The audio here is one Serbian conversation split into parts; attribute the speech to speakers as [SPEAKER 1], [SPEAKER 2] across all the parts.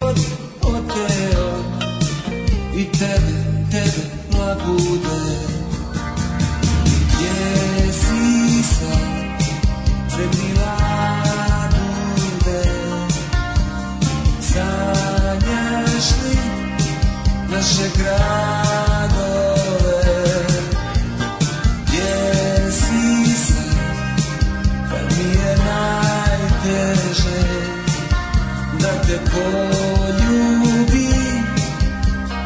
[SPEAKER 1] život oteo I tebe, tebe mlagude Gdje si sad, prebila dude Sanjaš li naše gradove Gdje si sad, kad pa mi je najteže da te poljubim,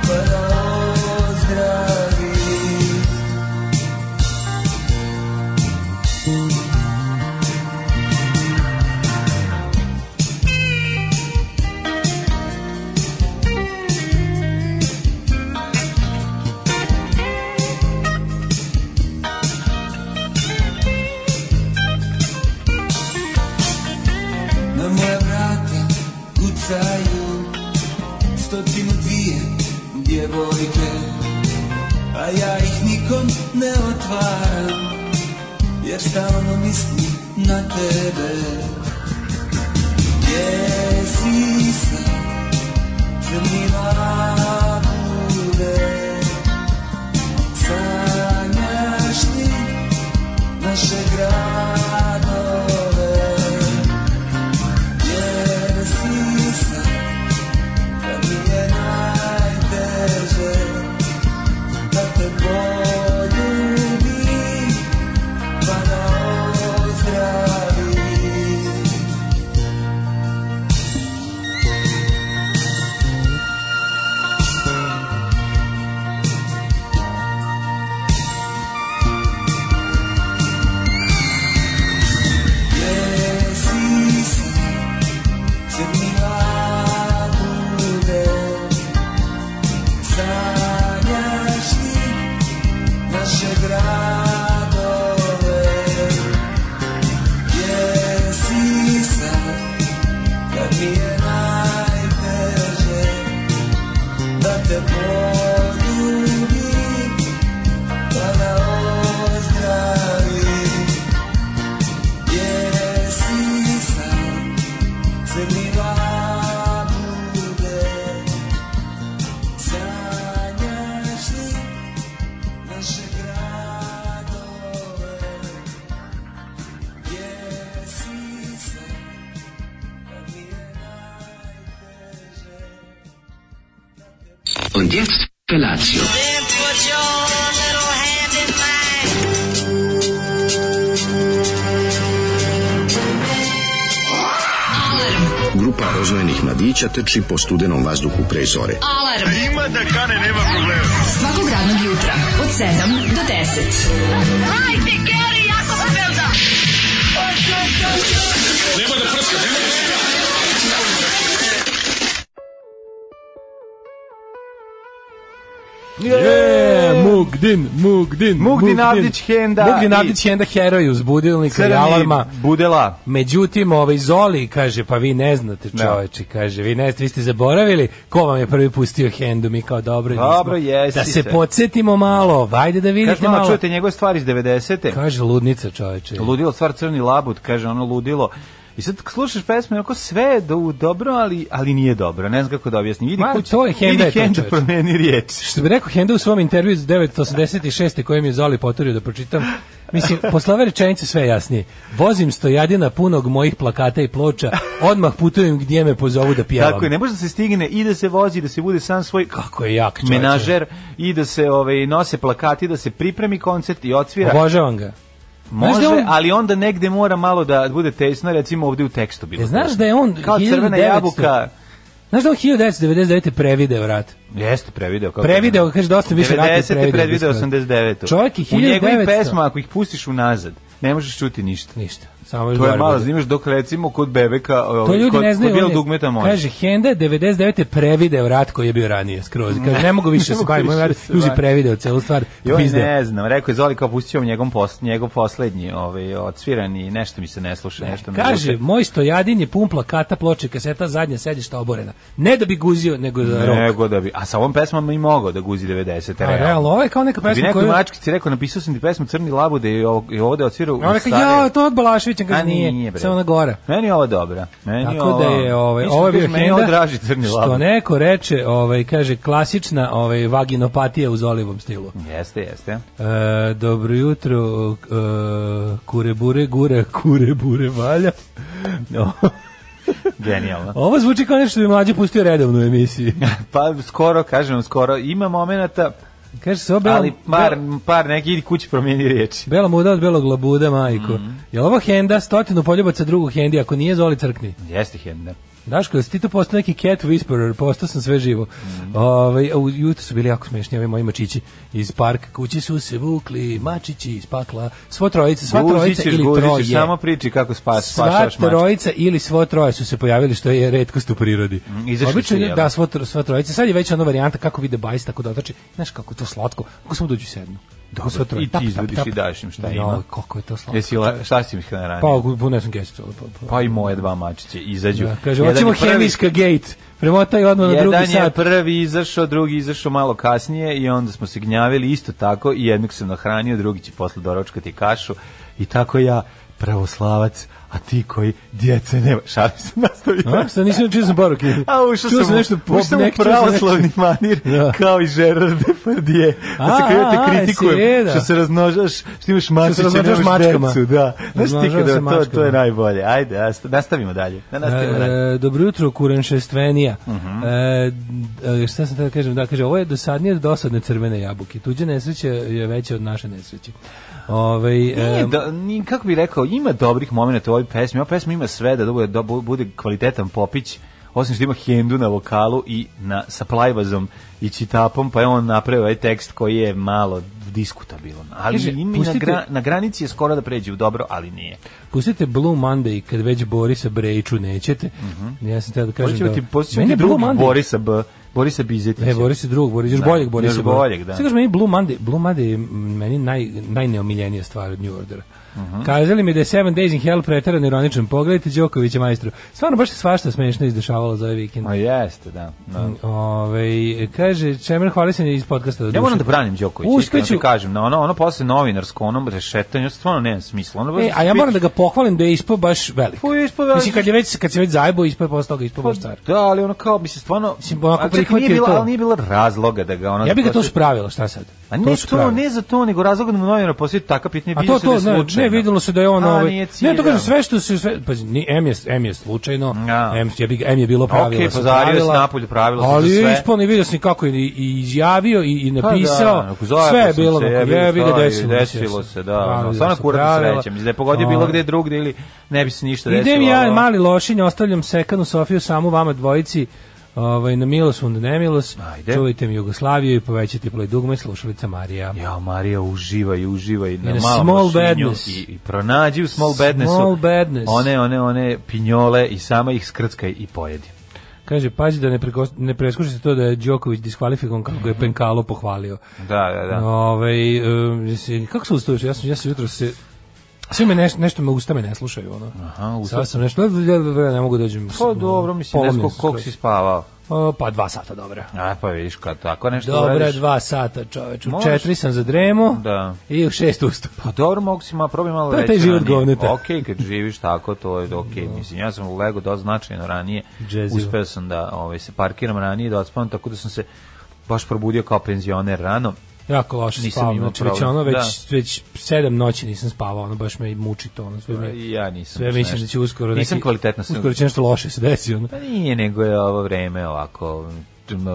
[SPEAKER 1] pa da ozdravim. Na moja vrata kucaju Stotinu dvije djevojke A ja ih nikom ne otvaram Jer stalno mislim na tebe Gdje si sad, crnila bude Sanjaš ti naše gradove jer si sam, kad mi je najteže, da te poljubim, pa da ozdravim. Gdje si sam, crnila bude Sanjaš ti naše gradove Gdje si sad kad mi je najteže Da te poljubim, da da ozdravim Gdje si sad Zemljiva bude Sanjaš li naše gradove Gdje si se kad mi je najteže
[SPEAKER 2] Und jetzt Felatio.
[SPEAKER 3] Then put your little hand in mine.
[SPEAKER 4] Grupa rozvojenih mladića teči po studenom vazduhu pre zore.
[SPEAKER 5] Alarm. Ima da kane, nema problema. Svakog radnog jutra, od 7 do 10.
[SPEAKER 3] Hajde, Geri Jakofelda!
[SPEAKER 6] Je, Mugdin, Mugdin,
[SPEAKER 7] Mugdin Avdić Henda
[SPEAKER 6] Mugdin
[SPEAKER 7] i-
[SPEAKER 6] Avdić Henda heroj uz budilnika i alarma.
[SPEAKER 7] budela.
[SPEAKER 6] Međutim, ovaj Zoli kaže, pa vi ne znate
[SPEAKER 7] Da.
[SPEAKER 6] čoveče, kaže, vi ne znate, vi ste zaboravili ko vam je prvi pustio Hendu, mi kao dobro. nismo.
[SPEAKER 7] Dobro, jesi
[SPEAKER 6] Da se
[SPEAKER 7] se.
[SPEAKER 6] podsjetimo malo, vajde da vidite
[SPEAKER 7] Kaže, mama,
[SPEAKER 6] malo.
[SPEAKER 7] čujete njegove stvari iz 90.
[SPEAKER 6] Kaže, ludnica čoveče.
[SPEAKER 7] Ludilo stvar Crni labut, kaže, ono ludilo. I sad slušaš pesmu, onako sve je do, dobro, ali, ali nije dobro. Ne znam kako da objasnim. Idi
[SPEAKER 6] Ma,
[SPEAKER 7] kući,
[SPEAKER 6] to je Henda je
[SPEAKER 7] idi
[SPEAKER 6] to,
[SPEAKER 7] Henda
[SPEAKER 6] čoveče.
[SPEAKER 7] promeni riječ.
[SPEAKER 6] Što bi rekao Henda u svom intervju iz 986. kojem je Zoli poturio da pročitam, mislim, posle ove rečenice sve je jasnije. Vozim stojadina punog mojih plakata i ploča, odmah putujem gdje me pozovu da pjevam.
[SPEAKER 7] Tako je, ne može da se stigne i da se vozi, da se bude sam svoj
[SPEAKER 6] Kako je jak čovječe.
[SPEAKER 7] menažer i da se ovaj, nose plakati, da se pripremi koncert i odsvira.
[SPEAKER 6] Obožavam ga. Znaš
[SPEAKER 7] Može,
[SPEAKER 6] da on-
[SPEAKER 7] ali onda negde mora malo da bude tesno, recimo ovde u tekstu bilo.
[SPEAKER 6] E, znaš da je on
[SPEAKER 7] Kao crvena
[SPEAKER 6] 1900
[SPEAKER 7] jabuka.
[SPEAKER 6] Znaš da on 1999. prevideo rat?
[SPEAKER 7] Jeste prevideo kako.
[SPEAKER 6] Prevideo, kaže, dosta više rata je
[SPEAKER 7] 90.
[SPEAKER 6] prevideo
[SPEAKER 7] prevideo
[SPEAKER 6] bismo.
[SPEAKER 7] 89.
[SPEAKER 6] Čovjek je
[SPEAKER 7] U njegovim
[SPEAKER 6] 1900.
[SPEAKER 7] pesma ako ih pustiš unazad, ne možeš čuti ništa.
[SPEAKER 6] Ništa. Samo još
[SPEAKER 7] To je
[SPEAKER 6] gore
[SPEAKER 7] malo
[SPEAKER 6] bude.
[SPEAKER 7] zanimaš dok recimo kod bebeka,
[SPEAKER 6] To
[SPEAKER 7] ovaj,
[SPEAKER 6] ljudi
[SPEAKER 7] kod,
[SPEAKER 6] ne
[SPEAKER 7] kod
[SPEAKER 6] znaju.
[SPEAKER 7] bilo
[SPEAKER 6] on je-
[SPEAKER 7] dugmeta može.
[SPEAKER 6] Kaže, Henda je 99. prevideo rat koji je bio ranije, skroz. Kaže, ne mogu više
[SPEAKER 7] Ne
[SPEAKER 6] se
[SPEAKER 7] mogu
[SPEAKER 6] bavim,
[SPEAKER 7] više
[SPEAKER 6] ovaj rat,
[SPEAKER 7] se
[SPEAKER 6] uzi
[SPEAKER 7] bavim.
[SPEAKER 6] prevideo celu stvar,
[SPEAKER 7] Joj,
[SPEAKER 6] pizde.
[SPEAKER 7] ne znam, rekao je Zoli kao pustio njegov, pos, njegov poslednji, ovaj, odsvirani, nešto mi se ne sluša, nešto mi
[SPEAKER 6] Kaže, moj stojadin je pun plakata, ploče, kaseta, zadnja sedišta oborena. Ne da bi guzio, nego da rok.
[SPEAKER 7] Nego da bi, a sa ovom pesmom i mogao da guzi 90.
[SPEAKER 6] A realno, ovo je kao neka
[SPEAKER 7] Da bi
[SPEAKER 6] pesma
[SPEAKER 7] nekoj
[SPEAKER 6] koju...
[SPEAKER 7] mačkici rekao, napisao sam ti pesmu Crni labude i ovo- i ovde odsvirao u
[SPEAKER 6] Ona
[SPEAKER 7] Sarajevu.
[SPEAKER 6] kaže, ja, to je od Balaševića, srećan, kaže
[SPEAKER 7] A nije,
[SPEAKER 6] nije,
[SPEAKER 7] bre.
[SPEAKER 6] samo na gora.
[SPEAKER 7] Meni je ova dobra. Meni
[SPEAKER 6] Tako da je ovaj
[SPEAKER 7] Mislim,
[SPEAKER 6] ovaj
[SPEAKER 7] kažeš, meni je ovo draži crni labud.
[SPEAKER 6] Što neko reče, ovaj kaže klasična ovaj vaginopatija u zolivom stilu.
[SPEAKER 7] Jeste, jeste.
[SPEAKER 6] E, dobro jutro, e, kure bure gura, kure bure valja. No.
[SPEAKER 7] Genijalno.
[SPEAKER 6] Ovo zvuči kao nešto što bi mlađi pustio redovno u emisiji.
[SPEAKER 7] Pa skoro, kažem vam, skoro. Ima momenata,
[SPEAKER 6] Kaže se, o, bela,
[SPEAKER 7] ali par, par neki idi kući promijeni riječi.
[SPEAKER 6] bela muda od belog labuda, majko.
[SPEAKER 7] Mhm.
[SPEAKER 6] Je li ovo henda, stotinu poljubaca drugog hendi, ako nije zoli crkni?
[SPEAKER 7] Jeste henda.
[SPEAKER 6] Daško, jesi ti to postao neki cat whisperer, postao sam sve živo.
[SPEAKER 7] Mhm.
[SPEAKER 6] Ovaj, a u jutro su bili jako smešni, ovi moji mačići iz parka, kući su se vukli, mačići iz pakla, svo trojice, sva trojica
[SPEAKER 7] Guzićeš,
[SPEAKER 6] ili troje.
[SPEAKER 7] guzićeš, samo priči kako spas,
[SPEAKER 6] Sva
[SPEAKER 7] spašaš mačka.
[SPEAKER 6] trojica ili svo troje su se pojavili, što je retkost u prirodi.
[SPEAKER 7] Mhm, izašli
[SPEAKER 6] Obično
[SPEAKER 7] su,
[SPEAKER 6] je
[SPEAKER 7] jel?
[SPEAKER 6] da, svo, tro- sva trojica. Sad je već ona varijanta kako vide bajs, tako da otače. Znaš kako je to slatko, kako samo dođu sednu. Dobro,
[SPEAKER 7] i ti izvadiš i daš im šta ima.
[SPEAKER 6] Kako je to slatko.
[SPEAKER 7] Jesi, la- šta si mi hranio?
[SPEAKER 6] Pa, ponesam kesicu. ali Pa, pa,
[SPEAKER 7] Pa i moje dva mačiće izađu.
[SPEAKER 6] Da, kaže,
[SPEAKER 7] Jedan
[SPEAKER 6] hoćemo
[SPEAKER 7] je prvi-
[SPEAKER 6] hemijska gate. Premotaj odmah na drugi
[SPEAKER 7] Jedan je
[SPEAKER 6] sat.
[SPEAKER 7] prvi izašao, drugi izašao malo kasnije i onda smo se gnjavili isto tako i jednog sam nahranio, drugi će posle doručkati kašu i tako ja pravoslavac, a ti koji djece nema. Šalim se nastavio.
[SPEAKER 6] A, sad nisam čuo sam poruke.
[SPEAKER 7] A ušao
[SPEAKER 6] Čuo
[SPEAKER 7] sam, u-
[SPEAKER 6] nešto
[SPEAKER 7] ušao sam u
[SPEAKER 6] nek- čuo sam nešto-
[SPEAKER 7] pravoslavni manir
[SPEAKER 6] Da.
[SPEAKER 7] kao i Gerard Depardieu. Da se
[SPEAKER 6] A,
[SPEAKER 7] krenu
[SPEAKER 6] a,
[SPEAKER 7] te
[SPEAKER 6] a,
[SPEAKER 7] kritikujem
[SPEAKER 6] sjeda.
[SPEAKER 7] što se razmnožaš, što imaš mačiće,
[SPEAKER 6] razmnožaš
[SPEAKER 7] nemaš
[SPEAKER 6] mačkama.
[SPEAKER 7] decu. Da. Znaš ti
[SPEAKER 6] Razmnožava se
[SPEAKER 7] kada to, to
[SPEAKER 6] mačkama.
[SPEAKER 7] je najbolje. Ajde, a, nastavimo dalje. Da nastavimo dalje.
[SPEAKER 6] E, dobro jutro, kurenšestvenija.
[SPEAKER 7] Mhm.
[SPEAKER 6] e, d- e, šta sam tada kažem? Da, kaže, ovo je dosadnije od dosadne crvene jabuke. Tuđa nesreća je veća od naše nesreće. Ovaj, e, Ove,
[SPEAKER 7] Nije, do, ni, kako bih rekao, ima dobrih momenta u ovoj pesmi. Ova pesma ima sve da bude, da bu- bude kvalitetan popić, osim što ima hendu na vokalu i na, sa plajvazom i čitapom, pa je on napravio ovaj tekst koji je malo diskutabilan. Ali
[SPEAKER 6] Kaže,
[SPEAKER 7] ima i na,
[SPEAKER 6] pustite-
[SPEAKER 7] gra, na granici je skoro da pređe u dobro, ali nije.
[SPEAKER 6] Pustite Blue Monday kad već Borisa Brejiću nećete. Ja sam tada da kažem
[SPEAKER 7] Mhm. Hoćemo
[SPEAKER 6] da...
[SPEAKER 7] ti, posjećamo
[SPEAKER 6] Meni
[SPEAKER 7] ti
[SPEAKER 6] je Blue
[SPEAKER 7] drugog
[SPEAKER 6] Monday-
[SPEAKER 7] Borisa, B, Borisa Bizetića.
[SPEAKER 6] E, Boris je drug, Boris, još
[SPEAKER 7] Da,
[SPEAKER 6] boljeg Borisa.
[SPEAKER 7] još
[SPEAKER 6] Bora.
[SPEAKER 7] boljeg, da.
[SPEAKER 6] Sad kažeš meni Blue Monday, Blue Monday je meni naj, najneomiljenija stvar od New Ordera. Kazali mi da je Seven Days in Hell preteran ironičan. Pogledajte Đokovića majstru. Stvarno baš se svašta smešno izdešavalo za ovaj vikend.
[SPEAKER 7] Ma jeste, da. da.
[SPEAKER 6] Mm. Ove, kaže, Čemer, hvali se iz podcasta. E, do
[SPEAKER 7] Ja
[SPEAKER 6] duše.
[SPEAKER 7] moram da branim Đokovića,
[SPEAKER 6] Uspeću-
[SPEAKER 7] iskreno ti kažem, na ono, ono posle novinarsko, ono rešetanje, stvarno nema smisla. Ono baš
[SPEAKER 6] E, a ja moram da ga pohvalim da je ispao baš velik.
[SPEAKER 7] Pa je ispao velik.
[SPEAKER 6] Mislim, kad, je već, kad se već zajebo, ispao je posle toga, ispao baš car.
[SPEAKER 7] Da, ali ono kao, mislim, stvarno...
[SPEAKER 6] Pa, Mislim, onako
[SPEAKER 7] ali čak
[SPEAKER 6] prihvatio
[SPEAKER 7] nije bilo,
[SPEAKER 6] to.
[SPEAKER 7] Ali nije bilo razloga da ga ono...
[SPEAKER 6] Ja bih ga to
[SPEAKER 7] posveti-
[SPEAKER 6] spravilo, šta sad?
[SPEAKER 7] A ne to,
[SPEAKER 6] spravilo.
[SPEAKER 7] ne za to, nego razloga da mu novinar posjeti taka pitanja.
[SPEAKER 6] A
[SPEAKER 7] vidio
[SPEAKER 6] to
[SPEAKER 7] se
[SPEAKER 6] to
[SPEAKER 7] da je
[SPEAKER 6] ne, ne
[SPEAKER 7] slučajno.
[SPEAKER 6] videlo se da je on
[SPEAKER 7] A,
[SPEAKER 6] ovaj
[SPEAKER 7] nije
[SPEAKER 6] Ne, to
[SPEAKER 7] ciljano.
[SPEAKER 6] kažem sve što se sve pa ni M je M je slučajno,
[SPEAKER 7] Ja.
[SPEAKER 6] M je bi M je bilo pravilo.
[SPEAKER 7] Okej,
[SPEAKER 6] se
[SPEAKER 7] pozario
[SPEAKER 6] pravila,
[SPEAKER 7] se napolju, pravilo se
[SPEAKER 6] Ali
[SPEAKER 7] za sve.
[SPEAKER 6] je ispao i vidio sam kako je i, i izjavio i, i
[SPEAKER 7] Pa
[SPEAKER 6] napisao.
[SPEAKER 7] da, ako zajebo
[SPEAKER 6] sve je
[SPEAKER 7] sam
[SPEAKER 6] bilo
[SPEAKER 7] se,
[SPEAKER 6] kako
[SPEAKER 7] jebi ga,
[SPEAKER 6] je
[SPEAKER 7] šta
[SPEAKER 6] video
[SPEAKER 7] je,
[SPEAKER 6] desilo. se,
[SPEAKER 7] Desilo se, da.
[SPEAKER 6] pravila
[SPEAKER 7] ono, Stvarno
[SPEAKER 6] su
[SPEAKER 7] kurat
[SPEAKER 6] pravila.
[SPEAKER 7] srećem. Da je pogodio bilo
[SPEAKER 6] Ovaj.
[SPEAKER 7] gde drugde ili ne bi se ništa desilo.
[SPEAKER 6] Idem ja,
[SPEAKER 7] ali-
[SPEAKER 6] mali lošinj, ostavljam sekanu Sofiju samu vama dvojici ovaj, na milost, onda nemilost.
[SPEAKER 7] Ajde.
[SPEAKER 6] Čuvajte mi Jugoslaviju i povećajte ploj dugme slušalica Marija.
[SPEAKER 7] Ja, Marija, uživaj, uživaj na
[SPEAKER 6] na
[SPEAKER 7] malom
[SPEAKER 6] small
[SPEAKER 7] lošinju
[SPEAKER 6] badness.
[SPEAKER 7] I, i pronađi u small badnessu
[SPEAKER 6] Small badness.
[SPEAKER 7] one, one, one pinjole i sama ih skrckaj i pojedi.
[SPEAKER 6] Kaže, pazi da ne, preko, ne preskušite to da je Đoković diskvalifikovan kako je Penkalo pohvalio.
[SPEAKER 7] Da, da, da.
[SPEAKER 6] Ovaj, em, jesi- kako se ustojiš? Ja sam, ja sam jutro se... Sve me neš, nešto me usta me ne slušaju ono.
[SPEAKER 7] Aha, usta-
[SPEAKER 6] Sada sam nešto, ja ne mogu da dođem.
[SPEAKER 7] Pa dobro, mislim, ne znam
[SPEAKER 6] polomljen sam
[SPEAKER 7] koliko si
[SPEAKER 6] skroz.
[SPEAKER 7] spavao.
[SPEAKER 6] O, Pa dva sata, dobra.
[SPEAKER 7] A pa vidiš kad tako nešto
[SPEAKER 6] Dobra,
[SPEAKER 7] uradiš.
[SPEAKER 6] dva sata čoveč. U
[SPEAKER 7] Možeš-
[SPEAKER 6] četiri sam za dremu
[SPEAKER 7] Da.
[SPEAKER 6] i u šest ustao.
[SPEAKER 7] Pa dobro, mogu si malo, probaj malo
[SPEAKER 6] To je
[SPEAKER 7] reći
[SPEAKER 6] Pa taj život
[SPEAKER 7] ranije.
[SPEAKER 6] govneta.
[SPEAKER 7] Okej, kad živiš tako, to je okej. Mislim, ja sam legao dosta značajno ranije.
[SPEAKER 6] Jezivo.
[SPEAKER 7] Uspeo sam da ovaj, se parkiram ranije, da odspavam, tako da sam se baš probudio kao penzioner rano.
[SPEAKER 6] Jako loše
[SPEAKER 7] Nisam
[SPEAKER 6] spavam,
[SPEAKER 7] imao
[SPEAKER 6] znači već
[SPEAKER 7] problem. Da.
[SPEAKER 6] ono, već, već sedam noći nisam spavao, ono baš me muči to, ono sve me...
[SPEAKER 7] Pa I Ja nisam.
[SPEAKER 6] Sve
[SPEAKER 7] baš
[SPEAKER 6] mislim da
[SPEAKER 7] nešto.
[SPEAKER 6] će uskoro neki...
[SPEAKER 7] Nisam kvalitetno sam.
[SPEAKER 6] Uskoro će nešto loše se desi, ono.
[SPEAKER 7] Pa nije, nego je ovo vreme ovako... m,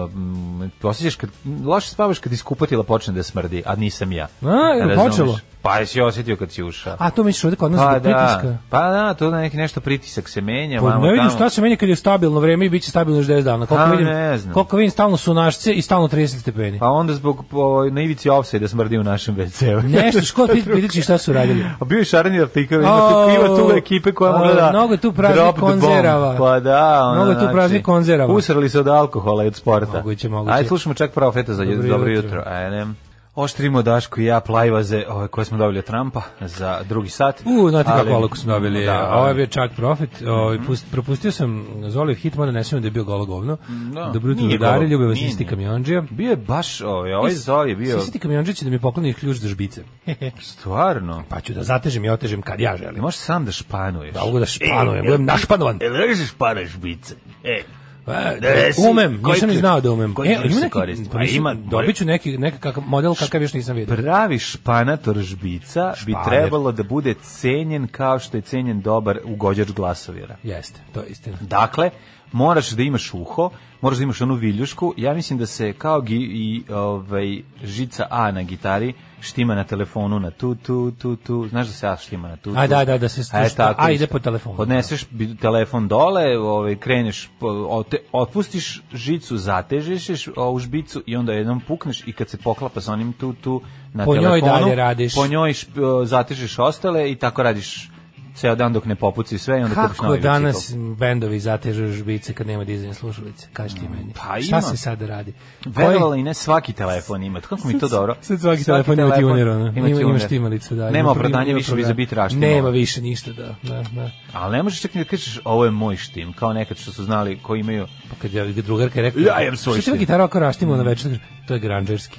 [SPEAKER 7] m, Osjećaš kad, loše spavaš kad iskupatila počne da smrdi, a nisam ja.
[SPEAKER 6] A, jel
[SPEAKER 7] Razumeš?
[SPEAKER 6] počelo?
[SPEAKER 7] Pa jesi osjetio kad si ušao.
[SPEAKER 6] A to misliš ovde kod nas
[SPEAKER 7] Pa
[SPEAKER 6] zbog pritiska?
[SPEAKER 7] da, pa da, to da neki nešto pritisak se menja,
[SPEAKER 6] Pa
[SPEAKER 7] vamo
[SPEAKER 6] ne vidim
[SPEAKER 7] tamo.
[SPEAKER 6] šta se menja kad je stabilno vreme i bit će stabilno još 10 dana. Koliko
[SPEAKER 7] A,
[SPEAKER 6] vidim,
[SPEAKER 7] ne znam.
[SPEAKER 6] koliko vidim stalno su našce i stalno 30 stepeni.
[SPEAKER 7] Pa onda zbog po, na ivici offside smrdi u našem WC-u.
[SPEAKER 6] Nešto, škod pit, pitat ću šta su radili.
[SPEAKER 7] A bio je Šarni Artikov, ima,
[SPEAKER 6] O,
[SPEAKER 7] tu, ima tu ekipe koja
[SPEAKER 6] o,
[SPEAKER 7] mora da...
[SPEAKER 6] mnogo je tu praznih
[SPEAKER 7] drop the bomb.
[SPEAKER 6] konzerava.
[SPEAKER 7] Pa da, ono,
[SPEAKER 6] Mnogo je tu
[SPEAKER 7] znači,
[SPEAKER 6] praznih konzerava.
[SPEAKER 7] Usrali se od alkohola i od sporta.
[SPEAKER 6] Moguće, moguće.
[SPEAKER 7] Ajde, slušamo čak profeta za
[SPEAKER 6] Dobro
[SPEAKER 7] dobro, dobro jutro.
[SPEAKER 6] jutro.
[SPEAKER 7] Ajde. Oštrimo Daško i ja plajvaze ove koje smo dobili od Trumpa za drugi sat.
[SPEAKER 6] U, znate
[SPEAKER 7] Ali-
[SPEAKER 6] kako olovku smo dobili.
[SPEAKER 7] Da,
[SPEAKER 6] Ovo je bio Chuck Profit. Ovaj, pust- propustio sam Zoli hit, mada ne smijem da je bio golo govno.
[SPEAKER 7] Da.
[SPEAKER 6] Dobro jutro,
[SPEAKER 7] Nije
[SPEAKER 6] drugari,
[SPEAKER 7] golo.
[SPEAKER 6] ljube vas
[SPEAKER 7] Nije,
[SPEAKER 6] isti
[SPEAKER 7] nije.
[SPEAKER 6] kamionđija.
[SPEAKER 7] Bio je baš, ovaj, ovaj Zoli je bio
[SPEAKER 6] Svi isti kamionđija će da mi pokloni ključ za žbice.
[SPEAKER 7] stvarno.
[SPEAKER 6] pa ću da zatežem i otežem kad ja želim.
[SPEAKER 7] Možeš sam da španuješ. E,
[SPEAKER 6] Da mogu da španujem, budem našpanovan.
[SPEAKER 7] Jel režiš španaš bice? E,
[SPEAKER 6] E,
[SPEAKER 7] Resi,
[SPEAKER 6] umem,
[SPEAKER 7] koji
[SPEAKER 6] nisam ni
[SPEAKER 7] ključ?
[SPEAKER 6] znao da umem.
[SPEAKER 7] Koji ključ
[SPEAKER 6] ima
[SPEAKER 7] se
[SPEAKER 6] neki-
[SPEAKER 7] koristi?
[SPEAKER 6] pa
[SPEAKER 7] A
[SPEAKER 6] mislim,
[SPEAKER 7] ima-
[SPEAKER 6] dobit ću neki, nekakav model kakav još nisam vidio.
[SPEAKER 7] pravi španator žbica bi
[SPEAKER 6] Španer.
[SPEAKER 7] trebalo da bude cenjen kao što je cenjen dobar ugođač glasovjera.
[SPEAKER 6] Jeste, to je istina.
[SPEAKER 7] Dakle, moraš da imaš uho, moraš da imaš onu viljušku. Ja mislim da se kao gi, i ovaj žica A na gitari štima na telefonu na tu tu tu tu. Znaš da se A štima na tu tu.
[SPEAKER 6] A, da, da, da se
[SPEAKER 7] A, je
[SPEAKER 6] što- A ide
[SPEAKER 7] isto.
[SPEAKER 6] po telefonu.
[SPEAKER 7] Odneseš bi- telefon dole, ovaj kreneš po- ote, otpustiš žicu, zatežeš je ovu žbicu i onda jednom pukneš i kad se poklapa sa onim tu tu na
[SPEAKER 6] Po njoj
[SPEAKER 7] telefonu,
[SPEAKER 6] dalje radiš.
[SPEAKER 7] Po njoj šp- zatežeš ostale i tako radiš ceo dan dok ne popuci sve i onda kupiš
[SPEAKER 6] Kako
[SPEAKER 7] novi bicikl.
[SPEAKER 6] danas bendovi zatežu žbice kad nema dizajna slušalice? Kaži ti meni.
[SPEAKER 7] pa
[SPEAKER 6] Šta
[SPEAKER 7] ima.
[SPEAKER 6] se sada radi?
[SPEAKER 7] Verovali i ne svaki telefon ima. Kako mi je to dobro?
[SPEAKER 6] Sad svaki telefon ima tuner, ono. Ima, ima,
[SPEAKER 7] tuner.
[SPEAKER 6] štimalicu, da.
[SPEAKER 7] Nema
[SPEAKER 6] ima-
[SPEAKER 7] opravdanja
[SPEAKER 6] ima
[SPEAKER 7] više bi za
[SPEAKER 6] program.
[SPEAKER 7] bit raštima.
[SPEAKER 6] Nema više ništa, da. da, da.
[SPEAKER 7] Ali ne možeš čak ni da kažeš ovo je moj štim, kao nekad što su znali koji imaju.
[SPEAKER 6] Pa kad je drugarka je rekla...
[SPEAKER 7] Ja imam svoj
[SPEAKER 6] Što ti ima
[SPEAKER 7] štim."
[SPEAKER 6] gitaru ako raštimo na večer? To je granđerski.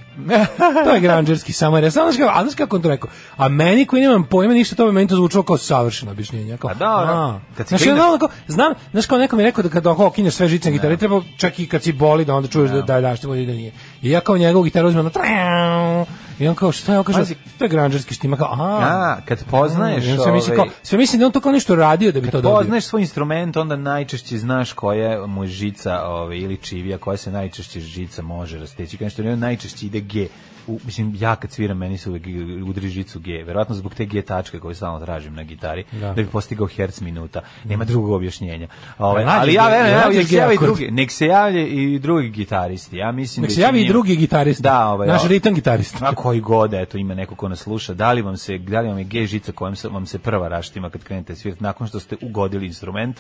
[SPEAKER 6] to je granđerski, samo je rekao. Znaš kako, a znaš kako on to rekao? A meni koji nemam pojma ništa o tome, meni to zvučalo kao savršeno objašnjenje. Kao,
[SPEAKER 7] A da, ono,
[SPEAKER 6] a.
[SPEAKER 7] kad si
[SPEAKER 6] Znaš,
[SPEAKER 7] klinac-
[SPEAKER 6] ja znam, kao, znam, znaš kao neko mi je rekao da kad oko okinješ sve žice na
[SPEAKER 7] Da.
[SPEAKER 6] gitari, treba čak i kad si boli da onda čuješ da da da što i da nije. I ja kao njegovu gitaru uzmem na trau, i on kao šta je on kaže,
[SPEAKER 7] Pazi.
[SPEAKER 6] to je granđerski štima kao, a.
[SPEAKER 7] A, kad poznaješ,
[SPEAKER 6] I onda sam mislio kao,
[SPEAKER 7] ovaj,
[SPEAKER 6] sve mislim da je on to kao nešto radio da bi to dobio.
[SPEAKER 7] Poznaš svoj instrument, onda najčešće znaš koja mu je žica ovaj, ili čivija, koja se najčešće žica može rasteći. Kao što najčešće ide G. U, mislim, ja kad sviram, meni se uvek udri žicu G. Verovatno zbog te G tačke koju stalno tražim na gitari, da,
[SPEAKER 6] Da.
[SPEAKER 7] bi postigao herc minuta. Nema drugog objašnjenja. Ovaj,
[SPEAKER 6] Nađe
[SPEAKER 7] ali
[SPEAKER 6] G,
[SPEAKER 7] ja verujem, evo,
[SPEAKER 6] nađe
[SPEAKER 7] nek se
[SPEAKER 6] G
[SPEAKER 7] javi
[SPEAKER 6] akord.
[SPEAKER 7] drugi, nek se javlje i drugi gitaristi. Ja mislim
[SPEAKER 6] Nek
[SPEAKER 7] da
[SPEAKER 6] se
[SPEAKER 7] će
[SPEAKER 6] javi i
[SPEAKER 7] njima-
[SPEAKER 6] drugi gitarist.
[SPEAKER 7] Da, ovaj,
[SPEAKER 6] Naš
[SPEAKER 7] ovaj,
[SPEAKER 6] ritam gitarist.
[SPEAKER 7] a koji god, eto, ima neko ko nas sluša, da li vam se, da li vam je G žica kojom se, vam se prva raštima kad krenete svirati nakon što ste ugodili instrument,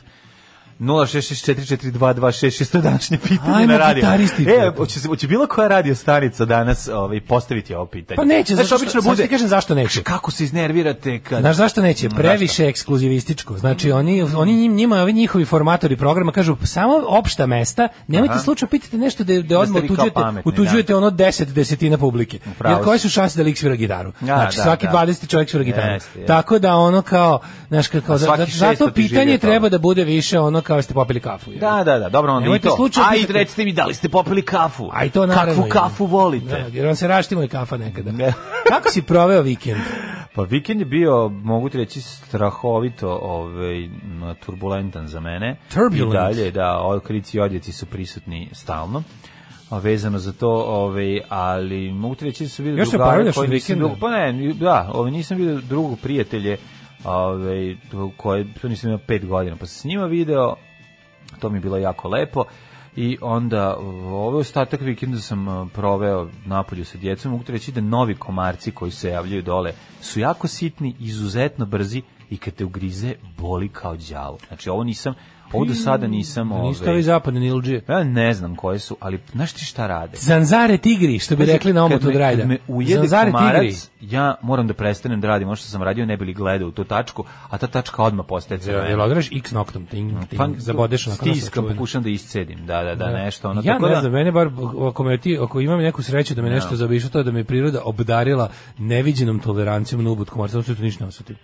[SPEAKER 7] 066442226 to je današnje pitanje
[SPEAKER 6] Ajmo
[SPEAKER 7] na radio.
[SPEAKER 6] gitaristi,
[SPEAKER 7] E,
[SPEAKER 6] brate.
[SPEAKER 7] hoće, se- hoće bilo koja radio stanica danas ovaj, postaviti ovo pitanje?
[SPEAKER 6] Pa neće,
[SPEAKER 7] Znaš,
[SPEAKER 6] zašto,
[SPEAKER 7] obično
[SPEAKER 6] sad
[SPEAKER 7] bude,
[SPEAKER 6] ti kažem zašto neće.
[SPEAKER 7] kako se iznervirate kad...
[SPEAKER 6] Znaš zašto neće?
[SPEAKER 7] Mm,
[SPEAKER 6] Previše ekskluzivističko. Znači oni oni njim njima ovi njihovi formatori programa kažu "Pa samo opšta mesta, nemojte
[SPEAKER 7] Aha.
[SPEAKER 6] slučajno pitati nešto da da
[SPEAKER 7] Da
[SPEAKER 6] odmah
[SPEAKER 7] ste vi kao
[SPEAKER 6] utuđujete,
[SPEAKER 7] pametni, da.
[SPEAKER 6] utuđujete ono 10 desetina publike.
[SPEAKER 7] pravu
[SPEAKER 6] Jer koje
[SPEAKER 7] si.
[SPEAKER 6] su šanse da lik svira gitaru? znači
[SPEAKER 7] da,
[SPEAKER 6] svaki
[SPEAKER 7] da.
[SPEAKER 6] 20 čovjek svira gitaru.
[SPEAKER 7] Jeste, jeste.
[SPEAKER 6] Tako da ono kao, znaš
[SPEAKER 7] A
[SPEAKER 6] kako,
[SPEAKER 7] svaki
[SPEAKER 6] zato, zato
[SPEAKER 7] šestoti živi
[SPEAKER 6] pitanje
[SPEAKER 7] od toga.
[SPEAKER 6] treba da bude više ono kao jeste popili kafu. jel?
[SPEAKER 7] Da, da, da, dobro, onda i
[SPEAKER 6] Nemojte
[SPEAKER 7] to.
[SPEAKER 6] slučajno
[SPEAKER 7] Aj,
[SPEAKER 6] pitati-
[SPEAKER 7] recite mi, da li ste popili kafu?
[SPEAKER 6] A i to naravno.
[SPEAKER 7] Kakvu
[SPEAKER 6] ima.
[SPEAKER 7] kafu volite?
[SPEAKER 6] Da, jer on se raštimo i kafa nekada.
[SPEAKER 7] Ne.
[SPEAKER 6] Kako si proveo vikend?
[SPEAKER 7] Pa vikend je bio, mogu ti reći, strahovito ovaj, m, turbulentan za mene.
[SPEAKER 6] Turbulent.
[SPEAKER 7] I dalje, da, otkrici i odjeci su prisutni stalno a, vezano za to, ovaj, ali mogu ti reći da su vidio
[SPEAKER 6] Još se
[SPEAKER 7] drugare
[SPEAKER 6] oporavljaš
[SPEAKER 7] koji
[SPEAKER 6] od
[SPEAKER 7] nisam
[SPEAKER 6] vikenda?
[SPEAKER 7] bio, pa ne, da, ovaj, nisam vidio drugog prijatelje ovaj, to- koje, to nisam imao pet godina, pa sam s njima video, to mi je bilo jako lepo i onda ovaj ostatak vikenda sam eh, proveo napolju sa djecom mogu ti reći da novi komarci koji se javljaju dole su jako sitni izuzetno brzi i kad te ugrize boli kao đavo znači ovo nisam ovo do sada nisam
[SPEAKER 6] Niste da ovi
[SPEAKER 7] ovaj
[SPEAKER 6] zapadni Nilđije.
[SPEAKER 7] ja ne znam koje su ali znaš ti šta rade
[SPEAKER 6] Zanzare tigri, što bi
[SPEAKER 7] Pazi,
[SPEAKER 6] rekli na omotu
[SPEAKER 7] Pa kad
[SPEAKER 6] od
[SPEAKER 7] me-
[SPEAKER 6] rajda.
[SPEAKER 7] Kad me ujede
[SPEAKER 6] Zanzare
[SPEAKER 7] komarac,
[SPEAKER 6] tigri.
[SPEAKER 7] ja moram da prestanem da radim ono što sam radio, ne bi li gledao u tu tačku, a ta tačka odmah postaje crvena.
[SPEAKER 6] Jel odraš x noktom, ting, ting, zabodeš na
[SPEAKER 7] Stiskam, pokušam da iscedim, da, da, da, nešto. Ono,
[SPEAKER 6] ja
[SPEAKER 7] tako
[SPEAKER 6] ne
[SPEAKER 7] da-
[SPEAKER 6] znam, mene bar, ako, me ti, ako imam neku sreću da me nešto zabišu, to je da me priroda obdarila neviđenom tolerancijom na ubud komarca, zato što ništa ne osetim.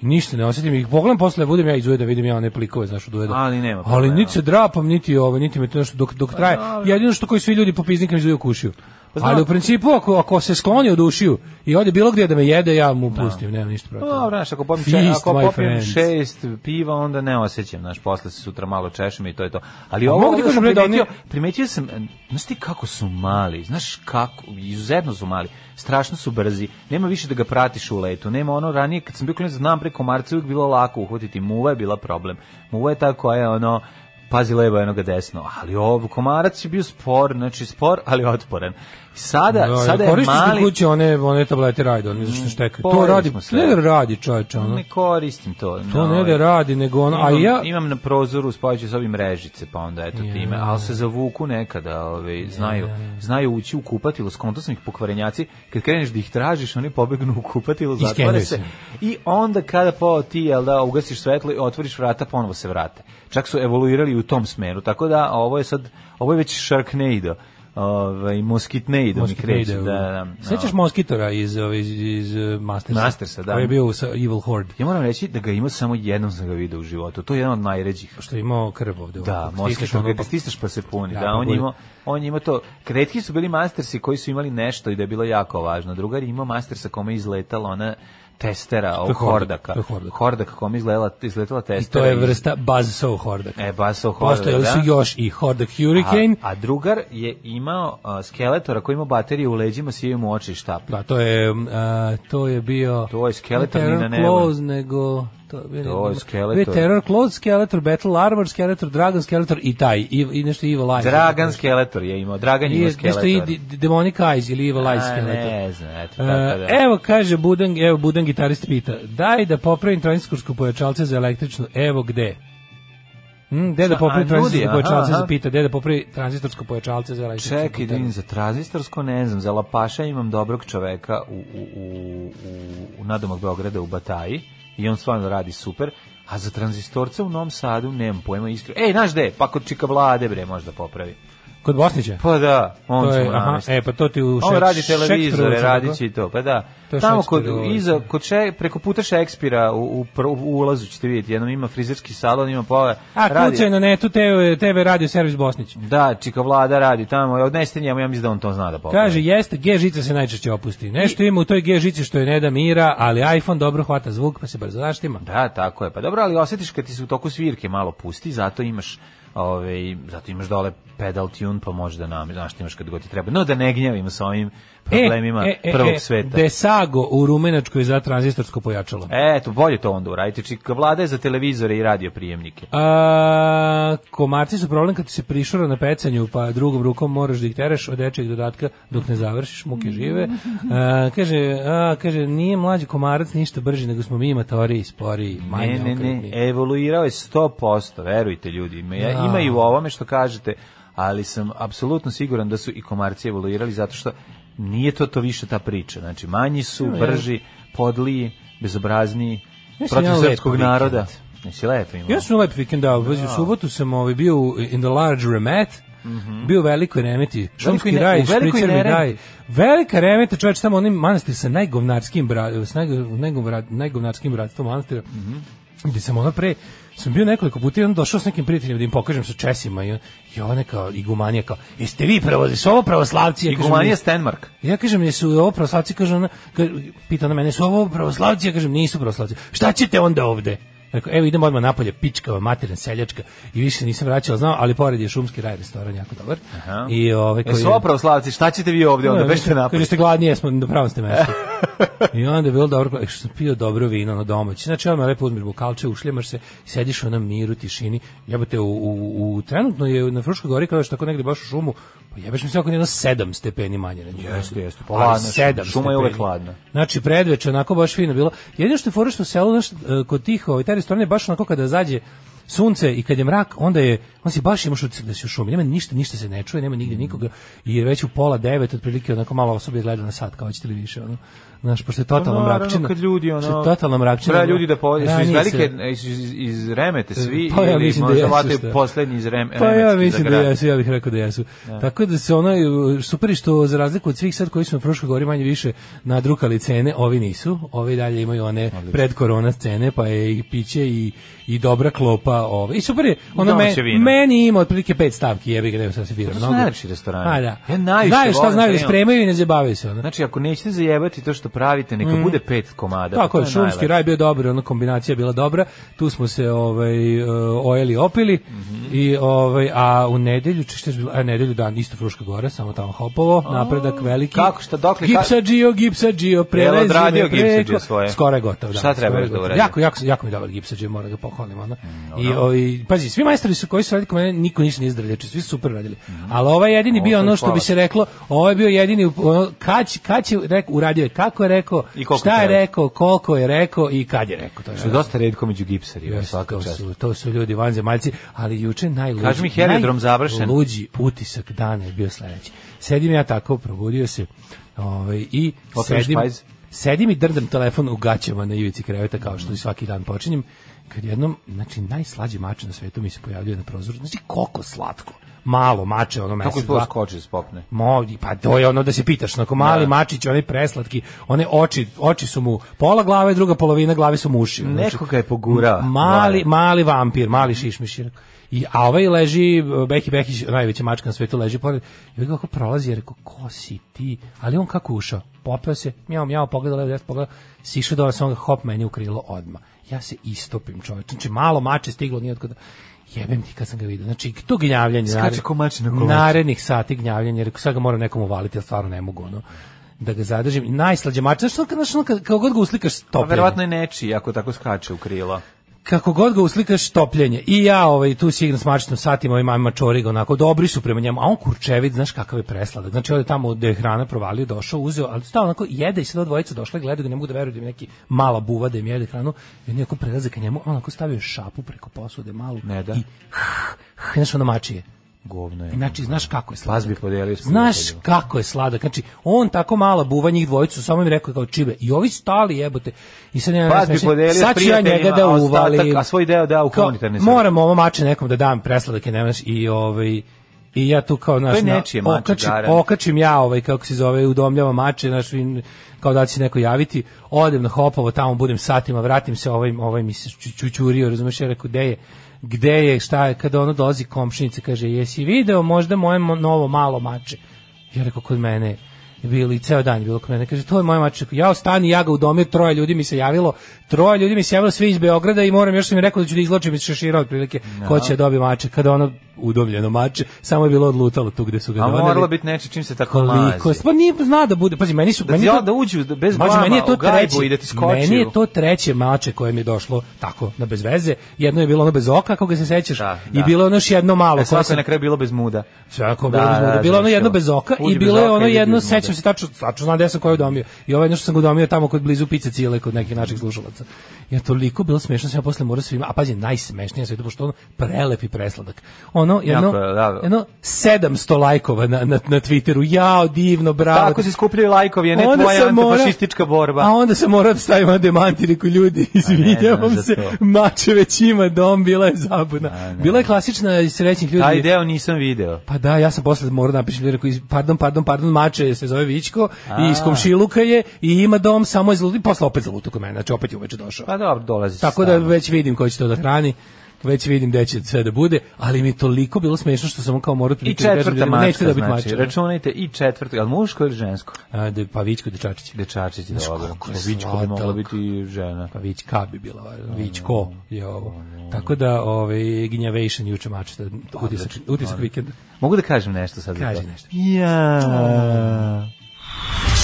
[SPEAKER 6] Ništa ne osetim, i pogledam posle, budem ja iz ujeda, vidim ja one plikove, znaš, od ujeda.
[SPEAKER 7] Ali nema
[SPEAKER 6] Ali
[SPEAKER 7] problema. Pa
[SPEAKER 6] niti se drapam, niti ovo, niti me to nešto dok, dok traje. Jedino što koji svi ljudi po piznikama izuju kušiju.
[SPEAKER 7] znam.
[SPEAKER 6] Ali u principu, ako, ako se skloni od ušiju i ode bilo gdje da me jede, ja mu pustim, nemam ništa protiv.
[SPEAKER 7] No, Pa znaš, ako popijem,
[SPEAKER 6] Pa, Feast,
[SPEAKER 7] še, ako
[SPEAKER 6] my
[SPEAKER 7] popijem
[SPEAKER 6] friends.
[SPEAKER 7] šest piva, onda ne osjećam, znaš, posle se sutra malo češem i to je to. Ali
[SPEAKER 6] A
[SPEAKER 7] ovo,
[SPEAKER 6] mogu ti
[SPEAKER 7] ovo sam
[SPEAKER 6] kažem, bre, da oni-
[SPEAKER 7] primetio, primetio sam, e, znaš ti kako su mali, znaš kako, izuzetno su mali, strašno su brzi, nema više da ga pratiš u letu, nema ono ranije, kad sam bio klinac, znam preko marca uvijek bilo lako uhvatiti, muva je bila problem, muva je ta koja je ono, pazi levo jednog desno, ali ovo komarac je bio spor, znači spor, ali otporan. I sada,
[SPEAKER 6] Da,
[SPEAKER 7] sada je
[SPEAKER 6] koristiš
[SPEAKER 7] mali...
[SPEAKER 6] mali... kući one, one tablete rajda, oni zašto štekaju. To
[SPEAKER 7] Pojeli
[SPEAKER 6] radi,
[SPEAKER 7] smo sve.
[SPEAKER 6] ne da radi čoveče, ono.
[SPEAKER 7] Ne koristim to.
[SPEAKER 6] To
[SPEAKER 7] na
[SPEAKER 6] ne da
[SPEAKER 7] ovaj-
[SPEAKER 6] radi, nego ono, a
[SPEAKER 7] Imam- da
[SPEAKER 6] ja...
[SPEAKER 7] imam na prozoru u spavajućoj sobi mrežice, pa onda eto time, ali se zavuku nekada, ovaj, znaju, znaju ući u kupatilo, skonto sam ih pokvarenjaci, kad kreneš da ih tražiš, oni pobegnu u kupatilo, zatvore
[SPEAKER 6] skenjaju
[SPEAKER 7] se,
[SPEAKER 6] se.
[SPEAKER 7] i onda kada po ti, jel da, ugasiš svetlo i otvoriš vrata, ponovo se vrate. Čak su evoluirali u tom smeru, tako da ovo je sad, ovo je već Sharknado, ovaj, Moskitnado mi
[SPEAKER 6] Moskito
[SPEAKER 7] kreće,
[SPEAKER 6] ide u-
[SPEAKER 7] da, da, da.
[SPEAKER 6] Sećaš Moskitora iz, ove, iz, iz eh, Mastersa?
[SPEAKER 7] Mastersa, da.
[SPEAKER 6] Koji je bio u sa- Evil Horde.
[SPEAKER 7] Ja moram reći da ga ima samo jednom sam ga vidio u životu, to je jedan od najređih.
[SPEAKER 6] Što je imao krv ovde.
[SPEAKER 7] Da,
[SPEAKER 6] Stisneš
[SPEAKER 7] moskiš,
[SPEAKER 6] ono,
[SPEAKER 7] ono,
[SPEAKER 6] pa-
[SPEAKER 7] kad stisneš pa se puni.
[SPEAKER 6] Da,
[SPEAKER 7] Da,
[SPEAKER 6] pa
[SPEAKER 7] on, je
[SPEAKER 6] bude.
[SPEAKER 7] imao, on je imao to. Kretki su bili mastersi koji su imali nešto i da je bilo jako važno. Drugar je imao mastersa kome je izletala ona testera, ovog
[SPEAKER 6] hordak,
[SPEAKER 7] hordaka.
[SPEAKER 6] to je hordak.
[SPEAKER 7] Hordak kome je izletala, izletala
[SPEAKER 6] I to
[SPEAKER 7] testera.
[SPEAKER 6] je vrsta Buzzsaw Hordaka.
[SPEAKER 7] E, baso hordak,
[SPEAKER 6] Postojali su još i Hordak Hurricane,
[SPEAKER 7] A, a drugar je imao a, skeletora koji je imao bateriju u leđima, sijaju mu oči i štap.
[SPEAKER 6] Da, to je, a, to je bio...
[SPEAKER 7] To je Skeletor
[SPEAKER 6] ne Terror
[SPEAKER 7] ni na nebu.
[SPEAKER 6] Claws, nego... To, je,
[SPEAKER 7] To je Skeletor.
[SPEAKER 6] Bio Terror Claws, Skeletor, Battle Armor, Skeletor, Dragon, Skeletor i taj, i, i nešto Evil Eyes.
[SPEAKER 7] Dragan skeletor je imao, Dragan je
[SPEAKER 6] I
[SPEAKER 7] imao
[SPEAKER 6] nešto i
[SPEAKER 7] skeletor.
[SPEAKER 6] D- Demonic Eyes ili Evil Eyes
[SPEAKER 7] A,
[SPEAKER 6] Skeletor.
[SPEAKER 7] Ne znam, eto,
[SPEAKER 6] E,
[SPEAKER 7] tako da.
[SPEAKER 6] evo kaže Budan, evo Budan gitarist pita, daj da popravim transikursko pojačalce za električnu, evo gde? Mm, gde da
[SPEAKER 7] Šta,
[SPEAKER 6] popravim
[SPEAKER 7] a,
[SPEAKER 6] tranzistorsko
[SPEAKER 7] nudi,
[SPEAKER 6] pojačalce
[SPEAKER 7] aha, aha.
[SPEAKER 6] za pita, gde da popravim tranzistorsko pojačalce za električnu
[SPEAKER 7] Čekaj, da
[SPEAKER 6] gitaru?
[SPEAKER 7] vidim, za tranzistorsko ne znam, za Lapaša imam dobrog čoveka u, u, u, u, u nadomak Beograda u Bataji i on stvarno radi super, a za tranzistorce u Novom Sadu nemam pojma iskreno. Ej, znaš gde? Pa kod Čika Vlade, bre, možda popravi.
[SPEAKER 6] Kod Bosnića?
[SPEAKER 7] Pa da, on
[SPEAKER 6] To
[SPEAKER 7] će
[SPEAKER 6] je,
[SPEAKER 7] mu
[SPEAKER 6] aha,
[SPEAKER 7] namestiti.
[SPEAKER 6] e, pa to ti u
[SPEAKER 7] On
[SPEAKER 6] Šek-
[SPEAKER 7] radi
[SPEAKER 6] Šekspirovu
[SPEAKER 7] televizore,
[SPEAKER 6] se
[SPEAKER 7] radit
[SPEAKER 6] tako-
[SPEAKER 7] će i to, pa da.
[SPEAKER 6] To je
[SPEAKER 7] Tamo kod,
[SPEAKER 6] Šekspirovo.
[SPEAKER 7] iza, kod še, preko puta Šekspira u, u, pr- u ulazu ćete vidjeti, jednom ima frizerski salon, ima pola...
[SPEAKER 6] A
[SPEAKER 7] radi-
[SPEAKER 6] kucaj na netu TV, TV radio servis Bosnić.
[SPEAKER 7] Da, Čika Vlada radi tamo, odnesite njemu, ja mislim da on to zna da popravi.
[SPEAKER 6] Kaže, jeste, G žica se najčešće opusti. Nešto ima u toj G žici što je ne da mira, ali iPhone dobro hvata zvuk pa se brzo zaštima.
[SPEAKER 7] Da, tako je. Pa dobro, ali osjetiš kad ti se u toku svirke malo pusti, zato imaš ovaj zato imaš dole pedal tune, pa možda nam, znaš, ti imaš kad god ti treba. No da ne gnjavimo sa ovim
[SPEAKER 6] E,
[SPEAKER 7] problemima prvog sveta. E.
[SPEAKER 6] Desago u Rumenačkoj za tranzistorsko pojačalo.
[SPEAKER 7] Eto, bolje to onda uradite. Čika vlada je za televizore i radio prijemnike.
[SPEAKER 6] A, komarci su problem kad ti se prišura na pecanju, pa drugom rukom moraš da ih tereš od dečijeg dodatka dok ne završiš, muke žive. A, kaže, a, kaže, nije mlađi komarac ništa brži, nego smo mi matoriji, sporiji, manje
[SPEAKER 7] Ne, ne,
[SPEAKER 6] okretni.
[SPEAKER 7] ne, evoluirao je 100%, verujte ljudi. Ima, ja,
[SPEAKER 6] Da.
[SPEAKER 7] ima i u ovome što kažete, ali sam apsolutno siguran da su i komarci evoluirali zato što nije to to više ta priča. Znači, manji su, brži, podliji, bezobrazniji,
[SPEAKER 6] Mislim,
[SPEAKER 7] protiv
[SPEAKER 6] ja lep
[SPEAKER 7] srpskog
[SPEAKER 6] vikend.
[SPEAKER 7] naroda. Nisi lepo imao.
[SPEAKER 6] Ja sam lep vikend dao, pazi,
[SPEAKER 7] Da.
[SPEAKER 6] u subotu sam ovaj, bio u- in the large remet, bio u velikoj remeti, šumski
[SPEAKER 7] ne-
[SPEAKER 6] raj,
[SPEAKER 7] u Mhm. velikoj
[SPEAKER 6] špricer mi
[SPEAKER 7] neremi.
[SPEAKER 6] daj. Velika remeta, čovječ, tamo onaj manastir sa najgovnarskim, bra, s najgo- najgovra- najgovnarskim bratstvom manastira,
[SPEAKER 7] Mhm.
[SPEAKER 6] gde sam ono pre, sam bio nekoliko puta i onda došao s nekim prijateljima da im pokažem sa česima i, on- i ona kao igumanija kao, jeste vi pravo, su ovo pravoslavci? Ja kažem,
[SPEAKER 7] Igumanija
[SPEAKER 6] "Nis-
[SPEAKER 7] Stenmark.
[SPEAKER 6] Ja kažem, jesu ovo pravoslavci, kaže ona, ka- pita ona mene, su ovo pravoslavci? Ja kažem, nisu pravoslavci. Šta ćete onda ovde? Rekao, evo idemo odmah napolje, pičkava, materna seljačka i više nisam vraćao, znao, ali pored je šumski raj restoran, jako dobar. I ovaj,
[SPEAKER 7] E, su opravoslavci, šta ćete vi ovdje onda?
[SPEAKER 6] Ne,
[SPEAKER 7] Bešte
[SPEAKER 6] Da, mislim, Kaže
[SPEAKER 7] napad.
[SPEAKER 6] ste gladni, jesmo na pravom ste mestu. I onda je bilo dobro, e, što sam pio dobro vino na domaći. Znači, odmah lepo uzmeš bukalče, ušljemaš se, sediš u onom miru, tišini. Jebate, u, u, u, trenutno je na Fruškoj gori, kada je tako negde baš u šumu, pa jebeš mi se oko jedno sedam stepeni manje. nego.
[SPEAKER 7] Jeste, jeste, pa
[SPEAKER 6] Ali
[SPEAKER 7] hladno je,
[SPEAKER 6] sedam
[SPEAKER 7] šuma je uvek
[SPEAKER 6] stepeni.
[SPEAKER 7] hladna.
[SPEAKER 6] Znači, predveče, onako baš fino bilo. Jedino što je fora što selo, znaš, e, kod tih, ovaj, taj restoran je baš onako kada zađe sunce i kad je mrak, onda je, on si baš imaš utisak da si u šumi, nema ništa, ništa se ne čuje, nema nigde
[SPEAKER 7] Mm.
[SPEAKER 6] nikoga, i je već u pola devet, otprilike onako malo osobe gleda na sat, kao ćete li više, ono, znaš, pošto je totalno
[SPEAKER 7] Pa Naravno,
[SPEAKER 6] mrakčina.
[SPEAKER 7] kad ljudi, ono,
[SPEAKER 6] Što je totalno mrakčina.
[SPEAKER 7] Treba
[SPEAKER 6] ono,
[SPEAKER 7] ljudi da po, su iz
[SPEAKER 6] ranije se-
[SPEAKER 7] velike, iz, iz, iz remete svi,
[SPEAKER 6] Pa ja
[SPEAKER 7] ili
[SPEAKER 6] mislim da
[SPEAKER 7] možda
[SPEAKER 6] jesu,
[SPEAKER 7] vataju
[SPEAKER 6] šta?
[SPEAKER 7] poslednji iz rem,
[SPEAKER 6] Pa ja
[SPEAKER 7] remetski
[SPEAKER 6] mislim
[SPEAKER 7] za
[SPEAKER 6] da
[SPEAKER 7] grad.
[SPEAKER 6] jesu, ja bih rekao da jesu. Tako da se ono, super je što za razliku od svih sad koji su na Fruškoj gori manje više nadrukali cene, ovi nisu, ovi dalje imaju one pred korona cene, pa je i piće i, i dobra klopa. Ove. I super je, ono me,
[SPEAKER 7] domaće vino.
[SPEAKER 6] meni ima otprilike pet stavki, jebi ga, nema sad se bira.
[SPEAKER 7] To su
[SPEAKER 6] mnogo.
[SPEAKER 7] najlepši restorani.
[SPEAKER 6] A, da.
[SPEAKER 7] Ja najviše
[SPEAKER 6] Znaju šta
[SPEAKER 7] volim
[SPEAKER 6] znaju, da
[SPEAKER 7] kad imam-
[SPEAKER 6] spremaju i ne zabavaju se. Ono.
[SPEAKER 7] Znači, ako nećete zajebati to što pravite, neka bude pet komada. pa
[SPEAKER 6] Mm. Tako je,
[SPEAKER 7] to
[SPEAKER 6] šumski
[SPEAKER 7] najlepše.
[SPEAKER 6] raj bio dobar, ona kombinacija je bila dobra. Tu smo se ovaj e, ojeli, opili
[SPEAKER 7] Mhm.
[SPEAKER 6] i ovaj a u nedelju če- šta je bilo? A nedelju dan isto Fruška Gora, samo tamo hopovo, napredak veliki.
[SPEAKER 7] Kako, šta, dokle, ka-
[SPEAKER 6] Gipsa Gio, Gipsa Gio, prelezi
[SPEAKER 7] odradio
[SPEAKER 6] me
[SPEAKER 7] Gipsadžija
[SPEAKER 6] preko-
[SPEAKER 7] svoje?
[SPEAKER 6] Skoro je gotovo, da.
[SPEAKER 7] Šta treba
[SPEAKER 6] skoro je
[SPEAKER 7] još da
[SPEAKER 6] gotovo.
[SPEAKER 7] uradi? Mm,
[SPEAKER 6] Jako, jako, jako mi je dobar Gipsa Gio, moram da ga pohvalim, ono. I, o, i, pazi, svi majstori su koji su radili kod mene, niko ništa nije zdravljači, svi su super radili. Ali ovaj jedini
[SPEAKER 7] Mhm. Ovo
[SPEAKER 6] bio
[SPEAKER 7] sam
[SPEAKER 6] ono što
[SPEAKER 7] hvala.
[SPEAKER 6] bi se reklo, ovaj bio jedini, ono, kad, će- kad će, rek, uradio je, kako je rekao,
[SPEAKER 7] I koliko
[SPEAKER 6] šta je
[SPEAKER 7] treba.
[SPEAKER 6] rekao, koliko je rekao i kad je rekao. To je
[SPEAKER 7] Što je dosta redko među gipsarima,
[SPEAKER 6] Jeste,
[SPEAKER 7] svaka
[SPEAKER 6] to
[SPEAKER 7] čast.
[SPEAKER 6] su, to su ljudi vanzemaljci, ali juče najluđi,
[SPEAKER 7] Kaži mi, Heliodrom završen.
[SPEAKER 6] najluđi utisak dana je bio sledeći. Sedim ja tako, probudio se ovaj, i
[SPEAKER 7] Otvoriš
[SPEAKER 6] sedim,
[SPEAKER 7] pajz?
[SPEAKER 6] sedim i drndam telefon u gaćama na ivici kreveta kao što i svaki dan počinjem. Kad jednom, znači, najslađi mač na svetu mi se pojavljuje na prozoru. Znači, koliko slatko. Malo mače, ono mesec,
[SPEAKER 7] Kako je
[SPEAKER 6] dva.
[SPEAKER 7] to skoči, spopne?
[SPEAKER 6] Mo, i pa to je ono da se pitaš, onako mali mačić, onaj preslatki, one oči, oči su mu pola glave, druga polovina glave su mu uši. Znači,
[SPEAKER 7] Neko ga je pogurao.
[SPEAKER 6] Mali,
[SPEAKER 7] Vlada.
[SPEAKER 6] mali vampir, mali šišmišir. I, a ovaj leži, Beki Bekić, najveća mačka na svetu, leži pored. I ovaj kako prolazi, ja rekao, ko si ti? Ali on kako ušao? Popeo se, mjao, mjao, pogledao, levo, desno, pogledao, sišao do vas, on ga hop meni u krilo odma. Ja se istopim, čoveč. Znači, malo mače stiglo, nije otkuda. Jebem ti kad sam ga vidio. Znači, to gnjavljanje.
[SPEAKER 7] Skače
[SPEAKER 6] nared-
[SPEAKER 7] ko mač na kolač.
[SPEAKER 6] Narednih sati gnjavljanje, rekao, sad ga moram nekom uvaliti, ja stvarno ne mogu, ono da ga zadržim. Najslađe mače, znaš, ono kad- znaš, ono kad- kako god ga uslikaš,
[SPEAKER 7] Pa
[SPEAKER 6] topljenje
[SPEAKER 7] verovatno je nečiji, ako tako skače u krila.
[SPEAKER 6] kako god ga uslikaš topljenje. I ja ovaj tu sigurno s mačnom satima i mama čoriga onako dobri su prema njemu, a on kurčević, znaš kakav je presladak. Znači on je tamo gde je hrana provalio, došao, uzeo, ali stao onako jede i sad dvojica došla i gleda ga, ne mogu da veruju da im je neki mala buva da im jede hranu. I neko prelaze ka njemu, a on onako stavio šapu preko posude malu
[SPEAKER 7] Ne da.
[SPEAKER 6] i h, znaš ono mačije.
[SPEAKER 7] Govno je.
[SPEAKER 6] Znači, znaš kako je sladak.
[SPEAKER 7] Pas Ovaj, bi podelio s
[SPEAKER 6] Znaš
[SPEAKER 7] prijateljima.
[SPEAKER 6] kako je sladak. Znači, on tako mala buva njih dvojicu, samo im rekao kao čibe. I ovi stali jebote. I sad ja znači,
[SPEAKER 7] Pas bi podelio s
[SPEAKER 6] sad ću ja njega
[SPEAKER 7] prijateljima,
[SPEAKER 6] da
[SPEAKER 7] a ostatak-
[SPEAKER 6] uvalim.
[SPEAKER 7] a svoj deo dao u
[SPEAKER 6] Kao,
[SPEAKER 7] humanitarne svrhe.
[SPEAKER 6] Moram ovo mače nekom da dam presladak je nemaš i ovaj i ja tu kao naš
[SPEAKER 7] je nečije mače,
[SPEAKER 6] okačim,
[SPEAKER 7] Garan.
[SPEAKER 6] okačim ja ovaj kako se zove udomljava mače naš vin kao da će se neko javiti odem na hopovo tamo budem satima vratim se ovaj ovaj mi se ču- čučurio razumeš ja rekao gde je gde je šta je kada ono dolazi komšinica kaže jesi video možda moje mo- novo malo mače ja rekao kod mene je bilo i ceo dan je bilo kod mene kaže to je moje mače ja ostani ja ga udomio troje ljudi mi se javilo troje ljudi mi se javilo svi iz Beograda i moram još sam im rekao da ću da izločim iz šešira otprilike ko će da dobije mače kada ono udomljeno mače samo je bilo odlutalo tu gde su ga
[SPEAKER 7] A
[SPEAKER 6] doneli
[SPEAKER 7] moralo biti nečiji čim se tako mazi.
[SPEAKER 6] da koliko pa nije zna da bude pazi meni su
[SPEAKER 7] Da
[SPEAKER 6] meni
[SPEAKER 7] ti
[SPEAKER 6] je
[SPEAKER 7] ja da uđu da- bez
[SPEAKER 6] Mađo,
[SPEAKER 7] blama
[SPEAKER 6] meni je to
[SPEAKER 7] u gajbu
[SPEAKER 6] treće
[SPEAKER 7] i da ti skoči
[SPEAKER 6] meni je
[SPEAKER 7] u-
[SPEAKER 6] to treće mače koje mi je došlo tako na bez veze jedno je bilo ono bez oka kako ga se sećaš
[SPEAKER 7] Da,
[SPEAKER 6] i
[SPEAKER 7] da.
[SPEAKER 6] bilo je ono još jedno malo
[SPEAKER 7] A
[SPEAKER 6] koje
[SPEAKER 7] svako
[SPEAKER 6] sam-
[SPEAKER 7] je na kraju bilo bez muda.
[SPEAKER 6] Svako
[SPEAKER 7] Da,
[SPEAKER 6] bilo bez
[SPEAKER 7] da,
[SPEAKER 6] muda.
[SPEAKER 7] da,
[SPEAKER 6] bilo je ono
[SPEAKER 7] završilo.
[SPEAKER 6] jedno bez oka
[SPEAKER 7] Uđi
[SPEAKER 6] i
[SPEAKER 7] bez
[SPEAKER 6] bilo je
[SPEAKER 7] oka
[SPEAKER 6] ono
[SPEAKER 7] i vidi
[SPEAKER 6] jedno
[SPEAKER 7] bez muda.
[SPEAKER 6] sećam se tačno tačno znam gde sam koje udomio i ovaj nešto sam ga udomio tamo kod blizu pice cile kod nekih naših slušalaca ja toliko bilo smešno sam ja posle morao svima a pazi najsmešnije sve to pošto ono prelepi presladak ono jedno
[SPEAKER 7] Jako je, da.
[SPEAKER 6] jedno 700 lajkova na na na Twitteru jao divno bravo
[SPEAKER 7] Tako se skupljaju lajkovi, a ne
[SPEAKER 6] Onda
[SPEAKER 7] tvoja
[SPEAKER 6] sam morao-
[SPEAKER 7] antifašistička borba.
[SPEAKER 6] A onda se mora da stavimo na demantir koji ljudi izvinjavam
[SPEAKER 7] za
[SPEAKER 6] se,
[SPEAKER 7] to.
[SPEAKER 6] mače već ima dom, bila je zabuna. Bila je klasična iz srećnih ljudi.
[SPEAKER 7] Taj deo nisam video.
[SPEAKER 6] Pa da, ja sam posle morao da napišem, jer rekao, iz- pardon, pardon, pardon, mače se zove Vićko i iz komšiluka je i ima dom, samo iz i posle opet zalutu kod mene, znači opet je uveče došao.
[SPEAKER 7] Pa dobro, dolazi
[SPEAKER 6] Tako da već vidim ko će to da hrani već vidim da će sve da bude, ali mi je toliko bilo smešno što sam mu kao morao
[SPEAKER 7] I
[SPEAKER 6] prilike da kažem
[SPEAKER 7] četvrta
[SPEAKER 6] ljudima, nećete
[SPEAKER 7] mačka,
[SPEAKER 6] da
[SPEAKER 7] da
[SPEAKER 6] biti
[SPEAKER 7] znači,
[SPEAKER 6] mače.
[SPEAKER 7] računajte i četvrta, ali muško ili žensko?
[SPEAKER 6] A, da, pa Vićko Dečačić.
[SPEAKER 7] Dečačić je
[SPEAKER 6] Znaš
[SPEAKER 7] dobro.
[SPEAKER 6] koliko je
[SPEAKER 7] Običko bi mogla
[SPEAKER 6] sladak.
[SPEAKER 7] biti i žena.
[SPEAKER 6] Pa Vićka bi bila, valjda. Vićko je ovo. Tako da, ovaj, Gnjavation juče mačeta,
[SPEAKER 7] Pa da,
[SPEAKER 6] utisak, utisak vikenda.
[SPEAKER 7] Mogu da kažem nešto sad? za
[SPEAKER 6] Kaži
[SPEAKER 7] to?
[SPEAKER 6] nešto. Oh.
[SPEAKER 7] Ja.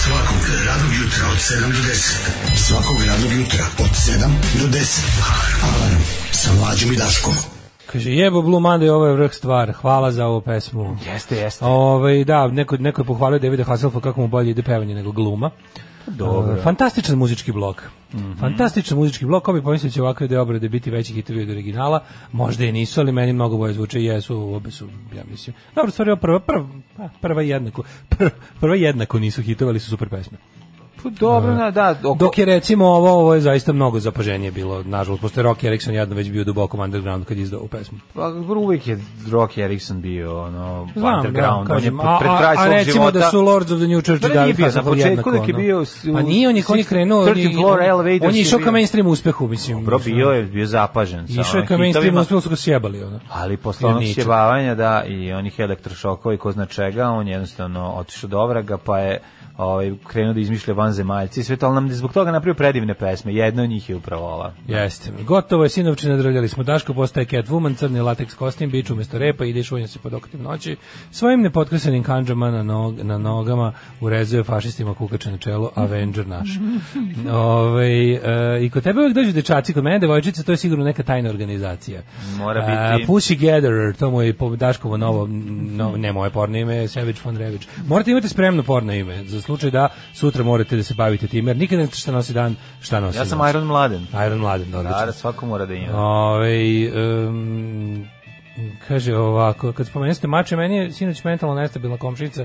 [SPEAKER 4] Svakog radnog jutra od 7 do 10. Svakog radnog jutra od 7 do 10. Alarm sa mlađom i Daškom.
[SPEAKER 6] Kaže, jebo Blue Monday, ovo je vrh stvar, hvala za ovu pesmu.
[SPEAKER 7] Jeste, jeste.
[SPEAKER 6] Ovaj da, neko, neko je pohvalio Davida Hasselhoffa kako mu bolje ide pevanje nego gluma.
[SPEAKER 7] Dobro.
[SPEAKER 6] E, fantastičan muzički blok. Fantastičan muzički blok, ko bi pomislio da će ovakve dve obrade biti veći hitovi od originala, možda i nisu, ali meni mnogo bolje zvuče i jesu, obe su, ja mislim. Dobro, stvari, ova prva, prva, pa, prva jednako, prva, prva jednako nisu hitove, ali su super pesme.
[SPEAKER 7] Pa dobro, na, da, oko,
[SPEAKER 6] Dok je recimo ovo, ovo je zaista mnogo zapaženije bilo, nažalost, pošto je Rocky Erickson jedno već bio duboko underground kad je izdao ovu pesmu.
[SPEAKER 7] Pa, uvijek je Rock Erickson bio ono,
[SPEAKER 6] Znam,
[SPEAKER 7] underground,
[SPEAKER 6] da,
[SPEAKER 7] on je
[SPEAKER 6] kažem, a-
[SPEAKER 7] pred kraj
[SPEAKER 6] a- a
[SPEAKER 7] svog
[SPEAKER 6] recimo
[SPEAKER 7] života...
[SPEAKER 6] da su Lords of the New Church
[SPEAKER 7] Pa
[SPEAKER 6] da
[SPEAKER 7] nije, pa
[SPEAKER 6] Beatles
[SPEAKER 7] na
[SPEAKER 6] ako
[SPEAKER 7] početku
[SPEAKER 6] jednako,
[SPEAKER 7] dok je
[SPEAKER 6] ono.
[SPEAKER 7] bio s-
[SPEAKER 6] Pa nije, on je, on je krenuo...
[SPEAKER 7] 13th
[SPEAKER 6] i-
[SPEAKER 7] floor, Elevators
[SPEAKER 6] On je
[SPEAKER 7] je
[SPEAKER 6] išao ka
[SPEAKER 7] bio.
[SPEAKER 6] mainstream uspehu, mislim.
[SPEAKER 7] Dobro,
[SPEAKER 6] znaš,
[SPEAKER 7] bio
[SPEAKER 6] ono.
[SPEAKER 7] je bio zapažen. sa
[SPEAKER 6] Išao je
[SPEAKER 7] onim
[SPEAKER 6] ka mainstream
[SPEAKER 7] hitovima,
[SPEAKER 6] uspehu, su ga sjebali, ono.
[SPEAKER 7] Ali posle onog
[SPEAKER 6] Jerničak.
[SPEAKER 7] sjebavanja, da, i onih elektrošokova i ko zna čega, on je jednostavno otišao do ovraga, pa je ovaj, krenuo da izmišlja vanzemaljci i sve to, ali nam je zbog toga napravio predivne pesme. Jedna od njih je upravo ova.
[SPEAKER 6] Jeste. Gotovo je, sinovče, nadrljali smo. Daško postaje Catwoman, crni lateks kostim, bić umesto repa, ide šunja se pod okretim noći. Svojim nepotresenim kanđama na, nog, na nogama urezuje fašistima kukače na čelo, Avenger naš. Ove, e, I kod tebe uvek dođu dečaci, kod mene devojčice, to je sigurno neka tajna organizacija.
[SPEAKER 7] Mora
[SPEAKER 6] A,
[SPEAKER 7] biti.
[SPEAKER 6] Pussy Gatherer, to mu je po Daškovo novo, no, ne moje porno ime, Sević von Rević. Morate imati spremno porno ime, za slučaj da sutra morate da se bavite time, jer nikad ne znate šta nosi dan, šta nosi
[SPEAKER 7] Ja sam
[SPEAKER 6] noć.
[SPEAKER 7] Iron Mladen.
[SPEAKER 6] Iron Mladen, da, odlično.
[SPEAKER 7] Da, svako mora da ima.
[SPEAKER 6] Ovaj, em, kaže ovako, kad spomenuste mače, meni je sinoć mentalno nestabilna komšinica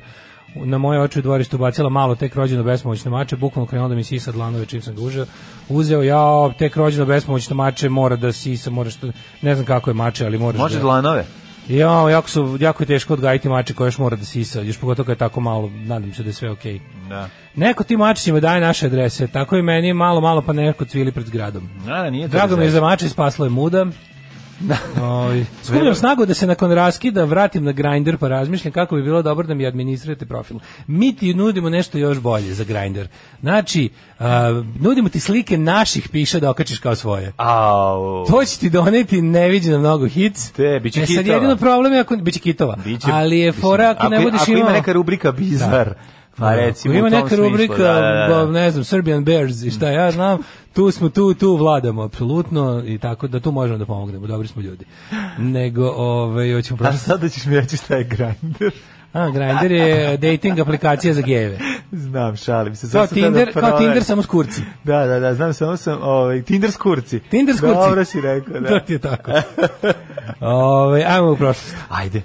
[SPEAKER 6] na moje oči u dvorištu bacila malo tek rođeno bespomoćno mače, bukvalno krenuo da mi sisa dlanove čim sam ga užeo. Uzeo ja tek rođeno bespomoćno mače, mora da sisa, moraš da- ne znam kako je mače, ali moraš
[SPEAKER 7] Može
[SPEAKER 6] da...
[SPEAKER 7] dlanove.
[SPEAKER 6] Ja, jako, su, jako je teško odgajiti mače koje još mora da sisa, još pogotovo kad je tako malo, nadam se da je sve okej.
[SPEAKER 7] Da.
[SPEAKER 6] Neko ti mačićima daje naše adrese, tako i meni malo, malo pa neko cvili pred zgradom.
[SPEAKER 7] Da, da, nije to
[SPEAKER 6] Drago mi je
[SPEAKER 7] zaista.
[SPEAKER 6] za mače, spaslo je muda. Oj, skupljam snagu da se nakon raskida vratim na Grindr pa razmišljam kako bi bilo dobro da mi administrirate profil. Mi ti nudimo nešto još bolje za Grindr. Znači, a, nudimo ti slike naših piša da okačiš kao svoje.
[SPEAKER 7] Au.
[SPEAKER 6] To će ti doneti neviđeno mnogo hits.
[SPEAKER 7] Te, bit će
[SPEAKER 6] E, sad
[SPEAKER 7] hitova.
[SPEAKER 6] jedino problem je ako biće kitova.
[SPEAKER 7] Biće-
[SPEAKER 6] ali je fora ako, ne
[SPEAKER 7] je-
[SPEAKER 6] budeš
[SPEAKER 7] ako
[SPEAKER 6] imao...
[SPEAKER 7] ima neka rubrika bizar. Pa recimo
[SPEAKER 6] Ako Da. ima
[SPEAKER 7] u tom
[SPEAKER 6] neka
[SPEAKER 7] smislu,
[SPEAKER 6] rubrika,
[SPEAKER 7] da, da, da.
[SPEAKER 6] ne znam, Serbian Bears i šta ja znam, tu smo, tu, tu vladamo, apsolutno, i tako da tu možemo da pomognemo, dobri smo ljudi. Nego, ove, hoćemo
[SPEAKER 7] A
[SPEAKER 6] prošli.
[SPEAKER 7] sada da ćeš mi reći šta je grinder.
[SPEAKER 6] A, Grindr je dating aplikacija za gejeve.
[SPEAKER 7] Znam, šalim se.
[SPEAKER 6] Kao
[SPEAKER 7] Sad sam tada
[SPEAKER 6] Tinder, kao
[SPEAKER 7] prover-
[SPEAKER 6] Tinder samo s kurci.
[SPEAKER 7] Da, da, da, znam, samo sam, ovaj, Tinder skurci.
[SPEAKER 6] Tinder s kurci.
[SPEAKER 7] Dobro si rekao,
[SPEAKER 6] To
[SPEAKER 7] da.
[SPEAKER 6] ti je tako. Ove, ajmo u prošlost.
[SPEAKER 7] Ajde.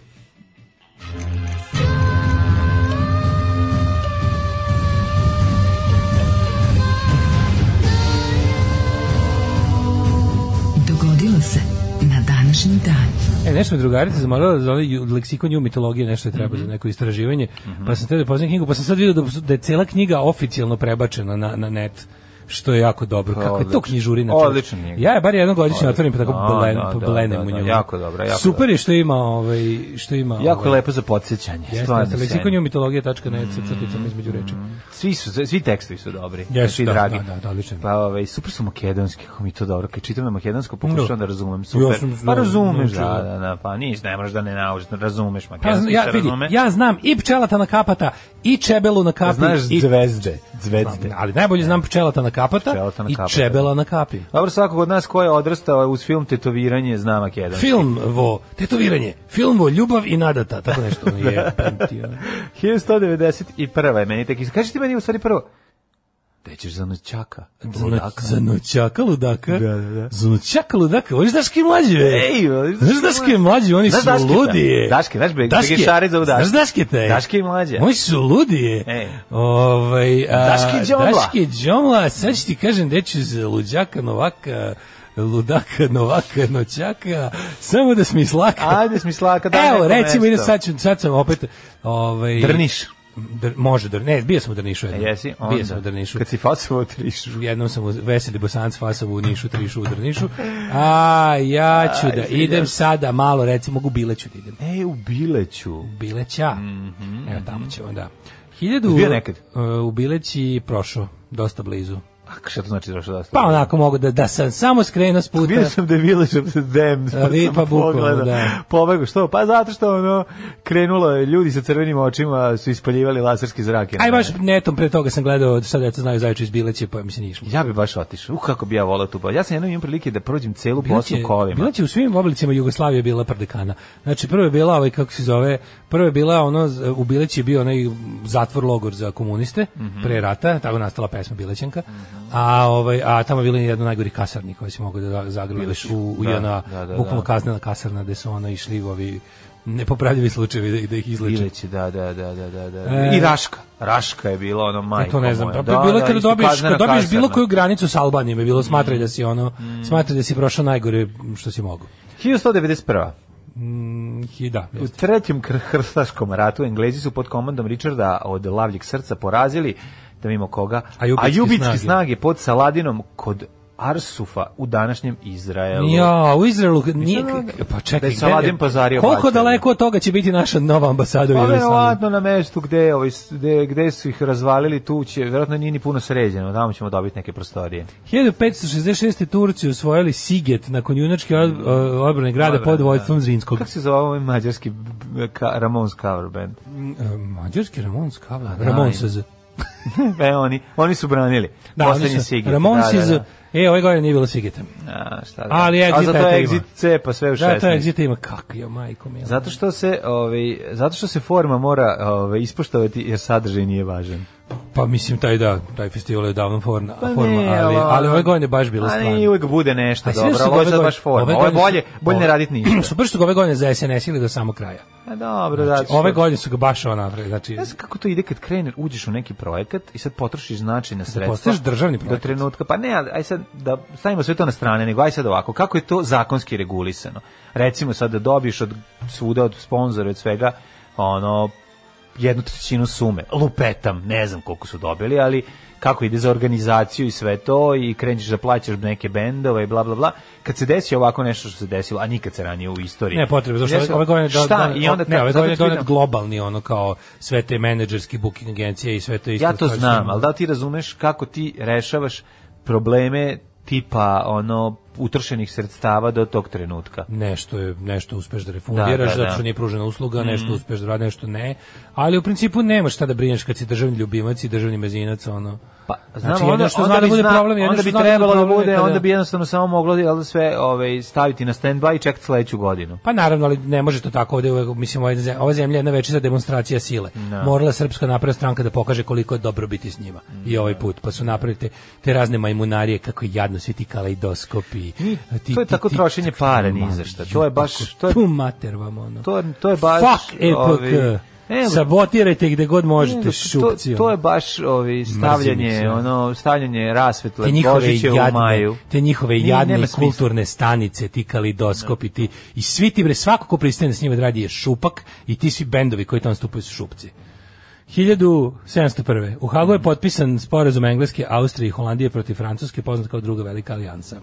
[SPEAKER 5] Dogodilo se na današnji dan.
[SPEAKER 6] E, nešto me drugarica zamolila za ovaj ju- leksikon ju mitologije, nešto je treba
[SPEAKER 7] Mhm.
[SPEAKER 6] za neko istraživanje, pa sam te da poznam knjigu, pa sam sad vidio da, su- da je cela knjiga oficijalno prebačena na, na net što je jako dobro. Kako je to
[SPEAKER 7] Odlično.
[SPEAKER 6] knjižurina? čoveče?
[SPEAKER 7] Odlična knjiga.
[SPEAKER 6] Ja je bar jednom godišnje otvorim pa tako
[SPEAKER 7] Odlično.
[SPEAKER 6] blen,
[SPEAKER 7] Da,
[SPEAKER 6] pa
[SPEAKER 7] da,
[SPEAKER 6] blenem
[SPEAKER 7] da,
[SPEAKER 6] u
[SPEAKER 7] da,
[SPEAKER 6] nju.
[SPEAKER 7] jako dobra, jako
[SPEAKER 6] Super je što ima, ovaj, što ima...
[SPEAKER 7] Jako je
[SPEAKER 6] ovaj,
[SPEAKER 7] lepo za podsjećanje.
[SPEAKER 6] Jeste, da
[SPEAKER 7] stvarno
[SPEAKER 6] jeste,
[SPEAKER 7] sjajno. Mm,
[SPEAKER 6] leksikonju mitologije.net sa crticama između reči.
[SPEAKER 7] Svi su, svi tekstovi su dobri.
[SPEAKER 6] Jesu,
[SPEAKER 7] svi
[SPEAKER 6] da,
[SPEAKER 7] dragi.
[SPEAKER 6] da, da, da, odlično.
[SPEAKER 7] Pa, ovaj, super su makedonski, kako mi to dobro. Kad čitam na makedonsku, pokušavam
[SPEAKER 6] Da.
[SPEAKER 7] da razumem. Super.
[SPEAKER 6] Ja sam-
[SPEAKER 7] pa razumeš,
[SPEAKER 6] naučio,
[SPEAKER 7] da,
[SPEAKER 6] da.
[SPEAKER 7] da, da, pa nis, ne moraš da ne naučiš, razumeš
[SPEAKER 6] Pa, ja,
[SPEAKER 7] makedonski, se
[SPEAKER 6] vidi,
[SPEAKER 7] razume.
[SPEAKER 6] ja znam i pčelata na kapata, i čebelu na kapi,
[SPEAKER 7] Znaš
[SPEAKER 6] i
[SPEAKER 7] zvezde, zvezde.
[SPEAKER 6] Ali najbolje znam pčelata na kapata
[SPEAKER 7] Pčelata na
[SPEAKER 6] i
[SPEAKER 7] kapata.
[SPEAKER 6] čebela na kapi.
[SPEAKER 7] Dobro, svakog od nas ko je odrastao uz film Tetoviranje zna makedonski.
[SPEAKER 6] Film vo tetoviranje, film vo ljubav i nadata, tako nešto ono je. ti, ono.
[SPEAKER 7] 1191. je meni tek iz... Kaži ti meni u stvari prvo, gde ćeš za noćaka? Ludaka.
[SPEAKER 6] Za noćaka ludaka.
[SPEAKER 7] Da, da, da.
[SPEAKER 6] Za noćaka ludaka. Oni znaš ke mlađi, ve?
[SPEAKER 7] Ej, ali
[SPEAKER 6] znaš
[SPEAKER 7] znaš
[SPEAKER 6] daške mlađi, oni
[SPEAKER 7] Znaš
[SPEAKER 6] su
[SPEAKER 7] Dašketa?
[SPEAKER 6] ludije.
[SPEAKER 7] Daške, znaš Be- Begešarec zovu Daške.
[SPEAKER 6] Znaš daške te?
[SPEAKER 7] Daške i mlađe.
[SPEAKER 6] Oni su ludije.
[SPEAKER 7] Ej.
[SPEAKER 6] Ovaj, a,
[SPEAKER 7] Daške i đomla.
[SPEAKER 6] Daške i đomla, sad ću ti kažem gde ću za luđaka novaka ludaka, novaka, noćaka, samo da smislaka.
[SPEAKER 7] Ajde, smislaka, daj
[SPEAKER 6] Evo,
[SPEAKER 7] neko
[SPEAKER 6] recimo,
[SPEAKER 7] mesto.
[SPEAKER 6] ide sad, ću, sad sam opet... Ovaj,
[SPEAKER 7] Drniš.
[SPEAKER 6] Dr, Da, može, dr, ne, bio sam u Drnišu jednom.
[SPEAKER 7] E, Jesi, onda.
[SPEAKER 6] Bio sam u Drnišu.
[SPEAKER 7] Kad si fasovo trišu.
[SPEAKER 6] Jednom sam u Veseli Bosanac Fasovu u Nišu, Trišu u Drnišu. A ja ću da
[SPEAKER 7] izvinjam
[SPEAKER 6] idem
[SPEAKER 7] se.
[SPEAKER 6] sada malo, recimo, u Bileću da idem.
[SPEAKER 7] Ej, u Bileću.
[SPEAKER 6] Bileća. Evo, tamo ćemo, da. Hiljadu,
[SPEAKER 7] Mhm. Jesi bio nekad?
[SPEAKER 6] e, u Bileći prošao, dosta blizu.
[SPEAKER 7] A šta to znači došao dosta?
[SPEAKER 6] Pa onako mogu da, da sam samo skrenuo s puta.
[SPEAKER 7] Vidio sam da je Village of the Damned, pa
[SPEAKER 6] Ali,
[SPEAKER 7] sam
[SPEAKER 6] pa bukvalno,
[SPEAKER 7] pogledao.
[SPEAKER 6] da.
[SPEAKER 7] Pobegao, što? Pa zato što ono, krenulo je, ljudi sa crvenim očima su ispaljivali laserski zrake.
[SPEAKER 6] Aj baš netom pre toga sam gledao, sad deca znaju zajuče iz Bileće, pa mi se nije išlo.
[SPEAKER 7] Ja bi baš otišao. Uh, kako bi ja volao tu. ba- Ja sam jednom imao prilike da prođem celu Bosnu
[SPEAKER 6] Bila će-
[SPEAKER 7] kolima.
[SPEAKER 6] Bila će u svim oblicima Jugoslavije bila prdekana. Znači prvo je bila ovaj kako se zove, prvo je bila ono z- u Bileći je bio onaj zatvor logor za komuniste
[SPEAKER 7] Mhm.
[SPEAKER 6] pre rata, tako je nastala pesma Bilećanka. A ovaj a tamo je bila jedna od najgorih kasarni koje se mogu da zagrliš u, u
[SPEAKER 7] Da,
[SPEAKER 6] jedna
[SPEAKER 7] da, da,
[SPEAKER 6] bukvalno
[SPEAKER 7] da.
[SPEAKER 6] kaznena kasarna gde su ono išli ovi nepopravljivi slučajevi da, da ih izleče.
[SPEAKER 7] Bileće, da, da, da, da, da, da.
[SPEAKER 6] E.
[SPEAKER 7] I Raška. Raška je bila ono majka.
[SPEAKER 6] Ja to ne znam.
[SPEAKER 7] moja.
[SPEAKER 6] Pa da, bilo je kada
[SPEAKER 7] isto
[SPEAKER 6] dobiješ,
[SPEAKER 7] kaznena
[SPEAKER 6] kada dobiješ bilo
[SPEAKER 7] kasarna. Mhm.
[SPEAKER 6] koju granicu sa Albanijom, je bilo smatraj da si ono, smatraj da si prošao najgore što si mogu.
[SPEAKER 7] 1191.
[SPEAKER 6] I da.
[SPEAKER 7] U trećem kr- hrstaškom ratu Englezi su pod komandom Richarda od lavljeg srca porazili, da mimo koga,
[SPEAKER 6] Ajubitske
[SPEAKER 7] ajubitske
[SPEAKER 6] snage.
[SPEAKER 7] snage pod Saladinom kod Arsufa u današnjem Izraelu.
[SPEAKER 6] Ja, u Izraelu nije...
[SPEAKER 7] da-
[SPEAKER 6] Pa čekaj,
[SPEAKER 7] da je Saladin
[SPEAKER 6] gde je-
[SPEAKER 7] pazario
[SPEAKER 6] Koliko
[SPEAKER 7] bačeve?
[SPEAKER 6] daleko od toga će biti naša nova ambasada u
[SPEAKER 7] Pa
[SPEAKER 6] Jerusalemu?
[SPEAKER 7] verovatno na mestu gde, ovaj, s- gde, gde su ih razvalili tu će, verovatno nije ni puno sređeno, tamo ćemo dobiti neke prostorije.
[SPEAKER 6] 1566. Turci osvojili Siget nakon junačke od- o- odbrane grada pod
[SPEAKER 7] da.
[SPEAKER 6] vojstvom Zrinskog.
[SPEAKER 7] Kako se zove ovaj mađarski b- b- ka, Ramon's cover band?
[SPEAKER 6] E, Mađarski da, Ramons Kavla. Ramonsez.
[SPEAKER 7] e, oni, oni su branili.
[SPEAKER 6] Da,
[SPEAKER 7] Poslednji
[SPEAKER 6] oni su-
[SPEAKER 7] Sigit.
[SPEAKER 6] Ramonsez.
[SPEAKER 7] Da, da,
[SPEAKER 6] E, ove godine nije bilo Sigeta.
[SPEAKER 7] da. A, šta da.
[SPEAKER 6] Ali Exit
[SPEAKER 7] A zato
[SPEAKER 6] eto
[SPEAKER 7] je
[SPEAKER 6] ima.
[SPEAKER 7] Exit C, pa sve u 16.
[SPEAKER 6] Da, to je Exit ima kako je majko mila.
[SPEAKER 7] Zato što se, ovaj, zato što se forma mora ovaj, ispoštovati jer sadržaj nije važan.
[SPEAKER 6] Pa mislim taj da, taj festival je davno forma,
[SPEAKER 7] Pa
[SPEAKER 6] forma
[SPEAKER 7] ne,
[SPEAKER 6] ali, ali ove godine je baš bilo
[SPEAKER 7] Ali
[SPEAKER 6] stvarno.
[SPEAKER 7] uvek bude nešto
[SPEAKER 6] A svi
[SPEAKER 7] dobro,
[SPEAKER 6] su
[SPEAKER 7] ovo je sad
[SPEAKER 6] godine-
[SPEAKER 7] baš forma.
[SPEAKER 6] ove
[SPEAKER 7] Ovo je
[SPEAKER 6] godine su-
[SPEAKER 7] bolje, bolje ne
[SPEAKER 6] ove-
[SPEAKER 7] raditi ništa.
[SPEAKER 6] Super što ga ove godine za SNS ili do samo kraja.
[SPEAKER 7] A, dobro,
[SPEAKER 6] Znači,
[SPEAKER 7] da,
[SPEAKER 6] ove godine su ga baš ona, znači...
[SPEAKER 7] Ne znam kako to ide kad kreneš, uđeš u neki projekat i sad potrošiš značajna sredstva.
[SPEAKER 6] postaješ Da državni
[SPEAKER 7] Do
[SPEAKER 6] projekat.
[SPEAKER 7] trenutka, pa ne, ali aj sad da stavimo sve to na strane, nego aj sad ovako, kako je to zakonski regulisano? Recimo sad da dobiješ od svuda, od sponzora, od svega, ono, jednu trećinu sume. Lupetam, ne znam koliko su dobili, ali kako ide za organizaciju i sve to i kreneš da plaćaš neke bendove i bla bla bla. Kad se desi ovako nešto što se desilo, a nikad se ranije u istoriji.
[SPEAKER 6] Ne potrebe, zašto
[SPEAKER 7] Desilo-
[SPEAKER 6] ove, ove godine je do-
[SPEAKER 7] Šta?
[SPEAKER 6] donet-
[SPEAKER 7] I onda
[SPEAKER 6] ne, ove
[SPEAKER 7] zato
[SPEAKER 6] godine je
[SPEAKER 7] ti
[SPEAKER 6] donet
[SPEAKER 7] pitam-
[SPEAKER 6] globalni ono kao sve te menadžerski booking agencije i sve to isto.
[SPEAKER 7] Ja to
[SPEAKER 6] kao što
[SPEAKER 7] znam,
[SPEAKER 6] ima.
[SPEAKER 7] ali da li ti razumeš kako ti rešavaš probleme tipa ono utrošenih sredstava do tog trenutka?
[SPEAKER 6] nešto je nešto uspeš da refundiraš
[SPEAKER 7] Da, Mm. da, da.
[SPEAKER 6] zato što nije pružena usluga, nešto uspeš da radi, nešto ne. Ali u principu nemaš šta da brineš kad si državni ljubimac i državni mezinac ono.
[SPEAKER 7] Pa,
[SPEAKER 6] Znači, jedno što zna da bude problem, jedno
[SPEAKER 7] onda
[SPEAKER 6] što
[SPEAKER 7] bi
[SPEAKER 6] zna da
[SPEAKER 7] trebalo
[SPEAKER 6] bude
[SPEAKER 7] da
[SPEAKER 6] problem je
[SPEAKER 7] bude,
[SPEAKER 6] kada-
[SPEAKER 7] onda bi jednostavno samo moglo jel, da sve ovaj, staviti na stand-by i čekati sledeću godinu.
[SPEAKER 6] Pa naravno, ali ne može to tako ovde, uvek, mislim, ova zemlja, ova zemlja je jedna večita demonstracija sile.
[SPEAKER 7] Da.
[SPEAKER 6] Morala je srpska napredna stranka da pokaže koliko je dobro biti s njima.
[SPEAKER 7] Da.
[SPEAKER 6] I ovaj put, pa su napravili te, te razne majmunarije, kako je jadno, svi ti kaleidoskopi.
[SPEAKER 7] to je tako trošenje para ni za šta. To je baš- to je-
[SPEAKER 6] Tu mater vam, ono.
[SPEAKER 7] To je, to je baš...
[SPEAKER 6] Fuck
[SPEAKER 7] ovaj,
[SPEAKER 6] EPK.
[SPEAKER 7] ne,
[SPEAKER 6] Sabotirajte gde god
[SPEAKER 7] ne,
[SPEAKER 6] možete,
[SPEAKER 7] to,
[SPEAKER 6] šupci.
[SPEAKER 7] to je
[SPEAKER 6] ono.
[SPEAKER 7] baš ovaj, stavljanje,
[SPEAKER 6] sve.
[SPEAKER 7] ono, stavljanje rasvetle
[SPEAKER 6] te njihove
[SPEAKER 7] Božiće u
[SPEAKER 6] jadne,
[SPEAKER 7] maju.
[SPEAKER 6] te njihove
[SPEAKER 7] Nije-
[SPEAKER 6] jadne
[SPEAKER 7] nema
[SPEAKER 6] i
[SPEAKER 7] smisla.
[SPEAKER 6] kulturne stanice, ti kalidoskopi, ti i svi ti bre svako ko pristane s njima da radi je šupak i ti svi bendovi koji tamo stupaju su šupci. 1701. U Hagu je
[SPEAKER 7] Mm.
[SPEAKER 6] potpisan sporazum Engleske, Austrije i Holandije protiv Francuske, poznat kao druga velika alijansa.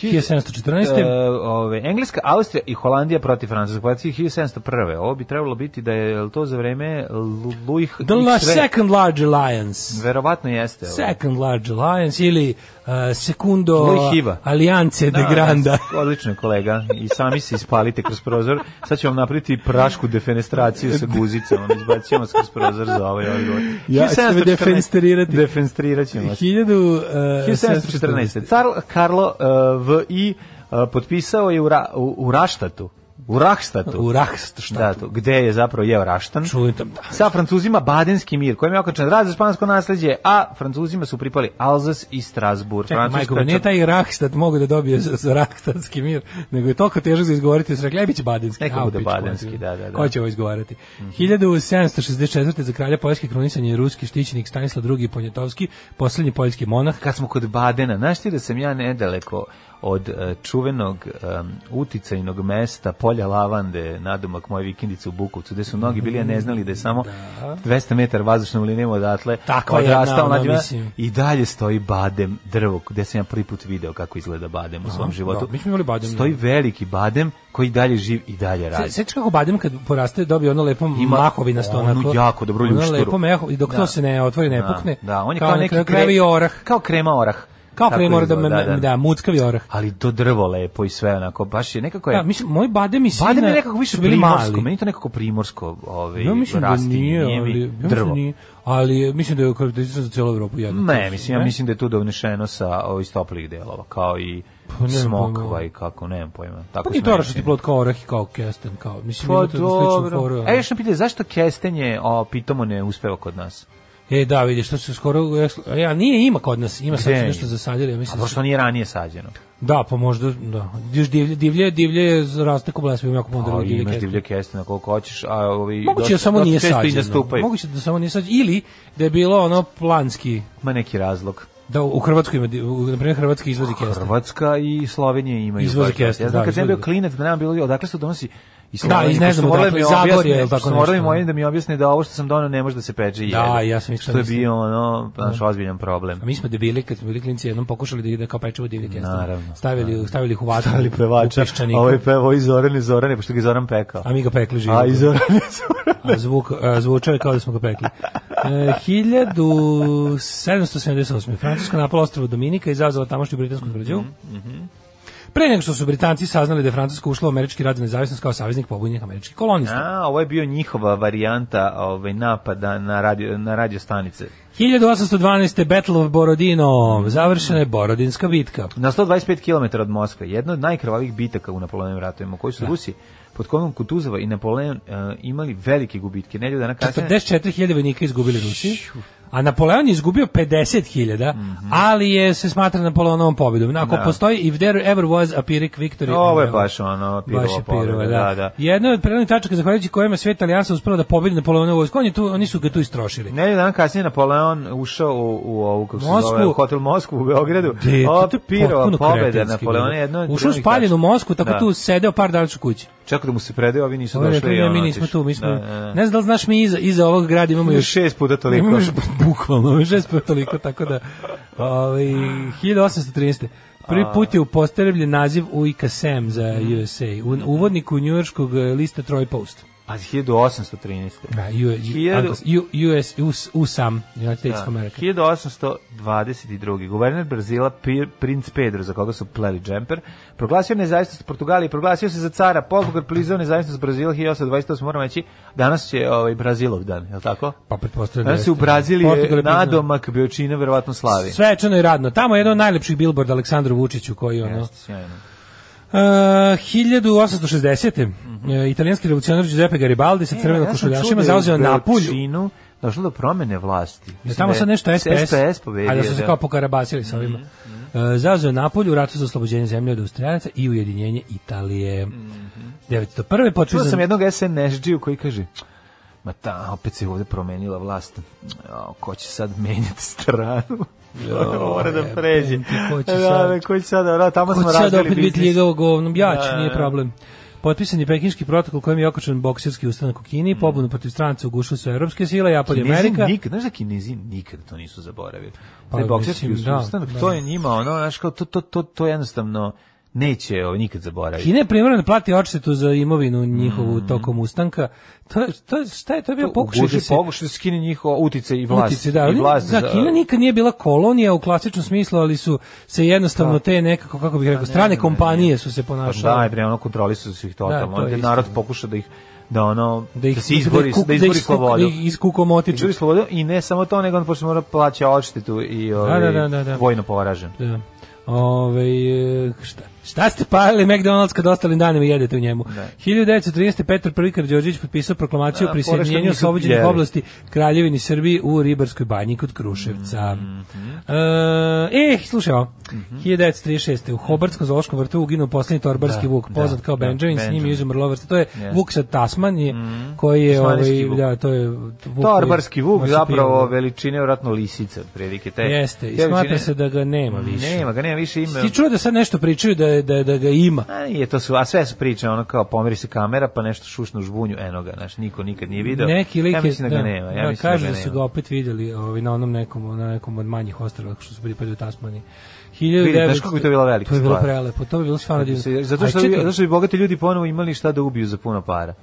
[SPEAKER 6] 1714.
[SPEAKER 7] E, ove, Engleska, Austrija i Holandija protiv Francuske, pa 1701. Ovo bi trebalo biti da je jel to za vreme Lu- Louis
[SPEAKER 6] The la-
[SPEAKER 7] XV.
[SPEAKER 6] second large alliance.
[SPEAKER 7] Verovatno jeste. ovaj. ovo.
[SPEAKER 6] Second large alliance ili uh, secundo
[SPEAKER 7] Louis Hiva.
[SPEAKER 6] aliance de
[SPEAKER 7] Da,
[SPEAKER 6] granda.
[SPEAKER 7] da, Odlično kolega. I sami se ispalite kroz prozor. Sad ću vam napraviti prašku defenestraciju sa guzicama. Izbacimo vas kroz prozor za ovaj odgovor.
[SPEAKER 6] Ja ću tebe
[SPEAKER 7] 1714.
[SPEAKER 6] defenestrirati.
[SPEAKER 7] Defenestrirat ćemo vas.
[SPEAKER 6] uh,
[SPEAKER 7] 1714.
[SPEAKER 6] 1714.
[SPEAKER 7] Car Karlo uh, VI uh, potpisao je u, Ra, u, u Raštatu. U Rahstatu.
[SPEAKER 6] U Rahst, šta
[SPEAKER 7] Da, to, gde je zapravo jeo Raštan.
[SPEAKER 6] Čujem tam, da.
[SPEAKER 7] Sa Francuzima Badenski mir, kojem je okončan rad za špansko nasleđe, a Francuzima su pripali Alzas i Strasbourg.
[SPEAKER 6] Čekaj,
[SPEAKER 7] Francuska
[SPEAKER 6] majko, nije
[SPEAKER 7] čak-
[SPEAKER 6] taj Rahstad mogu da dobije za, za Rahstadski mir, nego je toliko težak za izgovoriti, su rekli, "Aj, bit će Badenski.
[SPEAKER 7] Neka
[SPEAKER 6] Au,
[SPEAKER 7] bude
[SPEAKER 6] pičku,
[SPEAKER 7] Badenski,
[SPEAKER 6] ono,
[SPEAKER 7] da, da, Mhm. da.
[SPEAKER 6] Ko će ovo izgovarati? 1764. za kralja Poljske krunisan je ruski štićenik Stanislav II. Ponjatovski, poslednji poljski monah.
[SPEAKER 7] Kad smo kod Badena, znaš ti da sam ja nedaleko od e, čuvenog um, uticajnog mesta Polja Lavande, nadomak moje vikendice u Bukovcu, gde su mnogi bili, a
[SPEAKER 6] Mm,
[SPEAKER 7] ne znali da je samo 200 metara vazdušnom linijom odatle
[SPEAKER 6] Takva jedna, ono,
[SPEAKER 7] mladina.
[SPEAKER 6] mislim.
[SPEAKER 7] i dalje stoji Badem drvo, gde sam ja prvi put video kako izgleda Badem u svom životu.
[SPEAKER 6] da, mi smo imali Badem,
[SPEAKER 7] Stoji
[SPEAKER 6] da.
[SPEAKER 7] veliki Badem koji dalje živ i dalje radi.
[SPEAKER 6] Se- Sećaš kako Badem kad poraste dobije ono lepo
[SPEAKER 7] Ima
[SPEAKER 6] mahovinasto
[SPEAKER 7] onu
[SPEAKER 6] onako.
[SPEAKER 7] jako dobru
[SPEAKER 6] Ono
[SPEAKER 7] ljušturu.
[SPEAKER 6] lepo meho i dok
[SPEAKER 7] Da.
[SPEAKER 6] to se ne otvori, ne
[SPEAKER 7] Da,
[SPEAKER 6] pukne.
[SPEAKER 7] Da, on je kao,
[SPEAKER 6] na
[SPEAKER 7] neki
[SPEAKER 6] kraju krajeva
[SPEAKER 7] kre-
[SPEAKER 6] i orah.
[SPEAKER 7] Kao krema orah.
[SPEAKER 6] Kao
[SPEAKER 7] Tako
[SPEAKER 6] kremor da,
[SPEAKER 7] izgleda,
[SPEAKER 6] da, da, muckavi orah.
[SPEAKER 7] ali to drvo lepo i sve onako baš je nekako je
[SPEAKER 6] Da, mislim, moj badem i sina
[SPEAKER 7] Badem je nekako više
[SPEAKER 6] su bili
[SPEAKER 7] primorsko,
[SPEAKER 6] mali.
[SPEAKER 7] meni je to nekako primorsko ovaj,
[SPEAKER 6] Ja mislim da
[SPEAKER 7] rastinje,
[SPEAKER 6] nije,
[SPEAKER 7] nije mi
[SPEAKER 6] ali, ja mislim da
[SPEAKER 7] drvo.
[SPEAKER 6] nije, ali mislim da je karakteristično za cijelu Evropu jedno.
[SPEAKER 7] Ne, mislim, ja mislim da je tu donešeno sa ovih toplih delova, kao i
[SPEAKER 6] Pa nemam
[SPEAKER 7] smokva
[SPEAKER 6] pojma.
[SPEAKER 7] i kako, nemam pojma. Tako
[SPEAKER 6] Pa nije
[SPEAKER 7] smo
[SPEAKER 6] to što ti
[SPEAKER 7] rekli.
[SPEAKER 6] plod kao orah i kao kesten, kao, mislim,
[SPEAKER 7] Pa
[SPEAKER 6] ima to jednu sličnu foru.
[SPEAKER 7] dobro.
[SPEAKER 6] ali-
[SPEAKER 7] E, još nam pitaju, zašto kestenje o, pitomo ne uspeva kod nas?
[SPEAKER 6] E, da, vidiš, što se skoro, e, ja, nije ima kod nas, ima sad
[SPEAKER 7] Gde?
[SPEAKER 6] su nešto zasadili, ja
[SPEAKER 7] A
[SPEAKER 6] mislim. da su-
[SPEAKER 7] pošto nije ranije sađeno.
[SPEAKER 6] Da, pa možda, da. Još divlje, divlje, divlje raste ko blesve, ima jako puno
[SPEAKER 7] Ali
[SPEAKER 6] drva divlje
[SPEAKER 7] imaš
[SPEAKER 6] kestena.
[SPEAKER 7] divlje kestena koliko hoćeš, a ovi
[SPEAKER 6] Moguće da
[SPEAKER 7] dosta-
[SPEAKER 6] samo
[SPEAKER 7] dosta
[SPEAKER 6] nije
[SPEAKER 7] često i
[SPEAKER 6] sađeno.
[SPEAKER 7] nastupaju.
[SPEAKER 6] Moguće da samo nije sađeno. Ili da je bilo ono planski,
[SPEAKER 7] Ima neki razlog.
[SPEAKER 6] da u Hrvatskoj ima, di- u- na primjer, Hrvatski izvozi kesten.
[SPEAKER 7] Hrvatska i Slovenija imaju
[SPEAKER 6] Izvoze
[SPEAKER 7] baš dosta.
[SPEAKER 6] kesten,
[SPEAKER 7] Ja znam
[SPEAKER 6] da,
[SPEAKER 7] kad sam ja bio
[SPEAKER 6] izvoze.
[SPEAKER 7] klinac da nam bilo odakle se donosi i
[SPEAKER 6] Da, iz ne znam
[SPEAKER 7] pošto morali
[SPEAKER 6] odakle,
[SPEAKER 7] mi
[SPEAKER 6] iz Zagorja
[SPEAKER 7] objasne-
[SPEAKER 6] ili tako
[SPEAKER 7] pošto morali
[SPEAKER 6] nešto,
[SPEAKER 7] mi oni
[SPEAKER 6] ono.
[SPEAKER 7] da mi objasne da ovo što sam donao ne može da se peče i
[SPEAKER 6] Da,
[SPEAKER 7] jede.
[SPEAKER 6] ja sam isto
[SPEAKER 7] Što je
[SPEAKER 6] mislio. Da.
[SPEAKER 7] bio ono, znaš, ozbiljan problem.
[SPEAKER 6] A mi smo debili kad smo bili klinci jednom pokušali da ih da kao pečemo divlje kestenje.
[SPEAKER 7] Naravno.
[SPEAKER 6] Stavili, stavili ih u vatru.
[SPEAKER 7] ali pevača,
[SPEAKER 6] u piščanik.
[SPEAKER 7] ovaj pevao i Zoran i Zorane, pošto ga je Zoran pekao.
[SPEAKER 6] A mi ga pekli živo.
[SPEAKER 7] A i Zoran i Zoran.
[SPEAKER 6] A zvuk, a zvučao je kao da smo ga pekli. E, 1778. Francuska napala ostrovo Dominika i izazvala tamošnju britansku
[SPEAKER 7] Mhm,
[SPEAKER 6] tvrđavu. Pre nego što su Britanci saznali da je Francuska ušla u američki rad za nezavisnost kao saveznik pobunjenih američkih kolonista.
[SPEAKER 7] A, ovo je bio njihova varijanta ovaj, napada na radio, na radio stanice.
[SPEAKER 6] 1812. Battle of Borodino.
[SPEAKER 7] Mhm.
[SPEAKER 6] Završena je Borodinska bitka.
[SPEAKER 7] Na 125 km od Moskve, jedna od najkrvavih bitaka u Napoleonovim ratovima, koji
[SPEAKER 6] Da.
[SPEAKER 7] su Rusi pod komom Kutuzova i Napoleon e, imali velike gubitke. Nelju dana kasnije...
[SPEAKER 6] 44.000 vojnika izgubili Rusi, a Napoleon je izgubio 50.000, ali je se smatra Napoleonovom pobedom. Ako
[SPEAKER 7] Mhm. Da.
[SPEAKER 6] postoji, if there ever was a Pyrrhic victory...
[SPEAKER 7] Ovo je
[SPEAKER 6] evo,
[SPEAKER 7] baš ono, pirova
[SPEAKER 6] Baš je pirova,
[SPEAKER 7] pobeda,
[SPEAKER 6] da.
[SPEAKER 7] da, da.
[SPEAKER 6] Jedna od prednih tačaka zahvaljujući kojima je sve Italijanca uspela da pobedi Napoleonovu vojsku, on je tu, oni su ga tu istrošili.
[SPEAKER 7] Nelju dana kasnije Napoleon ušao u, u ovu, kako se zove,
[SPEAKER 6] Moskvu.
[SPEAKER 7] hotel Moskvu u Beogradu.
[SPEAKER 6] Gde, to- Pa, to
[SPEAKER 7] Op,
[SPEAKER 6] je
[SPEAKER 7] pirova
[SPEAKER 6] potpuno
[SPEAKER 7] pobeda
[SPEAKER 6] kretenski
[SPEAKER 7] Napoleona
[SPEAKER 6] bilo.
[SPEAKER 7] je jedno... od
[SPEAKER 6] Ušao u
[SPEAKER 7] drugih
[SPEAKER 6] spaljenu
[SPEAKER 7] tačaka.
[SPEAKER 6] Mosku, tako
[SPEAKER 7] Da.
[SPEAKER 6] tu sedeo par dana u kući.
[SPEAKER 7] Čekao da mu se predaju, ovi nisu
[SPEAKER 6] Ovo je
[SPEAKER 7] došli. i
[SPEAKER 6] rekli, ne,
[SPEAKER 7] on
[SPEAKER 6] mi nismo
[SPEAKER 7] otišao.
[SPEAKER 6] tu, mi smo...
[SPEAKER 7] Da, da.
[SPEAKER 6] Ne znam da li znaš, mi iza, iza ovog grada imamo još...
[SPEAKER 7] Šest puta toliko.
[SPEAKER 6] Imamo još bukvalno, šest puta toliko, tako da... Ovaj, 1813. Prvi put je upostavljen naziv UIKA SEM E za USA, u, uvodniku njujorskog eh, lista Troy Post.
[SPEAKER 7] A 1813.
[SPEAKER 6] Da, U,
[SPEAKER 7] Hiljadu- Da.
[SPEAKER 6] U, US, US, USAM, United States of America.
[SPEAKER 7] 1822. Guverner Brazila Pir, princ Pedro, za koga su pleli džemper, proglasio nezavisnost Portugalije, proglasio se za cara, Portugal priznao nezavisnost Brazila 1828. Moramo reći, danas će ovaj, Brazilov dan, je li tako?
[SPEAKER 6] Pa pretpostavljam da
[SPEAKER 7] Danas se
[SPEAKER 6] jeste.
[SPEAKER 7] u Braziliji
[SPEAKER 6] Portugal
[SPEAKER 7] je
[SPEAKER 6] je priznao.
[SPEAKER 7] nadomak Biočina verovatno slavi.
[SPEAKER 6] Svečano i radno. Tamo je jedan od najlepših billboarda Aleksandru Vučiću koji ono...
[SPEAKER 7] Jeste, sjajno.
[SPEAKER 6] Uh, 1860. e, italijanski revolucionar Giuseppe Garibaldi sa crvenom
[SPEAKER 7] Mhm. sam čuo da
[SPEAKER 6] košuljašima
[SPEAKER 7] je
[SPEAKER 6] zauzeo
[SPEAKER 7] u
[SPEAKER 6] Napulj.
[SPEAKER 7] Beočinu Došlo do promene vlasti.
[SPEAKER 6] Je
[SPEAKER 7] Mislim
[SPEAKER 6] tamo
[SPEAKER 7] da je
[SPEAKER 6] sad nešto SPS,
[SPEAKER 7] SPS pobedio. Mhm,
[SPEAKER 6] a da su se kao pokarabasili sa ovima. E, zauzeo Napolj u ratu za oslobođenje zemlje od Austrijanaca i ujedinjenje Italije. 901.
[SPEAKER 7] Mhm. Čuo sam
[SPEAKER 6] potpisan
[SPEAKER 7] jednog SNS-điju koji kaže Ma ta, opet se ovde promenila vlast. O, ko će sad menjati stranu? Mora da
[SPEAKER 6] jebem
[SPEAKER 7] pređe.
[SPEAKER 6] ti, ko će
[SPEAKER 7] Da,
[SPEAKER 6] sad?
[SPEAKER 7] da, ko će sad? Da, tamo
[SPEAKER 6] Ko će
[SPEAKER 7] smo
[SPEAKER 6] sad
[SPEAKER 7] razbili
[SPEAKER 6] opet biti
[SPEAKER 7] biznis.
[SPEAKER 6] ljegavo govnom? Ja ću,
[SPEAKER 7] Da,
[SPEAKER 6] nije
[SPEAKER 7] da.
[SPEAKER 6] problem. Potpisan je pekinški protokol kojim je okočen boksirski ustanak u Kini, pobunu protiv stranca ugušili su evropske sile, Japan i
[SPEAKER 7] Mm. Kinezi
[SPEAKER 6] Amerika.
[SPEAKER 7] nikad, znaš da Kinezi nikad to nisu zaboravili.
[SPEAKER 6] Pa,
[SPEAKER 7] Pa, bokserski
[SPEAKER 6] mislim, da,
[SPEAKER 7] ustanak,
[SPEAKER 6] da.
[SPEAKER 7] to je njima ono, znaš, kao to, to, to, to jednostavno neće o, nikad zaboraviti.
[SPEAKER 6] Kina je primjerno da plati odštetu za imovinu
[SPEAKER 7] Mm.
[SPEAKER 6] njihovu tokom ustanka. To, je- to, je- šta je to je bio pokušaj da
[SPEAKER 7] Ugušili
[SPEAKER 6] se
[SPEAKER 7] pokušaj da skine njihov utice i vlast.
[SPEAKER 6] Utice, da,
[SPEAKER 7] i
[SPEAKER 6] oni-
[SPEAKER 7] vlast
[SPEAKER 6] da,
[SPEAKER 7] za-
[SPEAKER 6] Kina nikad nije bila kolonija u klasičnom smislu, ali su se
[SPEAKER 7] Da.
[SPEAKER 6] jednostavno te nekako, kako bih rekao, strane kompanije su se
[SPEAKER 7] Pa
[SPEAKER 6] ponašale.
[SPEAKER 7] da, bre, ono kontrolisali su ih
[SPEAKER 6] Da,
[SPEAKER 7] totalno.
[SPEAKER 6] to je
[SPEAKER 7] Onda
[SPEAKER 6] istina.
[SPEAKER 7] narod pokuša da ih da ono da,
[SPEAKER 6] da ih
[SPEAKER 7] se izbori,
[SPEAKER 6] kuk-
[SPEAKER 7] da izbori
[SPEAKER 6] ih skuk-
[SPEAKER 7] slobodu.
[SPEAKER 6] Da ih iskukomotiče.
[SPEAKER 7] Izbori slobodu i ne samo to, nego on pošto mora plaća odštetu i ovaj,
[SPEAKER 6] da, da, da, da.
[SPEAKER 7] vojno poražen.
[SPEAKER 6] Da. Ovaj, e, šta, šta ste palili McDonald's kad ostalim danima jedete u njemu? 1930. Petar I. Karđorđević potpisao proklamaciju
[SPEAKER 7] Da,
[SPEAKER 6] o
[SPEAKER 7] pored što
[SPEAKER 6] prisjedinjenju
[SPEAKER 7] nisu
[SPEAKER 6] oslobođenih
[SPEAKER 7] jeli.
[SPEAKER 6] oblasti Kraljevini Srbiji u Ribarskoj banji kod Kruševca.
[SPEAKER 7] Mhm.
[SPEAKER 6] e, slušaj ovo. 1936. U Hobartskom zoološkom vrtu uginuo posljednji torbarski vuk, poznat kao
[SPEAKER 7] da,
[SPEAKER 6] Benjamin, s njim
[SPEAKER 7] Benjamin. Mhm.
[SPEAKER 6] je izumrlo ovo vrste. To je vuk sa Tasmanije, koji je,
[SPEAKER 7] Tasmanijski
[SPEAKER 6] ovaj,
[SPEAKER 7] vuk.
[SPEAKER 6] da, to je vuk koji-
[SPEAKER 7] Torbarski vuk
[SPEAKER 6] marsupijalni.
[SPEAKER 7] zapravo veličine vjerojatno lisica, prilike te.
[SPEAKER 6] Jeste, i
[SPEAKER 7] te Mhm.
[SPEAKER 6] smatra
[SPEAKER 7] veličine-
[SPEAKER 6] se da ga nema više.
[SPEAKER 7] Nema ga, nema više ime.
[SPEAKER 6] Ti čuo da sad nešto pričaju da, je- da, je- da ga ima?
[SPEAKER 7] A nije, to su, a sve su priče, ono kao pomeri se kamera, pa nešto šušne u žbunju, eno ga, znaš, niko nikad nije video.
[SPEAKER 6] Neki lik
[SPEAKER 7] ja
[SPEAKER 6] je-
[SPEAKER 7] mislim da ga nema, ja
[SPEAKER 6] da,
[SPEAKER 7] mislim da
[SPEAKER 6] kažu
[SPEAKER 7] ga
[SPEAKER 6] da su
[SPEAKER 7] nema.
[SPEAKER 6] ga opet vidjeli ovaj, na onom nekom, na nekom od manjih ostrava što su pripadali u Tasmaniji.
[SPEAKER 7] Vidite,
[SPEAKER 6] 1900
[SPEAKER 7] znaš kako je to bila velika
[SPEAKER 6] To je bilo
[SPEAKER 7] stvar.
[SPEAKER 6] prelepo, to je bilo stvarno divno.
[SPEAKER 7] Zato što,
[SPEAKER 6] Aj,
[SPEAKER 7] bi,
[SPEAKER 6] čekaj,
[SPEAKER 7] zato što bi bogati ljudi ponovo imali šta da ubiju za puno para.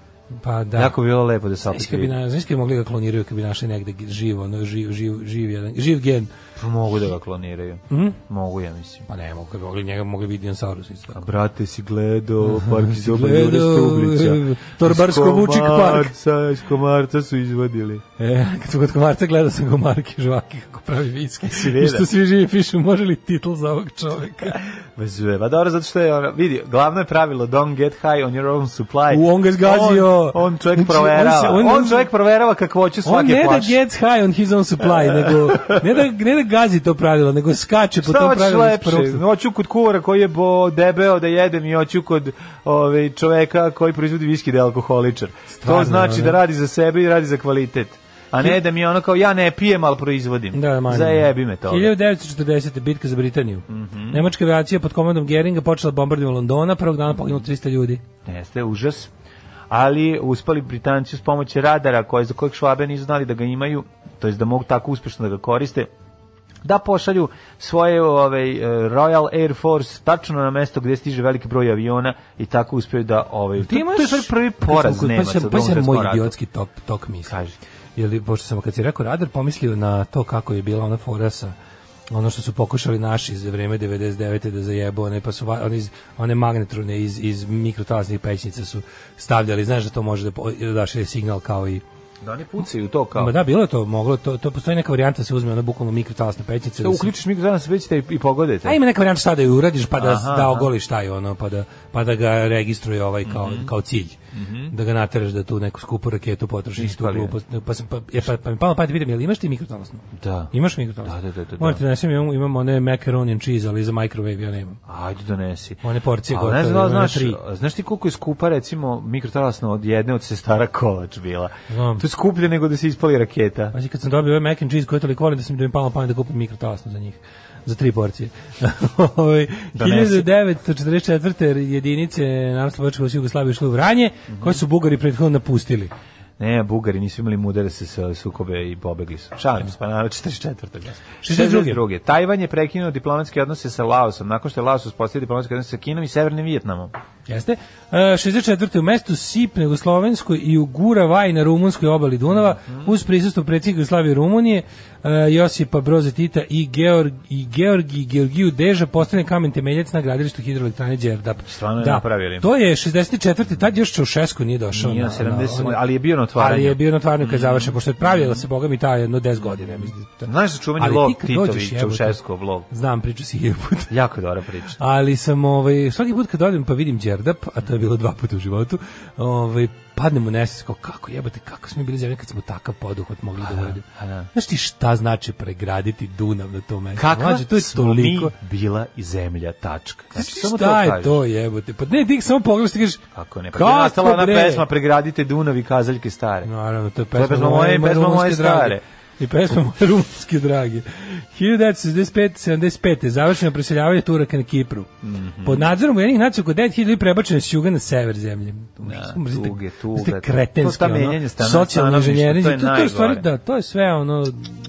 [SPEAKER 6] pa da.
[SPEAKER 7] Da. Jako bi bilo lepo da se
[SPEAKER 6] Znaš
[SPEAKER 7] opet
[SPEAKER 6] kad bi,
[SPEAKER 7] vidi.
[SPEAKER 6] na, znaš kad bi mogli ga kloniraju kad bi našli negde g- živo, ono, živ, živ, živ, jedan, živ gen.
[SPEAKER 7] Pa Mogu da ga kloniraju.
[SPEAKER 6] Mhm.
[SPEAKER 7] Mogu, ja mislim.
[SPEAKER 6] Pa ne, mogu, kad bi mogli njega, mogli bi dinosaurus. isto
[SPEAKER 7] A
[SPEAKER 6] tako.
[SPEAKER 7] brate si gledao park iz
[SPEAKER 6] Mhm. Gledao,
[SPEAKER 7] Obajure Stublića.
[SPEAKER 6] Torbarsko
[SPEAKER 7] Iz
[SPEAKER 6] Vučik park.
[SPEAKER 7] Komarca, Iz komarca su izvadili.
[SPEAKER 6] E, kad su kod komarca gledao sam go Marke Žvaki kako pravi viski.
[SPEAKER 7] veda?
[SPEAKER 6] I što svi živi pišu, može li titl za ovog čoveka?
[SPEAKER 7] Bez veba. Pa dobro, zato što je, ono, vidi, glavno je pravilo don't get high on your own supply.
[SPEAKER 6] U, on ga zgazio.
[SPEAKER 7] On, on čovjek
[SPEAKER 6] Znači, on
[SPEAKER 7] proverava.
[SPEAKER 6] se-
[SPEAKER 7] On,
[SPEAKER 6] on-
[SPEAKER 7] čovjek proverava kakvoću
[SPEAKER 6] On
[SPEAKER 7] svake
[SPEAKER 6] ne da
[SPEAKER 7] plaše.
[SPEAKER 6] gets high on his own
[SPEAKER 7] E.
[SPEAKER 6] supply, nego ne da, ne da gazi to pravilo, nego skače po
[SPEAKER 7] Šta
[SPEAKER 6] tom
[SPEAKER 7] hoćeš
[SPEAKER 6] pravilu. iz
[SPEAKER 7] lepše?
[SPEAKER 6] prvog slučaja.
[SPEAKER 7] Hoću kod kuvara koji je bo debeo da jedem i hoću kod ovaj, čoveka koji proizvodi viski da je alkoholičar.
[SPEAKER 6] Stvarno,
[SPEAKER 7] to znači
[SPEAKER 6] ono.
[SPEAKER 7] da radi za sebe i radi za kvalitet. A ne da mi je ono kao ja ne pijem, ali proizvodim.
[SPEAKER 6] Da, manje.
[SPEAKER 7] Zajebi me Mhm. to.
[SPEAKER 6] 1940. bitka za Britaniju. Nemačka da avijacija pod komandom Geringa počela bombardovanje Londona, prvog dana poginulo 300 ljudi.
[SPEAKER 7] Jeste, užas. ali uspali Britanci uz pomoć radara koje, za kojeg švabe nisu znali da ga imaju, to jest da mogu tako uspešno da ga koriste, da pošalju svoje ovaj e, Royal Air Force tačno na mesto gdje stiže veliki broj aviona i tako uspeju da ovaj to, to je stvari prvi poraz da nema
[SPEAKER 6] Pa sam, pa sam moj idiotski tok, tok misli.
[SPEAKER 7] Kaži.
[SPEAKER 6] Jeli, pošto sam, kad si rekao radar, pomislio na to kako je bila ona fora sa ono što su pokušali naši za vreme 99. da zajebu, one, pa su, va- one, iz, one magnetrone iz, iz mikrotalasnih pećnica su stavljali, znaš da to može da po- da daše signal kao i
[SPEAKER 7] Da oni pucaju to kao.
[SPEAKER 6] Ma da, bilo je to moglo, to, to postoji neka varijanta da se uzme ono bukvalno mikrotalasne pećnice.
[SPEAKER 7] Da
[SPEAKER 6] da se-
[SPEAKER 7] uključiš mikro danas vidite i, i pogodite.
[SPEAKER 6] A ima neka varijanta šta da ju uradiš pa da
[SPEAKER 7] Aha,
[SPEAKER 6] da
[SPEAKER 7] aha.
[SPEAKER 6] ogoliš taj ono pa da pa da ga registruje ovaj kao
[SPEAKER 7] Mhm.
[SPEAKER 6] kao cilj. Da ga nateraš da tu neku skupu raketu potrošiš tu
[SPEAKER 7] Ispali je.
[SPEAKER 6] glupost. Pa sam pa je pa, pa mi palo pa da vidim jel imaš ti mikrotalasnu?
[SPEAKER 7] Da.
[SPEAKER 6] Imaš mikrotalasnu?
[SPEAKER 7] Da, da, da, da, da.
[SPEAKER 6] Možete da nesem, imam, imam one macaroni and cheese, ali za microwave ja nemam.
[SPEAKER 7] Ajde donesi.
[SPEAKER 6] One porcije
[SPEAKER 7] Ali
[SPEAKER 6] gotove,
[SPEAKER 7] ne znam da li
[SPEAKER 6] ima na
[SPEAKER 7] znaš,
[SPEAKER 6] tri.
[SPEAKER 7] znaš ti koliko je skupa recimo mikrotalasno od jedne od sestara kolač bila.
[SPEAKER 6] Znam.
[SPEAKER 7] To je skuplje nego da se ispali raketa.
[SPEAKER 6] Znači kad sam dobio ovaj mac and cheese koji toliko volim da sam da mi je palo na pamet da kupim mikrotalasnu za njih za tri porcije. Ovaj,
[SPEAKER 7] Donesi.
[SPEAKER 6] 1944. jedinice Narodno-Slovačkog Jugoslavije ušle u Vranje,
[SPEAKER 7] Mhm.
[SPEAKER 6] koje su Bugari prethodno napustili.
[SPEAKER 7] Ne, Bugari nisu imali mudare se sa sukobe i pobegli su. Šalim se, pa naravno 44.
[SPEAKER 6] 62..
[SPEAKER 7] 62. Tajvan je prekinuo diplomatske odnose sa Laosom, nakon što je Laos uspostavio diplomatske odnose sa Kinom i Severnim Vijetnamom.
[SPEAKER 6] Jeste. E, 64. u mestu Sip na Jugoslovenskoj i u Guravaj na rumunskoj obali Dunava
[SPEAKER 7] Mhm.
[SPEAKER 6] uz prisustvo predsjednika Jugoslavije i Rumunije e, Josipa Broze Tita i, Georg, i Georgi Georgiju Deža postane kamen temeljac na gradilištu hidroelektrane Đerdap. Da.
[SPEAKER 7] Stvarno je napravili.
[SPEAKER 6] To je 64. Tad još Čaušesku nije došao.
[SPEAKER 7] Nije
[SPEAKER 6] na-
[SPEAKER 7] na 70,
[SPEAKER 6] onaj-
[SPEAKER 7] ali je bio na otvaranju.
[SPEAKER 6] da, Ali je bio na otvaranju kad je završen, pošto je pravila se, boga mi, ta jedno 10 godina. ja mislim.
[SPEAKER 7] Mhm. Znaš za čuveni
[SPEAKER 6] Ali
[SPEAKER 7] lov
[SPEAKER 6] ti kad
[SPEAKER 7] Titović,
[SPEAKER 6] dođeš, jebote,
[SPEAKER 7] Čaušeskov lov?
[SPEAKER 6] Znam, priču si hiljadu puta.
[SPEAKER 7] Jako dobra priča.
[SPEAKER 6] Ali sam ovaj svaki put kad odem pa vidim Đerdap, a to je bilo dva puta u životu, ovaj padnem u nesvest kao kako jebote kako smo bili zemlje kad smo takav poduhvat mogli da uradimo. Znaš ti šta znači pregraditi Dunav na tom mestu?
[SPEAKER 7] Kakva
[SPEAKER 6] Mlađe, to je
[SPEAKER 7] smo
[SPEAKER 6] toliko.
[SPEAKER 7] mi bila i zemlja, tačka. Znači,
[SPEAKER 6] Znaš ti
[SPEAKER 7] samo
[SPEAKER 6] šta je
[SPEAKER 7] kažeš.
[SPEAKER 6] to jebote? Pa ne, ti samo pogledaš i kažeš
[SPEAKER 7] Kako ne? Pa kako je nastala ona pesma Pregradite Dunav i kazaljke stare.
[SPEAKER 6] Naravno, to je
[SPEAKER 7] je
[SPEAKER 6] pesma,
[SPEAKER 7] pesma moje i
[SPEAKER 6] moje
[SPEAKER 7] pesma
[SPEAKER 6] rumunske
[SPEAKER 7] moje
[SPEAKER 6] drage.
[SPEAKER 7] stare.
[SPEAKER 6] I pesma moje rumunske drage. 1965-75. je Završeno preseljavanje Turaka na Kipru.
[SPEAKER 7] Mhm.
[SPEAKER 6] Pod nadzorom ujednih nacija oko 9000 ljudi prebačeno s juga na sever zemlje. Da,
[SPEAKER 7] tuge, tuga.
[SPEAKER 6] Ste kretenski,
[SPEAKER 7] To ta
[SPEAKER 6] ono,
[SPEAKER 7] menjanje stana-
[SPEAKER 6] socijalno
[SPEAKER 7] stanovništva,
[SPEAKER 6] inženjeri.
[SPEAKER 7] to
[SPEAKER 6] To,
[SPEAKER 7] je
[SPEAKER 6] to, je u stvari,
[SPEAKER 7] najgore.
[SPEAKER 6] da, to je sve ono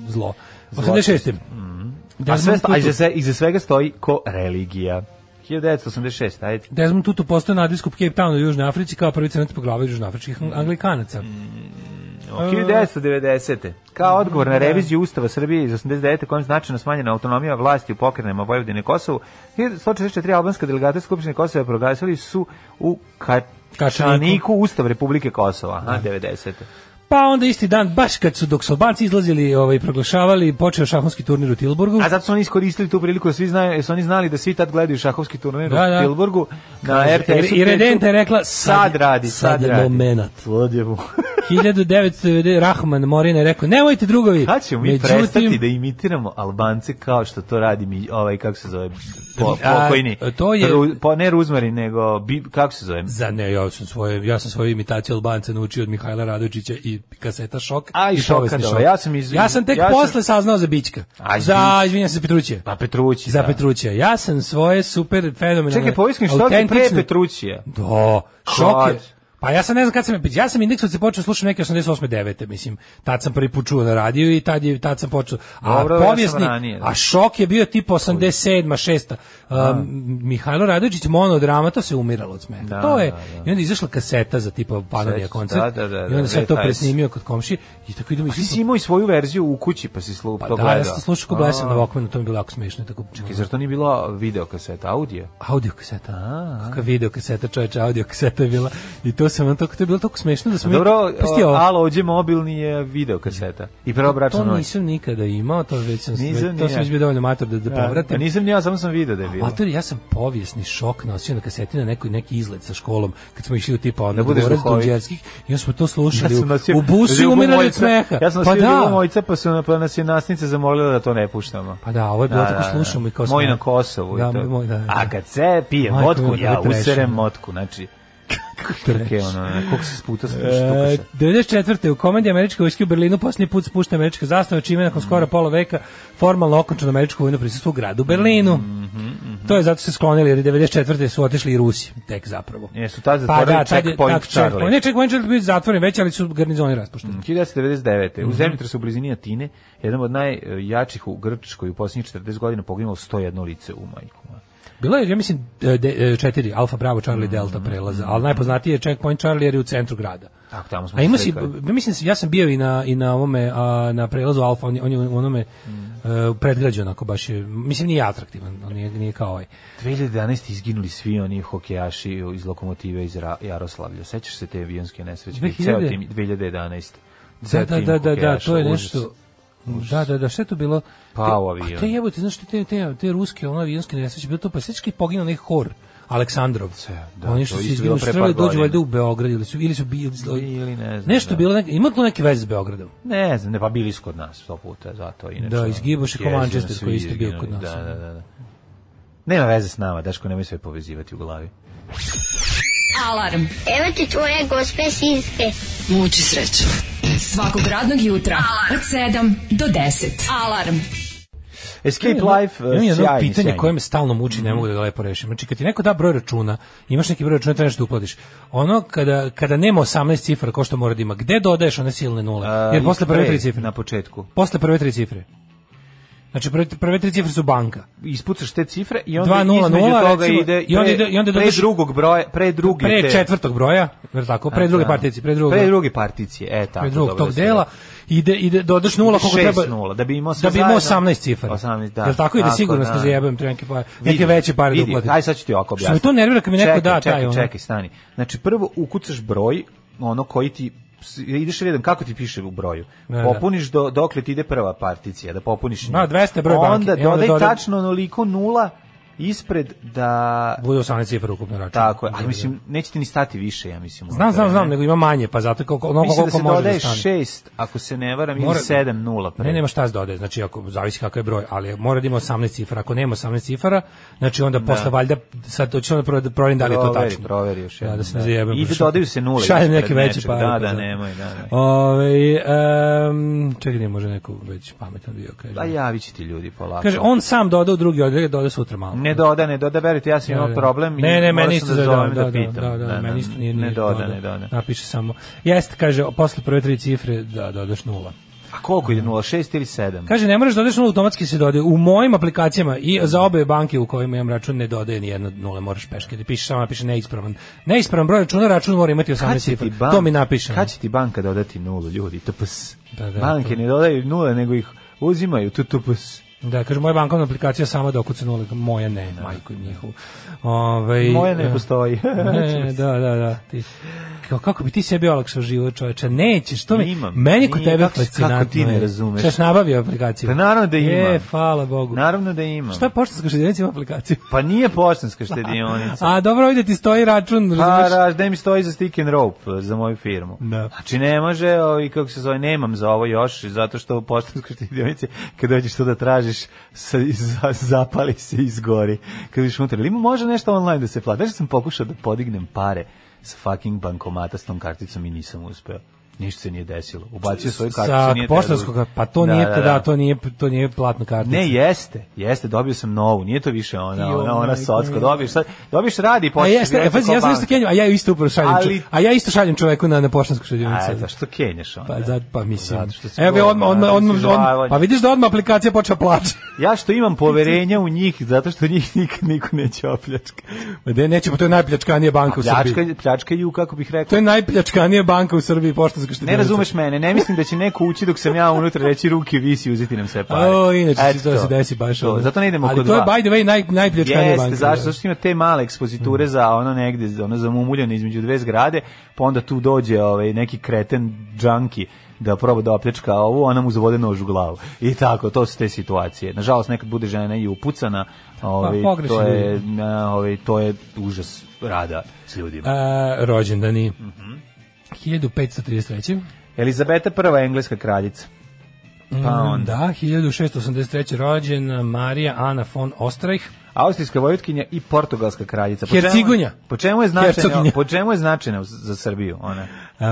[SPEAKER 6] zlo.
[SPEAKER 7] Zločest.
[SPEAKER 6] 86.
[SPEAKER 7] Mhm. A sve,
[SPEAKER 6] Desmond
[SPEAKER 7] sta- a
[SPEAKER 6] Tutu,
[SPEAKER 7] iza, sve, iza svega stoji ko religija. 1986, ajde.
[SPEAKER 6] Desmond Tutu postao nadbiskup Cape Town u Južnoj Africi kao prvi crnac po glavi južnoafričkih anglikanaca.
[SPEAKER 7] 1990. Kao odgovor
[SPEAKER 6] Da.
[SPEAKER 7] na reviziju Ustava Srbije iz 89. kojom je značajno smanjena autonomija vlasti u pokrenama Vojvodine i Kosovu, 144 albanska delegata Skupštine Kosova proglasili su u Ka
[SPEAKER 6] Kačaniku Da.
[SPEAKER 7] Kačaniku Ustav Republike Kosova, a 90.
[SPEAKER 6] Pa onda isti dan, baš kad su dok su Albanci izlazili ovaj, proglašavali, počeo šahonski turnir u Tilburgu.
[SPEAKER 7] A zato su oni iskoristili tu priliku, da svi znaju, jer su oni znali da svi tad gledaju šahovski turnir
[SPEAKER 6] Da, da.
[SPEAKER 7] u Tilburgu na
[SPEAKER 6] Kaže,
[SPEAKER 7] RTS-u.
[SPEAKER 6] I Redenta je rekla,
[SPEAKER 7] sad radi,
[SPEAKER 6] sad,
[SPEAKER 7] sad
[SPEAKER 6] je
[SPEAKER 7] radi.
[SPEAKER 6] momenat.
[SPEAKER 7] Sad je mo-
[SPEAKER 6] 1990 Rahman Morina je rekao, nemojte drugovi.
[SPEAKER 7] Kad ćemo mi prestati da imitiramo Albance kao što to radi mi, ovaj, kako se zove, po,
[SPEAKER 6] A,
[SPEAKER 7] pokojni?
[SPEAKER 6] to je-
[SPEAKER 7] Ru- po, ne Ruzmari, nego, bi, kako se zove?
[SPEAKER 6] Za ne, ja sam svoje, ja sam svoju imitaciju Albanca naučio od Mihajla Radovičića i kaseta Šok.
[SPEAKER 7] A, i Šoka,
[SPEAKER 6] povijesni
[SPEAKER 7] dobro, ja sam iz-
[SPEAKER 6] Ja sam tek
[SPEAKER 7] ja sam-
[SPEAKER 6] posle saznao za Bićka.
[SPEAKER 7] A, iz
[SPEAKER 6] za,
[SPEAKER 7] Bićka.
[SPEAKER 6] izvinjam se, Petrućija.
[SPEAKER 7] Pa Petrući.
[SPEAKER 6] za Petrućija. Ja sam svoje super fenomenalne...
[SPEAKER 7] Čekaj, povijeskim, što ti pre
[SPEAKER 6] autentične-
[SPEAKER 7] Petrućija?
[SPEAKER 6] Do, Da, šok je.
[SPEAKER 7] Kad?
[SPEAKER 6] Pa ja sam ne znam kad sam ja sam indeks od se počeo slušati neke 88. 9. mislim. Tad sam prvi put čuo na radiju i tad je tad sam počeo. A
[SPEAKER 7] Dobro, ja sam
[SPEAKER 6] povijesni,
[SPEAKER 7] ranije, da.
[SPEAKER 6] a šok je bio tipa 87. 6. Um, Mihajlo Radović monodrama to se umiralo od smeha.
[SPEAKER 7] Da,
[SPEAKER 6] to je
[SPEAKER 7] da, da.
[SPEAKER 6] i onda je izašla kaseta za tipa Panonija
[SPEAKER 7] Sećam se,
[SPEAKER 6] koncert.
[SPEAKER 7] da, da, da,
[SPEAKER 6] I onda sam ja to
[SPEAKER 7] VHS.
[SPEAKER 6] presnimio kod komšije i tako idemo i
[SPEAKER 7] Ti si imao i svoju verziju u kući, pa si slu,
[SPEAKER 6] Pa
[SPEAKER 7] to
[SPEAKER 6] da,
[SPEAKER 7] gledao.
[SPEAKER 6] ja sam slušao ko
[SPEAKER 7] A,
[SPEAKER 6] blesav na Walkmanu, to mi je bilo jako smiješno. i Tako,
[SPEAKER 7] I zar to nije bila videokaseta, audio?
[SPEAKER 6] audio kaseta. Kakva video kaseta, čoveče, audio kaseta je bila. I to sam vam tako, to je bilo tako smešno da smo... mi-
[SPEAKER 7] Dobro,
[SPEAKER 6] Pa sti ovo.
[SPEAKER 7] alo, ođe mobilni je videokaseta. I prva bračna
[SPEAKER 6] To
[SPEAKER 7] noć.
[SPEAKER 6] nisam nikada imao, to već sam,
[SPEAKER 7] Nisam
[SPEAKER 6] već-
[SPEAKER 7] ni
[SPEAKER 6] to sam
[SPEAKER 7] ja.
[SPEAKER 6] već bio dovoljno mator da, da povratim.
[SPEAKER 7] Pa nisam ni ja, samo sam video da je bilo.
[SPEAKER 6] Mator, ja sam povijesni šok nosio na kaseti na neki, neki izlet sa školom, kad smo išli u tipa ono,
[SPEAKER 7] Da budeš
[SPEAKER 6] dvorac
[SPEAKER 7] duhovit.
[SPEAKER 6] Dunđerskih, i onda smo to slušali
[SPEAKER 7] Ja
[SPEAKER 6] u,
[SPEAKER 7] sam nosio
[SPEAKER 6] u busu i
[SPEAKER 7] ljubu
[SPEAKER 6] umirali od
[SPEAKER 7] mojca.
[SPEAKER 6] smeha.
[SPEAKER 7] Ja sam
[SPEAKER 6] pa
[SPEAKER 7] nosio ljubu
[SPEAKER 6] da,
[SPEAKER 7] mojca, pa, su, na- pa nas je nasnica zamolila da to ne puštamo.
[SPEAKER 6] pa da, ovo je bilo
[SPEAKER 7] Da,
[SPEAKER 6] tako
[SPEAKER 7] da, da.
[SPEAKER 6] slušamo i kao
[SPEAKER 7] Moj
[SPEAKER 6] smo-
[SPEAKER 7] na Kosovu. i
[SPEAKER 6] Da,
[SPEAKER 7] to.
[SPEAKER 6] moj, da, da.
[SPEAKER 7] A kad se pije
[SPEAKER 6] Majko, da
[SPEAKER 7] motku,
[SPEAKER 6] ja
[SPEAKER 7] ja
[SPEAKER 6] bi trešao.
[SPEAKER 7] userem motku. Znači, Kako je ono, ono, koliko se puta
[SPEAKER 6] da E,
[SPEAKER 7] štuka se.
[SPEAKER 6] 94. u komandi američke vojske u Berlinu posljednji put spušta američka zastava, čime je nakon skoro pola veka formalno okončeno američko vojno prisustvo u gradu Berlinu.
[SPEAKER 7] Mhm,
[SPEAKER 6] To je zato se sklonili, jer je 94. su otišli i Rusi, tek zapravo. Pa
[SPEAKER 7] Jesu tad zatvorili
[SPEAKER 6] da, tad je-
[SPEAKER 7] checkpoint
[SPEAKER 6] tad checkpoint.
[SPEAKER 7] Charlie. Mhm.
[SPEAKER 6] Ne, checkpoint Charlie je bio zatvoren već, ali su garnizoni raspušteni.
[SPEAKER 7] 1999.
[SPEAKER 6] Mhm.
[SPEAKER 7] U zemljotresu u blizini Atine, jedan od najjačih u Grčkoj u posljednjih 40 godina poginulo 101 lice u majku.
[SPEAKER 6] Bilo je, ja mislim, e, de- e, četiri, Alfa, Bravo, Charlie,
[SPEAKER 7] Mhm.
[SPEAKER 6] Delta prelaza, ali najpoznatiji je checkpoint Charlie jer je u centru grada.
[SPEAKER 7] Tako, tamo smo
[SPEAKER 6] A ima
[SPEAKER 7] se
[SPEAKER 6] si,
[SPEAKER 7] slikali.
[SPEAKER 6] ja mislim, ja sam bio i na, i na ovome, a, na prelazu Alfa, on, je- on je u onome
[SPEAKER 7] Mm.
[SPEAKER 6] e, u predgrađu, onako baš je, mislim, nije atraktivan, on nije, nije kao ovaj.
[SPEAKER 7] 2011. izginuli svi oni hokejaši iz lokomotive iz Ra- Jaroslavlja. Sećaš se te avionske nesreće?
[SPEAKER 6] 2000?
[SPEAKER 7] Ceo tim 2011.
[SPEAKER 6] Da,
[SPEAKER 7] Ceo
[SPEAKER 6] da,
[SPEAKER 7] tim
[SPEAKER 6] da, da, da,
[SPEAKER 7] hokejaša,
[SPEAKER 6] to je
[SPEAKER 7] užas.
[SPEAKER 6] nešto... Da, da, da, šta je to bilo?
[SPEAKER 7] Pao
[SPEAKER 6] Te-
[SPEAKER 7] avion.
[SPEAKER 6] A te jebote, znaš, te, te, te, te ruske, ono avionske nesreće, bilo to, pa sveći kad je poginuo onaj hor, Aleksandrov.
[SPEAKER 7] da,
[SPEAKER 6] Oni
[SPEAKER 7] to
[SPEAKER 6] što
[SPEAKER 7] je
[SPEAKER 6] su
[SPEAKER 7] isto bilo
[SPEAKER 6] izginuli,
[SPEAKER 7] pre par
[SPEAKER 6] strali dođu
[SPEAKER 7] godina.
[SPEAKER 6] valjda u Beograd ili su, ili su bili,
[SPEAKER 7] Ili ne znam,
[SPEAKER 6] Nešto
[SPEAKER 7] da.
[SPEAKER 6] bilo, neka, ima to neke veze s Beogradom?
[SPEAKER 7] Ne znam, ne, pa bili su kod nas sto puta, zato inače.
[SPEAKER 6] Da,
[SPEAKER 7] ono,
[SPEAKER 6] izgibaš i ko
[SPEAKER 7] jezivo
[SPEAKER 6] Manchester
[SPEAKER 7] svi
[SPEAKER 6] koji je isto bio
[SPEAKER 7] izginuli,
[SPEAKER 6] kod nas,
[SPEAKER 7] Da,
[SPEAKER 6] ono.
[SPEAKER 7] da, da, da. Nema veze s nama, Daško, nemoj sve povezivati u glavi.
[SPEAKER 5] Alarm.
[SPEAKER 2] Evo ti tvoje gospe sinske.
[SPEAKER 5] Muči sreću. Svakog radnog jutra od 7 do 10. Alarm.
[SPEAKER 7] Escape
[SPEAKER 6] Imam jedno-
[SPEAKER 7] Life,
[SPEAKER 6] imam jedno
[SPEAKER 7] sjajni,
[SPEAKER 6] pitanje
[SPEAKER 7] sjajni.
[SPEAKER 6] koje me stalno muči, ne mogu da ga lepo rešim. Znači, kad ti neko da broj računa, imaš neki broj računa, trebaš da uplatiš. Ono, kada, kada nema 18 cifra, ko što mora da ima, gde dodaješ one silne nule?
[SPEAKER 7] A,
[SPEAKER 6] Jer posle prve
[SPEAKER 7] Uh, pre,
[SPEAKER 6] tri cifre.
[SPEAKER 7] Na početku.
[SPEAKER 6] Posle prve tri cifre. Znači, prve, prve tri cifre su banka.
[SPEAKER 7] Ispucaš te cifre i onda
[SPEAKER 6] 200,
[SPEAKER 7] između toga
[SPEAKER 6] recimo,
[SPEAKER 7] ide,
[SPEAKER 6] i onda
[SPEAKER 7] pre-
[SPEAKER 6] ide- i onda
[SPEAKER 7] pre
[SPEAKER 6] dodaš-
[SPEAKER 7] drugog broja, pre druge
[SPEAKER 6] Pre
[SPEAKER 7] te- da. Znači,
[SPEAKER 6] četvrtog broja, je li tako? Pre druge partici, pre druge,
[SPEAKER 7] Pre druge particije, e tako.
[SPEAKER 6] pre drugog
[SPEAKER 7] dobro
[SPEAKER 6] tog
[SPEAKER 7] da si
[SPEAKER 6] dela,
[SPEAKER 7] rekao.
[SPEAKER 6] ide, ide, dodaš nula koliko
[SPEAKER 7] Šest
[SPEAKER 6] treba.
[SPEAKER 7] nula, da bi imao
[SPEAKER 6] da
[SPEAKER 7] sve
[SPEAKER 6] bi imao
[SPEAKER 7] zajedno.
[SPEAKER 6] 18 cifara.
[SPEAKER 7] 18, da.
[SPEAKER 6] Jel tako ide
[SPEAKER 7] Tako,
[SPEAKER 6] sigurno
[SPEAKER 7] da.
[SPEAKER 6] da. zajebem treba neke pare, neke
[SPEAKER 7] Vidi,
[SPEAKER 6] veće pare da
[SPEAKER 7] vidi,
[SPEAKER 6] uplatim.
[SPEAKER 7] Aj sad ću ti ovako
[SPEAKER 6] Što
[SPEAKER 7] objasniti.
[SPEAKER 6] me to nervira kad mi neko
[SPEAKER 7] Čekaj,
[SPEAKER 6] da taj
[SPEAKER 7] čekaj,
[SPEAKER 6] ono.
[SPEAKER 7] Čekaj, stani. Znači prvo ukucaš broj, ono koji ti ideš redom kako ti piše u broju.
[SPEAKER 6] Da,
[SPEAKER 7] Popuniš do dokle ti ide prva particija, da popuniš.
[SPEAKER 6] Da, 200 broj banke. da
[SPEAKER 7] Onda
[SPEAKER 6] I onda
[SPEAKER 7] dodaj
[SPEAKER 6] dodaj-
[SPEAKER 7] tačno onoliko nula ispred da
[SPEAKER 6] Bude 18 cifra ukupno račun.
[SPEAKER 7] tako je.
[SPEAKER 6] Da,
[SPEAKER 7] Ali
[SPEAKER 6] da.
[SPEAKER 7] mislim neće ti ni stati više, ja mislim.
[SPEAKER 6] Znam, znam, znam, nego ima manje, pa zato koliko ono
[SPEAKER 7] Mislim da
[SPEAKER 6] koliko
[SPEAKER 7] se
[SPEAKER 6] može da
[SPEAKER 7] dodaje
[SPEAKER 6] stane.
[SPEAKER 7] 6, ako se ne varam, ili
[SPEAKER 6] Mora-
[SPEAKER 7] 7 nula. pre.
[SPEAKER 6] Ne, nema šta se dodaje, znači ako zavisi kakav je broj, ali mora da ima 18 cifara. Ako nema 18 cifara, znači onda posle valjda sad hoćemo da pro- da proverim da li je to
[SPEAKER 7] Da. Proveri,
[SPEAKER 6] tačno.
[SPEAKER 7] proveri još
[SPEAKER 6] Ja, da
[SPEAKER 7] jednom,
[SPEAKER 6] se ne
[SPEAKER 7] da.
[SPEAKER 6] zajebem.
[SPEAKER 7] I da dodaju se nule
[SPEAKER 6] Šaljem
[SPEAKER 7] ispred
[SPEAKER 6] neke veće
[SPEAKER 7] nečeg.
[SPEAKER 6] pare.
[SPEAKER 7] Da,
[SPEAKER 6] pa
[SPEAKER 7] da,
[SPEAKER 6] zato.
[SPEAKER 7] nemoj, da, da.
[SPEAKER 6] Ovaj, em, čekaj, ne može neko već pametan bio, kaže.
[SPEAKER 7] Da javit će ti ljudi polako.
[SPEAKER 6] Kaže, on sam doda u drugi oddeljak, doda sutra malo.
[SPEAKER 7] Ne doda, ne doda, verujte, ja sam imao problem i
[SPEAKER 6] Da, Ne, ne,
[SPEAKER 7] morao
[SPEAKER 6] meni
[SPEAKER 7] sam
[SPEAKER 6] isto
[SPEAKER 7] da
[SPEAKER 6] da,
[SPEAKER 7] zovem
[SPEAKER 6] da,
[SPEAKER 7] da pitam.
[SPEAKER 6] Da, da, da, meni isto nije, Da. nije
[SPEAKER 7] Ne doda, ne doda.
[SPEAKER 6] Napiše samo. Jeste, kaže, posle prve tri cifre da dodaš nula.
[SPEAKER 7] A koliko ide, 0,6 ili 7?
[SPEAKER 6] Kaže, ne moraš da dodaš nula, automatski se dodaje. U mojim aplikacijama i za obe banke u kojima imam račun ne dodaje ni jedna nula, moraš peške. Da piše samo napiše neispravan. Neispravan broj računa, račun mora imati 18 cifra. pa- To mi napiše.
[SPEAKER 7] Kad će ti banka dodati nulu, ljudi? TPS.
[SPEAKER 6] Da, da,
[SPEAKER 7] Banke
[SPEAKER 6] to-
[SPEAKER 7] ne dodaju nule, nego ih uzimaju. Tu TPS.
[SPEAKER 6] Da, kaže, moja bankovna aplikacija sama da okuca nula, moja ne, majku njihovu. Ovaj,
[SPEAKER 7] Moja ne
[SPEAKER 6] eh,
[SPEAKER 7] postoji.
[SPEAKER 6] Ne, da, da, da. Ti, kako, kako bi ti sebi olakšao život čoveče? Nećeš, to mi,
[SPEAKER 7] Imam.
[SPEAKER 6] meni kod
[SPEAKER 7] Nije,
[SPEAKER 6] tebe
[SPEAKER 7] kako- kako
[SPEAKER 6] fascinantno.
[SPEAKER 7] ti ne
[SPEAKER 6] je.
[SPEAKER 7] razumeš?
[SPEAKER 6] Šta si nabavio aplikaciju?
[SPEAKER 7] Pa naravno da
[SPEAKER 6] E,
[SPEAKER 7] imam.
[SPEAKER 6] hvala Bogu.
[SPEAKER 7] Naravno da imam.
[SPEAKER 6] Šta poštanska štedionica ima aplikaciju?
[SPEAKER 7] Pa nije poštanska štedionica.
[SPEAKER 6] A dobro, ovdje ti stoji račun,
[SPEAKER 7] Pa,
[SPEAKER 6] razumeš?
[SPEAKER 7] raš, da mi stoji za stick and rope e, za moju firmu.
[SPEAKER 6] Znači- Da.
[SPEAKER 7] Znači ne može, ovi, kako se zove, nemam za ovo još, zato što u poštanskoj štedionici, kad dođeš to da tražiš, sa, za- zapali se i izgori. Kad viš unutra, ili ima može nešto online da se plati. Znači sam pokušao da podignem pare sa fucking bankomata s tom karticom i nisam uspeo. Ništa se nije desilo. Ubacio svoju karticu,
[SPEAKER 6] sa
[SPEAKER 7] nije trebalo.
[SPEAKER 6] poštanskog, pa to nije, da, to nije, to nije platna kartica.
[SPEAKER 7] Ne, jeste, jeste, dobio sam novu, nije to više ona,
[SPEAKER 6] Jo,
[SPEAKER 7] ona, ona
[SPEAKER 6] majko
[SPEAKER 7] socko,
[SPEAKER 6] mila.
[SPEAKER 7] dobiješ, sad- dobiješ radi i
[SPEAKER 6] ovaj A
[SPEAKER 7] počneš
[SPEAKER 6] jeste, e,
[SPEAKER 7] igrati
[SPEAKER 6] pazi,
[SPEAKER 7] kao
[SPEAKER 6] ja sam
[SPEAKER 7] banka.
[SPEAKER 6] nešto kenjam, a ja isto upravo šaljem,
[SPEAKER 7] Ali-
[SPEAKER 6] čov- a ja isto šaljem čoveku na, na poštansku štedionicu.
[SPEAKER 7] A, eto, što kenješ onda?
[SPEAKER 6] Pa zato pa mislim.
[SPEAKER 7] Zato što si
[SPEAKER 6] Evo
[SPEAKER 7] govna,
[SPEAKER 6] odmah
[SPEAKER 7] da
[SPEAKER 6] odmah
[SPEAKER 7] si
[SPEAKER 6] odmah,
[SPEAKER 7] žvavalj.
[SPEAKER 6] odmah pa vidiš da odmah aplikacija počela plaći.
[SPEAKER 7] Ja što imam poverenja u njih, zato što njih nikad niko neće opljačka.
[SPEAKER 6] Ma da neće, pa to je najpljačkanija banka u
[SPEAKER 7] Pljačka,
[SPEAKER 6] Srbiji.
[SPEAKER 7] pljačkaju, kako bih
[SPEAKER 6] To
[SPEAKER 7] rekao.
[SPEAKER 6] je najpljačkanija banka u Srbiji poštanska štedionica.
[SPEAKER 7] Ne razumeš mene, ne mislim da će neko ući dok sam ja unutra reći ruke visi i uzeti nam sve pare.
[SPEAKER 6] O, inače
[SPEAKER 7] Eto
[SPEAKER 6] ti to
[SPEAKER 7] to.
[SPEAKER 6] se desi baš.
[SPEAKER 7] To,
[SPEAKER 6] ono.
[SPEAKER 7] zato ne idemo
[SPEAKER 6] Ali
[SPEAKER 7] kod
[SPEAKER 6] to je
[SPEAKER 7] dva.
[SPEAKER 6] by the way naj najpljačkanija banka.
[SPEAKER 7] Jeste, zašto? Zato što ima te male ekspoziture
[SPEAKER 6] Mm.
[SPEAKER 7] za ono negde, za ono zamumuljane između dve zgrade, pa onda tu dođe ovaj, neki kreten džanki da proba da opljačka ovu, ona mu zavode nož u glavu. I tako, to su te situacije. Nažalost, nekad bude žena i upucana,
[SPEAKER 6] Pa,
[SPEAKER 7] ovaj,
[SPEAKER 6] pogreši
[SPEAKER 7] to, je, na, ovaj, to je užas rada s ljudima.
[SPEAKER 6] A, rođendani.
[SPEAKER 7] Mhm.
[SPEAKER 6] 1533.
[SPEAKER 7] Elizabeta I, engleska kraljica. Pa
[SPEAKER 6] Mm,
[SPEAKER 7] onda.
[SPEAKER 6] Da, 1683. rođena Marija Ana von Ostrajh.
[SPEAKER 7] austrijska vojutkinja i portugalska kraljica. Po čemu-
[SPEAKER 6] Hercigunja.
[SPEAKER 7] Po čemu je značajna?
[SPEAKER 6] Hercoginja.
[SPEAKER 7] Po čemu je značajna za Srbiju ona?
[SPEAKER 6] Uh,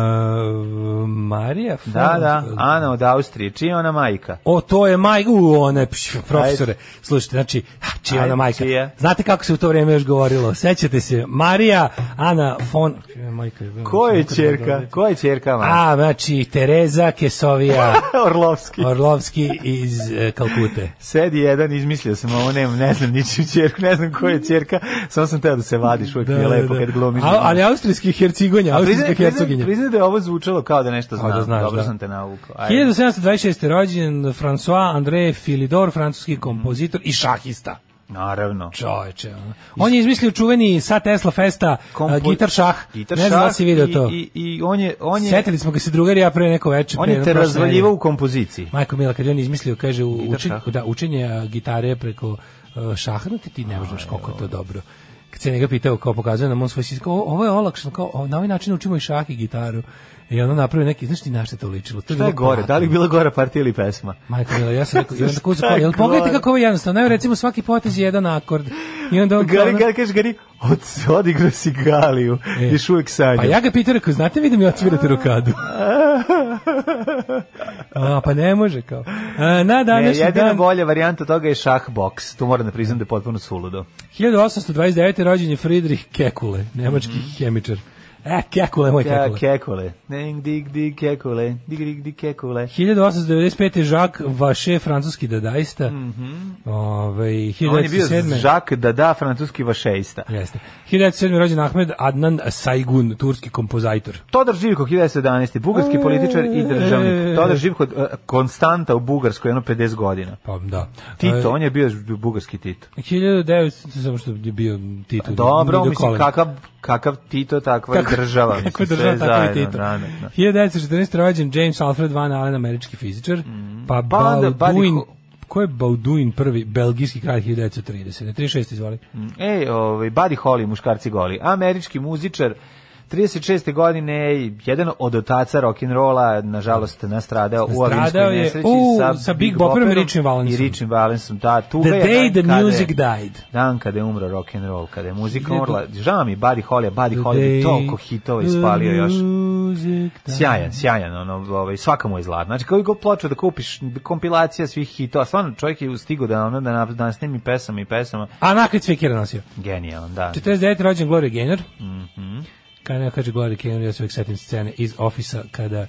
[SPEAKER 6] Marija Fond.
[SPEAKER 7] Da, da, Ana od Austrije. Čija je ona majka?
[SPEAKER 6] O, to je maj... U, one, pš, profesore. Slušajte, znači, ah, čija
[SPEAKER 7] Ajde,
[SPEAKER 6] ona majka.
[SPEAKER 7] čija?
[SPEAKER 6] Znate kako se u to vrijeme još govorilo? Sećate se, Marija, Ana von... Čija je majka?
[SPEAKER 7] Ko je čerka? Ko je čerka? majka?
[SPEAKER 6] A, znači, Tereza Kesovija
[SPEAKER 7] Orlovski.
[SPEAKER 6] Orlovski iz e, Kalkute.
[SPEAKER 7] Sedi jedan, izmislio sam ovo, nemam, ne znam ničiju čerku, ne znam koja je čerka, samo sam teo da se vadiš, uvijek mi je lepo kad glumiš.
[SPEAKER 6] da. A, ali austrijski hercigonja,
[SPEAKER 7] A
[SPEAKER 6] austrijska
[SPEAKER 7] priznaj- priznaj-
[SPEAKER 6] hercoginja.
[SPEAKER 7] priznaj da je ovo zvučalo kao da nešto
[SPEAKER 6] da
[SPEAKER 7] znam,
[SPEAKER 6] znaš,
[SPEAKER 7] dobro
[SPEAKER 6] da.
[SPEAKER 7] sam te navukao. Ajde.
[SPEAKER 6] 1726. rođen François André Philidor,
[SPEAKER 7] Mhm.
[SPEAKER 6] francuski kompozitor i šahista.
[SPEAKER 7] Naravno.
[SPEAKER 6] Čoveče. ono. On je izmislio čuveni sa Tesla Festa a,
[SPEAKER 7] Kompo-
[SPEAKER 6] gitar šah.
[SPEAKER 7] Gitar
[SPEAKER 6] ne znam da
[SPEAKER 7] šah
[SPEAKER 6] si video
[SPEAKER 7] i,
[SPEAKER 6] to.
[SPEAKER 7] I, i on je, on je,
[SPEAKER 6] Setili smo ga se drugari ja pre neko veče.
[SPEAKER 7] on
[SPEAKER 6] pre
[SPEAKER 7] je te
[SPEAKER 6] jedno prošle
[SPEAKER 7] razvaljivao u
[SPEAKER 6] nedelje.
[SPEAKER 7] kompoziciji.
[SPEAKER 6] Majko Mila, kad je on izmislio, kaže, u-
[SPEAKER 7] Gitar
[SPEAKER 6] učen,
[SPEAKER 7] šah.
[SPEAKER 6] da, učenje a, gitare preko a, šaha, no ti, ti ne možeš koliko je to dobro. Kad se njega pitao, kao pokazuje nam on svoj sistem, kao, "O, ovo je olakšano, kao, o, na ovaj način učimo i šah i gitaru. I ono napravio neki, znaš ti na što je to ličilo? To je
[SPEAKER 7] Šta je
[SPEAKER 6] bilo
[SPEAKER 7] gore? Da li je
[SPEAKER 6] platno.
[SPEAKER 7] bila gore partija ili pesma?
[SPEAKER 6] Majko Mila, ja sam rekao, i onda kuzu,
[SPEAKER 7] Šta je
[SPEAKER 6] jel pogledajte
[SPEAKER 7] gore?
[SPEAKER 6] kako ovo je jednostavno, evo recimo svaki potez je jedan akord. I onda on,
[SPEAKER 7] Gari,
[SPEAKER 6] ono-
[SPEAKER 7] gari, kažeš, gari, od, odigrao si Galiju,
[SPEAKER 6] E.
[SPEAKER 7] još uvijek sanjao.
[SPEAKER 6] Pa ja ga pitao, rekao, znate vi da mi odsvirate rokadu? A, pa ne može kao. A, na
[SPEAKER 7] Ne,
[SPEAKER 6] današnji
[SPEAKER 7] jedina
[SPEAKER 6] dan,
[SPEAKER 7] bolja varijanta toga je šah boks. Tu moram da priznam da je potpuno suludo.
[SPEAKER 6] 1829. rođen je Friedrich Kekule, nemački hemičar. E, Kekule, moj
[SPEAKER 7] Ke,
[SPEAKER 6] Kekule.
[SPEAKER 7] Mhm. kekule. Neng, dig, dig, kekule. Dig, dig, dig, kekule.
[SPEAKER 6] 1895. Jacques Vache, francuski dadaista. Ovaj,
[SPEAKER 7] Mhm. On je bio
[SPEAKER 6] 1907.
[SPEAKER 7] Jacques Dada, francuski vašeista.
[SPEAKER 6] Jeste. 1907. rođen Ahmed Adnan Sajgun, turski kompozitor.
[SPEAKER 7] Todor Živko, 1911. Bugarski političar i
[SPEAKER 6] E.
[SPEAKER 7] državnik. Todor Živko, eh, konstanta u Bugarskoj, jedno 50 godina.
[SPEAKER 6] Pa, da.
[SPEAKER 7] Tito,
[SPEAKER 6] E,
[SPEAKER 7] on je bio bugarski Tito.
[SPEAKER 6] 1900, samo što je bio Tito.
[SPEAKER 7] Dobro,
[SPEAKER 6] Nidokole.
[SPEAKER 7] mislim, kakav, kakav Tito, takva i država. mislim,
[SPEAKER 6] Kako
[SPEAKER 7] sve
[SPEAKER 6] država, tako i
[SPEAKER 7] zajedno,
[SPEAKER 6] Tito.
[SPEAKER 7] da, da, da.
[SPEAKER 6] 1914. rođen James Alfred Van Allen, američki fizičar. Pa,
[SPEAKER 7] Pa onda
[SPEAKER 6] Bauduin,
[SPEAKER 7] Buddy Ho-
[SPEAKER 6] ko je Bauduin prvi, belgijski kralj 1930. Ne, 36, izvoli.
[SPEAKER 7] Ej, ovaj, Buddy Holly, muškarci goli. Američki muzičar, 36. godine, jedan od otaca rock'n'rolla, nažalost, nastradao u
[SPEAKER 6] Nastradao
[SPEAKER 7] avinskoj
[SPEAKER 6] je,
[SPEAKER 7] nesreći
[SPEAKER 6] u,
[SPEAKER 7] sa,
[SPEAKER 6] sa Big
[SPEAKER 7] Big
[SPEAKER 6] Bopperom i
[SPEAKER 7] Bopperom
[SPEAKER 6] Richiem Valensom.
[SPEAKER 7] I Richiem Valensom, da. Tuga
[SPEAKER 6] The
[SPEAKER 7] je
[SPEAKER 6] day the
[SPEAKER 7] dan kada je-
[SPEAKER 6] music died.
[SPEAKER 7] Dan kada je umro rock'n'roll, kada je muzika
[SPEAKER 6] Hiljadu-
[SPEAKER 7] umrla. Žao mi je Buddy Holly, Buddy Holly bi
[SPEAKER 6] Today
[SPEAKER 7] toliko hitova ispalio još.
[SPEAKER 6] music died.
[SPEAKER 7] Sjajan, sjajan, ono, ovaj, svaka mu je zlatna. Znači, kao i go ploču da kupiš kompilacija svih hitova. Stvarno, čovjek je stigo da, ono, da, na- da snimi pesama i pesama.
[SPEAKER 6] A nakon cvikira nosio.
[SPEAKER 7] Genijalan, da.
[SPEAKER 6] 49. rođen Gloria Gaynor.
[SPEAKER 7] Mhm.
[SPEAKER 6] Kada ne kaže Gloria Gaynor, ja se uvijek setim scene iz ofisa kada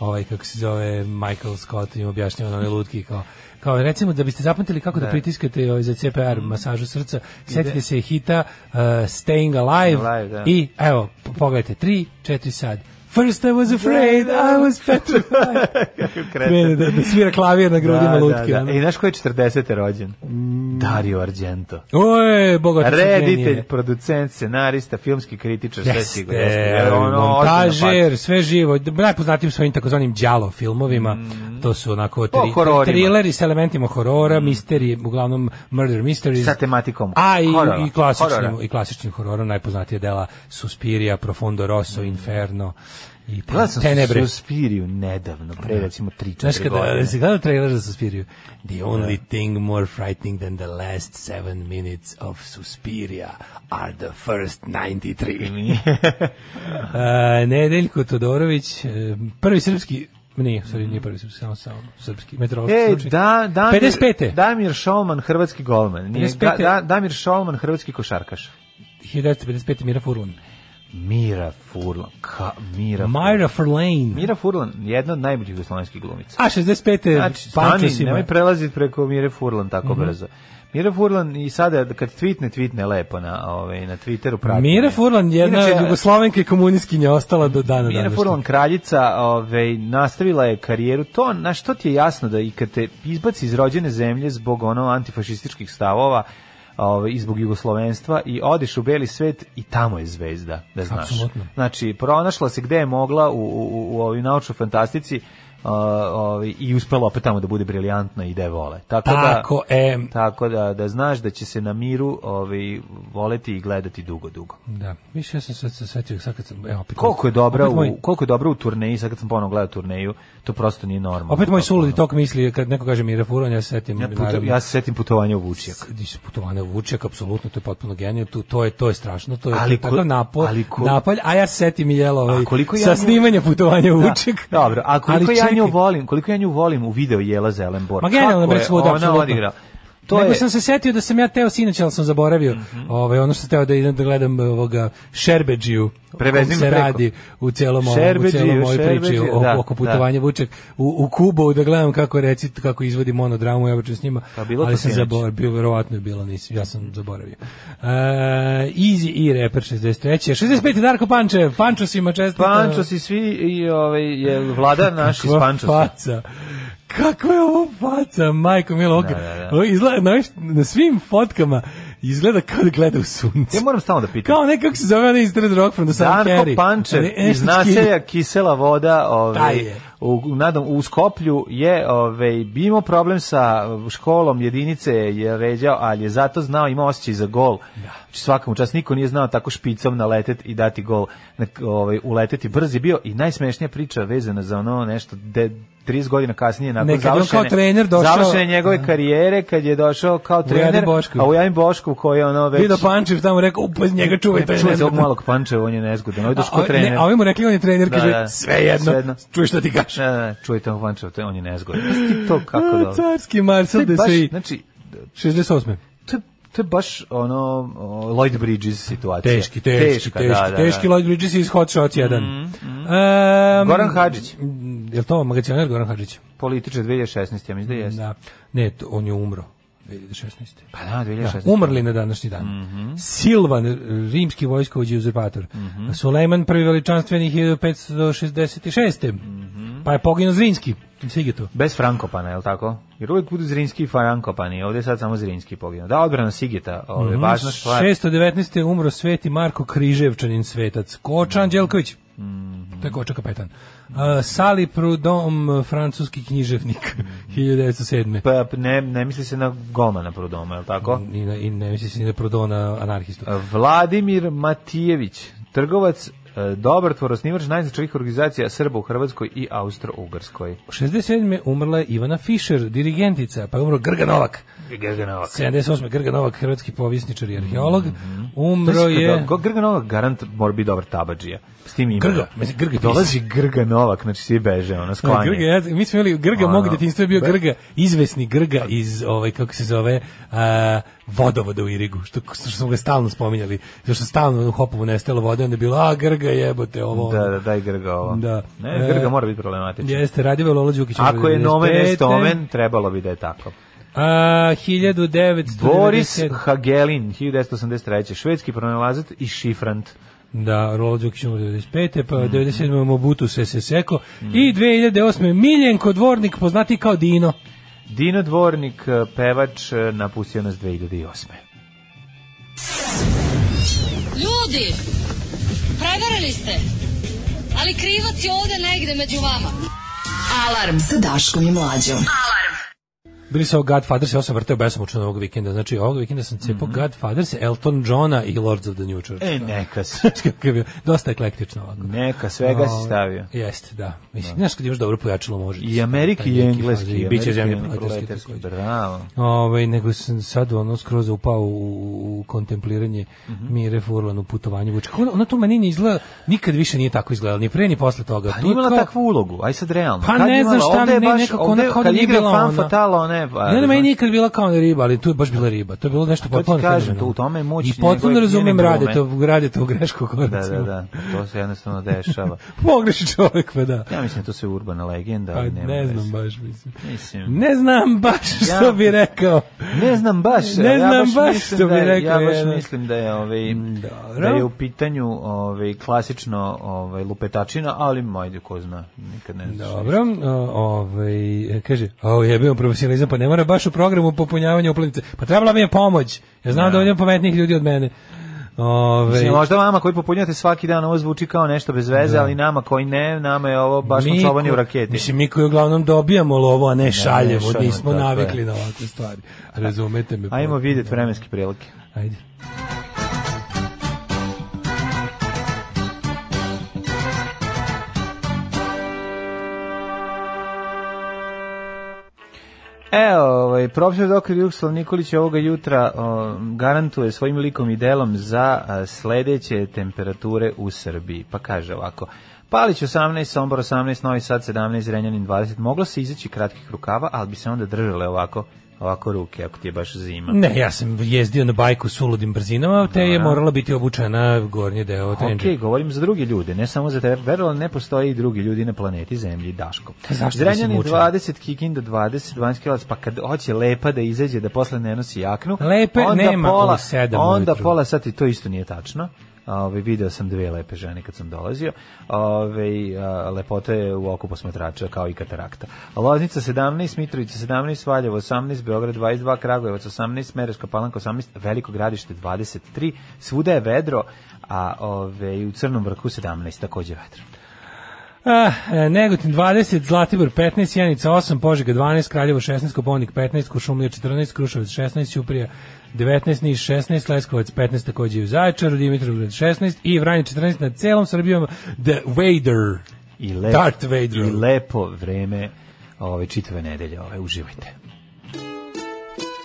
[SPEAKER 6] ovaj, kako se zove, Michael Scott im objašnjava na onoj lutki kao kao recimo da biste zapamtili kako da, pritiskate ovaj, za CPR
[SPEAKER 7] Mhm.
[SPEAKER 6] masažu srca setite se hita uh, Staying Alive,
[SPEAKER 7] Alive, da.
[SPEAKER 6] i evo po- pogledajte 3, 4 sad First I was afraid,
[SPEAKER 7] Da,
[SPEAKER 6] I was petrified. Krene da, da svira klavir na grudima
[SPEAKER 7] Da,
[SPEAKER 6] lutke.
[SPEAKER 7] da,
[SPEAKER 6] ono. Mm.
[SPEAKER 7] da. I znaš ko je 40. rođen? Dario Argento.
[SPEAKER 6] Oj, bogat
[SPEAKER 7] Reditelj, producent, scenarista, filmski kritičar, sve sigurno.
[SPEAKER 6] Jeste, E, montažer, sve živo. D- Najpoznatijim svojim takozvanim đalo filmovima. To su onako tri,
[SPEAKER 7] Mhm. hororima. Mhm.
[SPEAKER 6] trileri s elementima horora, misterije, uglavnom murder mysteries.
[SPEAKER 7] Sa tematikom
[SPEAKER 6] A i,
[SPEAKER 7] horora,
[SPEAKER 6] i klasičnim,
[SPEAKER 7] horora.
[SPEAKER 6] i klasičnim hororom najpoznatije dela Suspiria, Profondo Rosso, Inferno i
[SPEAKER 7] Mhm. Gledao sam
[SPEAKER 6] Tenebre. Da.
[SPEAKER 7] Suspiriju nedavno, pre recimo 3-4
[SPEAKER 6] Znaš
[SPEAKER 7] godine. Da.
[SPEAKER 6] kada si gledao trailer za Suspiriju? The only thing more frightening than the last seven minutes of Suspiria are the first
[SPEAKER 7] Mhm.
[SPEAKER 6] 93. uh, Nedeljko Todorović, e, prvi srpski nije, sorry, nije prvi srpski, samo, samo srpski meteorološki
[SPEAKER 7] Ej,
[SPEAKER 6] stručnjak.
[SPEAKER 7] da, Damir,
[SPEAKER 6] 55.
[SPEAKER 7] Damir Šolman, hrvatski golman. Nije,
[SPEAKER 6] 55.
[SPEAKER 7] da, Damir Šolman, hrvatski košarkaš.
[SPEAKER 6] 1955. Mira Furlan.
[SPEAKER 7] Mira Furlan. Ka, Mira Furlan.
[SPEAKER 6] Myra Furlan.
[SPEAKER 7] Mira Furlan, jedna od najboljih jugoslovenskih glumica.
[SPEAKER 6] A 65.
[SPEAKER 7] Znači,
[SPEAKER 6] Znači,
[SPEAKER 7] stani, nemoj prelaziti preko Mire Furlan tako
[SPEAKER 6] Mhm.
[SPEAKER 7] brzo. Mira Furlan i sada kad tvitne, tvitne lepo na, ovaj, na Twitteru. prati
[SPEAKER 6] Mira
[SPEAKER 7] me.
[SPEAKER 6] Furlan, jedna
[SPEAKER 7] Inače,
[SPEAKER 6] jugoslovenka i komunistkinja ostala do dana
[SPEAKER 7] Mira
[SPEAKER 6] današnjeg.
[SPEAKER 7] Furlan, kraljica, ovaj, nastavila je karijeru. To, na što ti je jasno da i kad te izbaci iz rođene zemlje zbog ono antifašističkih stavova, ovaj, i zbog jugoslovenstva i odeš u beli svet i tamo je zvezda, da znaš.
[SPEAKER 6] Apsolutno.
[SPEAKER 7] Znači, pronašla se gde je mogla u, u, u, u ovoj naučnoj fantastici a, ovaj, i uspela opet tamo da bude briljantna i da je vole. Tako,
[SPEAKER 6] Tako,
[SPEAKER 7] da,
[SPEAKER 6] e.
[SPEAKER 7] tako da, da znaš da će se na miru ovaj, voleti i gledati dugo, dugo.
[SPEAKER 6] Da, više ja sam sad se setio, sad kad sam, evo, opet...
[SPEAKER 7] Koliko je dobra
[SPEAKER 6] opet moj-
[SPEAKER 7] u, koliko je dobra u turneji, sad kad sam ponovno gledao turneju, to prosto nije normalno.
[SPEAKER 6] Opet moj
[SPEAKER 7] Kako
[SPEAKER 6] suludi
[SPEAKER 7] ono.
[SPEAKER 6] tok misli, kad neko kaže Mira Furon, ja se setim,
[SPEAKER 7] Ja, puto,
[SPEAKER 6] naravno,
[SPEAKER 7] ja se setim putovanja u Vučijak.
[SPEAKER 6] di su putovane u Vučjak, apsolutno, to je potpuno genijalno, tu, to, je, to je strašno, to je,
[SPEAKER 7] Ali
[SPEAKER 6] ali
[SPEAKER 7] ko-
[SPEAKER 6] takav napol,
[SPEAKER 7] ali
[SPEAKER 6] ali
[SPEAKER 7] ko-
[SPEAKER 6] napolj, a ja se setim i jelo ovaj,
[SPEAKER 7] A koliko ja
[SPEAKER 6] sa
[SPEAKER 7] nju-
[SPEAKER 6] snimanja putovanja u
[SPEAKER 7] Da,
[SPEAKER 6] Vučjak.
[SPEAKER 7] dobro, a koliko
[SPEAKER 6] Ali
[SPEAKER 7] ja nju
[SPEAKER 6] čekaj,
[SPEAKER 7] volim, koliko ja nju volim u video Jela Zelenbor.
[SPEAKER 6] Ma genijalno, bre, svuda,
[SPEAKER 7] ona
[SPEAKER 6] apsolutno.
[SPEAKER 7] odigra. To
[SPEAKER 6] Nego
[SPEAKER 7] je, Mhm.
[SPEAKER 6] sam se setio da sam ja teo sinoć, ali sam zaboravio. ovaj, ono što sam teo da idem da gledam ovoga Šerbeđiju. o
[SPEAKER 7] Prevezi
[SPEAKER 6] kom
[SPEAKER 7] me
[SPEAKER 6] se
[SPEAKER 7] preko.
[SPEAKER 6] radi u celom ovom, u
[SPEAKER 7] Šerbedžiju,
[SPEAKER 6] celom ovoj priči
[SPEAKER 7] Šerbedžiju,
[SPEAKER 6] o,
[SPEAKER 7] da,
[SPEAKER 6] oko putovanja Vučjak u, u Kubu da gledam kako reci kako izvodi monodramu ja obično s njima
[SPEAKER 7] Pa bilo to
[SPEAKER 6] ali sam
[SPEAKER 7] sinoć.
[SPEAKER 6] zaboravio verovatno je bilo nisam ja sam zaboravio e, Easy E i Reper 63 65 Darko Pančev Pančo si mačesta
[SPEAKER 7] Pančo si svi i ovaj je vlada naš iz
[SPEAKER 6] Kakva
[SPEAKER 7] Pančosa.
[SPEAKER 6] faca. Kakva je ovo faca, majko milo, ovo,
[SPEAKER 7] da, da.
[SPEAKER 6] ovo izgleda, na, ovim- na svim fotkama izgleda kao da gleda u sunce.
[SPEAKER 7] Ja moram stalno da pitam.
[SPEAKER 6] Kao nekako se zove onaj iz Third Rock from the Sun
[SPEAKER 7] Darko
[SPEAKER 6] Carry.
[SPEAKER 7] Pančev
[SPEAKER 6] da Ali, e,
[SPEAKER 7] iz
[SPEAKER 6] što
[SPEAKER 7] naselja
[SPEAKER 6] skidi?
[SPEAKER 7] Kisela voda
[SPEAKER 6] Taj
[SPEAKER 7] ovaj,
[SPEAKER 6] je.
[SPEAKER 7] u, u nadam, u Skoplju je ovaj, imao problem sa školom jedinice je ređao, ali je zato znao, imao osjećaj za gol.
[SPEAKER 6] Da.
[SPEAKER 7] Znači, svakom čast niko nije znao tako špicom naletet i dati gol, na, ovaj, uleteti brz je bio i najsmešnija priča vezana za ono nešto de, 30 godina kasnije nakon
[SPEAKER 6] Ne, kad je on kao
[SPEAKER 7] završene,
[SPEAKER 6] trener došao-
[SPEAKER 7] završene njegove karijere kad je došao kao trener
[SPEAKER 6] Bošku.
[SPEAKER 7] a u Jadin Bošku koji je ono već
[SPEAKER 6] Vido Pančev tamo rekao, upa, njega čuvaj, to je
[SPEAKER 7] čuje se ovog
[SPEAKER 6] nezgodno.
[SPEAKER 7] malog pančeva on je nezgodan on je došao
[SPEAKER 6] A,
[SPEAKER 7] kao
[SPEAKER 6] a-
[SPEAKER 7] trener
[SPEAKER 6] Ne, a ovi mu rekli, on je trener,
[SPEAKER 7] Da,
[SPEAKER 6] kaže,
[SPEAKER 7] da.
[SPEAKER 6] sve jedno,
[SPEAKER 7] Svejedno.
[SPEAKER 6] čuj šta ti kaže.
[SPEAKER 7] Ne, ne, ne, čujte on Pančev, to je- on je nezgodan. Ti to kako
[SPEAKER 6] A,
[SPEAKER 7] dobro.
[SPEAKER 6] Carski
[SPEAKER 7] To
[SPEAKER 6] Marcel
[SPEAKER 7] je baš,
[SPEAKER 6] Desai,
[SPEAKER 7] znači,
[SPEAKER 6] 68.
[SPEAKER 7] to je, to je baš ono o, Lloyd Bridges situacija.
[SPEAKER 6] Teški, teški, teški,
[SPEAKER 7] Teška, da, da,
[SPEAKER 6] teški,
[SPEAKER 7] da.
[SPEAKER 6] teški Lloyd Bridges iz Hot Shots 1. Em,
[SPEAKER 7] Goran Hadžić.
[SPEAKER 6] Je li to magacioner Goran Hadžić?
[SPEAKER 7] Političar 2016, ja mislim da jeste.
[SPEAKER 6] Da. Ne, to, on je umro 2016.
[SPEAKER 7] Pa Mhm. da, 2016.
[SPEAKER 6] Umrli na današnji dan. Silvan, rimski vojskovođi i uzurpator.
[SPEAKER 7] Mhm.
[SPEAKER 6] Sulejman, prvi veličanstveni 1566.
[SPEAKER 7] Mhm.
[SPEAKER 6] Pa je poginuo Zrinski. Sigeto.
[SPEAKER 7] Bez Frankopana, je li tako? Jer uvijek budu Zrinski i Frankopani, ovdje je sad samo Zrinski poginuo. Da, odbrana Sigeta, ovo
[SPEAKER 6] Mhm,
[SPEAKER 7] Pa je važna stvar.
[SPEAKER 6] 619. umro sveti Marko Križevčanin svetac. Koča
[SPEAKER 7] Mhm.
[SPEAKER 6] Anđelković. To je Koča kapetan. Uh, Sali Prudom, francuski književnik, 1907.
[SPEAKER 7] Mhm. Pa, ne, ne misli se na golmana Prudoma, je li tako?
[SPEAKER 6] I, na- i ne misli se ni na Prudona anarhistu.
[SPEAKER 7] Vladimir Matijević, trgovac, e, dobar tvor, osnivač najznačajih organizacija Srba u Hrvatskoj i Austro-Ugrskoj.
[SPEAKER 6] 67. umrla je Ivana Fischer, dirigentica, pa je umro Grga Novak.
[SPEAKER 7] Grga Novak.
[SPEAKER 6] 78. Grga Novak, hrvatski povjesničar i arheolog. Umro
[SPEAKER 7] Mislim, Mhm. Grga-
[SPEAKER 6] je...
[SPEAKER 7] Go- Grga Novak garant mora biti dobar tabađija. S tim ima. da.
[SPEAKER 6] Grga, mislim, Grga je
[SPEAKER 7] Dolazi Grga Novak, znači svi beže, ono,
[SPEAKER 6] Da,
[SPEAKER 7] sklanje.
[SPEAKER 6] Grga, ja, mi smo imali Grga,
[SPEAKER 7] Ono,
[SPEAKER 6] mog detinjstva je bio
[SPEAKER 7] be-
[SPEAKER 6] Grga, izvesni Grga iz, ovaj, kako se zove, a, vodovoda u Irigu, što, što smo ga stalno spominjali, zato što stalno u Hopovu nestajalo vode, onda je bilo, a Grga jebote, ovo, ono.
[SPEAKER 7] Da, da, daj Grga ovo.
[SPEAKER 6] Da.
[SPEAKER 7] Ne,
[SPEAKER 6] E,
[SPEAKER 7] Grga mora biti problematičan.
[SPEAKER 6] Jeste, radio je Lolo Đukić. umro
[SPEAKER 7] Ako je nomen
[SPEAKER 6] 95..
[SPEAKER 7] jest omen, trebalo bi da je tako.
[SPEAKER 6] A, 1997.
[SPEAKER 7] Boris Hagelin, 1983. Švedski pronalazat i šifrant.
[SPEAKER 6] Da, Rolo Đukić umro 95. Pa
[SPEAKER 7] Mhm.
[SPEAKER 6] 97. Mobutu se se seko. I 2008. Miljenko Dvornik, poznati kao Dino.
[SPEAKER 7] Dino Dvornik, e, pevač, e, napustio nas 2008.
[SPEAKER 8] Ljudi, prevarili ste. Ali krivac je ovde negde među vama.
[SPEAKER 5] Alarm sa Daškom i Mlađom.
[SPEAKER 6] Bili su ovo Godfathers, ja sam vrteo besomučno ovog vikenda. Znači, ovog vikenda sam cepao Godfathers, Elton Johna i Lords of the New Church.
[SPEAKER 7] Mhm. E, neka se.
[SPEAKER 6] Kako je bio? Dosta eklektično ovako.
[SPEAKER 7] Neka, svega
[SPEAKER 6] Ovaj,
[SPEAKER 7] si stavio.
[SPEAKER 6] Jeste, da. Mislim, znaš kad imaš dobro pojačalo može.
[SPEAKER 7] I Ameriki i Engleski. i
[SPEAKER 6] Biće
[SPEAKER 7] Američki
[SPEAKER 6] zemlje
[SPEAKER 7] i
[SPEAKER 6] proletarske.
[SPEAKER 7] proletarske.
[SPEAKER 6] takođe.
[SPEAKER 7] Bravo.
[SPEAKER 6] Ovaj nego sam sad ono skroz upao u, u kontempliranje
[SPEAKER 7] Mhm.
[SPEAKER 6] Mire Furlan u putovanju Vučića. Ona, ona to meni ne izgleda, nikad više nije tako izgledala, ni pre ni posle toga.
[SPEAKER 7] Pa
[SPEAKER 6] To
[SPEAKER 7] nije
[SPEAKER 6] je
[SPEAKER 7] imala
[SPEAKER 6] kao-
[SPEAKER 7] takvu ulogu, aj sad realno.
[SPEAKER 6] Pa
[SPEAKER 7] Kad
[SPEAKER 6] ne
[SPEAKER 7] je
[SPEAKER 6] znam
[SPEAKER 7] imala?
[SPEAKER 6] šta,
[SPEAKER 7] Ovde je
[SPEAKER 6] ne,
[SPEAKER 7] baš-
[SPEAKER 6] nekako
[SPEAKER 7] ovde
[SPEAKER 6] ona kao da
[SPEAKER 7] kad
[SPEAKER 6] nije
[SPEAKER 7] igra
[SPEAKER 6] bila
[SPEAKER 7] fan
[SPEAKER 6] ona.
[SPEAKER 7] fatale, ona je, pa,
[SPEAKER 6] Ne, ne, meni
[SPEAKER 7] znaš.
[SPEAKER 6] nikad bila kao na riba, ali tu je baš bila riba. To je bilo nešto
[SPEAKER 7] to ti
[SPEAKER 6] potpuno.
[SPEAKER 7] kažem,
[SPEAKER 6] fenomenalno.
[SPEAKER 7] to u tome je moć
[SPEAKER 6] I potpuno
[SPEAKER 7] njegove-
[SPEAKER 6] razumem
[SPEAKER 7] njene
[SPEAKER 6] rade to, rade to u grešku kod.
[SPEAKER 7] Da, da, da, to se jednostavno dešava.
[SPEAKER 6] Pogreši čovjek, pa da.
[SPEAKER 7] Ja mislim da to sve urbana legenda,
[SPEAKER 6] Pa,
[SPEAKER 7] ali nema
[SPEAKER 6] ne znam
[SPEAKER 7] veze.
[SPEAKER 6] baš, mislim.
[SPEAKER 7] Mislim.
[SPEAKER 6] Ne znam baš što
[SPEAKER 7] Ja-
[SPEAKER 6] bi rekao.
[SPEAKER 7] Ne znam baš,
[SPEAKER 6] Ne
[SPEAKER 7] ja
[SPEAKER 6] znam baš
[SPEAKER 7] mislim
[SPEAKER 6] što bi
[SPEAKER 7] da je-
[SPEAKER 6] rekao,
[SPEAKER 7] Ja baš
[SPEAKER 6] jedan.
[SPEAKER 7] mislim da je ovaj
[SPEAKER 6] dobro.
[SPEAKER 7] da je u pitanju ovaj klasično ovaj lupetačina, ali majde ko zna, nikad ne znaš.
[SPEAKER 6] Dobro, o, ovaj, kaže, o, jebimo profesionalizam, pa ne mora baš u programu popunjavanja uplatnice. Pa trebala mi je pomoć, ja znam da ovdje ima pametnijih ljudi od mene. Ove,
[SPEAKER 7] Da. Mislim, možda vama koji popunjate svaki dan ovo zvuči kao nešto bez veze, ali nama koji ne, nama je ovo baš
[SPEAKER 6] Da. mi
[SPEAKER 7] mucovanje u
[SPEAKER 6] ko-
[SPEAKER 7] raketi.
[SPEAKER 6] Mislim, mi koji uglavnom dobijamo lovo, a ne šaljemo,
[SPEAKER 7] šaljemo,
[SPEAKER 6] nismo
[SPEAKER 7] tako je.
[SPEAKER 6] navikli na ovakve stvari. Razumete me?
[SPEAKER 7] Ajmo
[SPEAKER 6] potpuno.
[SPEAKER 7] vidjeti vremenske prilike.
[SPEAKER 6] Ajde.
[SPEAKER 7] E, ovaj, profesor doktor Jugoslav Nikolić ovoga jutra o, garantuje svojim likom i delom za a, sledeće temperature u Srbiji. Pa kaže ovako, Palić 18, Sombor 18, Novi Sad 17, Renjanin 20. Moglo se izaći kratkih rukava, ali bi se onda držale ovako, ovako ruke, ako ti je baš zima.
[SPEAKER 6] Ne, ja sam jezdio na bajku s uludim brzinama, te je morala biti obučena gornji deo trenđe.
[SPEAKER 7] Ok, govorim za druge ljude, ne samo za tebe. Verovali, ne postoje i drugi ljudi na planeti Zemlji, Daško.
[SPEAKER 6] Pa zašto
[SPEAKER 7] Zrenjanin
[SPEAKER 6] mislim učen?
[SPEAKER 7] 20, Kikinda 20, Vanjskilac, pa kad hoće lepa da izađe, da posle ne nosi jaknu,
[SPEAKER 6] Lepe
[SPEAKER 7] onda
[SPEAKER 6] nema
[SPEAKER 7] pola,
[SPEAKER 6] u sedam
[SPEAKER 7] onda
[SPEAKER 6] ujutru.
[SPEAKER 7] pola sati, to isto nije tačno. Ove, video sam dve lepe žene kad sam dolazio. Ove, a, lepota je u oku posmatrača kao i katarakta. Loznica 17, Mitrovica 17, Valjevo 18, Beograd 22, Kragujevac 18, Mereška Palanka 18, Veliko gradište 23. Svuda je vedro, a ove, i u Crnom vrhu 17 takođe vedro.
[SPEAKER 6] Ah, e, Negotin 20, Zlatibor 15, Janica 8, Požega 12, Kraljevo 16, Koponik 15, Kuršumlija 14, Kruševac 16, Ćuprija 19, Niš 16, Leskovac 15, takođe i u Zaječaru, Dimitrovgrad 16 i Vranje 14 na celom Srbijom, The Vader.
[SPEAKER 7] I, lep,
[SPEAKER 6] Darth Vader.
[SPEAKER 7] i lepo vreme ove, čitave nedelje. Ove, uživajte.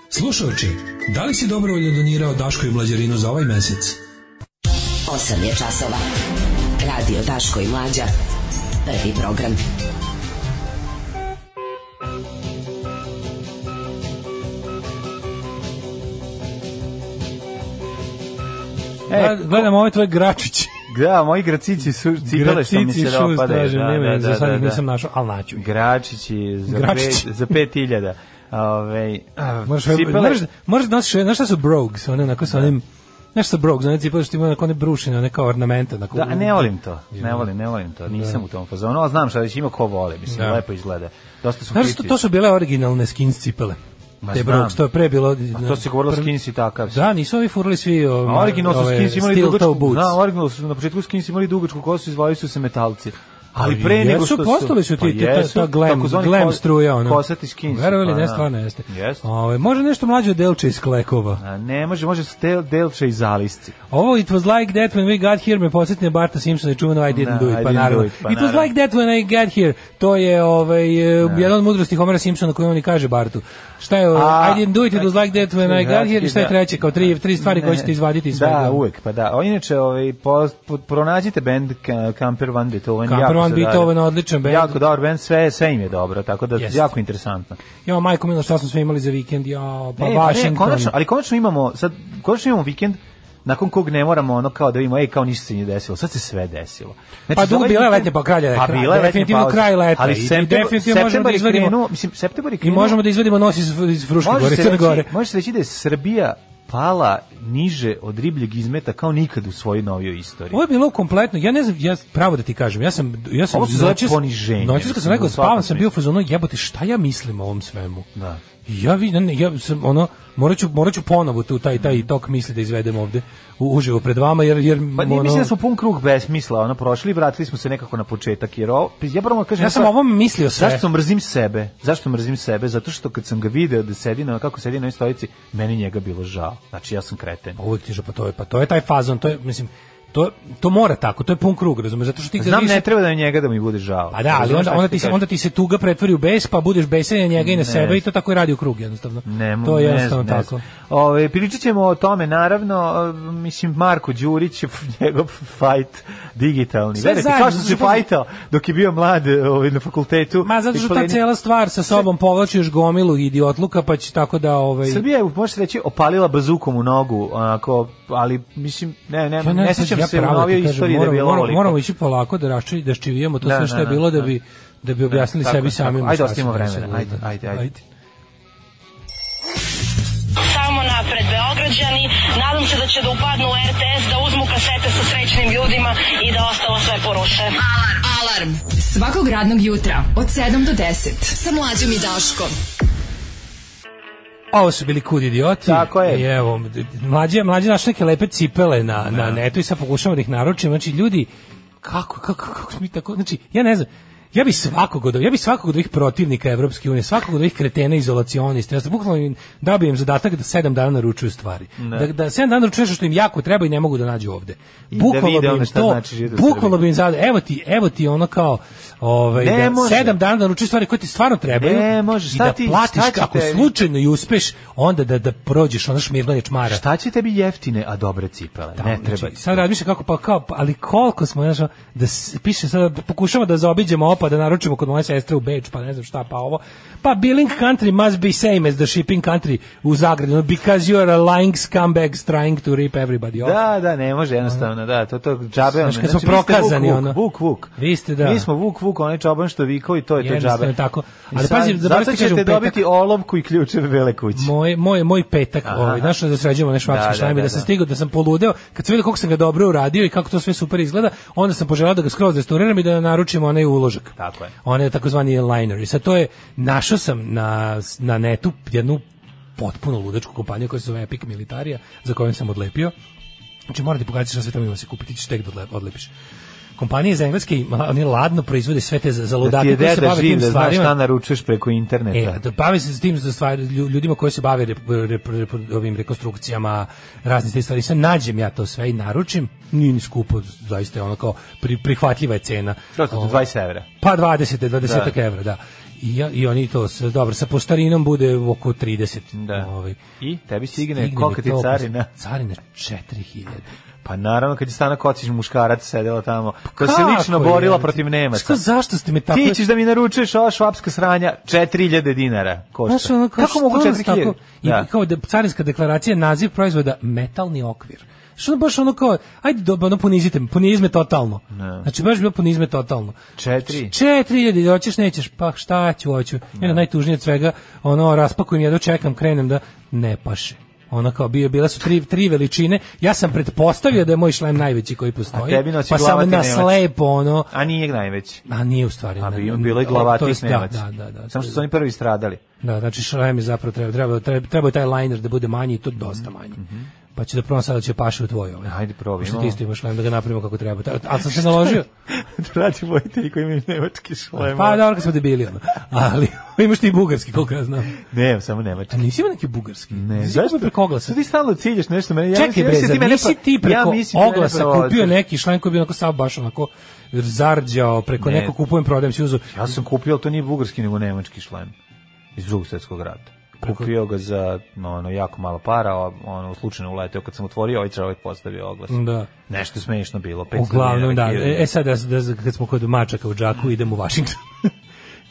[SPEAKER 9] Slušaoči, da li si dobrovoljno donirao Daško i Mlađarinu za ovaj mesec?
[SPEAKER 5] 8 je časova. Radio Daško i Mlađa. Prvi program.
[SPEAKER 7] E,
[SPEAKER 6] Gled- Gledam ove tvoje gračiće.
[SPEAKER 7] Da, moji gracici su cipele što mi
[SPEAKER 6] Gračići
[SPEAKER 7] se pa
[SPEAKER 6] šuz,
[SPEAKER 7] dopadaju.
[SPEAKER 6] tražim, nema ih, za sad ih nisam
[SPEAKER 7] da.
[SPEAKER 6] našao, ali naću ih.
[SPEAKER 7] Gračići za
[SPEAKER 6] Gračići.
[SPEAKER 7] pet, za 5000. Ove, a,
[SPEAKER 6] Moraš, ovaj, moraš, moraš da nosiš, znaš šta su brogues, one onako
[SPEAKER 7] Da.
[SPEAKER 6] sa onim, znaš šta brogues, one cipele što imaju onako one brušine, one kao ornamente. Onako,
[SPEAKER 7] Da, ne volim to. Ne volim, ne volim to. Nisam u tom fazonu, ali znam šta već ima ko vole, mislim,
[SPEAKER 6] Da.
[SPEAKER 7] lepo izgleda. Dosta su
[SPEAKER 6] Znaš, to,
[SPEAKER 7] hiti.
[SPEAKER 6] to su bile originalne skins cipele.
[SPEAKER 7] Ma
[SPEAKER 6] Te
[SPEAKER 7] znam.
[SPEAKER 6] Brooks, to je pre bilo...
[SPEAKER 7] A to se govorilo
[SPEAKER 6] prvi-
[SPEAKER 7] skins i takav.
[SPEAKER 6] Da, nisu ovi furali svi
[SPEAKER 7] A
[SPEAKER 6] ove,
[SPEAKER 7] Original su
[SPEAKER 6] ove
[SPEAKER 7] skins imali
[SPEAKER 6] steel toe
[SPEAKER 7] dugačku.
[SPEAKER 6] boots.
[SPEAKER 7] Da, original su na početku skins imali dugačku kosu, izvali su se metalci. Ali pre
[SPEAKER 6] Pa jesu,
[SPEAKER 7] nego što su...
[SPEAKER 6] postali su ti
[SPEAKER 7] Pa
[SPEAKER 6] ti- ta,
[SPEAKER 7] jesu,
[SPEAKER 6] ta glam,
[SPEAKER 7] takozvani
[SPEAKER 6] glam
[SPEAKER 7] ko-
[SPEAKER 6] struja ona.
[SPEAKER 7] Kosati skins.
[SPEAKER 6] Verovali,
[SPEAKER 7] pa
[SPEAKER 6] ne,
[SPEAKER 7] da.
[SPEAKER 6] stvarno jeste.
[SPEAKER 7] Jeste.
[SPEAKER 6] Ove, može nešto mlađe od Delče iz Klekova.
[SPEAKER 7] A ne može, može su del, delče i zalisci.
[SPEAKER 6] Ovo It was like that when we got here me podsjetio na Barta Simpsona i čuveno I didn't
[SPEAKER 7] Da,
[SPEAKER 6] do it,
[SPEAKER 7] I
[SPEAKER 6] pa
[SPEAKER 7] didn't
[SPEAKER 6] naravno.
[SPEAKER 7] do
[SPEAKER 6] It,
[SPEAKER 7] it, pa
[SPEAKER 6] was
[SPEAKER 7] naravno. Da.
[SPEAKER 6] like that when I got here. To je ovaj, e, jedan od mudrosti Homera Simpsona koju on i kaže Bartu. Šta je,
[SPEAKER 7] A- Znači,
[SPEAKER 6] I didn't do it, it was like that when I got here. I šta je treće, kao tri, tri stvari koje ćete izvaditi iz svega.
[SPEAKER 7] Da, uvek, pa da. O, inače, ovaj, po, po, pronađite band Ka- Camper Van Beethoven.
[SPEAKER 6] Camper
[SPEAKER 7] jako
[SPEAKER 6] Van
[SPEAKER 7] se radi.
[SPEAKER 6] Beethoven, odličan band.
[SPEAKER 7] Jako dobar band, sve, sve im je dobro, tako da
[SPEAKER 6] Jeste.
[SPEAKER 7] jako interesantno.
[SPEAKER 6] Ja, majko milo, šta smo sve imali za vikend? Ja, pa
[SPEAKER 7] E,
[SPEAKER 6] Washington.
[SPEAKER 7] ne, konačno, ali konačno imamo, sad, konačno imamo vikend nakon kog ne moramo ono kao da vidimo, ej, kao ništa se nije desilo, sad se sve desilo. Znači,
[SPEAKER 6] Pa
[SPEAKER 7] za
[SPEAKER 6] dugo
[SPEAKER 7] ovaj
[SPEAKER 6] bila je
[SPEAKER 7] vikend-
[SPEAKER 6] letnja, pa kralja je
[SPEAKER 7] pa
[SPEAKER 6] kraj,
[SPEAKER 7] bila je letnja
[SPEAKER 6] definitivno
[SPEAKER 7] pauza.
[SPEAKER 6] kraj leta
[SPEAKER 7] Ali
[SPEAKER 6] i
[SPEAKER 7] septembar,
[SPEAKER 6] definitivno možemo da
[SPEAKER 7] septembar je
[SPEAKER 6] izvadimo-
[SPEAKER 7] krenuo, mislim, septembar je
[SPEAKER 6] I
[SPEAKER 7] krenuo,
[SPEAKER 6] možemo da izvadimo nos iz, iz Fruške gore,
[SPEAKER 7] može se,
[SPEAKER 6] Crne gore.
[SPEAKER 7] reći, može se reći da je Srbija pala niže od ribljeg izmeta kao nikad u svojoj novijoj istoriji.
[SPEAKER 6] Ovo je bilo kompletno. Ja ne znam, ja pravo da ti kažem, ja sam ja sam
[SPEAKER 7] Ovo se zove
[SPEAKER 6] noćas-
[SPEAKER 7] poniženje,
[SPEAKER 6] Noćas kad sam
[SPEAKER 7] mislim,
[SPEAKER 6] rekao
[SPEAKER 7] u
[SPEAKER 6] spavam
[SPEAKER 7] svakom
[SPEAKER 6] sam bio u fazonu jebote šta ja mislim o ovom svemu.
[SPEAKER 7] Da.
[SPEAKER 6] I Ja vidim, ja sam ono moraću moraću ponovo tu taj taj tok misli da izvedem ovde u, uživo pred vama jer jer
[SPEAKER 7] Pa nije,
[SPEAKER 6] ono,
[SPEAKER 7] mislim da smo pun krug besmisla, ono, prošli, vratili smo se nekako na početak, jer ovo, ja moram da kažem...
[SPEAKER 6] Ja sam ovom mislio sve.
[SPEAKER 7] Zašto mrzim sebe? Zašto mrzim sebe? Zato što kad sam ga video da sedi na, kako sedi na ovoj stolici, meni njega bilo žao. Znači, ja sam kreten.
[SPEAKER 6] Pa uvek tiže, pa to je, pa to je taj fazon, to je, mislim, to, to mora tako, to je pun krug, razumeš, zato što ti kad
[SPEAKER 7] Znam,
[SPEAKER 6] više-
[SPEAKER 7] ne treba da je njega da mi bude žao.
[SPEAKER 6] Pa da, ali
[SPEAKER 7] Razumeš
[SPEAKER 6] onda,
[SPEAKER 7] šta
[SPEAKER 6] onda,
[SPEAKER 7] ću
[SPEAKER 6] ti se,
[SPEAKER 7] kažem?
[SPEAKER 6] onda ti se tuga pretvori u bes, pa budeš besan na njega i na
[SPEAKER 7] Ne.
[SPEAKER 6] sebe i to tako i radi u krug jednostavno.
[SPEAKER 7] Ne,
[SPEAKER 6] to je
[SPEAKER 7] ne
[SPEAKER 6] jednostavno
[SPEAKER 7] znam, ne
[SPEAKER 6] tako.
[SPEAKER 7] znam. Ove, pričat ćemo o tome, naravno, e, mislim, Marko Đurić, njegov fajt digitalni.
[SPEAKER 6] Sve
[SPEAKER 7] Verujte,
[SPEAKER 6] zajedno,
[SPEAKER 7] kao što se
[SPEAKER 6] zato što-
[SPEAKER 7] fajtao dok je bio mlad e, ovaj, na fakultetu.
[SPEAKER 6] Ma zato što ta
[SPEAKER 7] Ispaljenje-
[SPEAKER 6] cela stvar sa sobom povlači još gomilu idiotluka, pa će tako da ovaj
[SPEAKER 7] Srbija je, može se reći, opalila bazukom u nogu, onako, ali, mislim, ne, ne,
[SPEAKER 6] Pa
[SPEAKER 7] ne,
[SPEAKER 6] znam,
[SPEAKER 7] sećam
[SPEAKER 6] ja
[SPEAKER 7] se u
[SPEAKER 6] pravo ti
[SPEAKER 7] novijoj
[SPEAKER 6] kažem,
[SPEAKER 7] istoriji da je
[SPEAKER 6] moramo-
[SPEAKER 7] bilo
[SPEAKER 6] moramo-
[SPEAKER 7] ovoliko.
[SPEAKER 6] Moramo ići polako da rašči, da ščivijemo to
[SPEAKER 7] Da,
[SPEAKER 6] sve
[SPEAKER 7] da,
[SPEAKER 6] što je
[SPEAKER 7] da,
[SPEAKER 6] bilo da
[SPEAKER 7] da.
[SPEAKER 6] bi da bi objasnili
[SPEAKER 7] tako
[SPEAKER 6] sebi
[SPEAKER 7] je,
[SPEAKER 6] samim.
[SPEAKER 7] tako. Ajde,
[SPEAKER 6] šta se
[SPEAKER 7] ostavimo
[SPEAKER 6] desilo.
[SPEAKER 7] vremena, ajde, ajde, ajde.
[SPEAKER 3] Samo napred Beograđani. Nadam se da će da upadnu u RTS, da uzmu kasete sa srećnim ljudima i da ostalo sve poruše.
[SPEAKER 5] Alarm. Alarm. Svakog radnog jutra od 7 do 10. Sa Mlađom i Daškom.
[SPEAKER 6] Ovo su bili kud idioti.
[SPEAKER 7] Tako je.
[SPEAKER 6] I evo, mlađe, mlađe našli neke lepe cipele na, na netu i sad pokušamo da ih naručimo. Znači, ljudi, kako, kako, kako smo mi tako, znači, ja ne znam, Ja bi svakog od, ja bi svakog od ovih protivnika Evropske unije, svakog od ovih kretena izolacionista, ja sam bukvalno im dao bi im zadatak da 7 dana naručuju stvari. Da, da 7 dana naručuju nešto što im jako treba i ne mogu da nađu ovde.
[SPEAKER 7] I da vide ono šta znači živjeti u Srbiji.
[SPEAKER 6] bukvalno bi im zadao, evo ti, evo ti ono kao ovaj,
[SPEAKER 7] Ne
[SPEAKER 6] da
[SPEAKER 7] može.
[SPEAKER 6] 7 dana naručuju stvari koje ti stvarno trebaju
[SPEAKER 7] Ne može,
[SPEAKER 6] i
[SPEAKER 7] šta
[SPEAKER 6] da
[SPEAKER 7] ti-
[SPEAKER 6] platiš
[SPEAKER 7] šta će
[SPEAKER 6] kako
[SPEAKER 7] tebi?
[SPEAKER 6] slučajno i uspeš, onda da, da prođeš ono šmirlanje čmara.
[SPEAKER 7] Šta će tebi jeftine, a dobre cipele? ne treba.
[SPEAKER 6] Znači, sad razmišljam kako pa kao, pa, ali koliko smo, znaš, ono, da s- piše sad, da pokušamo da zaobiđemo opa, da naručimo kod moje sestre u Beč, pa ne znam šta, pa ovo. Pa billing country must be same as the shipping country u Zagradu, no, because you are a lying scumbags trying to rip everybody off.
[SPEAKER 7] Da, da, ne može jednostavno, da, to to džabe ono. znači,
[SPEAKER 6] Znaš, kad smo
[SPEAKER 7] vi ste vuk,
[SPEAKER 6] prokazani,
[SPEAKER 7] vuk,
[SPEAKER 6] ono.
[SPEAKER 7] Vuk, vuk.
[SPEAKER 6] Vi ste, da.
[SPEAKER 7] Mi smo vuk, vuk, onaj čoban što vikao i to je to
[SPEAKER 6] Jednostavno
[SPEAKER 7] džabe.
[SPEAKER 6] je tako.
[SPEAKER 7] I
[SPEAKER 6] Ali
[SPEAKER 7] sad-
[SPEAKER 6] pazi, zaboravio
[SPEAKER 7] zato
[SPEAKER 6] ti kažem,
[SPEAKER 7] ćete
[SPEAKER 6] u petak-
[SPEAKER 7] dobiti olovku i ključeve vele kuće.
[SPEAKER 6] Moj, moj, moj petak,
[SPEAKER 7] Aha.
[SPEAKER 6] ovaj, znaš da sređujemo nešto švapske
[SPEAKER 7] Da,
[SPEAKER 6] da,
[SPEAKER 7] da,
[SPEAKER 6] štajbe, da,
[SPEAKER 7] da,
[SPEAKER 6] sam
[SPEAKER 7] da.
[SPEAKER 6] stigao, da sam poludeo, kad sam vidio koliko sam ga dobro uradio i kako to sve super izgleda, onda sam poželao da ga skroz restauriram i da naručimo onaj uložak.
[SPEAKER 7] Tako je.
[SPEAKER 6] Onaj takozvani liner. I sad to je, našao sam na, na netu jednu potpuno ludačku kompaniju koja se zove Epic Militarija, za kojom sam odlepio. Znači morate pogledati šta sve tamo ima da se kupiti, ćeš tek da odle- odlepiš. Kompanije iz Engleske, ma, oni ladno proizvode sve te za-
[SPEAKER 7] Da ti
[SPEAKER 6] zaludake
[SPEAKER 7] je
[SPEAKER 6] da koji se
[SPEAKER 7] deda
[SPEAKER 6] bave
[SPEAKER 7] živ,
[SPEAKER 6] tim
[SPEAKER 7] da znaš
[SPEAKER 6] stvarima.
[SPEAKER 7] šta naručuješ preko interneta.
[SPEAKER 6] E, da bave se s tim za stvari, lju- ljudima koji se bave rep, rep, rep, ovim rekonstrukcijama, raznim tim stvari. Sad nađem ja to sve i naručim, nije ni skupo, zaista je ono kao pri, prihvatljiva je cena.
[SPEAKER 7] Prosto,
[SPEAKER 6] Ovo,
[SPEAKER 7] 20 evra.
[SPEAKER 6] Pa 20, 20 da. evra, da. I, ja- I oni to, s, dobro, sa postarinom bude oko 30.
[SPEAKER 7] Da.
[SPEAKER 6] Ovaj.
[SPEAKER 7] I tebi stigne,
[SPEAKER 6] Stigne
[SPEAKER 7] koliko
[SPEAKER 6] mi
[SPEAKER 7] ti
[SPEAKER 6] to, pa,
[SPEAKER 7] carina?
[SPEAKER 6] Carina 4000.
[SPEAKER 7] Pa naravno, kad je Stana Kocić muškarac sedela tamo, koja Pa se
[SPEAKER 6] Pa Kako
[SPEAKER 7] lično
[SPEAKER 6] je,
[SPEAKER 7] borila
[SPEAKER 6] ti?
[SPEAKER 7] protiv Nemaca.
[SPEAKER 6] Šta, zašto ste me tako...
[SPEAKER 7] Ti ćeš da mi naručuješ ova švapska sranja 4000 dinara košta.
[SPEAKER 6] Znaš, ono, kao,
[SPEAKER 7] Kako mogu
[SPEAKER 6] šta nas
[SPEAKER 7] 4000?
[SPEAKER 6] tako- I
[SPEAKER 7] Da.
[SPEAKER 6] kao da carinska deklaracija naziv proizvoda metalni okvir. Što ono baš ono kao, ajde dobro, ono ponizite me, ponizme totalno.
[SPEAKER 7] Ne.
[SPEAKER 6] Znači baš bilo ponizme totalno.
[SPEAKER 7] Da. Četiri. Da.
[SPEAKER 6] Četiri ljudi, hoćeš, nećeš, pa šta ću, hoću. Jedna najtužnije od svega, ono, raspakujem, ja dočekam, krenem da ne paše. Ono kao bio, bila su tri, tri veličine. Ja sam pretpostavio da je moj šlem najveći koji postoji.
[SPEAKER 7] tebi nosi
[SPEAKER 6] pa
[SPEAKER 7] glava
[SPEAKER 6] sam
[SPEAKER 7] ti
[SPEAKER 6] na
[SPEAKER 7] Nemac.
[SPEAKER 6] slepo, ono,
[SPEAKER 7] A nije najveći.
[SPEAKER 6] a nije u stvari.
[SPEAKER 7] A
[SPEAKER 6] ne,
[SPEAKER 7] bi,
[SPEAKER 6] ne,
[SPEAKER 7] bilo je
[SPEAKER 6] to- to
[SPEAKER 7] glavatih
[SPEAKER 6] je-
[SPEAKER 7] Nemaca.
[SPEAKER 6] Da, da, da.
[SPEAKER 7] Samo što su oni prvi stradali.
[SPEAKER 6] Da, znači šrem je zapravo treba, treba, treba, treba je taj liner da bude manji i to dosta manji. Pa ću da probam sada će paše u tvoj ovaj.
[SPEAKER 7] Ajde, probaj,
[SPEAKER 6] Pošto
[SPEAKER 7] imamo.
[SPEAKER 6] ti isto imaš lajm da ga napravimo kako treba. Ta- Ali sam se naložio.
[SPEAKER 7] Radi vojitelji koji imaju nemački šlem.
[SPEAKER 6] Pa dobro kad smo debili. Ono. Ali imaš ti i bugarski koliko ja znam.
[SPEAKER 7] Ne, samo
[SPEAKER 6] A
[SPEAKER 7] nemački.
[SPEAKER 6] nisi imao neki bugarski?
[SPEAKER 7] Ne,
[SPEAKER 6] Nisi kupio preko oglasa.
[SPEAKER 7] Sad ti stalno ciljaš nešto meni. Ja
[SPEAKER 6] Čekaj
[SPEAKER 7] mislim-
[SPEAKER 6] bre,
[SPEAKER 7] mislim da
[SPEAKER 6] zar
[SPEAKER 7] mene
[SPEAKER 6] nisi
[SPEAKER 7] pro-
[SPEAKER 6] da ti preko
[SPEAKER 7] mislim da mene
[SPEAKER 6] oglasa
[SPEAKER 7] provociraš.
[SPEAKER 6] kupio neki šlajm koji bi onako sav baš onako zarđao preko
[SPEAKER 7] Ne.
[SPEAKER 6] neko kupujem prodajem si uzeo.
[SPEAKER 7] Ja sam kupio, ali to nije bugarski, nego nemački šlem iz drugog svetskog rata. Kupio ga za no, ono, jako malo para, a, ono, slučajno uleteo. Kad sam otvorio, ovaj čovjek postavio oglas.
[SPEAKER 6] Da.
[SPEAKER 7] Nešto smešno bilo. 500
[SPEAKER 6] Uglavnom da.
[SPEAKER 7] dinara, hiljadu
[SPEAKER 6] E, e sad da, da kad smo kod mačaka u džaku idemo u Washington.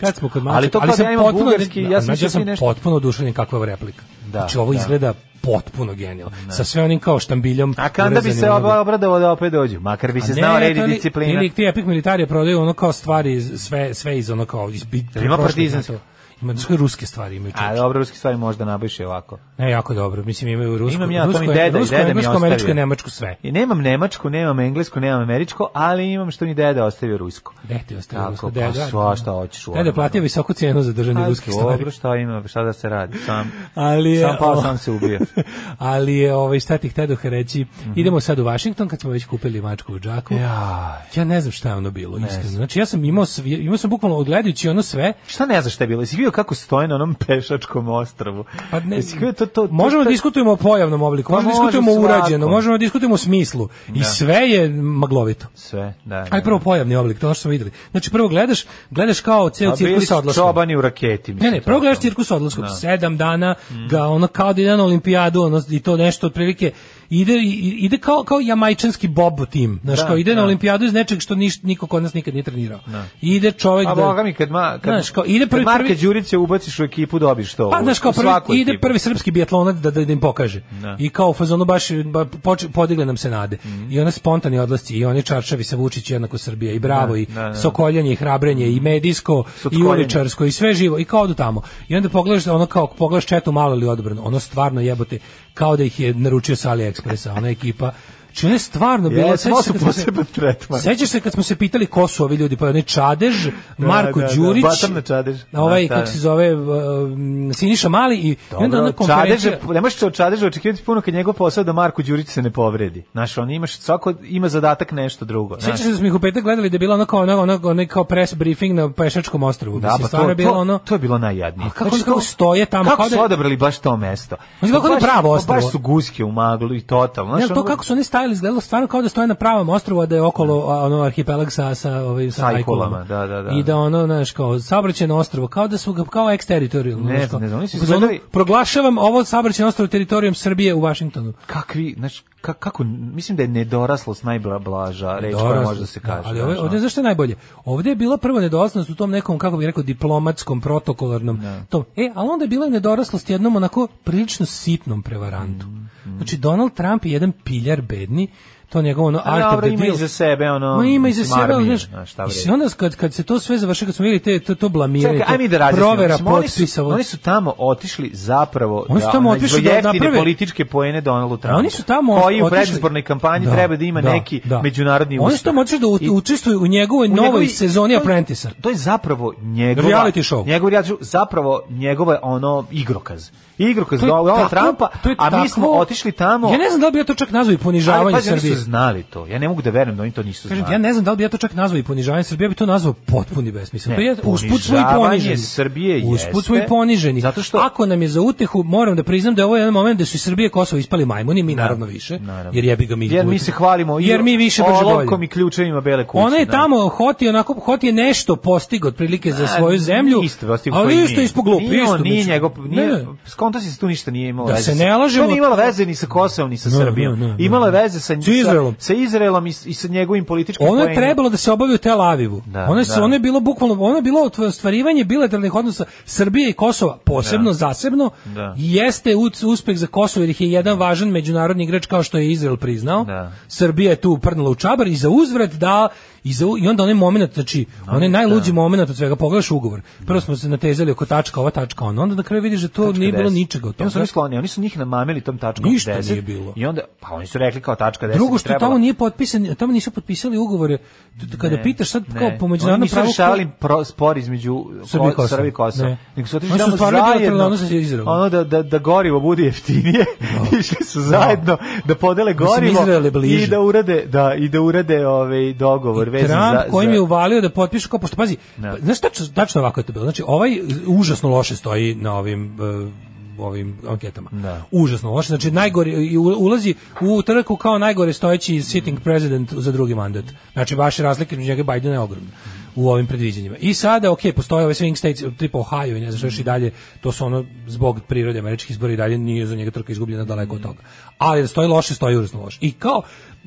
[SPEAKER 6] kad smo kod mačaka,
[SPEAKER 7] Ali to kao da ja imam bugarski, ja sam
[SPEAKER 6] znači,
[SPEAKER 7] mislio
[SPEAKER 6] sam
[SPEAKER 7] ti nešto-
[SPEAKER 6] potpuno oduševljen kakva je ovo replika.
[SPEAKER 7] Da,
[SPEAKER 6] znači ovo
[SPEAKER 7] da.
[SPEAKER 6] izgleda potpuno genijalno. Sa sve onim kao štambiljom.
[SPEAKER 7] A kada bi
[SPEAKER 6] urezanim
[SPEAKER 7] se
[SPEAKER 6] ono-
[SPEAKER 7] oba obradovao da opet dođu? Makar bi se
[SPEAKER 6] A ne,
[SPEAKER 7] znao red
[SPEAKER 6] to
[SPEAKER 7] i
[SPEAKER 6] li-
[SPEAKER 7] disciplina.
[SPEAKER 6] Ili ti Epic Militarije prodaju ono kao stvari, iz- sve, sve iz ono kao... Iz, bit-
[SPEAKER 7] Jel ima
[SPEAKER 6] prošlih
[SPEAKER 7] partizansko?
[SPEAKER 6] ratova. Ima, znaš koje ruske stvari imaju čovječe.
[SPEAKER 7] A dobro, ruski stvari možda nabaviš i ovako.
[SPEAKER 6] Ne, jako dobro. Mislim, imaju rusko,
[SPEAKER 7] Imam ja, to mi
[SPEAKER 6] rusko,
[SPEAKER 7] deda i
[SPEAKER 6] rusko,
[SPEAKER 7] deda mi
[SPEAKER 6] englesko,
[SPEAKER 7] ostavio.
[SPEAKER 6] američko i nemačko sve.
[SPEAKER 7] I nemam nemačku, nemam englesku, nemam američku, ali imam što mi deda ostavio rusko.
[SPEAKER 6] Dede ti ostavio
[SPEAKER 7] Tako,
[SPEAKER 6] rusko,
[SPEAKER 7] pa
[SPEAKER 6] deda.
[SPEAKER 7] svašta hoćeš u
[SPEAKER 6] Dede je
[SPEAKER 7] ovom.
[SPEAKER 6] platio visoku cijenu za držanje
[SPEAKER 7] A,
[SPEAKER 6] ruskih stvari.
[SPEAKER 7] Dobro, šta ima, šta da se radi? Sam,
[SPEAKER 6] Ali je-
[SPEAKER 7] sam pao,
[SPEAKER 6] o-
[SPEAKER 7] sam se ubio.
[SPEAKER 6] ali je ovaj šta ti htedoh reći
[SPEAKER 7] Mhm.
[SPEAKER 6] idemo sad u Washington kad smo već kupili mačku u džaku
[SPEAKER 7] Ja.
[SPEAKER 6] ja ne znam šta je ono bilo iskreno znači ja sam imao svi, imao sam bukvalno odgledajući ono sve
[SPEAKER 7] Šta ne znaš šta je bilo? Jesi vidio kako stoje na onom pešačkom ostrvu?
[SPEAKER 6] pa ne
[SPEAKER 7] Jesi vidio to, to, to,
[SPEAKER 6] možemo
[SPEAKER 7] to-
[SPEAKER 6] da diskutujemo o pojavnom obliku
[SPEAKER 7] Pa
[SPEAKER 6] možemo da
[SPEAKER 7] može
[SPEAKER 6] diskutujemo o
[SPEAKER 7] svako. Da.
[SPEAKER 6] urađeno možemo da diskutujemo o smislu i sve je maglovito
[SPEAKER 7] Sve, da.
[SPEAKER 6] Aj prvo pojavni oblik, to što smo videli. Znači prvo gledaš, gledaš kao
[SPEAKER 7] Pa
[SPEAKER 6] ceo cirkus sa odlaskom.
[SPEAKER 7] Čobani u raketi.
[SPEAKER 6] Ne,
[SPEAKER 7] mislim,
[SPEAKER 6] ne, prvo
[SPEAKER 7] to-
[SPEAKER 6] gledaš cirkus
[SPEAKER 7] Da.
[SPEAKER 6] odlaskom, sedam dana,
[SPEAKER 7] Mhm.
[SPEAKER 6] ga ono kao da ide na olimpijadu, ono, i to nešto otprilike, ide, i- ide kao, kao jamajčanski bob tim, znaš,
[SPEAKER 7] Da,
[SPEAKER 6] kao ide na
[SPEAKER 7] da.
[SPEAKER 6] olimpijadu iz nečeg što niš, niko kod nas nikad nije trenirao. Ide čovjek
[SPEAKER 7] A
[SPEAKER 6] da...
[SPEAKER 7] Pa boga mi, kad, ma, kad,
[SPEAKER 6] Znaš, kao, ide prvi-
[SPEAKER 7] kad Marka
[SPEAKER 6] prvi-
[SPEAKER 7] Đurića ubaciš u ekipu, dobiš to.
[SPEAKER 6] Pa,
[SPEAKER 7] u-
[SPEAKER 6] znaš, kao
[SPEAKER 7] u svaku
[SPEAKER 6] prvi, ide
[SPEAKER 7] ekipu.
[SPEAKER 6] prvi srpski biatlonac da, da, da im pokaže.
[SPEAKER 7] Da. Mhm.
[SPEAKER 6] I kao u fazonu baš ba, poč, podigle nam se nade. I ona spontani odlasci, i oni čaršavi sa Vučić jednako Srbija, i bravo, i
[SPEAKER 7] da, da.
[SPEAKER 6] sokoljanje, i hrabrenje, i medijsko, i
[SPEAKER 7] Sockoljanje.
[SPEAKER 6] uličarsko, i sve živo, i kao odu tamo. I onda pogledaš, ono kao, pogledaš četu malo ili odbrano, ono stvarno jebote, kao da ih je naručio sa AliExpressa, ona ekipa Znači, ono je stvarno bilo...
[SPEAKER 7] Jesmo,
[SPEAKER 6] sećaš se
[SPEAKER 7] su
[SPEAKER 6] kad smo se-
[SPEAKER 7] poseban tretman.
[SPEAKER 6] Sećaš se kad smo se pitali ko su ovi ljudi, pa ne Čadež, Marko
[SPEAKER 7] da, da,
[SPEAKER 6] Đurić,
[SPEAKER 7] Batamna Čadež.
[SPEAKER 6] na ovaj,
[SPEAKER 7] Da, da,
[SPEAKER 6] kako
[SPEAKER 7] da.
[SPEAKER 6] se zove, um, Siniša Mali i, i onda ona
[SPEAKER 7] Dobro,
[SPEAKER 6] konferencija...
[SPEAKER 7] Čadeže, ne možeš od Čadeža očekivati puno kad njegov posao da Marko Đurić se ne povredi. Znaš, on imaš, svako ima zadatak nešto drugo. Znaš,
[SPEAKER 6] Sećaš se da smo ih u petak gledali da je bila ono kao, ono, ono, ono kao press briefing na Pešačkom ostrovu.
[SPEAKER 7] da,
[SPEAKER 6] Mislim,
[SPEAKER 7] pa
[SPEAKER 6] stvarno
[SPEAKER 7] to,
[SPEAKER 6] je bilo
[SPEAKER 7] to,
[SPEAKER 6] ono...
[SPEAKER 7] to je bilo najjadnije.
[SPEAKER 6] A kako
[SPEAKER 7] Znači,
[SPEAKER 6] su- kako stoje tamo,
[SPEAKER 7] Kako
[SPEAKER 6] kao da
[SPEAKER 7] su
[SPEAKER 6] je-
[SPEAKER 7] odabrali baš to mesto?
[SPEAKER 6] Mislim, kako je
[SPEAKER 7] Baš-
[SPEAKER 6] pravo
[SPEAKER 7] pa
[SPEAKER 6] ostrvo.
[SPEAKER 7] Baš su guske u maglu i totalno.
[SPEAKER 6] Ne,
[SPEAKER 7] znaš,
[SPEAKER 6] ali to
[SPEAKER 7] ono-
[SPEAKER 6] kako su oni stajali izgledalo stvarno kao da stoje na pravom ostrvu, a da je okolo a, ono arhipelag sa sa ovaj sa
[SPEAKER 7] Sa ajkulama,
[SPEAKER 6] ajkulama.
[SPEAKER 7] da, da, da.
[SPEAKER 6] I da ono, znaš, kao saobraćajno ostrvo, kao da su ga kao eksteritorijalno.
[SPEAKER 7] Ne
[SPEAKER 6] znaš,
[SPEAKER 7] znam,
[SPEAKER 6] kao-
[SPEAKER 7] ne znam, oni su
[SPEAKER 6] u fazonu,
[SPEAKER 7] izgledali-
[SPEAKER 6] proglašavam ovo saobraćajno ostrvo teritorijom Srbije u Vašingtonu.
[SPEAKER 7] kakvi, znači, ka, kako, mislim da je nedoraslost najbla blaža reč koja može da se kaže.
[SPEAKER 6] Ali ovdje,
[SPEAKER 7] znaš,
[SPEAKER 6] ovdje
[SPEAKER 7] ono.
[SPEAKER 6] zašto je najbolje? Ovdje je bila prvo nedoraslost u tom nekom, kako bih rekao, diplomatskom, protokolarnom
[SPEAKER 7] Da.
[SPEAKER 6] tom. E, ali onda je bila i nedoraslost jednom onako prilično sitnom prevarantu.
[SPEAKER 7] Mm,
[SPEAKER 6] Znači, Donald Trump je jedan piljar bedni, to njegovo ono
[SPEAKER 7] A
[SPEAKER 6] art of
[SPEAKER 7] dobro,
[SPEAKER 6] the
[SPEAKER 7] ima
[SPEAKER 6] deal.
[SPEAKER 7] iza sebe, ono,
[SPEAKER 6] Ma ima iza
[SPEAKER 7] mislim,
[SPEAKER 6] sebe, ali
[SPEAKER 7] armije,
[SPEAKER 6] znaš,
[SPEAKER 7] znaš, šta
[SPEAKER 6] i
[SPEAKER 7] vredi.
[SPEAKER 6] sve onda kad, kad se to sve završi, kad smo vidjeli te, to, to blamiranje,
[SPEAKER 7] Čekaj,
[SPEAKER 6] to
[SPEAKER 7] aj mi da razjasnimo.
[SPEAKER 6] provera
[SPEAKER 7] Mislim, oni,
[SPEAKER 6] potpisa,
[SPEAKER 7] su,
[SPEAKER 6] ovo-
[SPEAKER 7] oni su tamo otišli zapravo
[SPEAKER 6] Oni su
[SPEAKER 7] da,
[SPEAKER 6] tamo
[SPEAKER 7] ono,
[SPEAKER 6] otišli
[SPEAKER 7] za
[SPEAKER 6] da
[SPEAKER 7] jeftine
[SPEAKER 6] naprave- Da,
[SPEAKER 7] političke poene Donaldu Trumpu.
[SPEAKER 6] Oni su tamo
[SPEAKER 7] koji u
[SPEAKER 6] otišli-
[SPEAKER 7] predizbornoj kampanji
[SPEAKER 6] Da,
[SPEAKER 7] treba da ima
[SPEAKER 6] da,
[SPEAKER 7] neki
[SPEAKER 6] da.
[SPEAKER 7] međunarodni ustav.
[SPEAKER 6] Oni su tamo otišli da u-
[SPEAKER 7] I-
[SPEAKER 6] učestvuju u njegovoj
[SPEAKER 7] u
[SPEAKER 6] novoj
[SPEAKER 7] njegovi-
[SPEAKER 6] sezoni
[SPEAKER 7] to je-
[SPEAKER 6] Apprentice-a.
[SPEAKER 7] To je zapravo njegova
[SPEAKER 6] Reality show.
[SPEAKER 7] Njegov reality show, zapravo njegova ono igrokaz. Igrokaz
[SPEAKER 6] To je
[SPEAKER 7] Donalda
[SPEAKER 6] takvo-
[SPEAKER 7] Trumpa,
[SPEAKER 6] to je
[SPEAKER 7] a mi
[SPEAKER 6] takvo-
[SPEAKER 7] smo otišli tamo.
[SPEAKER 6] Ja ne znam da li bi ja to čak nazvao i
[SPEAKER 7] ali,
[SPEAKER 6] ponižavanje
[SPEAKER 7] pazi, oni
[SPEAKER 6] Srbije.
[SPEAKER 7] su znali to. Ja ne mogu da verujem da oni to nisu
[SPEAKER 6] Kažem,
[SPEAKER 7] znali.
[SPEAKER 6] ja ne znam da li bi ja to čak nazvao i ponižavanje Srbije, ja bi to nazvao potpuni besmisao.
[SPEAKER 7] Ne,
[SPEAKER 6] To je usput smo i
[SPEAKER 7] ponižavanje
[SPEAKER 6] poniženi.
[SPEAKER 7] Srbije
[SPEAKER 6] usput smo
[SPEAKER 7] jeste,
[SPEAKER 6] i poniženi.
[SPEAKER 7] zato što-
[SPEAKER 6] Ako nam je za utehu, moram da priznam da je ovo jedan moment da su iz Srbije i Kosovo ispali majmuni, mi naravno više,
[SPEAKER 7] Da, naravno.
[SPEAKER 6] jer jebi ga mi.
[SPEAKER 7] Jer mi se hvalimo i
[SPEAKER 6] da jer mi više brže
[SPEAKER 7] olovkom
[SPEAKER 6] bolje.
[SPEAKER 7] i ključevima bele kuće.
[SPEAKER 6] Ona je
[SPEAKER 7] da.
[SPEAKER 6] tamo Hoti onako Hoti je nešto postigao otprilike za
[SPEAKER 7] A,
[SPEAKER 6] svoju zemlju.
[SPEAKER 7] Isto, osim koji
[SPEAKER 6] ali isto
[SPEAKER 7] nije.
[SPEAKER 6] ispod glupi,
[SPEAKER 7] Nije on,
[SPEAKER 6] isto.
[SPEAKER 7] nije
[SPEAKER 6] mislim.
[SPEAKER 7] njegov, nije,
[SPEAKER 6] Ne, ne.
[SPEAKER 7] skonto si se tu ništa nije imalo
[SPEAKER 6] Da
[SPEAKER 7] veze.
[SPEAKER 6] se
[SPEAKER 7] sa-
[SPEAKER 6] ne lažemo- Da,
[SPEAKER 7] To nije imalo veze ni sa Kosovom, ni sa
[SPEAKER 6] Ne,
[SPEAKER 7] Srbijom.
[SPEAKER 6] ne, ne, ne.
[SPEAKER 7] Imalo je veze sa,
[SPEAKER 6] Sa Izraelom.
[SPEAKER 7] Sa, sa Izraelom i, s- i sa njegovim političkim
[SPEAKER 6] Ono je
[SPEAKER 7] poenima.
[SPEAKER 6] trebalo da se obavi u Tel Avivu.
[SPEAKER 7] Da,
[SPEAKER 6] ono, je, se-
[SPEAKER 7] da.
[SPEAKER 6] ono je bilo bukvalno, ono je bilo ostvarivanje bilateralnih odnosa Srbije i Kosova, posebno, zasebno,
[SPEAKER 7] Da.
[SPEAKER 6] i jeste u- uspeh za Kosovo, jer ih je jedan važan međunarodni igrač kao što je Izrael priznao.
[SPEAKER 7] Da.
[SPEAKER 6] Srbija je tu prnula u čabar i za uzvrat da, i, za, u- i onda onaj moment, znači, onaj
[SPEAKER 7] da.
[SPEAKER 6] najluđi moment od svega, pogledaš ugovor. Prvo smo se natezali oko tačka, ova tačka, ono, onda na kraju vidiš da to nije bilo
[SPEAKER 7] 10.
[SPEAKER 6] ničega od
[SPEAKER 7] I onda su
[SPEAKER 6] toga.
[SPEAKER 7] oni skloni, oni su njih namamili tom tačkom
[SPEAKER 6] Ništa
[SPEAKER 7] 10.
[SPEAKER 6] nije bilo.
[SPEAKER 7] I onda, pa oni su rekli kao tačka 10.
[SPEAKER 6] Drugo što
[SPEAKER 7] trebalo.
[SPEAKER 6] tamo nije potpisan, tamo nisu potpisali ugovore. T- Kada
[SPEAKER 7] Ne,
[SPEAKER 6] pitaš sad
[SPEAKER 7] ne.
[SPEAKER 6] kao po međunarodnom
[SPEAKER 7] Oni
[SPEAKER 6] pravu
[SPEAKER 7] nisu rešavali pro, spor između
[SPEAKER 6] Srbije i
[SPEAKER 7] Ko-
[SPEAKER 6] Kosova.
[SPEAKER 7] Srbije i Kosova.
[SPEAKER 6] Ne.
[SPEAKER 7] Nego su otišli
[SPEAKER 6] Oni su
[SPEAKER 7] tamo
[SPEAKER 6] stvarno bilateralno
[SPEAKER 7] zajedno.
[SPEAKER 6] odnose sa Izraelom. Da.
[SPEAKER 7] Ono da, da, da gorivo bude jeftinije. Išli su zajedno da podele gorivo
[SPEAKER 6] Izrael je bliže.
[SPEAKER 7] i da urade, da, i da urade ovaj dogovor vezan za...
[SPEAKER 6] Trump kojim
[SPEAKER 7] za-
[SPEAKER 6] je uvalio da potpiše kao pošto pazi,
[SPEAKER 7] Da.
[SPEAKER 6] pa, znaš tačno, tačno ovako je to bilo. Znači ovaj užasno loše stoji na ovim e, ovim anketama.
[SPEAKER 7] Da.
[SPEAKER 6] Užasno loše. Znači najgori i u- ulazi u trku kao najgore stojeći sitting president za drugi mandat. Znači baš razlike između njega i Bajdena je ogromna u ovim predviđanjima. I sada, ok, postoje ove swing states, tipa Ohio i ne znam što još i dalje, to su ono zbog prirode američkih izbora i dalje nije za njega trka izgubljena daleko od toga. Ali da stoji loše, stoji užasno loše. I kao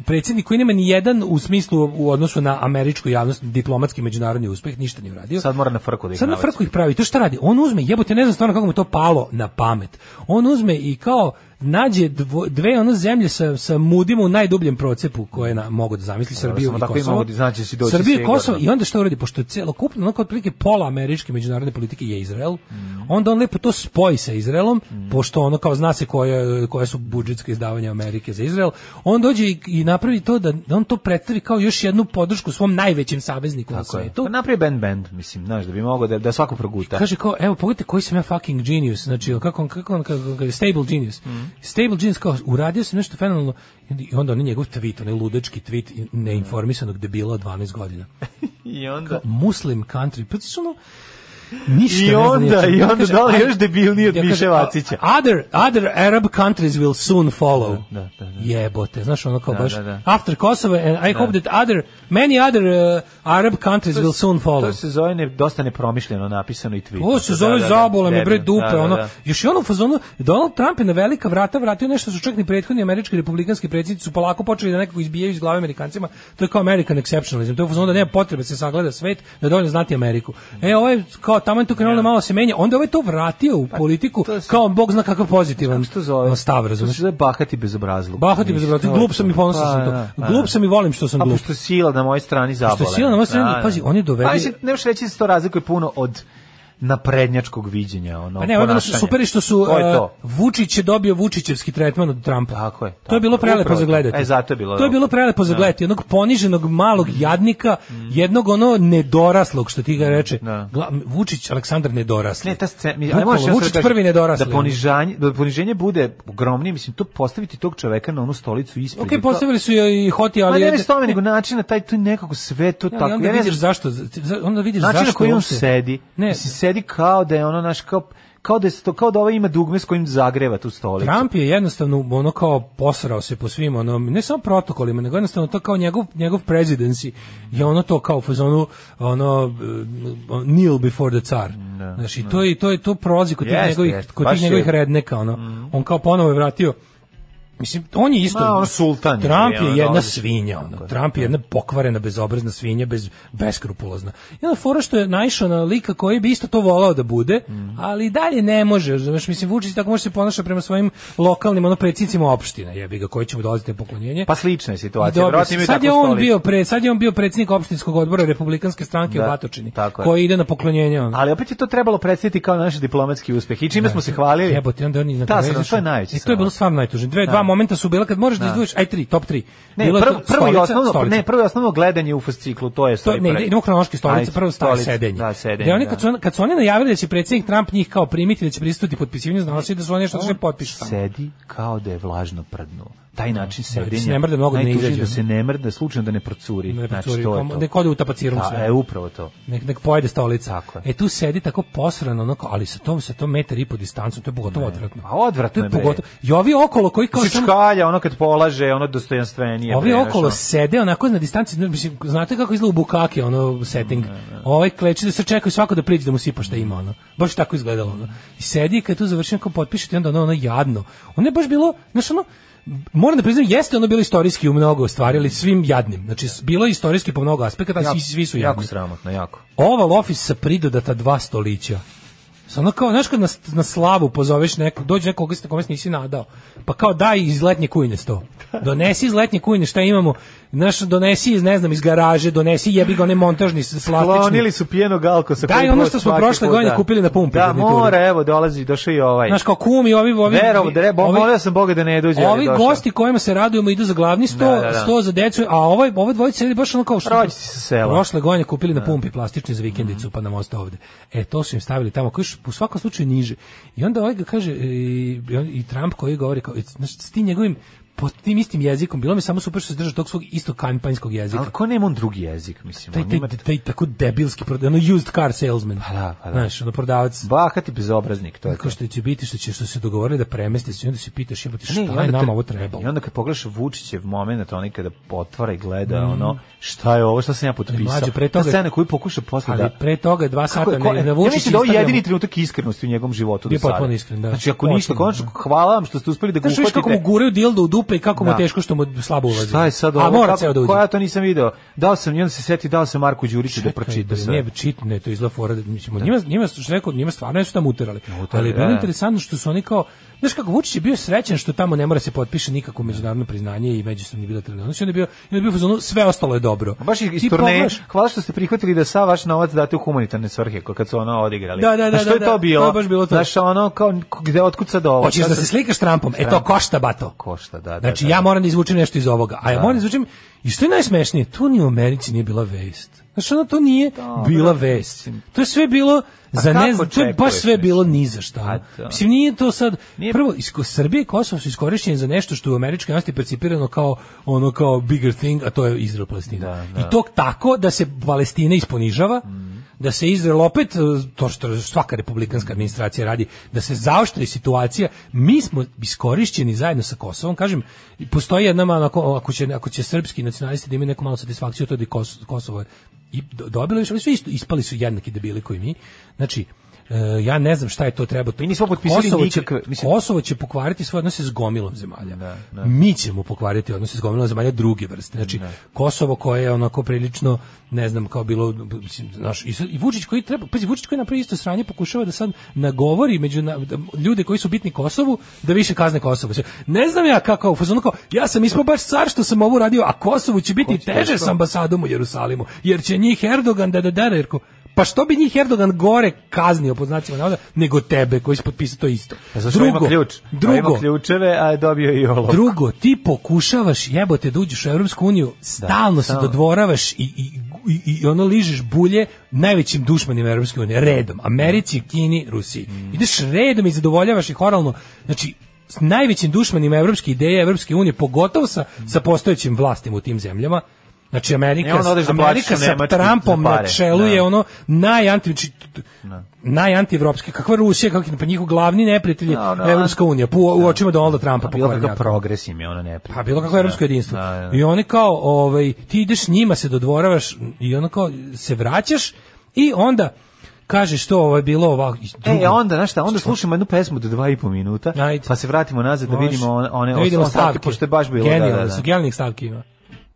[SPEAKER 6] predsjednik koji nema ni jedan u smislu u odnosu na američku javnost diplomatski međunarodni uspeh, ništa nije uradio.
[SPEAKER 7] Sad mora na frku da ih
[SPEAKER 6] Sad na
[SPEAKER 7] navaci.
[SPEAKER 6] frku ih pravi. To šta radi? On uzme, jebote, ne znam stvarno kako mu je to palo na pamet. On uzme i kao nađe dvo- dve ono zemlje sa, sa mudima u najdubljem procepu koje na, mogu da zamisli Srbiju
[SPEAKER 7] samo
[SPEAKER 6] i
[SPEAKER 7] tako i
[SPEAKER 6] Kosovo.
[SPEAKER 7] mogu da znači da si doći
[SPEAKER 6] Srbiju i
[SPEAKER 7] sigurno.
[SPEAKER 6] Kosovo i onda šta uradi? Pošto je celokupno, onako otprilike pola američke međunarodne politike je Izrael,
[SPEAKER 7] Mhm.
[SPEAKER 6] onda on lepo to spoji sa Izraelom, pošto ono kao zna se koje, koje su budžetske izdavanja Amerike za Izrael, on dođe i, i napravi to da, da on to predstavi kao još jednu podršku svom najvećem savezniku na
[SPEAKER 7] Tako je.
[SPEAKER 6] svetu.
[SPEAKER 7] Pa napravi band band, mislim, znaš, da bi mogao da, da svako proguta.
[SPEAKER 6] Kaže kao, evo pogledajte koji sam ja fucking genius, znači kako on kako on kako on kaže stable genius.
[SPEAKER 7] Mm.
[SPEAKER 6] Stable genius kao uradio sam nešto fenomenalno i onda- i onda on njegov tweet, onaj ludački tweet neinformisanog debila od 12 godina.
[SPEAKER 7] I onda...
[SPEAKER 6] Muslim country, pa znači ono Ništa
[SPEAKER 7] I
[SPEAKER 6] ne zna ni o
[SPEAKER 7] onda-
[SPEAKER 6] čemu.
[SPEAKER 7] i onda
[SPEAKER 6] Kaže,
[SPEAKER 7] dole
[SPEAKER 6] "Aj,
[SPEAKER 7] još debilniji od
[SPEAKER 6] ja
[SPEAKER 7] Miše
[SPEAKER 6] kaže,
[SPEAKER 7] Vacića."
[SPEAKER 6] "A- Other, other Arab countries will soon follow.
[SPEAKER 7] Da, da, da, da.
[SPEAKER 6] Jebote, znaš ono kao
[SPEAKER 7] Da,
[SPEAKER 6] baš.
[SPEAKER 7] da, da.
[SPEAKER 6] After Kosovo and I hope that other, many other uh, Arab countries will soon follow.
[SPEAKER 7] To se zove ne, dosta nepromišljeno napisano i Da, tweet.
[SPEAKER 6] Ovo se zove zabola mi
[SPEAKER 7] da,
[SPEAKER 6] bre dupe, ono. Još i ono u fazonu Donald Trump je na velika vrata vratio nešto što čak ni prethodni američki republikanski predsjednici su polako počeli da nekako izbijaju iz glave Amerikancima. To je kao American exceptionalism. To je u fazonu da nema potrebe da se sagleda svet, da je dovoljno znati Ameriku. E, ovo je kao tamo je tu krenulo malo se menja, onda je ovaj to vratio u politiku
[SPEAKER 7] Pa, to se-
[SPEAKER 6] kao bog zna kakav pozitivan
[SPEAKER 7] Što zove?
[SPEAKER 6] stav,
[SPEAKER 7] To
[SPEAKER 6] razumeš?
[SPEAKER 7] se zove bahati bezobrazluk.
[SPEAKER 6] Bahati me
[SPEAKER 7] Ništa,
[SPEAKER 6] zabrati,
[SPEAKER 7] to je
[SPEAKER 6] glup sam i ponosan
[SPEAKER 7] Pa,
[SPEAKER 6] sam
[SPEAKER 7] da,
[SPEAKER 6] to.
[SPEAKER 7] pa,
[SPEAKER 6] Glup
[SPEAKER 7] da.
[SPEAKER 6] sam i volim što sam
[SPEAKER 7] A
[SPEAKER 6] glup.
[SPEAKER 7] pošto je sila na mojoj strani zabole.
[SPEAKER 6] sila na mojoj strani,
[SPEAKER 7] Da, da.
[SPEAKER 6] pazi, on je dovede-
[SPEAKER 7] Pa mislim, ne možeš reći da se to razlikuje puno od naprednjačkog viđenja. Ono,
[SPEAKER 6] Pa ne, ono su
[SPEAKER 7] ponašanja.
[SPEAKER 6] super je što su
[SPEAKER 7] To je
[SPEAKER 6] e,
[SPEAKER 7] to.
[SPEAKER 6] Vučić je dobio Vučićevski tretman od Trumpa.
[SPEAKER 7] Tako je, tako
[SPEAKER 6] to je bilo
[SPEAKER 7] je,
[SPEAKER 6] prelepo
[SPEAKER 7] upravo
[SPEAKER 6] za
[SPEAKER 7] to.
[SPEAKER 6] gledati.
[SPEAKER 7] E, zato je bilo
[SPEAKER 6] To je
[SPEAKER 7] dobro. Da. Mm.
[SPEAKER 6] bilo prelepo za gledati, jednog poniženog malog jadnika, jednog ono nedoraslog što ti ga reče.
[SPEAKER 7] Da.
[SPEAKER 6] Gla- Vučić Aleksandar nedorasli.
[SPEAKER 7] Ne, ta scena, mi,
[SPEAKER 6] Bukvalno,
[SPEAKER 7] ajmo još jednom
[SPEAKER 6] Vučić
[SPEAKER 7] da kažem,
[SPEAKER 6] prvi nedorasli.
[SPEAKER 7] Da poniženje, da poniženje bude ogromnije, mislim, to postaviti tog čoveka na onu stolicu ispred.
[SPEAKER 6] Okej,
[SPEAKER 7] i to-
[SPEAKER 6] postavili su joj i Hoti, ali
[SPEAKER 7] Ma ne
[SPEAKER 6] je-
[SPEAKER 7] mi tome, nego način na taj, to je nekako sve to
[SPEAKER 6] Ne, ali
[SPEAKER 7] tako.
[SPEAKER 6] onda
[SPEAKER 7] ja ne
[SPEAKER 6] vidiš
[SPEAKER 7] znam,
[SPEAKER 6] zašto, za- onda vidiš
[SPEAKER 7] način na
[SPEAKER 6] zašto
[SPEAKER 7] koji on
[SPEAKER 6] uopšte-
[SPEAKER 7] sedi.
[SPEAKER 6] Ne.
[SPEAKER 7] Mislim, sedi kao da je ono, naš, kao, kao da, je sto, kao da ovaj ima dugme s kojim zagreva tu stolicu.
[SPEAKER 6] Trump je jednostavno ono kao posrao se po svim ono ne samo protokolima nego jednostavno to kao njegov njegov presidency je ono to kao u fazonu ono eh, kneel before the czar. znači to je to je to prolazi kod tih
[SPEAKER 7] Da, Jeste,
[SPEAKER 6] njegovih
[SPEAKER 7] jeste,
[SPEAKER 6] kod
[SPEAKER 7] baš
[SPEAKER 6] tih
[SPEAKER 7] je. Mm.
[SPEAKER 6] njegovih redneka ono. On kao ponovo je vratio Mislim, on je isto...
[SPEAKER 7] Ma, ono, sultan je,
[SPEAKER 6] Trump
[SPEAKER 7] ono,
[SPEAKER 6] je jedna
[SPEAKER 7] dolazi.
[SPEAKER 6] svinja. Ono. Trump je jedna pokvarena, bezobrazna svinja, bez, beskrupulozna. I onda fora što je naišao na lika koji bi isto to volao da bude,
[SPEAKER 7] Mhm.
[SPEAKER 6] ali dalje ne može. Znaš, mislim, Vučić tako može se ponaša prema svojim lokalnim ono, predsjednicima opština, jebi ga, koji će mu dolaziti na poklonjenje.
[SPEAKER 7] Pa slična je
[SPEAKER 6] I
[SPEAKER 7] situacija.
[SPEAKER 6] dobio
[SPEAKER 7] Dobro,
[SPEAKER 6] se. sad je on bio pre, sad je on bio predsjednik opštinskog odbora republikanske stranke
[SPEAKER 7] Da,
[SPEAKER 6] u Batočini,
[SPEAKER 7] tako je.
[SPEAKER 6] koji ide na poklonjenje. Ono.
[SPEAKER 7] Ali opet je to trebalo predstaviti kao naš diplomatski uspeh. I čime smo se hvalili?
[SPEAKER 6] Da, Jebote, onda oni na
[SPEAKER 7] Ta,
[SPEAKER 6] televiziji
[SPEAKER 7] sam, Da, to je
[SPEAKER 6] su-
[SPEAKER 7] najveći.
[SPEAKER 6] I to je bilo stvarno najtužnije. Dve, dva momenta su bila kad možeš da, izdvojiš, aj tri, top tri.
[SPEAKER 7] Ne,
[SPEAKER 6] Bilo je
[SPEAKER 7] prvo,
[SPEAKER 6] to
[SPEAKER 7] prvo i
[SPEAKER 6] stolica,
[SPEAKER 7] osnovno,
[SPEAKER 6] stolica.
[SPEAKER 7] ne, prvo i osnovno gledanje u fasciklu, to je
[SPEAKER 6] to,
[SPEAKER 7] stoj
[SPEAKER 6] ne, ide- idemo hronološki
[SPEAKER 7] Ajde,
[SPEAKER 6] stolica, prvo stalo
[SPEAKER 7] stolica,
[SPEAKER 6] sedenje.
[SPEAKER 7] da, sedenje,
[SPEAKER 6] Da oni
[SPEAKER 7] da.
[SPEAKER 6] kad su, on- kad su oni najavili da će predsjednik Trump njih kao primiti, da će pristupiti potpisivanju, znalo se da su oni nešto da će potpišu. tamo.
[SPEAKER 7] Sedi kao da je vlažno prdnuo. Taj način
[SPEAKER 6] da
[SPEAKER 7] sedenja.
[SPEAKER 6] se ne mrde mnogo da ne
[SPEAKER 7] najtužnije
[SPEAKER 6] izađe,
[SPEAKER 7] Da
[SPEAKER 6] ono.
[SPEAKER 7] se ne mrde, slučajno da ne procuri.
[SPEAKER 6] Ne,
[SPEAKER 7] znači,
[SPEAKER 6] curi,
[SPEAKER 7] to
[SPEAKER 6] kao-
[SPEAKER 7] je to.
[SPEAKER 6] nek ode u tapacirom
[SPEAKER 7] Pa,
[SPEAKER 6] sve.
[SPEAKER 7] E, upravo to.
[SPEAKER 6] nek nek pojede stolica.
[SPEAKER 7] Tako je.
[SPEAKER 6] E tu sedi tako posrano onako, ali sa tom sa tom metar i po distancom, to je pogotovo odvratno.
[SPEAKER 7] A Pa odvratno
[SPEAKER 6] to je
[SPEAKER 7] je, bre.
[SPEAKER 6] pogotovo. I ovi okolo koji kao
[SPEAKER 7] Mislim,
[SPEAKER 6] samo-
[SPEAKER 7] čkalja, ono kad polaže, ono dostojanstvenije.
[SPEAKER 6] Ovi
[SPEAKER 7] bre, znaš,
[SPEAKER 6] okolo
[SPEAKER 7] ono.
[SPEAKER 6] sede onako na distanci, no, mislim, znate kako izgleda u bukake, ono, setting. Ovaj kleči da se čekaju svako da priđe da mu sipa šta ima, ono. Baš je tako izgledalo, ono. I sedi i kad tu završi, ako potpišete, onda ono, ono jadno. Ono je baš bilo, znaš, ono, moram da priznam, jeste ono bilo istorijski u mnogo stvari, ali svim jadnim. Znači, s- bilo je istorijski po mnogo aspekata, a svi, svi su
[SPEAKER 7] jako
[SPEAKER 6] jadni.
[SPEAKER 7] sramotno, jako.
[SPEAKER 6] Oval office sa pridodata dva stolića. Sa ono kao, znaš kad na, na slavu pozoveš nekog, dođe nekoga se kome se nisi nadao, pa kao daj iz letnje kujne sto. Donesi iz letnje kujne šta imamo, znaš, donesi iz, ne znam, iz garaže, donesi jebi ga one montažni s- slastični.
[SPEAKER 7] Klonili su pijenog alkosa.
[SPEAKER 6] Daj,
[SPEAKER 7] koji
[SPEAKER 6] ono
[SPEAKER 7] prođe
[SPEAKER 6] što smo
[SPEAKER 7] svaki
[SPEAKER 6] prošle
[SPEAKER 7] put,
[SPEAKER 6] godine
[SPEAKER 7] da.
[SPEAKER 6] kupili na pumpi,
[SPEAKER 7] Da,
[SPEAKER 6] garnituru.
[SPEAKER 7] mora, evo, dolazi, došao i ovaj.
[SPEAKER 6] Znaš kao kum ovi, ovi,
[SPEAKER 7] Verovo, drebo,
[SPEAKER 6] ovi-
[SPEAKER 7] molio sam Boga da ne dođe. ali
[SPEAKER 6] ovi
[SPEAKER 7] došao.
[SPEAKER 6] gosti kojima se radujemo idu za glavni sto,
[SPEAKER 7] Da, da, da.
[SPEAKER 6] sto za decu, a ovaj, ove dvojice je baš ono kao što...
[SPEAKER 7] Rođaci sa sela. Da. Mhm.
[SPEAKER 6] Prošle godine kupili na pumpi plastični za vikendicu, pa nam ostao ovde. E, to su im stavili tamo, koji su u svakom slučaju niže. I onda ovaj ga kaže, e, i, on- i Trump koji govori, kao, i, znaš, s tim njegovim pod tim istim jezikom, bilo mi samo super što se držao tog svog isto kampanjskog jezika.
[SPEAKER 7] Ali ko nema on drugi jezik, mislim.
[SPEAKER 6] Taj,
[SPEAKER 7] on
[SPEAKER 6] taj,
[SPEAKER 7] ima-
[SPEAKER 6] taj tako debilski, proda- ono used car salesman.
[SPEAKER 7] Pa da, pa da.
[SPEAKER 6] Znaš, ono prodavac.
[SPEAKER 7] Bahati bezobraznik, to je to.
[SPEAKER 6] Kao što će biti, što će, što su se dogovorili da premeste se i onda se pitaš, jebote, šta
[SPEAKER 7] Ne, i
[SPEAKER 6] je
[SPEAKER 7] te-
[SPEAKER 6] nama ovo trebalo?
[SPEAKER 7] I onda kad pogledaš Vučićev moment, onaj kada otvara i gleda, ono, šta je ovo, šta sam ja potpisao?
[SPEAKER 6] mlađe, Mm. pre toga-
[SPEAKER 7] Ta scena koju pokuša posle
[SPEAKER 6] Ali
[SPEAKER 7] da...
[SPEAKER 6] pre toga dva
[SPEAKER 7] Kako
[SPEAKER 6] sata
[SPEAKER 7] je, ko,
[SPEAKER 6] ne,
[SPEAKER 7] ja
[SPEAKER 6] ne Vučić
[SPEAKER 7] mislim da ovo je
[SPEAKER 6] Instagram-
[SPEAKER 7] jedini trenutak iskrenosti u njegovom životu
[SPEAKER 6] Bio
[SPEAKER 7] do sada.
[SPEAKER 6] potpuno iskren, da.
[SPEAKER 7] Znači, ako ništa,
[SPEAKER 6] Potpuno,
[SPEAKER 7] konačno, hvala vam što ste uspeli da ga
[SPEAKER 6] Znaš viš kako mu
[SPEAKER 7] uhvatite.
[SPEAKER 6] guraju dildo u dupe i kako mu je
[SPEAKER 7] Da.
[SPEAKER 6] teško što mu slabo ulazi.
[SPEAKER 7] Šta je sad ovo?
[SPEAKER 6] A mora
[SPEAKER 7] Kako-
[SPEAKER 6] ceo da uđe.
[SPEAKER 7] Ko ja to nisam video? Dao sam, i onda se seti, dao sam Marku Đuriću
[SPEAKER 6] E,
[SPEAKER 7] da pročita
[SPEAKER 6] Čekaj,
[SPEAKER 7] sve.
[SPEAKER 6] bre, Nije čit, ne, to je izla fora. pa da- Mislim, njima, njima, što sam rekao, njima stvarno su tamo uterali. ali je bilo
[SPEAKER 7] da, da.
[SPEAKER 6] interesantno što su oni kao, znaš kako, Vučić je bio srećan što tamo ne mora se potpiše nikako međunarodno priznanje i međusobni bilateralni odnosi. Onda je bio, onda je bio u fazonu, sve ostalo je dobro.
[SPEAKER 7] Pa Baš iz, iz
[SPEAKER 6] Ti
[SPEAKER 7] turneje.
[SPEAKER 6] pogledaš-
[SPEAKER 7] Hvala što ste prihvatili da sav vaš novac date u humanitarne svrhe ko- kad su ono odigrali.
[SPEAKER 6] Da, da, da,
[SPEAKER 7] A što je
[SPEAKER 6] da,
[SPEAKER 7] to
[SPEAKER 6] da,
[SPEAKER 7] bilo?
[SPEAKER 6] to je baš bilo to.
[SPEAKER 7] Znaš, ono kao k- gde otkud sad ovo?
[SPEAKER 6] Hoćeš
[SPEAKER 7] Šta
[SPEAKER 6] da
[SPEAKER 7] sad-
[SPEAKER 6] se slikaš s Trumpom? E to
[SPEAKER 7] Trump.
[SPEAKER 6] košta bato.
[SPEAKER 7] Košta, da, da.
[SPEAKER 6] Znači
[SPEAKER 7] da.
[SPEAKER 6] ja moram da izvučem nešto iz ovoga. A ja moram da izvučem i što je najsmešnije, to ni u Americi nije bila vest. Znači ono to nije
[SPEAKER 7] Da,
[SPEAKER 6] bila vest. To je sve bilo za
[SPEAKER 7] kako
[SPEAKER 6] ne znam, to je baš
[SPEAKER 7] očekuješ,
[SPEAKER 6] sve bilo ni za
[SPEAKER 7] A
[SPEAKER 6] šta.
[SPEAKER 7] to.
[SPEAKER 6] Mislim nije to sad
[SPEAKER 7] Nije-
[SPEAKER 6] prvo iz Ko- Srbije i Kosovo su iskorišćeni za nešto što je u američkoj javnosti percipirano kao ono kao bigger thing, a to je Izrael Palestina. I to tako da se Palestina isponižava, da se Izrael opet eh, to što svaka republikanska administracija radi, da se zaoštri situacija. Mi smo iskorišćeni zajedno sa Kosovom, kažem, i postoji jedna malo ako, ako će ako će srpski nacionalisti da imaju neku malu satisfakciju to je da je Kos- Kosovo i do- dobilo više, ali su isto ispali su jednaki debili koji mi. Znači, eh, ja ne znam šta je to treba.
[SPEAKER 7] Mi nismo potpisali
[SPEAKER 6] Kosovo će-
[SPEAKER 7] nikakve- mislim-
[SPEAKER 6] Kosovo će pokvariti svoje odnose s gomilom zemalja. Mi ćemo pokvariti odnose s gomilom zemalja druge vrste. Znači, Kosovo koje je onako prilično, ne znam, kao bilo, mislim, znaš, i, sad- i Vučić koji treba, pazi, Vučić koji napravi isto sranje pokušava da sad nagovori među na- da, ljude koji su bitni Kosovu da više kazne Kosovo. Ne znam ja kako, u fazonu kao, ja sam ispao baš car što sam ovo uradio, a Kosovu će biti teže s ambasadom u Jerusalimu, jer će njih Erdogan da da dere, jer ko- pa što bi njih Erdogan gore kaznio pod znacima navoda nego tebe koji si potpisao to isto.
[SPEAKER 7] Pa zašto drugo, ima ključ? Drugo, ima
[SPEAKER 6] drugo,
[SPEAKER 7] ključeve, a je dobio i ovo.
[SPEAKER 6] drugo, ti pokušavaš jebote da uđeš u Evropsku uniju, stalno se
[SPEAKER 7] stalno.
[SPEAKER 6] dodvoravaš i, i, i, i ono ližeš bulje najvećim dušmanima Evropske unije, redom, Americi, Kini, Rusiji.
[SPEAKER 7] Mm.
[SPEAKER 6] Ideš redom i zadovoljavaš ih oralno, znači s najvećim dušmanima evropske ideje, Evropske unije, pogotovo sa, sa postojećim vlastima u tim zemljama, Znači Amerika,
[SPEAKER 7] Ne, onda odeš da
[SPEAKER 6] Amerika
[SPEAKER 7] plaćaš u
[SPEAKER 6] sa
[SPEAKER 7] Nemačku
[SPEAKER 6] Trumpom
[SPEAKER 7] za pare.
[SPEAKER 6] na čelu je
[SPEAKER 7] Da.
[SPEAKER 6] ono najanti znači, t- najantievropski. Kakva Rusija, kakvi pa njihov glavni neprijatelj je
[SPEAKER 7] Da, da.
[SPEAKER 6] Evropska unija, po, u očima Donalda Trumpa.
[SPEAKER 7] Pa bilo kakav
[SPEAKER 6] pokvarnjaka.
[SPEAKER 7] progres im je ono ne Da,
[SPEAKER 6] Pa bilo kako evropsko jedinstvo. I oni kao, ovaj, ti ideš njima se dodvoravaš i ono kao se vraćaš i onda kažeš što ovo je bilo ovako. i drugo.
[SPEAKER 7] E, a onda, znaš šta, onda slušamo jednu pesmu do dva i po minuta,
[SPEAKER 6] Ajde.
[SPEAKER 7] pa se vratimo nazad da
[SPEAKER 6] Može.
[SPEAKER 7] vidimo one, one
[SPEAKER 6] Da vidimo
[SPEAKER 7] ostavke,
[SPEAKER 6] stavke,
[SPEAKER 7] pošto je baš bilo.
[SPEAKER 6] Genijalne
[SPEAKER 7] da, da, da.
[SPEAKER 6] su, genijalnih stavki ima.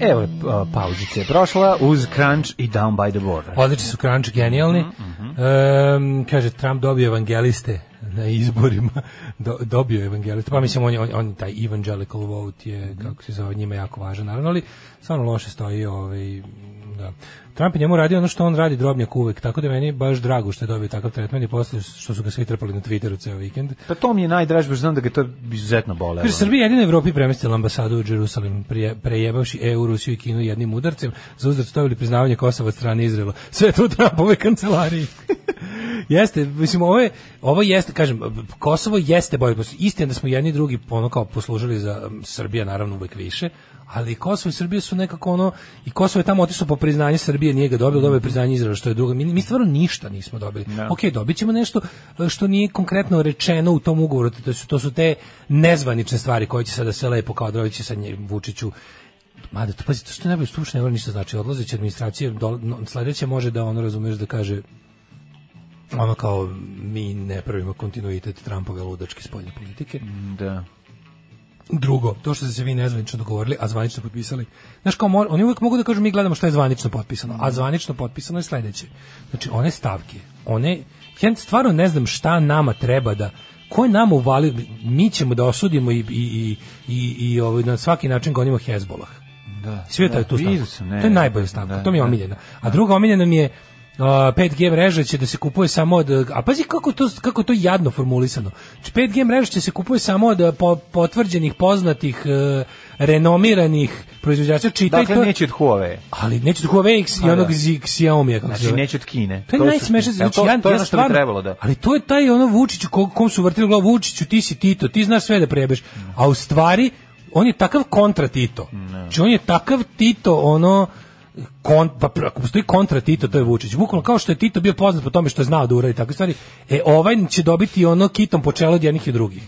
[SPEAKER 7] Evo je a, pauzice je prošla uz Crunch i Down by the Border.
[SPEAKER 6] Odlični su Crunch, genijalni. Em, kaže, Trump dobio evangeliste na izborima. Do- dobio evangeliste. Pa mislim, on, je- on, on je taj evangelical vote je, kako se zove, njima jako važan, naravno, ali stvarno loše stoji ovaj, da. Trump je njemu radio ono što on radi drobnjak uvek, tako da meni je baš drago što je dobio takav tretman i posle što su ga svi trpali na Twitteru ceo vikend.
[SPEAKER 7] Pa to mi je najdraže, baš znam da ga to izuzetno bole.
[SPEAKER 6] Kaže, Srbija je jedina u Evropi premestila ambasadu u Jerusalim, prije, prejebavši EU, Rusiju i Kinu jednim udarcem, za uzdrav stavili priznavanje Kosova od strane Izrela. Sve to u Trumpove kancelariji. jeste, mislim, ovo, je, ovo jeste, kažem, Kosovo jeste bolje. Istina da smo jedni i drugi ono kao poslužili za um, Srbija, naravno, uvek više, ali Kosovo i Srbija su nekako ono, i Kosovo je tamo otišlo po priznanju Srbije, nije ga dobilo, dobio je priznanje Izraela, što je drugo. Mi, mi stvarno ništa nismo dobili. Ok, dobit ćemo nešto e, što nije konkretno rečeno u tom ugovoru, to su, to su te nezvanične stvari koje će sada se lepo kao dovići sa nje, Vučiću Mada, to pazi, to što ne bi slušao, ne mora ništa znači. Odlazeće administracije, do, no, sledeće može da ono, razumeš, da kaže ono kao, mi ne pravimo kontinuitet Trumpove ludačke spoljne politike.
[SPEAKER 7] Da.
[SPEAKER 6] Drugo, to što ste se vi nezvanično dogovorili, a zvanično potpisali. Znaš, kao, mo- oni uvijek mogu da kažu mi gledamo što je zvanično potpisano, a zvanično potpisano je sledeće. Znači, one stavke, one, ja stvarno ne znam šta nama treba da, ko je nama uvalio, mi ćemo da osudimo i, i, i, i, i ovaj, na svaki način gonimo Hezbolah.
[SPEAKER 7] Da.
[SPEAKER 6] Sveta je tu
[SPEAKER 7] vidio
[SPEAKER 6] stavka.
[SPEAKER 7] sam, ne.
[SPEAKER 6] to je najbolja stavka,
[SPEAKER 7] Da,
[SPEAKER 6] to mi je
[SPEAKER 7] da.
[SPEAKER 6] omiljena. A druga omiljena mi je Uh, 5G mreža će da se kupuje samo od a pazi kako je to kako je to jadno formulisano. Znači 5G mreža će se kupuje samo od uh, po, potvrđenih poznatih uh, renomiranih proizvođača čitaj
[SPEAKER 7] Dakle,
[SPEAKER 6] to.
[SPEAKER 7] neće od Huawei.
[SPEAKER 6] Ali neće od Huawei X i
[SPEAKER 7] Pa
[SPEAKER 6] onog
[SPEAKER 7] da.
[SPEAKER 6] Zi- Xiaomi kako se
[SPEAKER 7] Znači,
[SPEAKER 6] zove.
[SPEAKER 7] neće od Kine.
[SPEAKER 6] To je
[SPEAKER 7] su-
[SPEAKER 6] najsmešnije.
[SPEAKER 7] Evo,
[SPEAKER 6] Znači,
[SPEAKER 7] to,
[SPEAKER 6] ja,
[SPEAKER 7] to je
[SPEAKER 6] ja
[SPEAKER 7] ono što bi
[SPEAKER 6] stvarno-
[SPEAKER 7] trebalo, da.
[SPEAKER 6] Ali to je taj ono Vučiću ko, kom su vrtili glavu Vučiću, ti si Tito, ti znaš sve da prebeš. A u stvari on je takav kontra Tito. Znači on je takav Tito ono kon, pa pr- ako postoji kontra Tito, to je Vučić. Bukvalno kao što je Tito bio poznat po tome što je znao da uradi takve stvari, e ovaj će dobiti ono kitom po čelu od jednih i drugih.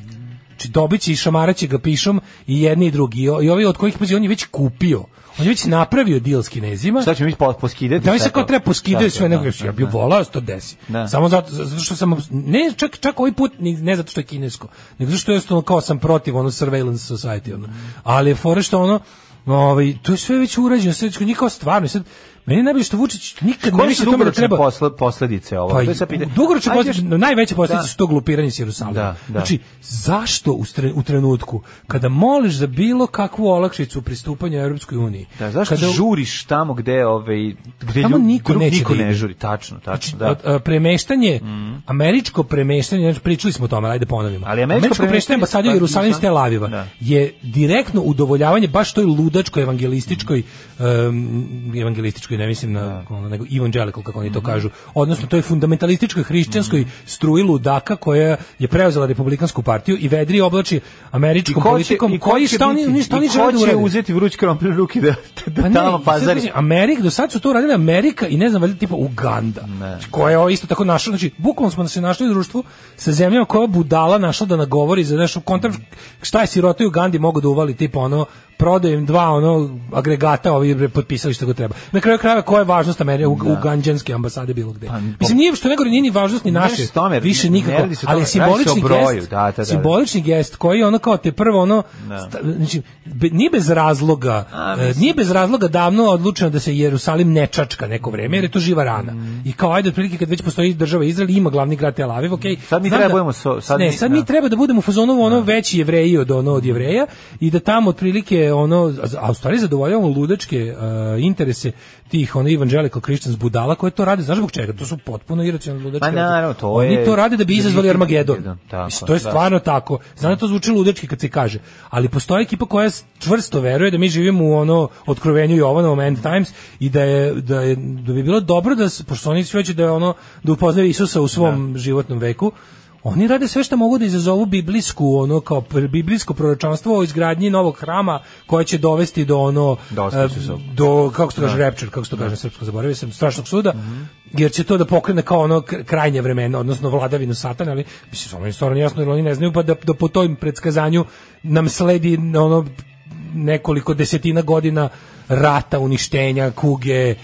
[SPEAKER 6] Znači dobit će i šamaraće ga pišom i jedni i drugi. I, o- i ovi od kojih, pazi, on je već kupio. On je već napravio deal s kinezima.
[SPEAKER 7] Šta ćemo mi po- poskidati?
[SPEAKER 6] Da mi se
[SPEAKER 7] sve
[SPEAKER 6] kao
[SPEAKER 7] to?
[SPEAKER 6] treba poskidaju
[SPEAKER 7] Da,
[SPEAKER 6] sve
[SPEAKER 7] da,
[SPEAKER 6] nego
[SPEAKER 7] da,
[SPEAKER 6] ja bih
[SPEAKER 7] da.
[SPEAKER 6] volao da se to desi.
[SPEAKER 7] Da.
[SPEAKER 6] Samo zato, zato što sam ne čak čak ovaj put ni- ne zato što je kinesko, nego zato što jednostavno kao sam protiv ono surveillance society ono. Ali je fora što ono ovaj to je sve već urađeno, sve već nikao stvarno I sad meni je najbolje što Vučić nikad ne
[SPEAKER 7] Koje su
[SPEAKER 6] misli o tome da
[SPEAKER 7] dugoročne
[SPEAKER 6] treba
[SPEAKER 7] posle, posledice ovo?
[SPEAKER 6] pa
[SPEAKER 7] To je sad pitanje.
[SPEAKER 6] dugoročno
[SPEAKER 7] Ajde
[SPEAKER 6] posle-
[SPEAKER 7] još-
[SPEAKER 6] najveće posljedice
[SPEAKER 7] Da.
[SPEAKER 6] su to glupiranje s Jerusalima.
[SPEAKER 7] Da, da.
[SPEAKER 6] Znači, zašto u, stre- u trenutku kada moliš za bilo kakvu olakšicu u pristupanju Europskoj uniji?
[SPEAKER 7] Da, zašto
[SPEAKER 6] kada-
[SPEAKER 7] žuriš tamo gde, ovaj, gde
[SPEAKER 6] Tamo
[SPEAKER 7] ljudi,
[SPEAKER 6] niko neće
[SPEAKER 7] niko
[SPEAKER 6] da
[SPEAKER 7] ne
[SPEAKER 6] ide.
[SPEAKER 7] žuri, tačno,
[SPEAKER 6] Znači,
[SPEAKER 7] tačno, da. Mhm.
[SPEAKER 6] od- a, premeštanje, američko premeštanje, znači pričali smo o tome, ajde ponovimo.
[SPEAKER 7] Ali američko
[SPEAKER 6] premeštanje
[SPEAKER 7] premeštanje-
[SPEAKER 6] ambasade u Jerusalimu iz Tel Aviva
[SPEAKER 7] Da.
[SPEAKER 6] je direktno udovoljavanje baš toj ludačkoj evangelističkoj em, evangelističkoj, ne mislim
[SPEAKER 7] Da.
[SPEAKER 6] na ono, nego evangelical kako oni to kažu. Odnosno toj fundamentalističkoj hrišćanskoj
[SPEAKER 7] Mhm.
[SPEAKER 6] struji ludaka koja je preuzela republikansku partiju i vedri i oblači američkom politikom
[SPEAKER 7] i ko
[SPEAKER 6] koji
[SPEAKER 7] će
[SPEAKER 6] šta oni
[SPEAKER 7] biti-
[SPEAKER 6] ništa
[SPEAKER 7] i
[SPEAKER 6] oni
[SPEAKER 7] ko
[SPEAKER 6] žele da
[SPEAKER 7] će
[SPEAKER 6] urade.
[SPEAKER 7] uzeti vruć krompir u ruke da, da,
[SPEAKER 6] Pa
[SPEAKER 7] da
[SPEAKER 6] ne,
[SPEAKER 7] tamo
[SPEAKER 6] i sad
[SPEAKER 7] pazari.
[SPEAKER 6] mislim, Amerika, do sad su to radili Amerika i ne znam, valjda tipa Uganda, koja je ovo isto tako našla, znači, bukvalno smo se našli u društvu sa zemljama koja je budala našla da nagovori za nešto kontra, šta je sirota i Ugandi mogu da uvali, tipa ono, prodajem dva ono agregata ovi bre, potpisali što god treba. Na kraju krajeva koja je važnost Amerike u, u ganđanske ambasade bilo gde. Mislim nije što nego nije ni važnost ni
[SPEAKER 7] Ne radi
[SPEAKER 6] naše.
[SPEAKER 7] se o tome,
[SPEAKER 6] više
[SPEAKER 7] ne- ne
[SPEAKER 6] nikako.
[SPEAKER 7] radi se o tome,
[SPEAKER 6] Ali je
[SPEAKER 7] radi se o
[SPEAKER 6] simbolični
[SPEAKER 7] broju,
[SPEAKER 6] gest.
[SPEAKER 7] da, da, da.
[SPEAKER 6] Simbolični gest koji ono kao te prvo ono sta- znači be- nije bez razloga
[SPEAKER 7] A,
[SPEAKER 6] e, nije bez razloga davno odlučeno da se Jerusalim ne čačka neko vreme jer je to živa rana.
[SPEAKER 7] Mm.
[SPEAKER 6] I kao ajde otprilike kad već postoji država Izrael ima glavni grad Tel Aviv, okej.
[SPEAKER 7] Sad mi
[SPEAKER 6] znam
[SPEAKER 7] treba
[SPEAKER 6] da-
[SPEAKER 7] budemo so- sad
[SPEAKER 6] ne,
[SPEAKER 7] mi-
[SPEAKER 6] sad
[SPEAKER 7] da.
[SPEAKER 6] mi treba da budemo u fazonu ono veći jevreji od ono od jevreja i da tamo otprilike ono a- a u stvari zadovoljavamo ludačke e, interese tih ono evangelical Christians budala koje to rade znaš zbog čega to su potpuno iracionalne ludačke
[SPEAKER 7] Ma Pa naravno, to
[SPEAKER 6] oni
[SPEAKER 7] je-
[SPEAKER 6] to rade da bi izazvali
[SPEAKER 7] Armagedon,
[SPEAKER 6] Armagedon
[SPEAKER 7] tako,
[SPEAKER 6] Mislim, to je
[SPEAKER 7] da.
[SPEAKER 6] stvarno tako znam da to zvuči ludački kad se kaže ali postoji ekipa koja s- čvrsto veruje da mi živimo u ono otkrovenju Jovana u End Times i da je da je da bi bilo dobro da s- pošto oni svi hoće da je ono da upoznaju Isusa u svom životnom veku oni rade sve što mogu da izazovu biblijsku ono kao pr- biblijsko proročanstvo o izgradnji novog hrama koje će dovesti do ono
[SPEAKER 7] Do Oskrsa.
[SPEAKER 6] e, do kako se to kaže
[SPEAKER 7] Da.
[SPEAKER 6] rapture kako se to kaže na srpsko zaboravio sam strašnog suda jer će to da pokrene kao ono kr- krajnje vremena odnosno vladavinu satana ali mislim samo je stvarno nije jasno jer oni ne znaju pa da, da po tom predskazanju nam sledi ono nekoliko desetina godina rata uništenja kuge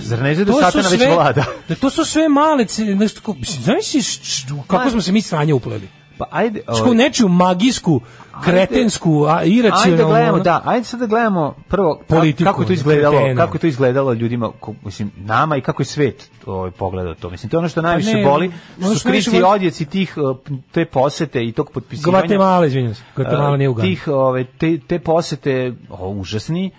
[SPEAKER 7] Zar ne znaju da Satana već vlada?
[SPEAKER 6] da to su sve male cilje, nešto ko, mislim, zamisli š- š- u kako smo se mi sranje upleli.
[SPEAKER 7] Pa ajde, ovaj,
[SPEAKER 6] Što nečiju magijsku, kretensku, a,
[SPEAKER 7] ajde
[SPEAKER 6] iracionalnu.
[SPEAKER 7] da gledamo,
[SPEAKER 6] ono-
[SPEAKER 7] da, ajde sad da gledamo prvo ka-
[SPEAKER 6] Politiku,
[SPEAKER 7] kako je to izgledalo,
[SPEAKER 6] kretena.
[SPEAKER 7] kako je to izgledalo ljudima, ko- mislim nama i kako je svet ovaj pogledao to. Mislim to je ono što najviše
[SPEAKER 6] Pa ne,
[SPEAKER 7] boli,
[SPEAKER 6] ono
[SPEAKER 7] što
[SPEAKER 6] što
[SPEAKER 7] su krici
[SPEAKER 6] najviše boli-
[SPEAKER 7] odjeci tih eh, te posete i tog potpisivanja.
[SPEAKER 6] Gvatemala, izvinjam se. Gvatemala nije Uganda.
[SPEAKER 7] Tih, ove, te, te posete o, užasni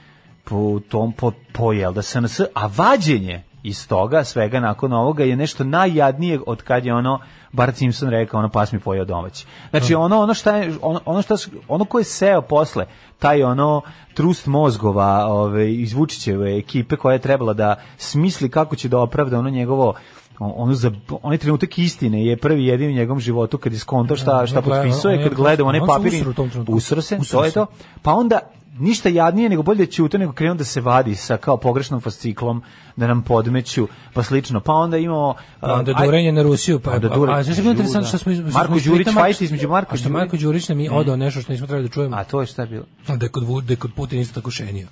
[SPEAKER 7] po tom po, po jel da SNS, a vađenje iz toga, svega nakon ovoga je nešto najjadnije od kad je ono Bart Simpson rekao, ono pas mi pojeo domaći. Znači ono ono šta je, ono, ono šta su- ono ko je seo posle taj ono trust mozgova ove iz Vučićeve ekipe koja je trebala da smisli kako će da opravda ono njegovo on- ono za onaj trenutak istine je prvi jedini u njegovom životu kad je skonto šta šta
[SPEAKER 6] on gleda- Dakle, on
[SPEAKER 7] potpisuje
[SPEAKER 6] je
[SPEAKER 7] kad gleda onaj
[SPEAKER 6] on se
[SPEAKER 7] papir
[SPEAKER 6] usro u tom trenutku.
[SPEAKER 7] usro se
[SPEAKER 6] Usro
[SPEAKER 7] to je
[SPEAKER 6] se.
[SPEAKER 7] to pa onda ništa jadnije nego bolje da ćute nego krenu da se vadi sa kao pogrešnom fasciklom da nam podmeću pa slično pa onda imamo
[SPEAKER 6] Pa onda
[SPEAKER 7] aj-
[SPEAKER 6] durenje na Rusiju, pa,
[SPEAKER 7] Onda
[SPEAKER 6] onda
[SPEAKER 7] Dure-
[SPEAKER 6] durenje, a znaš što je bilo
[SPEAKER 7] Ju, da.
[SPEAKER 6] interesantno što smo... što smo
[SPEAKER 7] Marko
[SPEAKER 6] iz
[SPEAKER 7] Đurić,
[SPEAKER 6] tvita Marko-
[SPEAKER 7] fight između Marko
[SPEAKER 6] a što
[SPEAKER 7] Đurić-
[SPEAKER 6] Marko Đurić nam je odao nešto što nismo trebali da čujemo,
[SPEAKER 7] a to je šta je bilo
[SPEAKER 6] da je kod, Vu- da je kod Putin isto tako šenio.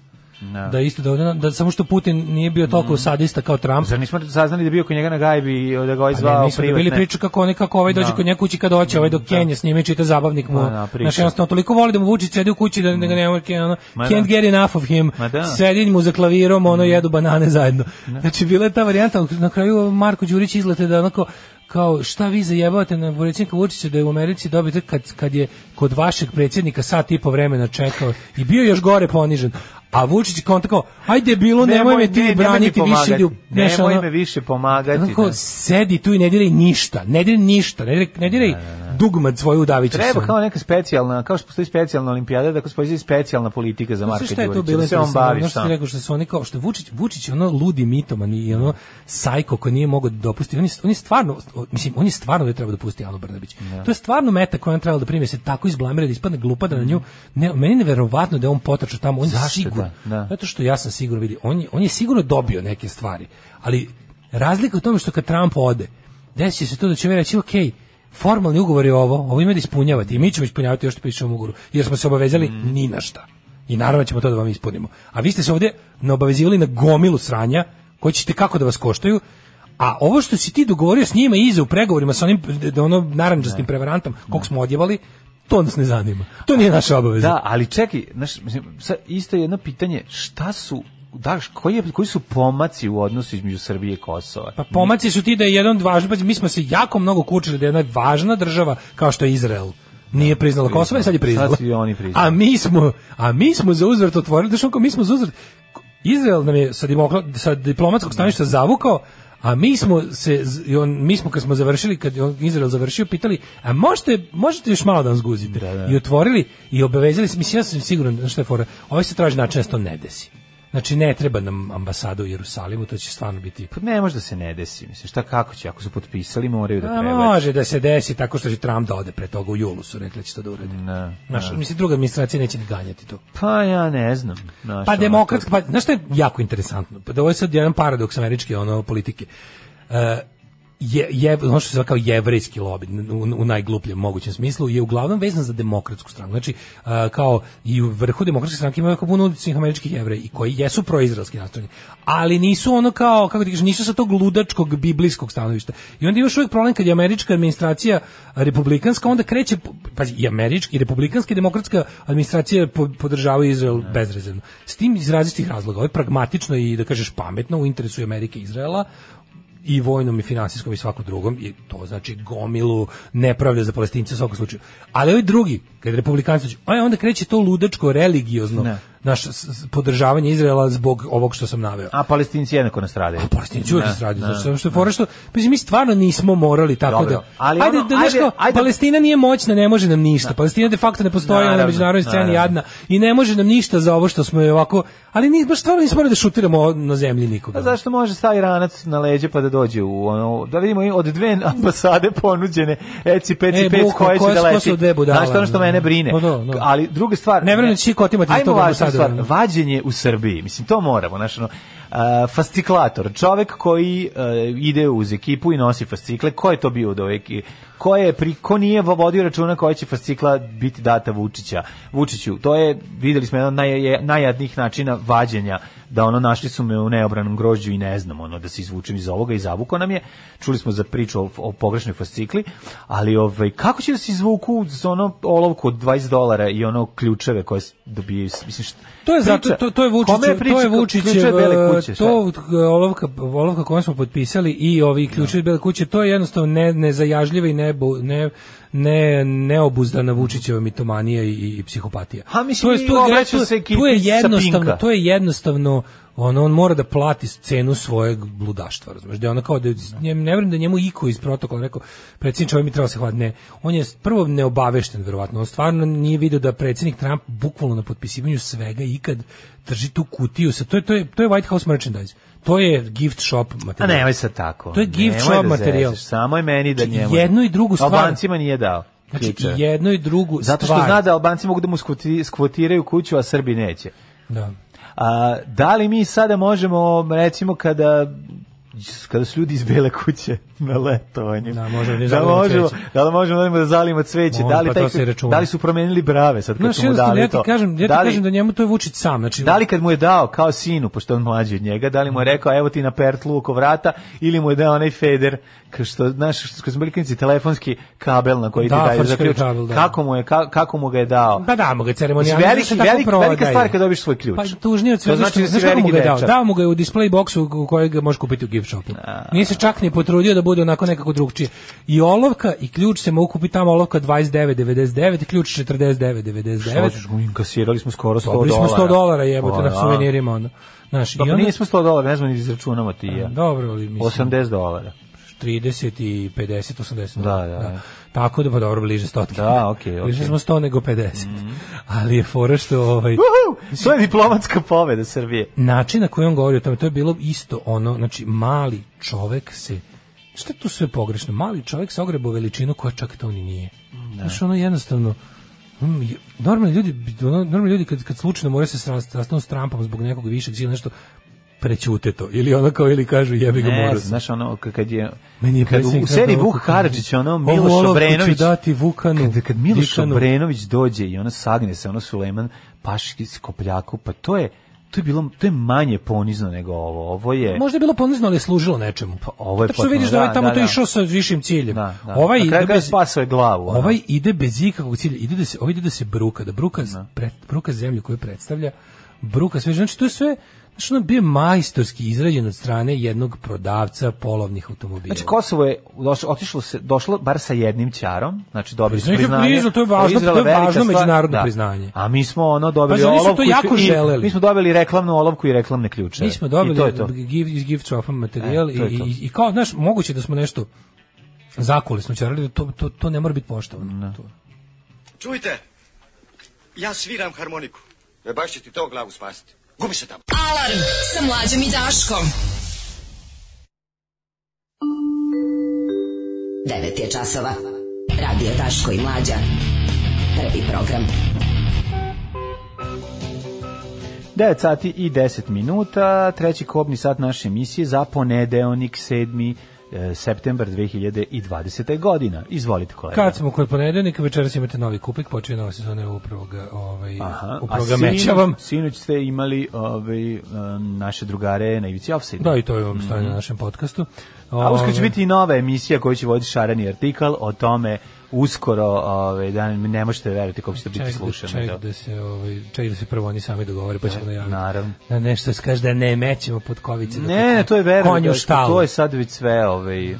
[SPEAKER 6] Da je isto da, da, da samo što Putin nije bio toliko
[SPEAKER 7] Mm.
[SPEAKER 6] sadista kao Trump,
[SPEAKER 7] Zar nismo saznali da je bio kod njega na gajbi i da ga ovaj
[SPEAKER 6] Pa ne,
[SPEAKER 7] zvao
[SPEAKER 6] mi smo dobili
[SPEAKER 7] privatne?
[SPEAKER 6] priču kako oni kako ovaj dođe
[SPEAKER 7] Da.
[SPEAKER 6] kod nje kući kad hoće, ovaj dok Kenje s njime i čita zabavnik mu.
[SPEAKER 7] Ma da, priča.
[SPEAKER 6] Znaš, jednostavno toliko voli da mu Vučić sedi u kući da da ga ne može, ono,
[SPEAKER 7] Ma da.
[SPEAKER 6] can't get enough of him.
[SPEAKER 7] Ma da. Mm.
[SPEAKER 6] Sedi mu za klavirom, ono jedu banane zajedno. Znači bila je ta varijanta, na kraju Marko Đurić izlete da onako kao šta vi zajebavate na predsjednika Vučića da je u Americi dobite kad, kad je kod vašeg predsjednika sat i po vremena čekao i bio još gore ponižen. A Vučić kontakao, ajde bilo, nemoj, me ti
[SPEAKER 7] ne, nemoj mi
[SPEAKER 6] braniti više.
[SPEAKER 7] pomagati.
[SPEAKER 6] idi u- znaš,
[SPEAKER 7] Nemoj
[SPEAKER 6] ono-
[SPEAKER 7] me više pomagati.
[SPEAKER 6] Onako,
[SPEAKER 7] da.
[SPEAKER 6] sedi tu i ne diraj ništa, ne diraj ništa, ne diraj, ne diraj dugmad svoju udavića.
[SPEAKER 7] Da, Treba kao neka specijalna, kao što postoji specijalna olimpijada, da postoji specijalna politika za Marka
[SPEAKER 6] šta je to
[SPEAKER 7] Đurića.
[SPEAKER 6] bilo
[SPEAKER 7] Da se on
[SPEAKER 6] interesantno,
[SPEAKER 7] bavi
[SPEAKER 6] ono što
[SPEAKER 7] sam.
[SPEAKER 6] ti rekao što su oni kao što je Vučić Vučić je ono ludi mitoman i ono sajko koji nije mogao da dopusti on je, on je stvarno mislim on je stvarno da treba da pusti Anu Brnabić to je stvarno meta koju on trebao da primi se tako izblamira da ispadne glupa da na nju ne, meni je neverovatno da je on potrčao tamo on je
[SPEAKER 7] Zašto
[SPEAKER 6] sigurno
[SPEAKER 7] da? Da.
[SPEAKER 6] zato što ja sam sigurno vidi on je, on je sigurno dobio neke stvari ali razlika je u tome što kad Trump ode desi se to da će ovaj reći okej formalni ugovor je ovo, ovo ima da ispunjavate i mi ćemo ispunjavati još što piše u ovom ugovoru, jer smo se obavezali
[SPEAKER 7] Mm.
[SPEAKER 6] ni na šta. I naravno ćemo to da vam ispunimo. A vi ste se ovdje naobavezivali na gomilu sranja, koji ćete kako da vas koštaju, a ovo što si ti dogovorio s njima iza u pregovorima sa onim d- ono naranđastim prevarantom, kog smo odjevali, to nas ne zanima. To nije naša obaveza.
[SPEAKER 7] Da, ali čekaj, znaš, mislim, sad isto je jedno pitanje, šta su Daš, koji, je, koji su pomaci u odnosu između Srbije i Kosova?
[SPEAKER 6] Pa pomaci su ti da je jedan od važnih, pazi, mi smo se jako mnogo kučili da je jedna važna država kao što je Izrael nije priznala Kosovo i sad je priznala.
[SPEAKER 7] Da, Sad su i oni priznali.
[SPEAKER 6] A mi smo, a mi smo za uzvrat otvorili, znaš on kao, mi smo za uzvrat, Izrael nam je sa, dimokla- sa diplomatskog staništa zavukao, a mi smo se z- i on, mi smo kad smo završili kad je on Izrael završio pitali a možete možete još malo da nas guzite i otvorili i obavezali se mislim ja sam siguran da šta je fora ovaj se traži način da se to ne desi znači ne treba nam ambasada u Jerusalimu to će stvarno biti
[SPEAKER 7] Pa ne može da se ne desi, mislim, šta kako će, ako su potpisali moraju da
[SPEAKER 6] a
[SPEAKER 7] prebače.
[SPEAKER 6] može da se desi tako što će Trump da ode pre toga u julu su rekli da će to da uradi.
[SPEAKER 7] Ne,
[SPEAKER 6] Znaš, mislim, druga administracija neće ni ganjati to.
[SPEAKER 7] Mm. Pa ja ne znam. Znaš,
[SPEAKER 6] Pa
[SPEAKER 7] ono,
[SPEAKER 6] demokratska, pa, znaš što je jako interesantno? Pa da ovo je sad jedan paradoks američke ono, politike. E, je, je, ono što se zove kao jevrejski lobby u, u najglupljem mogućem smislu je uglavnom vezan za demokratsku stranu. Znači, a, kao i u vrhu demokratske stranke imaju jako puno uličnih američkih jevreja i koji jesu proizraelski nastrojeni, ali nisu ono kao, kako ti kažeš, nisu sa tog ludačkog biblijskog stanovišta. I onda imaš uvijek problem kad je američka administracija republikanska, onda kreće, pazi, i američki, i republikanska i demokratska administracija po- podržavaju Izrael bezrezervno. S tim iz različitih razloga. Ovo je pragmatično i, da kažeš, pametno u interesu Amerike i Izraela, i vojnom i finansijskom i svakom drugom i to znači gomilu nepravde za palestince u svakom slučaju. Ali ovi drugi, kad republikanci dođu, a onda kreće to ludačko religiozno
[SPEAKER 7] Ne.
[SPEAKER 6] naš s- s- podržavanje Izraela zbog ovog što sam naveo. Pa
[SPEAKER 7] A palestinci jednako Da. nastradaju. A
[SPEAKER 6] Palestinci uvek se radi, znači, samo što je fora što, mislim, mi stvarno nismo morali tako
[SPEAKER 7] Dobro,
[SPEAKER 6] da,
[SPEAKER 7] ali
[SPEAKER 6] ajde,
[SPEAKER 7] ono,
[SPEAKER 6] da, znaš
[SPEAKER 7] ajde,
[SPEAKER 6] kao,
[SPEAKER 7] ajde.
[SPEAKER 6] Palestina nije moćna, ne može nam ništa, Palestina de facto ne postoji ona na
[SPEAKER 7] Naravno,
[SPEAKER 6] međunarodnoj sceni
[SPEAKER 7] naravno.
[SPEAKER 6] jadna i ne može nam ništa za ovo što smo joj ovako, ali ni, baš stvarno nismo morali da šutiramo na zemlji nikoga.
[SPEAKER 7] A Pa zašto može stavi ranac na leđe pa da dođe u ono, da vidimo i od dve ambasade ponuđene eci peci
[SPEAKER 6] E,
[SPEAKER 7] pec
[SPEAKER 6] buko,
[SPEAKER 7] koje će
[SPEAKER 6] koje
[SPEAKER 7] da
[SPEAKER 6] su-
[SPEAKER 7] leti.
[SPEAKER 6] ko su dve budale,
[SPEAKER 7] Znaš, to je ono što
[SPEAKER 6] ono,
[SPEAKER 7] mene
[SPEAKER 6] da.
[SPEAKER 7] brine.
[SPEAKER 6] Pa da, da.
[SPEAKER 7] Ali druga stvar,
[SPEAKER 6] Ne verujem da će svi kotima iz da.
[SPEAKER 7] Ajmo
[SPEAKER 6] tog
[SPEAKER 7] važna
[SPEAKER 6] ambasadora,
[SPEAKER 7] stvar,
[SPEAKER 6] ono.
[SPEAKER 7] vađenje u Srbiji, mislim to moramo, znaš, ono, a, fastiklator, čovek koji a, ide uz ekipu i nosi fascikle, ko je to bio od ove eki- Ko, je pri, ko nije vodio računa koja će fascikla biti data Vučića? Vučiću, to je, videli smo, jedan od naj, je- najjadnijih načina vađenja, da ono, našli su me u neobranom grožđu i ne znam, ono, da se izvučem iz ovoga i zavuko nam je. Čuli smo za priču o, o pogrešnoj fascikli, ali ovaj, kako će da se izvuku za ono olovku od 20 dolara i ono ključeve koje s- dobijaju, s- mislim, šta,
[SPEAKER 6] To je zato
[SPEAKER 7] Priča-
[SPEAKER 6] to, to je Vučić,
[SPEAKER 7] Kome
[SPEAKER 6] to
[SPEAKER 7] priča
[SPEAKER 6] je
[SPEAKER 7] ko-
[SPEAKER 6] Vučić,
[SPEAKER 7] ključeve bele kuće, šta?
[SPEAKER 6] to e, olovka olovka koju smo potpisali i ovi
[SPEAKER 7] Da.
[SPEAKER 6] ključevi bele kuće, to je jednostavno ne nezajažljiva i ne ne ne neobuzdana Vučićeva mitomanija i, i psihopatija.
[SPEAKER 7] Ha, mislim,
[SPEAKER 6] to
[SPEAKER 7] i
[SPEAKER 6] je, tu je,
[SPEAKER 7] obraća
[SPEAKER 6] tu-
[SPEAKER 7] se ekipi
[SPEAKER 6] tu je
[SPEAKER 7] sa
[SPEAKER 6] jednostavno,
[SPEAKER 7] Pinka.
[SPEAKER 6] to je jednostavno ono, on mora da plati cenu svojeg bludaštva, razumeš, da je ono kao da, ne, ne verujem da je njemu iko iz protokola rekao, predsjedniče, ovaj mi treba se hvat, ne, on je prvo neobavešten, verovatno, on stvarno nije vidio da predsjednik Trump bukvalno na potpisivanju svega ikad drži tu kutiju, sa, to, je, to, je, to je White House merchandise, to je gift shop
[SPEAKER 7] A
[SPEAKER 6] materijal.
[SPEAKER 7] nemoj sad tako.
[SPEAKER 6] To je gift
[SPEAKER 7] Nemoj
[SPEAKER 6] shop
[SPEAKER 7] da
[SPEAKER 6] materijal.
[SPEAKER 7] zezaš, Samo je meni da
[SPEAKER 6] Znači,
[SPEAKER 7] njemu.
[SPEAKER 6] jednu i drugu stvar.
[SPEAKER 7] Albancima nije dao.
[SPEAKER 6] Znači,
[SPEAKER 7] ključeve.
[SPEAKER 6] i jednu i drugu
[SPEAKER 7] Zato što
[SPEAKER 6] stvar.
[SPEAKER 7] zna da Albanci mogu da mu skvoti- skvotiraju kuću, a Srbi neće.
[SPEAKER 6] Da.
[SPEAKER 7] A, da li mi sada možemo, recimo, kada kada su ljudi iz bele kuće na letovanju.
[SPEAKER 6] Da, možemo da im
[SPEAKER 7] da
[SPEAKER 6] zalimo
[SPEAKER 7] možemo,
[SPEAKER 6] cveće.
[SPEAKER 7] da li možemo da im da zalimo cveće,
[SPEAKER 6] Može,
[SPEAKER 7] da li,
[SPEAKER 6] pa
[SPEAKER 7] taj,
[SPEAKER 6] to se računa.
[SPEAKER 7] da li su promenili brave sad kad
[SPEAKER 6] Znaš,
[SPEAKER 7] su mu
[SPEAKER 6] jednostavno,
[SPEAKER 7] dali
[SPEAKER 6] ja ti
[SPEAKER 7] to.
[SPEAKER 6] kažem, ja ti
[SPEAKER 7] da li,
[SPEAKER 6] kažem da njemu to je Vučić sam, znači,
[SPEAKER 7] Da li kad mu je dao kao sinu, pošto je on mlađi od njega, da li
[SPEAKER 6] Mhm.
[SPEAKER 7] mu je rekao evo ti na pertlu oko vrata ili mu je dao onaj feder, kao što, znaš, što kad smo bili klinici, telefonski kabel na koji
[SPEAKER 6] Da,
[SPEAKER 7] ti daju za
[SPEAKER 6] frčkavi
[SPEAKER 7] ključ.
[SPEAKER 6] kabel, da.
[SPEAKER 7] Kako, mu je, ka- kako mu ga je dao?
[SPEAKER 6] Pa da, mu ga ceremonijalno.
[SPEAKER 7] Mislim, Znači, veliki-
[SPEAKER 6] znaš, tako
[SPEAKER 7] veliki-
[SPEAKER 6] prodaje.
[SPEAKER 7] velika stvar kad dobiješ svoj ključ.
[SPEAKER 6] Pa tužnije od
[SPEAKER 7] To
[SPEAKER 6] svega
[SPEAKER 7] znači
[SPEAKER 6] što-
[SPEAKER 7] da si
[SPEAKER 6] znaš kako
[SPEAKER 7] veliki
[SPEAKER 6] mu ga je dao?
[SPEAKER 7] dečak.
[SPEAKER 6] Dao mu ga je u display boxu u kojeg ga možeš kupiti u gift shopu. Nije se čak ni potrudio da bude onako nekako drugčije. I olovka i ključ se mogu kupiti tamo olovka 29,99 i ključ 49,99.
[SPEAKER 7] Hoćeš, inkasirali smo skoro 100
[SPEAKER 6] Dobili
[SPEAKER 7] dolara.
[SPEAKER 6] smo 100 dolara jebote
[SPEAKER 7] Pa,
[SPEAKER 6] na
[SPEAKER 7] da.
[SPEAKER 6] suvenirima onda. Znaš, i
[SPEAKER 7] Dobro,
[SPEAKER 6] onda,
[SPEAKER 7] nismo 100 dolara, ne znam ni izračunamo ti i ja.
[SPEAKER 6] dobro, ali mislim,
[SPEAKER 7] 80 dolara.
[SPEAKER 6] 30 i 50, 80.
[SPEAKER 7] Da, da, da.
[SPEAKER 6] Tako da, pa dobro, bliže 100.
[SPEAKER 7] Da, okej,
[SPEAKER 6] Bliže
[SPEAKER 7] okej. Mhm.
[SPEAKER 6] smo 100 nego 50. Ali je fora što... Ovaj,
[SPEAKER 7] Uhu, to je diplomatska pobeda Srbije.
[SPEAKER 6] način na koji on govori o tome, to je bilo isto ono, znači mali čovek se, šta je tu sve pogrešno, mali čovek se ogrebao veličinu koja čak to ni nije.
[SPEAKER 7] Da.
[SPEAKER 6] Znaš, ono jednostavno, mm, je- normalni ljudi, bi- ono, normalni ljudi kad, kad slučajno moraju se srast- sastanu s Trumpom zbog nekog višeg ili nešto, prećute to, ili ono kao, ili kažu jebi ga
[SPEAKER 7] Ne,
[SPEAKER 6] moru.
[SPEAKER 7] znaš ono, k- kad je...
[SPEAKER 6] Meni je
[SPEAKER 7] kad u, u
[SPEAKER 6] predsjednik da-
[SPEAKER 7] seriji
[SPEAKER 6] dao
[SPEAKER 7] Vuk
[SPEAKER 6] olovku,
[SPEAKER 7] Karadžić, ono
[SPEAKER 6] ovu
[SPEAKER 7] Miloš
[SPEAKER 6] olovku ću
[SPEAKER 7] Obrenović...
[SPEAKER 6] dati Vukanu,
[SPEAKER 7] Kad, kad Miloš
[SPEAKER 6] Dikanu.
[SPEAKER 7] Obrenović dođe i ono sagne se, ono Sulejman Paški Skopljaku, pa to je... To je bilo to je manje ponizno nego ovo. Ovo je
[SPEAKER 6] Možda je bilo ponizno, ali je služilo nečemu.
[SPEAKER 7] Pa, ovo je
[SPEAKER 6] Tako što
[SPEAKER 7] potpuno-
[SPEAKER 6] vidiš da ovaj
[SPEAKER 7] da,
[SPEAKER 6] tamo
[SPEAKER 7] da,
[SPEAKER 6] to
[SPEAKER 7] da.
[SPEAKER 6] išao sa višim ciljem.
[SPEAKER 7] Da,
[SPEAKER 6] Ovaj
[SPEAKER 7] da. Na kraju
[SPEAKER 6] ide
[SPEAKER 7] kraja
[SPEAKER 6] bez-
[SPEAKER 7] spasao je glavu, ono.
[SPEAKER 6] Ovaj ide bez ikakvog cilja. Ide da se, ovaj ide da se bruka, da bruka, s- pre- bruka zemlju koju predstavlja, bruka sve. Znači to je sve Znači, ono bio majstorski izrađen od strane jednog prodavca polovnih automobila.
[SPEAKER 7] Znači Kosovo je doš, otišlo se došlo bar sa jednim ćarom, znači dobili smo
[SPEAKER 6] Priznaj,
[SPEAKER 7] priznanje.
[SPEAKER 6] priznaj, to je važno,
[SPEAKER 7] Izrael
[SPEAKER 6] to je
[SPEAKER 7] velika
[SPEAKER 6] važno
[SPEAKER 7] stvar, da.
[SPEAKER 6] međunarodno priznanje.
[SPEAKER 7] A mi smo ono dobili
[SPEAKER 6] Pazi, oni su to
[SPEAKER 7] olovku
[SPEAKER 6] jako
[SPEAKER 7] i,
[SPEAKER 6] želeli.
[SPEAKER 7] Mi smo dobili reklamnu olovku i reklamne ključeve.
[SPEAKER 6] Mi smo dobili
[SPEAKER 7] I to je to.
[SPEAKER 6] gift, iz gift shopa materijal
[SPEAKER 7] E,
[SPEAKER 6] i,
[SPEAKER 7] to je to.
[SPEAKER 6] i, i kao, znaš, moguće da smo nešto zakuli smo čarali, da to, to, to ne mora biti poštovano.
[SPEAKER 7] Da.
[SPEAKER 6] To.
[SPEAKER 10] Čujte, ja sviram harmoniku. E baš će ti to glavu spasiti. Gubi se tamo.
[SPEAKER 5] Alarm sa mlađom i Daškom.
[SPEAKER 11] 9 je časova. Radio Daško i Mlađa. Prvi program.
[SPEAKER 7] 9 sati i 10 minuta, treći kobni sat naše emisije za ponedeonik 7. e, septembar 2020. godina. Izvolite kolega.
[SPEAKER 6] Kad smo kod ponedeljnika, večeras imate novi kupik, počinje nova sezona upravo ga, ovaj,
[SPEAKER 7] Aha,
[SPEAKER 6] upravo ga
[SPEAKER 7] a sinoć-
[SPEAKER 6] mećavam.
[SPEAKER 7] Sinoć ste imali ovaj, um, naše drugare na Ivici Offside.
[SPEAKER 6] Da, i to je obstojanje na našem podcastu.
[SPEAKER 7] A uskoro će
[SPEAKER 6] Ovaj,
[SPEAKER 7] biti i nova emisija koju će voditi Šarani Artikal o tome uskoro, ovaj, da ne možete veriti kako će to biti
[SPEAKER 6] ček da-
[SPEAKER 7] slušano.
[SPEAKER 6] ček
[SPEAKER 7] da.
[SPEAKER 6] da se ovaj ček da se prvo oni sami dogovore pa ćemo najaviti.
[SPEAKER 7] naravno.
[SPEAKER 6] Na nešto se kaže da ne mećemo pod kovice. dok
[SPEAKER 7] Ne, ne, to je verujem.
[SPEAKER 6] Konju
[SPEAKER 7] da-
[SPEAKER 6] štalu.
[SPEAKER 7] To je sad već sve ovaj, e,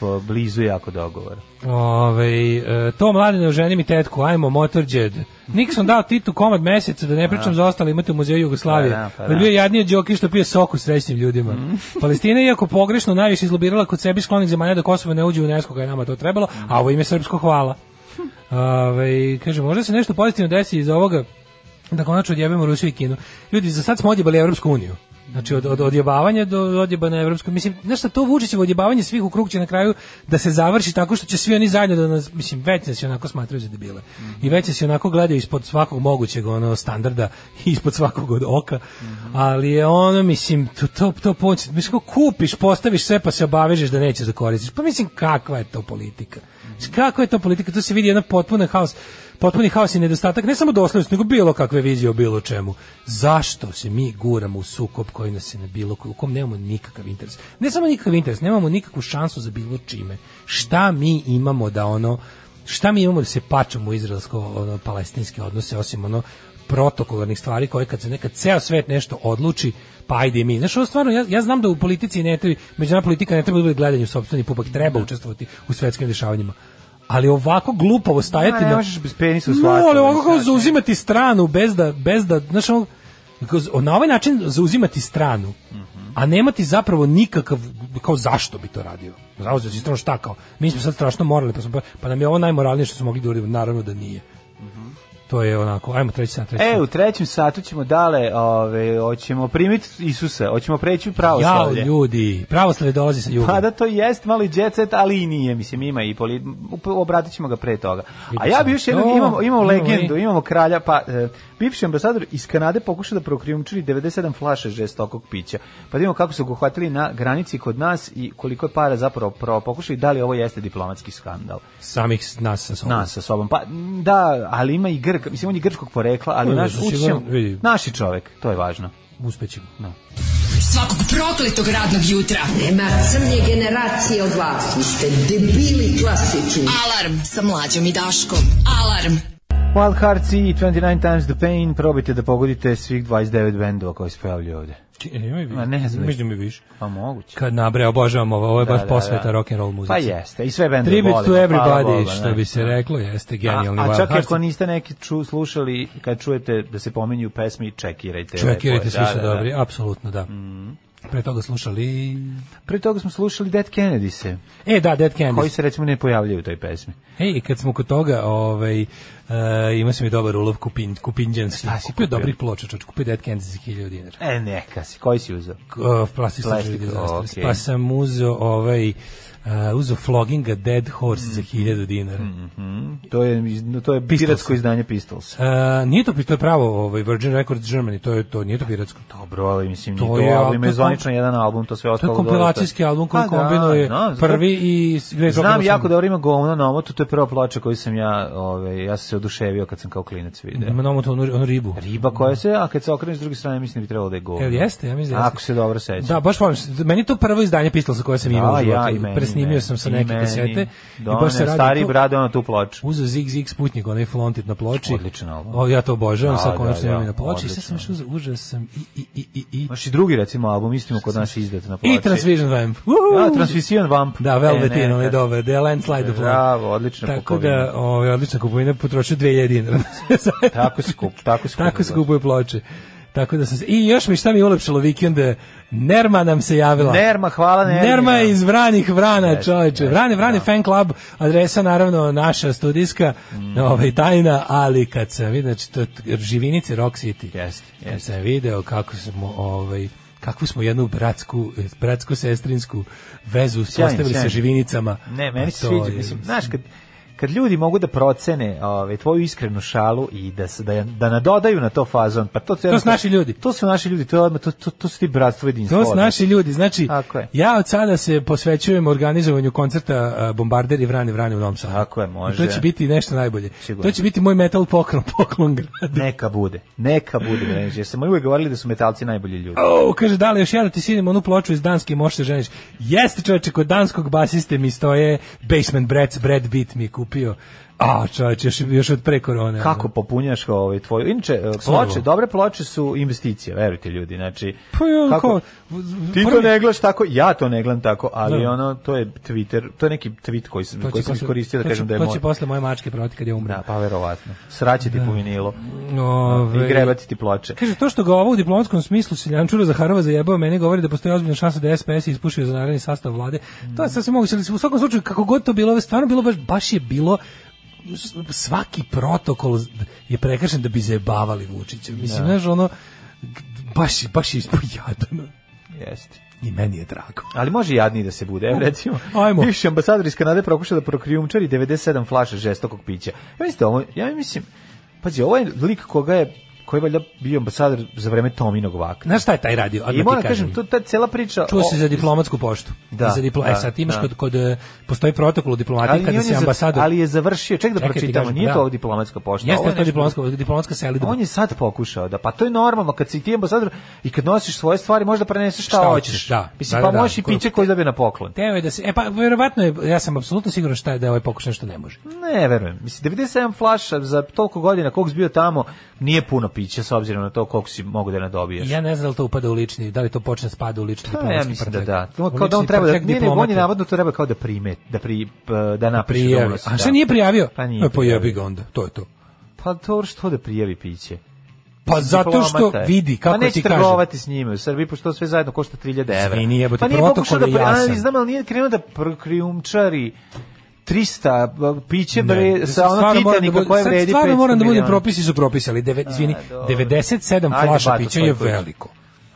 [SPEAKER 7] po- blizu jako dogovora.
[SPEAKER 6] Ovaj, e, to mladine ženi mi tetku, ajmo Motorđed. Nik sam dao Titu komad meseca, da ne pričam
[SPEAKER 7] Da.
[SPEAKER 6] za ostale, imate u muzeju Jugoslavije.
[SPEAKER 7] Pa da, pa
[SPEAKER 6] Da
[SPEAKER 7] da. Mm.
[SPEAKER 6] bio je jadnije Đoki što pije sok u srećnim ljudima. Palestina je iako pogrešno najviše izlobirala kod sebi sklonih zemalja da Kosovo ne uđe u UNESCO, kad je nama to trebalo,
[SPEAKER 7] Mm.
[SPEAKER 6] a ovo ime srpsko hvala. Ove, kaže, možda se nešto pozitivno desi iz ovoga da konačno odjebemo Rusiju i Kinu. Ljudi, za sad smo odjebali Evropsku uniju. Znači, od, od odjebavanja do odjeba na Evropsku. Mislim, znaš šta, to Vučićevo odjebavanje svih u krug će na kraju da se završi tako što će svi oni zajedno da nas, mislim, već nas i onako smatraju za debile. I već nas i onako gledaju ispod svakog mogućeg ono, standarda, ispod svakog od oka. Ali je ono, mislim, to, to, to poč- mislim, kao kupiš, postaviš sve pa se obavežeš da nećeš da koristiš. Pa mislim, kakva je to politika? Mislim, Kako je to politika? Tu se vidi jedan potpuni haos potpuni haos i nedostatak ne samo doslednosti, nego bilo kakve vizije o bilo čemu. Zašto se mi guramo u sukob koji nas je na bilo koji, u kom nemamo nikakav interes? Ne samo nikakav interes, nemamo nikakvu šansu za bilo čime. Šta mi imamo da ono, šta mi imamo da se pačamo u izraelsko-palestinske odnose, osim ono protokolarnih stvari koje kad se nekad ceo svet nešto odluči, pa ajde i mi. Znaš, ovo stvarno, ja, ja znam da u politici ne treba, međunarodna politika ne treba da bude gledanje u sopstveni pupak, treba učestvovati u svetskim dešavanjima. Ali ovako glupavo stajati
[SPEAKER 7] Ma, ne
[SPEAKER 6] na-
[SPEAKER 7] možeš bez penisa u
[SPEAKER 6] No,
[SPEAKER 7] svatu,
[SPEAKER 6] ali ovako
[SPEAKER 7] mislim,
[SPEAKER 6] kao
[SPEAKER 7] znaš, ne.
[SPEAKER 6] zauzimati stranu bez da, bez da, znaš, ono, kao z- na ovaj način zauzimati stranu, a nemati zapravo nikakav, kao zašto bi to radio? Zauzeti stranu šta kao? Mi smo sad strašno morali, pa, smo, pa nam je ovo najmoralnije što smo mogli da uradimo. Naravno da nije. To je onako, ajmo treći sat, treći
[SPEAKER 7] E,
[SPEAKER 6] sat.
[SPEAKER 7] u trećem satu ćemo dale, ove, hoćemo primiti Isusa, hoćemo preći u pravoslavlje.
[SPEAKER 6] Jao, ljudi, pravoslavlje dolazi sa juga.
[SPEAKER 7] Pa da, to jest malo i jet set, ali i nije, mislim, ima i poli... up- Obratit ćemo ga pre toga. A ja bi još jednom,
[SPEAKER 6] To,
[SPEAKER 7] imamo, imamo
[SPEAKER 6] imamo
[SPEAKER 7] legendu,
[SPEAKER 6] i-
[SPEAKER 7] imamo kralja, pa e, bivši ambasador iz Kanade pokušao da prokrijumčuri 97 flaše žestokog pića. Pa da vidimo kako su ga uhvatili na granici kod nas i koliko je para zapravo pro, pokušali, da li ovo jeste diplomatski skandal.
[SPEAKER 6] Samih s- nas sa sobom.
[SPEAKER 7] Nas sa sobom. Pa m, da, ali ima i Grk, mislim, on je grčkog porekla, ali
[SPEAKER 6] Ne,
[SPEAKER 7] naš,
[SPEAKER 6] za
[SPEAKER 7] ući
[SPEAKER 6] sigurno,
[SPEAKER 7] ćemo-
[SPEAKER 6] vidi.
[SPEAKER 7] naši čovek, to je važno.
[SPEAKER 6] Uspećemo.
[SPEAKER 7] No.
[SPEAKER 5] Svakog prokletog radnog jutra.
[SPEAKER 11] Nema crnje generacije od vas. Vi ste debili klasični.
[SPEAKER 5] Alarm sa mlađom i Daškom. Alarm.
[SPEAKER 7] Wild Hearts i 29 Times the Pain, probajte da pogodite svih 29 bendova koji se pojavljuju ovde.
[SPEAKER 6] E, imaj vi-
[SPEAKER 7] Ma ne znam.
[SPEAKER 6] Mislim mi više.
[SPEAKER 7] Pa moguće.
[SPEAKER 6] Kad nabre, obožavam ovo, ovo je
[SPEAKER 7] Da,
[SPEAKER 6] baš
[SPEAKER 7] da,
[SPEAKER 6] posveta
[SPEAKER 7] da.
[SPEAKER 6] rock and roll muzici.
[SPEAKER 7] Pa jeste, i sve bendove
[SPEAKER 6] Tribute
[SPEAKER 7] volimo,
[SPEAKER 6] to
[SPEAKER 7] hvala
[SPEAKER 6] everybody,
[SPEAKER 7] Bogu, ne.
[SPEAKER 6] što bi se reklo, jeste genijalni
[SPEAKER 7] A, a
[SPEAKER 6] Wild
[SPEAKER 7] čak i
[SPEAKER 6] Hearts.
[SPEAKER 7] ako niste neki ču, slušali, kad čujete da se pominju pesmi, čekirajte. lepo Da,
[SPEAKER 6] Čekirajte,
[SPEAKER 7] je.
[SPEAKER 6] svi su dobri, apsolutno da. Pre toga slušali...
[SPEAKER 7] Pre toga smo slušali Dead Kennedy se,
[SPEAKER 6] E, da, Dead Candies.
[SPEAKER 7] koji se recimo ne pojavljaju u toj pesmi.
[SPEAKER 6] Ej, i kad smo kod toga, ovaj, e, imao sam i dobar ulov kupin, kupinđanski.
[SPEAKER 7] Šta si
[SPEAKER 6] Kupio
[SPEAKER 7] kupio?
[SPEAKER 6] dobrih ploča, čoč, kupio Dead Candies za 1000 dinara.
[SPEAKER 7] E, neka si, koji si uzeo?
[SPEAKER 6] K- e, Plastic Surgery
[SPEAKER 7] Plastic,
[SPEAKER 6] Disasters.
[SPEAKER 7] okej.
[SPEAKER 6] Pa sam uzeo ovaj, e, uzeo Floginga Dead Horse za 1000 dinara.
[SPEAKER 7] Mhm, to je, iz- to je
[SPEAKER 6] Pistols.
[SPEAKER 7] piratsko izdanje Pistols.
[SPEAKER 6] E, nije to, to je pravo, ovaj, Virgin Records Germany, to, je, to nije to piratsko.
[SPEAKER 7] Dobro, ali mislim,
[SPEAKER 6] To
[SPEAKER 7] to
[SPEAKER 6] je,
[SPEAKER 7] je,
[SPEAKER 6] ali
[SPEAKER 7] ali ima
[SPEAKER 6] to-
[SPEAKER 7] zvanično jedan album, to sve
[SPEAKER 6] To
[SPEAKER 7] ostalo...
[SPEAKER 6] je
[SPEAKER 7] dole,
[SPEAKER 6] kompilacijski album koji
[SPEAKER 7] Pa da,
[SPEAKER 6] kombinuje
[SPEAKER 7] no, zato-
[SPEAKER 6] prvi i Great Rock and
[SPEAKER 7] Znam
[SPEAKER 6] Roll
[SPEAKER 7] jako
[SPEAKER 6] Song.
[SPEAKER 7] dobro ima govno na omotu, to je prva ploča koju sam ja, ove, ja sam se oduševio kad sam kao klinac video.
[SPEAKER 6] Ima nomot onu, onu ribu.
[SPEAKER 7] Riba koja se, a kad se okreneš s druge strane, mislim da bi trebalo da je govno.
[SPEAKER 6] Jel jeste? Ja mislim da jeste.
[SPEAKER 7] Ako se dobro sećam.
[SPEAKER 6] Da, baš volim. Meni je to prvo izdanje Pistolsa koje sam imao u
[SPEAKER 7] Da,
[SPEAKER 6] životu.
[SPEAKER 7] ja i meni.
[SPEAKER 6] Presnimio sam sa
[SPEAKER 7] i
[SPEAKER 6] neke
[SPEAKER 7] meni.
[SPEAKER 6] kasete.
[SPEAKER 7] Da, ne, stari brad, ono tu ploču.
[SPEAKER 6] Uzeo Zig Zig Sputnik, onaj flontit na ploči.
[SPEAKER 7] Odličan album.
[SPEAKER 6] O, ja to obožavam,
[SPEAKER 7] Da,
[SPEAKER 6] sad
[SPEAKER 7] da,
[SPEAKER 6] konačno
[SPEAKER 7] da,
[SPEAKER 6] imam i na ploči. I
[SPEAKER 7] odličan.
[SPEAKER 6] sad sam još uzeo, užas sam i, i, i, i, i.
[SPEAKER 7] Imaš i drugi, recimo, album, istimo kod nas izdat na ploči.
[SPEAKER 6] I Transvision Vamp.
[SPEAKER 7] Da,
[SPEAKER 6] Uhu!
[SPEAKER 7] Transvision Vamp.
[SPEAKER 6] Da,
[SPEAKER 7] E, ne,
[SPEAKER 6] Velvetin, onaj
[SPEAKER 7] ne.
[SPEAKER 6] dobar. The Landslide of Love.
[SPEAKER 7] Bravo, odlična
[SPEAKER 6] Tako
[SPEAKER 7] kupovina.
[SPEAKER 6] da, ovaj, odlična kupovina, potrošio 2000 dinara.
[SPEAKER 7] Tako se kup, tako se
[SPEAKER 6] Tako se kupuje ploče. Tako da sam se, I još mi šta mi je ulepšalo vikende, Nerma nam se javila.
[SPEAKER 7] Nerma, hvala Nermi,
[SPEAKER 6] Nerma je
[SPEAKER 7] da.
[SPEAKER 6] iz Vranih Vrana,
[SPEAKER 7] Jeste,
[SPEAKER 6] čoveče.
[SPEAKER 7] jeste,
[SPEAKER 6] Vrane, Vrane
[SPEAKER 7] da.
[SPEAKER 6] fan club, adresa naravno naša studijska,
[SPEAKER 7] Mm.
[SPEAKER 6] ovaj, tajna, ali kad sam vidio, znači, to, je živinice Rock City.
[SPEAKER 7] Jeste,
[SPEAKER 6] Kad
[SPEAKER 7] jeste.
[SPEAKER 6] sam video kako smo, ovaj, kakvu smo jednu bratsku, bratsku sestrinsku vezu postavili sa
[SPEAKER 7] sjajno.
[SPEAKER 6] živinicama.
[SPEAKER 7] Ne, meni
[SPEAKER 6] Pa
[SPEAKER 7] se
[SPEAKER 6] to
[SPEAKER 7] sviđa,
[SPEAKER 6] je-
[SPEAKER 7] mislim, znaš, kad, kad ljudi mogu da procene ovaj tvoju iskrenu šalu i da se da, je- da nadodaju na to fazon, pa to,
[SPEAKER 6] To su naši ljudi.
[SPEAKER 7] To su naši ljudi, to je odmah- to, to, to su ti bratstvo i jedinstvo.
[SPEAKER 6] To su
[SPEAKER 7] odmah.
[SPEAKER 6] naši ljudi, znači ja od sada se posvećujem organizovanju koncerta a, Bombarderi Vrane Vrane u Novom Sadu.
[SPEAKER 7] Tako je, može.
[SPEAKER 6] I to će biti nešto najbolje.
[SPEAKER 7] Sigurno.
[SPEAKER 6] To će biti moj metal poklon, poklon grada.
[SPEAKER 7] Neka bude, neka bude, Brenić, jer smo uvek govorili da su metalci najbolji ljudi.
[SPEAKER 6] O, kaže, da li još jedno ti sinem onu ploču iz Danske i možeš se ženiš. Jeste čoveče, kod danskog basiste mi stoje Basement Brats, Brad Beat mi je kupio. A, čoveče, još, još od pre korone.
[SPEAKER 7] Kako popunjaš ovaj tvoju? Inače, e,
[SPEAKER 6] Slovo.
[SPEAKER 7] ploče, dobre ploče su investicije, verujte ljudi, znači.
[SPEAKER 6] Pa je on
[SPEAKER 7] kako-
[SPEAKER 6] kao-
[SPEAKER 7] Ti to
[SPEAKER 6] prvi-
[SPEAKER 7] ne gledaš tako, ja to ne gledam tako, ali
[SPEAKER 6] Da.
[SPEAKER 7] ono to je Twitter, to je neki tweet koji sam
[SPEAKER 6] To će
[SPEAKER 7] koji sam
[SPEAKER 6] posle-
[SPEAKER 7] iskoristio da
[SPEAKER 6] to će-
[SPEAKER 7] kažem da je
[SPEAKER 6] To
[SPEAKER 7] moj.
[SPEAKER 6] će posle Da. moje mačke prodati kad je umre.
[SPEAKER 7] Da, pa verovatno. Sraće ti po vinilu.
[SPEAKER 6] Ove-
[SPEAKER 7] I grebati ti ploče.
[SPEAKER 6] Kaže, to što ga ovo u diplomatskom smislu Siljančura Zaharova zajebao, meni govori da postoji ozbiljna šansa da je SPS ispušio za naredni sastav vlade. To je sasvim moguće, ali u svakom slučaju, kako god to bilo, ovo je stvarno bilo baš, baš je bilo s- svaki protokol je prekršen da bi zajebavali Vučića. Mislim,
[SPEAKER 7] Da.
[SPEAKER 6] znaš, ono, g- baš, je- baš je ispojadano.
[SPEAKER 7] Jeste.
[SPEAKER 6] I meni je drago.
[SPEAKER 7] Ali može jadniji da se bude, evo recimo.
[SPEAKER 6] Ajmo.
[SPEAKER 7] Bivši ambasador iz Kanade prokušao da prokrijumčari 97 flaša žestokog pića. Ja mislim da ovo, ja mislim, pazi, ovo je lik koga je, koji je valjda bio ambasador za vreme Tominog vaka.
[SPEAKER 6] Znaš šta je taj radio? Odmah
[SPEAKER 7] I
[SPEAKER 6] ti
[SPEAKER 7] moram da
[SPEAKER 6] kažem.
[SPEAKER 7] kažem, to ta cela priča...
[SPEAKER 6] Čuo se
[SPEAKER 7] o-
[SPEAKER 6] za diplomatsku poštu.
[SPEAKER 7] Da,
[SPEAKER 6] I za diplo...
[SPEAKER 7] da,
[SPEAKER 6] e, sad imaš
[SPEAKER 7] da.
[SPEAKER 6] kod, kod, e, postoji protokol u
[SPEAKER 7] Ali
[SPEAKER 6] diplomatiji
[SPEAKER 7] nije
[SPEAKER 6] kada
[SPEAKER 7] on
[SPEAKER 6] si
[SPEAKER 7] je za-
[SPEAKER 6] ambasador.
[SPEAKER 7] Ali je završio, ček da
[SPEAKER 6] Čekaj, ti
[SPEAKER 7] pročitamo,
[SPEAKER 6] kažem,
[SPEAKER 7] nije
[SPEAKER 6] da.
[SPEAKER 7] to ovo diplomatska pošta. ovo
[SPEAKER 6] Jeste
[SPEAKER 7] je
[SPEAKER 6] to
[SPEAKER 7] nešto-
[SPEAKER 6] diplomatska, diplomatska selidba.
[SPEAKER 7] Pa On je sad pokušao da, pa to je normalno, kad si ti ambasador i kad nosiš svoje stvari, možda preneseš šta,
[SPEAKER 6] Šta hoćeš,
[SPEAKER 7] hoćeš.
[SPEAKER 6] da.
[SPEAKER 7] Mislim,
[SPEAKER 6] Da,
[SPEAKER 7] pa
[SPEAKER 6] da, da.
[SPEAKER 7] možeš i
[SPEAKER 6] Koju-
[SPEAKER 7] piće koji dobije na poklon.
[SPEAKER 6] Teo je da se, e pa verovatno je, ja sam apsolutno siguran šta je da je ovaj pokušaj nešto ne može.
[SPEAKER 7] Ne, verujem. Mislim, 97 flaša za toliko godina koliko si bio tamo, nije puno pića s obzirom na to koliko si mogu da ne dobiješ.
[SPEAKER 6] Ja ne znam da li to upada u lični, da li to počne spada u lični
[SPEAKER 7] Pa, ja
[SPEAKER 6] diplomatski
[SPEAKER 7] mislim da
[SPEAKER 6] prtljag.
[SPEAKER 7] da.
[SPEAKER 6] U
[SPEAKER 7] On Kao da on
[SPEAKER 6] lični
[SPEAKER 7] treba da
[SPEAKER 6] prtljag
[SPEAKER 7] nije, nego on
[SPEAKER 6] diplomata.
[SPEAKER 7] je navodno to treba kao da prime, da pri da napiše da
[SPEAKER 6] Prijavi.
[SPEAKER 7] unosi,
[SPEAKER 6] A šta
[SPEAKER 7] da.
[SPEAKER 6] nije prijavio?
[SPEAKER 7] Pa nije.
[SPEAKER 6] E, pa jebi
[SPEAKER 7] prijavio.
[SPEAKER 6] ga onda, to je to.
[SPEAKER 7] Pa to što da prijavi piće.
[SPEAKER 6] Pa
[SPEAKER 7] Mislim,
[SPEAKER 6] zato što
[SPEAKER 7] diplomata je.
[SPEAKER 6] vidi, kako
[SPEAKER 7] pa
[SPEAKER 6] ti
[SPEAKER 7] neće
[SPEAKER 6] kažem.
[SPEAKER 7] trgovati s njime u Srbiji, pošto to sve zajedno košta 3000 evra.
[SPEAKER 6] Izvini, jebote,
[SPEAKER 7] pa nije
[SPEAKER 6] protokol
[SPEAKER 7] pokušao da
[SPEAKER 6] je
[SPEAKER 7] pri-
[SPEAKER 6] jasan.
[SPEAKER 7] ali znam, ali nije krenuo da pr- krijumčari 300 piće
[SPEAKER 6] Ne,
[SPEAKER 7] bre, sa
[SPEAKER 6] stvarno
[SPEAKER 7] ono
[SPEAKER 6] moram da
[SPEAKER 7] Titanika
[SPEAKER 6] budem-
[SPEAKER 7] koje
[SPEAKER 6] sad
[SPEAKER 7] vredi 500
[SPEAKER 6] Stvarno moram da budem,
[SPEAKER 7] miliona. Da,
[SPEAKER 6] propisi su propisali. Deve, izvini,
[SPEAKER 7] dobro.
[SPEAKER 6] 97
[SPEAKER 7] Ajde,
[SPEAKER 6] flaša
[SPEAKER 7] Bato,
[SPEAKER 6] pića je
[SPEAKER 7] Stojković.
[SPEAKER 6] veliko.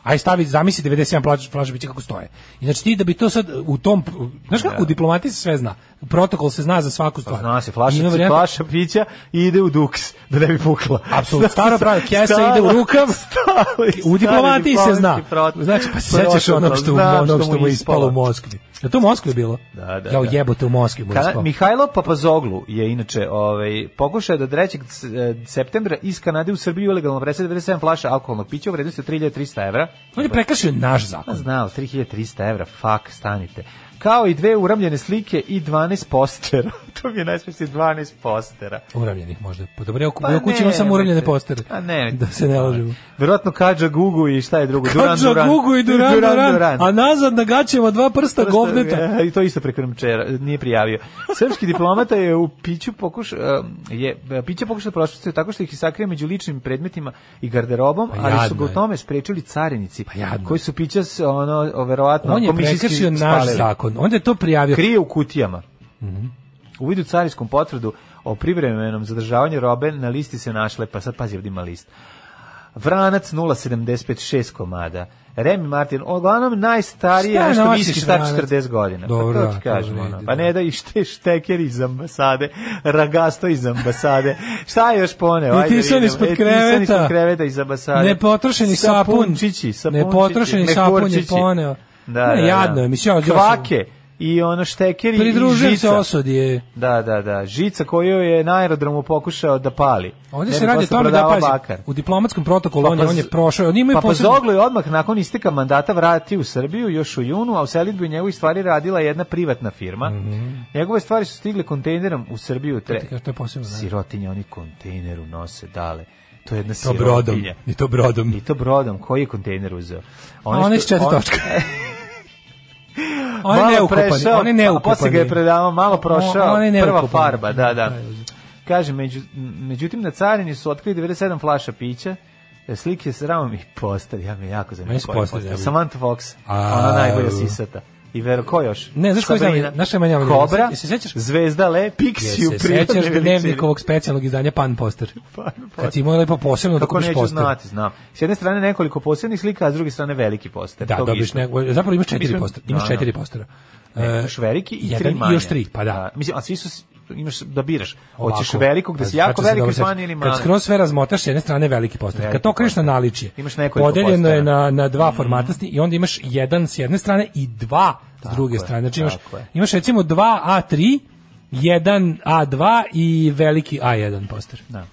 [SPEAKER 6] Aj stavi, zamisli 97 flaša, flaša pića kako stoje. I znači ti da bi to sad u tom, znaš kako, u diplomatiji se sve zna. Protokol se zna za svaku stvar.
[SPEAKER 7] Da. Zna se,
[SPEAKER 6] I
[SPEAKER 7] flaša,
[SPEAKER 6] ima varijanta-
[SPEAKER 7] flaša pića i ide u duks, da ne bi pukla.
[SPEAKER 6] Apsolutno, staro pravilo, kesa
[SPEAKER 7] Staro-
[SPEAKER 6] ide u rukav,
[SPEAKER 7] staro-
[SPEAKER 6] U diplomatiji se
[SPEAKER 7] stari
[SPEAKER 6] zna.
[SPEAKER 7] diplomatski prot-
[SPEAKER 6] Znači, pa se sećaš onog što,
[SPEAKER 7] Znam
[SPEAKER 6] onog što mu je ispalo u Moskvi. Je to u Moskvi bilo?
[SPEAKER 7] Da, da,
[SPEAKER 6] Jao
[SPEAKER 7] da.
[SPEAKER 6] jebote u Moskvi mu je
[SPEAKER 7] Kana-
[SPEAKER 6] ispalo.
[SPEAKER 7] Mihajlo Papazoglu je inače ovaj, pokušao da 3. s- e, septembra iz Kanade u Srbiju ilegalno prese 97 flaša alkoholnog pića u vrednosti od 3300 evra.
[SPEAKER 6] On je prekršio naš zakon.
[SPEAKER 7] Pa Znao, 3300 evra, fak, stanite. Kao i dve uramljene slike i 12 postera. to mi je najsmešnije 12 postera.
[SPEAKER 6] Uramljenih možda. Pa dobro, ja u
[SPEAKER 7] Pa
[SPEAKER 6] ja u kući imam
[SPEAKER 7] ne,
[SPEAKER 6] samo uramljene
[SPEAKER 7] nemojte.
[SPEAKER 6] postere.
[SPEAKER 7] A ne.
[SPEAKER 6] Da se ne lažemo.
[SPEAKER 7] Verovatno Kađa Gugu i šta je drugo? Duran,
[SPEAKER 6] Kača
[SPEAKER 7] Duran.
[SPEAKER 6] Gugu i Duran Duran, a nazad na gaćama dva prsta
[SPEAKER 7] Prosto,
[SPEAKER 6] govneta.
[SPEAKER 7] e, I to isto preko Remčera, nije prijavio. Srpski diplomata je u piću pokušao je e, piće pokušao da prošvercuje tako što ih je sakrio među ličnim predmetima i garderobom,
[SPEAKER 6] Pa
[SPEAKER 7] ali su
[SPEAKER 6] jadno
[SPEAKER 7] ga u
[SPEAKER 6] je. Pa
[SPEAKER 7] tome sprečili carinici
[SPEAKER 6] jadno
[SPEAKER 7] koji su pića s- ono o, verovatno
[SPEAKER 6] On je
[SPEAKER 7] komisijski
[SPEAKER 6] prekršio naš
[SPEAKER 7] spalili.
[SPEAKER 6] zakon. Onda je to prijavio.
[SPEAKER 7] Krije u kutijama.
[SPEAKER 6] Mhm.
[SPEAKER 7] U vidu carinskom potvrdu o privremenom zadržavanju robe na listi se našle, pa sad pazi ovdje ima list. Vranac 0756 komada. Remi Martin, uglavnom najstarije,
[SPEAKER 6] Šta
[SPEAKER 7] je nešto
[SPEAKER 6] nosiš
[SPEAKER 7] viski star
[SPEAKER 6] Vranac?
[SPEAKER 7] 40 godina.
[SPEAKER 6] Dobro,
[SPEAKER 7] pa to
[SPEAKER 6] da,
[SPEAKER 7] ti kažem,
[SPEAKER 6] dobro,
[SPEAKER 7] ono.
[SPEAKER 6] ide,
[SPEAKER 7] Pa ne da i šte, šteker iz ambasade, ragasto iz ambasade. Šta je još poneo? Ajde
[SPEAKER 6] Etisan
[SPEAKER 7] vidimo. E,
[SPEAKER 6] ispod
[SPEAKER 7] Etisan
[SPEAKER 6] kreveta.
[SPEAKER 7] ispod kreveta iz ambasade.
[SPEAKER 6] Nepotrošeni sapun.
[SPEAKER 7] Sapunčići, sapunčići,
[SPEAKER 6] Nepotrošeni sapun je
[SPEAKER 7] mehurčići.
[SPEAKER 6] poneo.
[SPEAKER 7] Da,
[SPEAKER 6] Ne,
[SPEAKER 7] da,
[SPEAKER 6] jadno je, mislim, ja- ja sam-
[SPEAKER 7] Kvake i ono štekeri i
[SPEAKER 6] Pridružujem se
[SPEAKER 7] žica.
[SPEAKER 6] osudi je.
[SPEAKER 7] Da, da, da. Žica koju je na aerodromu pokušao da pali.
[SPEAKER 6] Ovdje
[SPEAKER 7] Ne
[SPEAKER 6] se
[SPEAKER 7] bi
[SPEAKER 6] radi o
[SPEAKER 7] posle
[SPEAKER 6] tome da
[SPEAKER 7] prodavao
[SPEAKER 6] pazi.
[SPEAKER 7] bakar.
[SPEAKER 6] U diplomatskom protokolu
[SPEAKER 7] Pa
[SPEAKER 6] on je,
[SPEAKER 7] pa
[SPEAKER 6] on je
[SPEAKER 7] z-
[SPEAKER 6] prošao. Oni imaju
[SPEAKER 7] Pa
[SPEAKER 6] posebno-
[SPEAKER 7] Pazoglu je odmah nakon isteka mandata vratio u Srbiju još u junu, a u selitbu njegovih stvari radila jedna privatna firma. Njegove stvari su stigle kontejnerom u Srbiju. Tre...
[SPEAKER 6] ti kažem, Mhm. to je posebno, da.
[SPEAKER 7] Sirotinje, oni kontejneru nose dale. To je jedna
[SPEAKER 6] To brodom.
[SPEAKER 7] sirotinja.
[SPEAKER 6] I to brodom.
[SPEAKER 7] I to brodom. Koji je kontejner uzeo?
[SPEAKER 6] A onaj s četiri točke. On je
[SPEAKER 7] Malo
[SPEAKER 6] neukopani.
[SPEAKER 7] prešao,
[SPEAKER 6] On je
[SPEAKER 7] a Posle ga je
[SPEAKER 6] neukopani.
[SPEAKER 7] predavao, malo
[SPEAKER 6] O,
[SPEAKER 7] prošao,
[SPEAKER 6] on je
[SPEAKER 7] prva
[SPEAKER 6] neukopani.
[SPEAKER 7] farba, da, da. Kaže, među, međutim, na carini su otkrili 97 flaša pića, e, slike s ramom i postav, ja me jako zanimljivo.
[SPEAKER 6] Meni su postavi, ja bi-
[SPEAKER 7] Samantha Fox,
[SPEAKER 6] A,
[SPEAKER 7] ona najbolja
[SPEAKER 6] u.
[SPEAKER 7] sisata. I vero, ko još?
[SPEAKER 6] Ne, znaš koji
[SPEAKER 7] Sabrina,
[SPEAKER 6] znam, znaš šta je meni omiljeno?
[SPEAKER 7] Kobra,
[SPEAKER 6] Se- se sećaš?
[SPEAKER 7] Zvezda Le, Pixiju,
[SPEAKER 6] Se sećaš dnevnik ovog specijalnog izdanja Pan Poster. Kad si imao lepo posebno da
[SPEAKER 7] Kako
[SPEAKER 6] kupiš
[SPEAKER 7] neću
[SPEAKER 6] poster.
[SPEAKER 7] znati, znam. S jedne strane nekoliko posebnih slika, a s druge strane veliki poster.
[SPEAKER 6] Da,
[SPEAKER 7] Tog
[SPEAKER 6] dobiš
[SPEAKER 7] isto.
[SPEAKER 6] nego, zapravo imaš četiri
[SPEAKER 7] Mislim-
[SPEAKER 6] postera. Imaš
[SPEAKER 7] Da, da.
[SPEAKER 6] četiri postera.
[SPEAKER 7] Ne,
[SPEAKER 6] E,
[SPEAKER 7] imaš veliki i
[SPEAKER 6] jedan
[SPEAKER 7] tri manje.
[SPEAKER 6] i još tri, pa da.
[SPEAKER 7] Mislim, a svi su s- imaš da biraš. Hoćeš velikog da si jako
[SPEAKER 6] Zato Znači, se
[SPEAKER 7] veliki
[SPEAKER 6] dobro
[SPEAKER 7] fan
[SPEAKER 6] sećam.
[SPEAKER 7] ili
[SPEAKER 6] Kad
[SPEAKER 7] mali.
[SPEAKER 6] skroz sve razmotaš, s jedne strane veliki postaje. Kad
[SPEAKER 7] Veliki
[SPEAKER 6] to kreneš na naličje,
[SPEAKER 7] Imaš nekoliko Mhm.
[SPEAKER 6] podeljeno je
[SPEAKER 7] postaja.
[SPEAKER 6] na, na dva formatasti i onda imaš jedan s jedne strane i dva s druge strane. Znači imaš,
[SPEAKER 7] tako je.
[SPEAKER 6] imaš recimo 2 A3, 1 A2 i veliki A1 poster.
[SPEAKER 7] Da.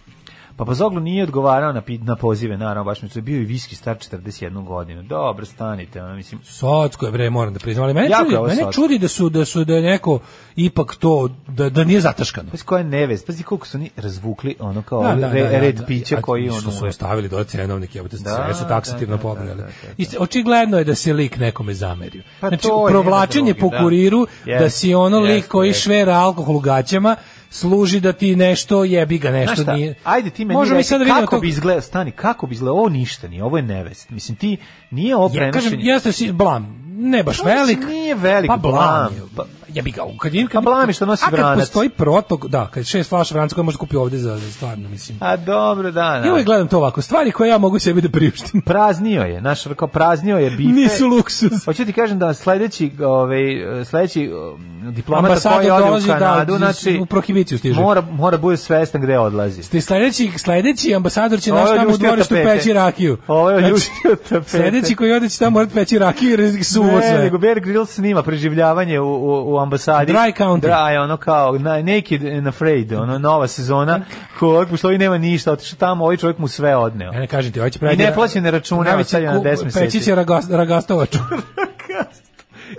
[SPEAKER 7] Pa Pazoglu nije odgovarao na, pi- na pozive, naravno, baš mi se bio i viski star 41 godinu. Dobro, stanite, ono, mislim,
[SPEAKER 6] Socko je bre, moram da priznam, ali mene
[SPEAKER 7] Jako
[SPEAKER 6] čudi,
[SPEAKER 7] je ovo
[SPEAKER 6] mene
[SPEAKER 7] socko.
[SPEAKER 6] čudi da su da su da je neko ipak to da da nije zataškano.
[SPEAKER 7] Pazi koja je nevez, pazi koliko su oni razvukli ono kao
[SPEAKER 6] Da, da,
[SPEAKER 7] Pa re-
[SPEAKER 6] da, da,
[SPEAKER 7] red
[SPEAKER 6] da.
[SPEAKER 7] pića
[SPEAKER 6] A
[SPEAKER 7] koji
[SPEAKER 6] što
[SPEAKER 7] ono
[SPEAKER 6] su ostavili do cenovnik, jebote,
[SPEAKER 7] Da,
[SPEAKER 6] sve su
[SPEAKER 7] da,
[SPEAKER 6] taksativno
[SPEAKER 7] da,
[SPEAKER 6] pobrali.
[SPEAKER 7] da, da, da.
[SPEAKER 6] Isto- očigledno je da se lik nekome zamerio.
[SPEAKER 7] Pa
[SPEAKER 6] znači,
[SPEAKER 7] to je
[SPEAKER 6] provlačenje
[SPEAKER 7] jedan
[SPEAKER 6] po
[SPEAKER 7] drugi, da.
[SPEAKER 6] kuriru da,
[SPEAKER 7] Jeste,
[SPEAKER 6] si ono lik
[SPEAKER 7] jeste,
[SPEAKER 6] koji
[SPEAKER 7] jeste.
[SPEAKER 6] švera alkohol u gaćama služi da ti nešto jebi ga
[SPEAKER 7] Znaš
[SPEAKER 6] nešto
[SPEAKER 7] šta,
[SPEAKER 6] nije.
[SPEAKER 7] ajde ti meni
[SPEAKER 6] Možemo mi
[SPEAKER 7] reci
[SPEAKER 6] sad da vidimo
[SPEAKER 7] kako
[SPEAKER 6] to-
[SPEAKER 7] bi izgledao, stani, kako bi izgledao, ovo ništa nije, ovo je nevest. Mislim, ti nije ovo
[SPEAKER 6] Ja
[SPEAKER 7] prenošenje.
[SPEAKER 6] kažem, jeste si blam. Ne baš
[SPEAKER 7] Pa, mislim,
[SPEAKER 6] velik.
[SPEAKER 7] nije velik
[SPEAKER 6] Pa blam.
[SPEAKER 7] blam.
[SPEAKER 6] je. Pa, ja bi ga, kad, kad,
[SPEAKER 7] Pa blam je što nosi
[SPEAKER 6] a kad
[SPEAKER 7] vranac.
[SPEAKER 6] postoji protok, da, kad šest flaša vranca koje može kupiti ovde za, za stvarno, mislim.
[SPEAKER 7] A dobro, da,
[SPEAKER 6] Ja uvijek
[SPEAKER 7] da.
[SPEAKER 6] gledam to ovako, stvari koje ja mogu sebi da priuštim.
[SPEAKER 7] Praznio je, naš kao praznio je bife.
[SPEAKER 6] Nisu luksuz.
[SPEAKER 7] Hoću ti kažem da sledeći, ovaj, sledeći um, diplomata
[SPEAKER 6] Ambasador
[SPEAKER 7] koji ode u
[SPEAKER 6] dolazi, da,
[SPEAKER 7] Kanadu,
[SPEAKER 6] z-
[SPEAKER 7] znači,
[SPEAKER 6] u prohibiciju stiže.
[SPEAKER 7] Mora, mora bude svestan gde odlazi.
[SPEAKER 6] Ti sledeći, sledeći ambasador će
[SPEAKER 7] Ovo je
[SPEAKER 6] naš tamo u
[SPEAKER 7] ljuštio
[SPEAKER 6] dvorištu
[SPEAKER 7] tapete.
[SPEAKER 6] peći rakiju.
[SPEAKER 7] Ovo je
[SPEAKER 6] Znači,
[SPEAKER 7] ljuštio tapete.
[SPEAKER 6] Sledeći koji ode će tamo morati peći rakiju jer je suvo
[SPEAKER 7] Ne,
[SPEAKER 6] sve.
[SPEAKER 7] nego Bear Grylls snima preživljavanje u, u, u ambasadi.
[SPEAKER 6] Dry County.
[SPEAKER 7] Dry, ono kao na, Naked and Afraid, ono nova sezona. Čovjek u Slovi nema ništa, otišao tamo, ovaj čovjek mu sve odneo.
[SPEAKER 6] Ja E, ne kažem ti, ovaj hoće pravi.
[SPEAKER 7] I neplaćene račune, evo sad je na
[SPEAKER 6] Peći
[SPEAKER 7] 10 meseci.
[SPEAKER 6] će ragas- ragastovaču.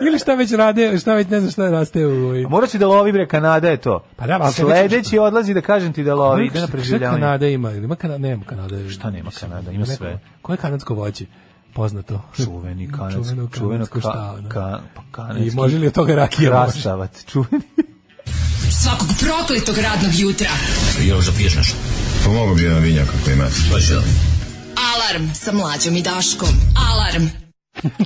[SPEAKER 6] Ili šta već rade, šta već ne znam šta raste u ovoj.
[SPEAKER 7] Mora si da lovi bre Kanada je to.
[SPEAKER 6] Pa da, ali kad
[SPEAKER 7] sledeći odlazi da kažem ti da lovi, ide na
[SPEAKER 6] Šta
[SPEAKER 7] preživljavanje.
[SPEAKER 6] Kanada ima? Ili Ima Kanada, nema Kanada.
[SPEAKER 7] Šta nema Kanada, ima
[SPEAKER 6] Neko-
[SPEAKER 7] sve.
[SPEAKER 6] Koje kanadsko voće? Poznato.
[SPEAKER 7] Čuveni kanadski,
[SPEAKER 6] Mm, Čuveno
[SPEAKER 7] čuveno
[SPEAKER 6] kanadsko
[SPEAKER 7] ka,
[SPEAKER 6] šta, da.
[SPEAKER 7] ka, pa kanadski.
[SPEAKER 6] I može li od toga rakija? može?
[SPEAKER 7] Krasavac, čuveni.
[SPEAKER 5] Svakog prokletog radnog jutra.
[SPEAKER 12] Još da piješ nešto? Pomogu bi jedan vinjak ako ima. Pa će.
[SPEAKER 5] Alarm sa mlađom i Daškom. Alarm.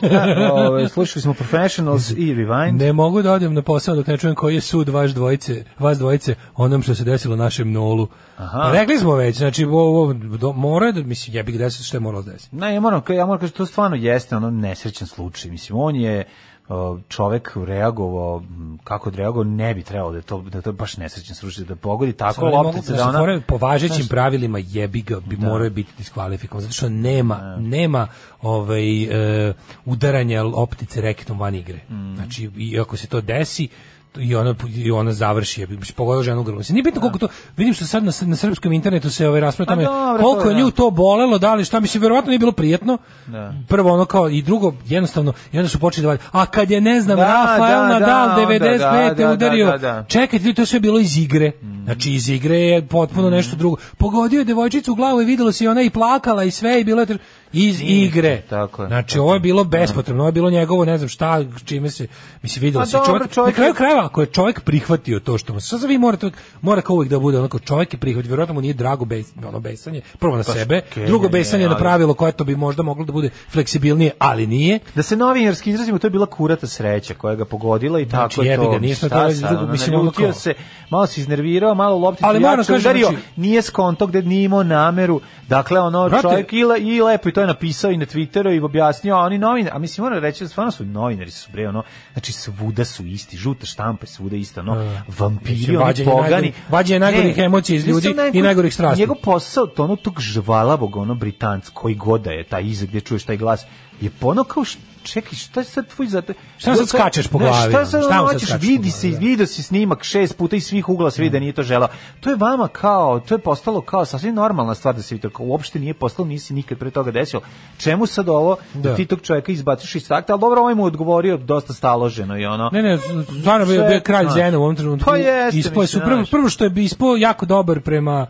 [SPEAKER 7] Da, Ove, slušali smo Professionals i Rewind.
[SPEAKER 6] Ne mogu da odem na posao dok ne čujem koji je sud vaš dvojice, vas dvojice onom što se desilo našem nolu.
[SPEAKER 7] Aha.
[SPEAKER 6] Rekli smo već, znači ovo, ovo do, mora je da mislim jebi ga desilo što je moralo da se desi.
[SPEAKER 7] Ne, ja moram, ja moram kažem, to stvarno jeste ono nesrećan slučaj. Mislim, on je uh, čovek reagovao m, kako je reagovao ne bi trebalo da je to da je to baš nesrećan slučaj da pogodi tako
[SPEAKER 6] Samo ne mogu,
[SPEAKER 7] loptice
[SPEAKER 6] znači,
[SPEAKER 7] da ona
[SPEAKER 6] fora je, po važećim
[SPEAKER 7] Znaš, Da.
[SPEAKER 6] pravilima jebi ga bi morao biti diskvalifikovan zato što nema nema ovaj e, udaranja loptice reketom van igre.
[SPEAKER 7] Mm.
[SPEAKER 6] Znači i ako se to desi to- i ona i ona završi jebi se pogodila ženu grlo. Nije bitno koliko to vidim što sad na, s- na srpskom internetu se ovaj raspravlja o
[SPEAKER 7] Da. Pa
[SPEAKER 6] tome
[SPEAKER 7] dobro,
[SPEAKER 6] koliko
[SPEAKER 7] to
[SPEAKER 6] je
[SPEAKER 7] da.
[SPEAKER 6] nju to bolelo, da li šta mislim verovatno nije bilo prijetno.
[SPEAKER 7] Da.
[SPEAKER 6] Prvo ono kao i drugo jednostavno i onda su počeli da valja, a kad je ne znam
[SPEAKER 7] Da,
[SPEAKER 6] Rafael
[SPEAKER 7] da, da,
[SPEAKER 6] Nadal
[SPEAKER 7] onda,
[SPEAKER 6] 95
[SPEAKER 7] da, da,
[SPEAKER 6] udario.
[SPEAKER 7] da, da.
[SPEAKER 6] Čekajte, ljudi, to je sve bilo iz igre. Znači, iz igre je
[SPEAKER 7] Mm.
[SPEAKER 6] potpuno nešto drugo. Pogodio je devojčicu u glavu i videlo se i ona i plakala i sve i bilo je... tr- Iz igre.
[SPEAKER 7] tako je, Da.
[SPEAKER 6] Znači, ovo je bilo bespotrebno, ovo je bilo njegovo, ne znam šta, čime se, mislim, videlo
[SPEAKER 7] Pa
[SPEAKER 6] se.
[SPEAKER 7] dobro,
[SPEAKER 6] Čovjek,
[SPEAKER 7] čovjek
[SPEAKER 6] na
[SPEAKER 7] je-
[SPEAKER 6] kraju krajeva, ako je čovjek prihvatio to što mu se, sad vi morate, uvijek- mora kao uvijek da bude onako, čovjek je prihvatio, vjerojatno mu nije drago bes, ono besanje, prvo na sebe,
[SPEAKER 7] Pa okej,
[SPEAKER 6] drugo
[SPEAKER 7] ne,
[SPEAKER 6] besanje
[SPEAKER 7] ali-
[SPEAKER 6] na pravilo koje to bi možda moglo da bude fleksibilnije, ali nije.
[SPEAKER 7] da se novinarski izrazimo to je bila kurata sreća koja ga pogodila i
[SPEAKER 6] Znači,
[SPEAKER 7] tako
[SPEAKER 6] jebi
[SPEAKER 7] to
[SPEAKER 6] ga, nije smo
[SPEAKER 7] Šta
[SPEAKER 6] to
[SPEAKER 7] sad,
[SPEAKER 6] drugo,
[SPEAKER 7] ono,
[SPEAKER 6] mislim, ono
[SPEAKER 7] naljutio
[SPEAKER 6] kao-
[SPEAKER 7] se malo se iznervirao malo lopticu
[SPEAKER 6] Ali moram
[SPEAKER 7] jače
[SPEAKER 6] kažem,
[SPEAKER 7] udario
[SPEAKER 6] znači-
[SPEAKER 7] nije skonto gde nije imao nameru dakle ono
[SPEAKER 6] Brate-
[SPEAKER 7] čovjek i, le- i lepo i to je napisao i na Twitteru i objasnio a oni novinari a mislim moram reći da stvarno su novinari su bre ono znači svuda su isti žuta štampa je svuda ista no vampiri
[SPEAKER 6] Da. Mislim,
[SPEAKER 7] oni
[SPEAKER 6] vađenje
[SPEAKER 7] pogani
[SPEAKER 6] najgorih- vađenje najgorih
[SPEAKER 7] Ne,
[SPEAKER 6] emocija iz
[SPEAKER 7] mislim,
[SPEAKER 6] ljudi i
[SPEAKER 7] najgori-
[SPEAKER 6] najgorih strasti.
[SPEAKER 7] njegov posao to ono tog žvalavog ono britanc koji goda je taj iza gdje čuješ taj glas je pono kao š- čekaj šta je sad tvoj za
[SPEAKER 6] Šta sad skačeš po
[SPEAKER 7] Ne,
[SPEAKER 6] glavi,
[SPEAKER 7] šta
[SPEAKER 6] ono,
[SPEAKER 7] sad
[SPEAKER 6] šta
[SPEAKER 7] ono
[SPEAKER 6] mu sad
[SPEAKER 7] hoćeš
[SPEAKER 6] skačeš po
[SPEAKER 7] vidi
[SPEAKER 6] glavi,
[SPEAKER 7] se
[SPEAKER 6] da.
[SPEAKER 7] video si snimak šest puta iz svih ugla se vidi da nije to želeo to je vama kao to je postalo kao sasvim normalna stvar da se vidi to kao uopšte nije postalo nisi nikad pre toga desilo čemu sad ovo da,
[SPEAKER 6] Da.
[SPEAKER 7] ti tog čovjeka izbaciš iz takta ali dobro ovaj mu je odgovorio dosta staloženo i ono
[SPEAKER 6] Ne, ne, z- stvarno bio, bio je kralj
[SPEAKER 7] Sve,
[SPEAKER 6] žena u ovom trenutku.
[SPEAKER 7] Pa jeste,
[SPEAKER 6] Ispao je
[SPEAKER 7] mislim,
[SPEAKER 6] su- prvo,
[SPEAKER 7] znaš.
[SPEAKER 6] prvo što je bi ispao jako dobar prema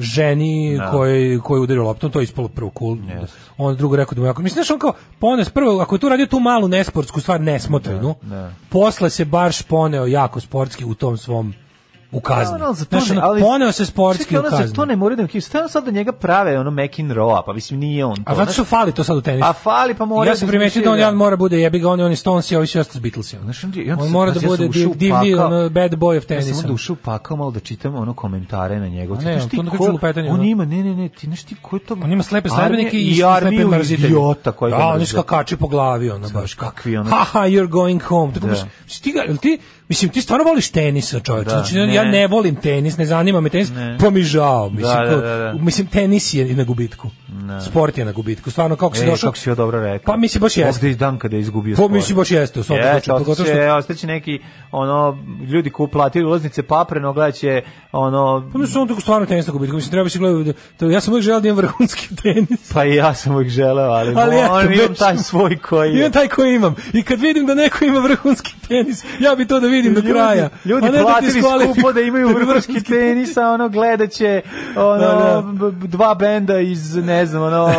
[SPEAKER 6] ženi
[SPEAKER 7] Da.
[SPEAKER 6] koji koji udario loptom, to je ispalo prvo cool. On drugo rekao da mu je jako. Mislim znaš, on kao pones prvo ako je tu radio tu malu nesportsku stvar nesmotrenu.
[SPEAKER 7] da.
[SPEAKER 6] Posle se baš poneo jako sportski u tom svom u kazni.
[SPEAKER 7] Ono, ali Da, za to
[SPEAKER 6] Znaš,
[SPEAKER 7] ne-
[SPEAKER 6] ono,
[SPEAKER 7] Pa, ali-
[SPEAKER 6] poneo se sportski
[SPEAKER 7] Čekaj,
[SPEAKER 6] u
[SPEAKER 7] ono, za
[SPEAKER 6] kazni.
[SPEAKER 7] to ne moraju da mi Stavno sad da njega prave ono McEnroe-a, pa mislim nije on to.
[SPEAKER 6] A zato
[SPEAKER 7] znaš.
[SPEAKER 6] što fali to sad u tenisu.
[SPEAKER 7] A fali, pa mora
[SPEAKER 6] ja sam
[SPEAKER 7] da
[SPEAKER 6] primetio da on
[SPEAKER 7] izmišlja-
[SPEAKER 6] jedan mora bude jebi ga on je on je Stones i ovi su ostali Beatlesi. ono.
[SPEAKER 7] Znaš, on, je- i onda
[SPEAKER 6] On
[SPEAKER 7] sam-
[SPEAKER 6] mora da
[SPEAKER 7] pazi, ja sam
[SPEAKER 6] bude
[SPEAKER 7] ušao
[SPEAKER 6] div- divlji
[SPEAKER 7] upakao-
[SPEAKER 6] ono, bad boy of
[SPEAKER 7] Ja sam
[SPEAKER 6] tenisa.
[SPEAKER 7] onda ušao upakao malo da čitam ono komentare na njegov.
[SPEAKER 6] A
[SPEAKER 7] Ti
[SPEAKER 6] ne,
[SPEAKER 7] znaš ti
[SPEAKER 6] to onda
[SPEAKER 7] ko-
[SPEAKER 6] kažu lupetanje,
[SPEAKER 7] On
[SPEAKER 6] ono.
[SPEAKER 7] ima, ne, ne, ne, ti znaš ti ko je to...
[SPEAKER 6] On ima slepe
[SPEAKER 7] Armija-
[SPEAKER 6] sledbenike i,
[SPEAKER 7] i
[SPEAKER 6] slepe
[SPEAKER 7] armiju
[SPEAKER 6] mrzitelje.
[SPEAKER 7] idiota koji ga
[SPEAKER 6] Da, oni
[SPEAKER 7] mrze.
[SPEAKER 6] skakače po glavi, ono baš.
[SPEAKER 7] kakvi ono-
[SPEAKER 6] Haha, you're going home. Tako
[SPEAKER 7] Da.
[SPEAKER 6] baš, stiga, jel ti, Mislim, ti stvarno voliš tenisa, čovječe.
[SPEAKER 7] Da,
[SPEAKER 6] znači, ja
[SPEAKER 7] ne.
[SPEAKER 6] ne volim tenis, ne zanima me tenis,
[SPEAKER 7] Ne.
[SPEAKER 6] pa mi žao. Mislim,
[SPEAKER 7] Da, da,
[SPEAKER 6] ko-
[SPEAKER 7] da, da.
[SPEAKER 6] mislim, tenis je na gubitku. Sport je na gubitku. Stvarno, kako si
[SPEAKER 7] Ej,
[SPEAKER 6] došao...
[SPEAKER 7] E, kako si joj dobro rekao.
[SPEAKER 6] Pa mislim, baš jeste.
[SPEAKER 7] Ovde je dan kada je izgubio
[SPEAKER 6] Pa
[SPEAKER 7] spor.
[SPEAKER 6] mislim, baš jeste, u svakom
[SPEAKER 7] Jeste,
[SPEAKER 6] slučaju, pogotovo
[SPEAKER 7] ostaće,
[SPEAKER 6] što-
[SPEAKER 7] ostaće neki, ono, ljudi ko uplatili ulaznice papreno, gledaće, ono...
[SPEAKER 6] Pa mislim, on tako stvarno tenis na gubitku. Mislim, treba bi se gledati... to- Ja sam uvijek želeo da imam vrhunski tenis.
[SPEAKER 7] Pa i ja sam uvijek želeo, ali,
[SPEAKER 6] Ali eto,
[SPEAKER 7] on, imam
[SPEAKER 6] već-
[SPEAKER 7] taj svoj koji je.
[SPEAKER 6] Imam taj koji imam. I kad vidim da neko ima vrhunski tenis, ja bi to da vidim do
[SPEAKER 7] Ljudi-
[SPEAKER 6] kraja.
[SPEAKER 7] Ljudi
[SPEAKER 6] A ne da ti
[SPEAKER 7] platili
[SPEAKER 6] diskvalifikuju-
[SPEAKER 7] skupo da imaju
[SPEAKER 6] da bi
[SPEAKER 7] vrhunski tenis, a ono gledaće ono,
[SPEAKER 6] Da,
[SPEAKER 7] b- b- dva benda iz, ne znam, ono,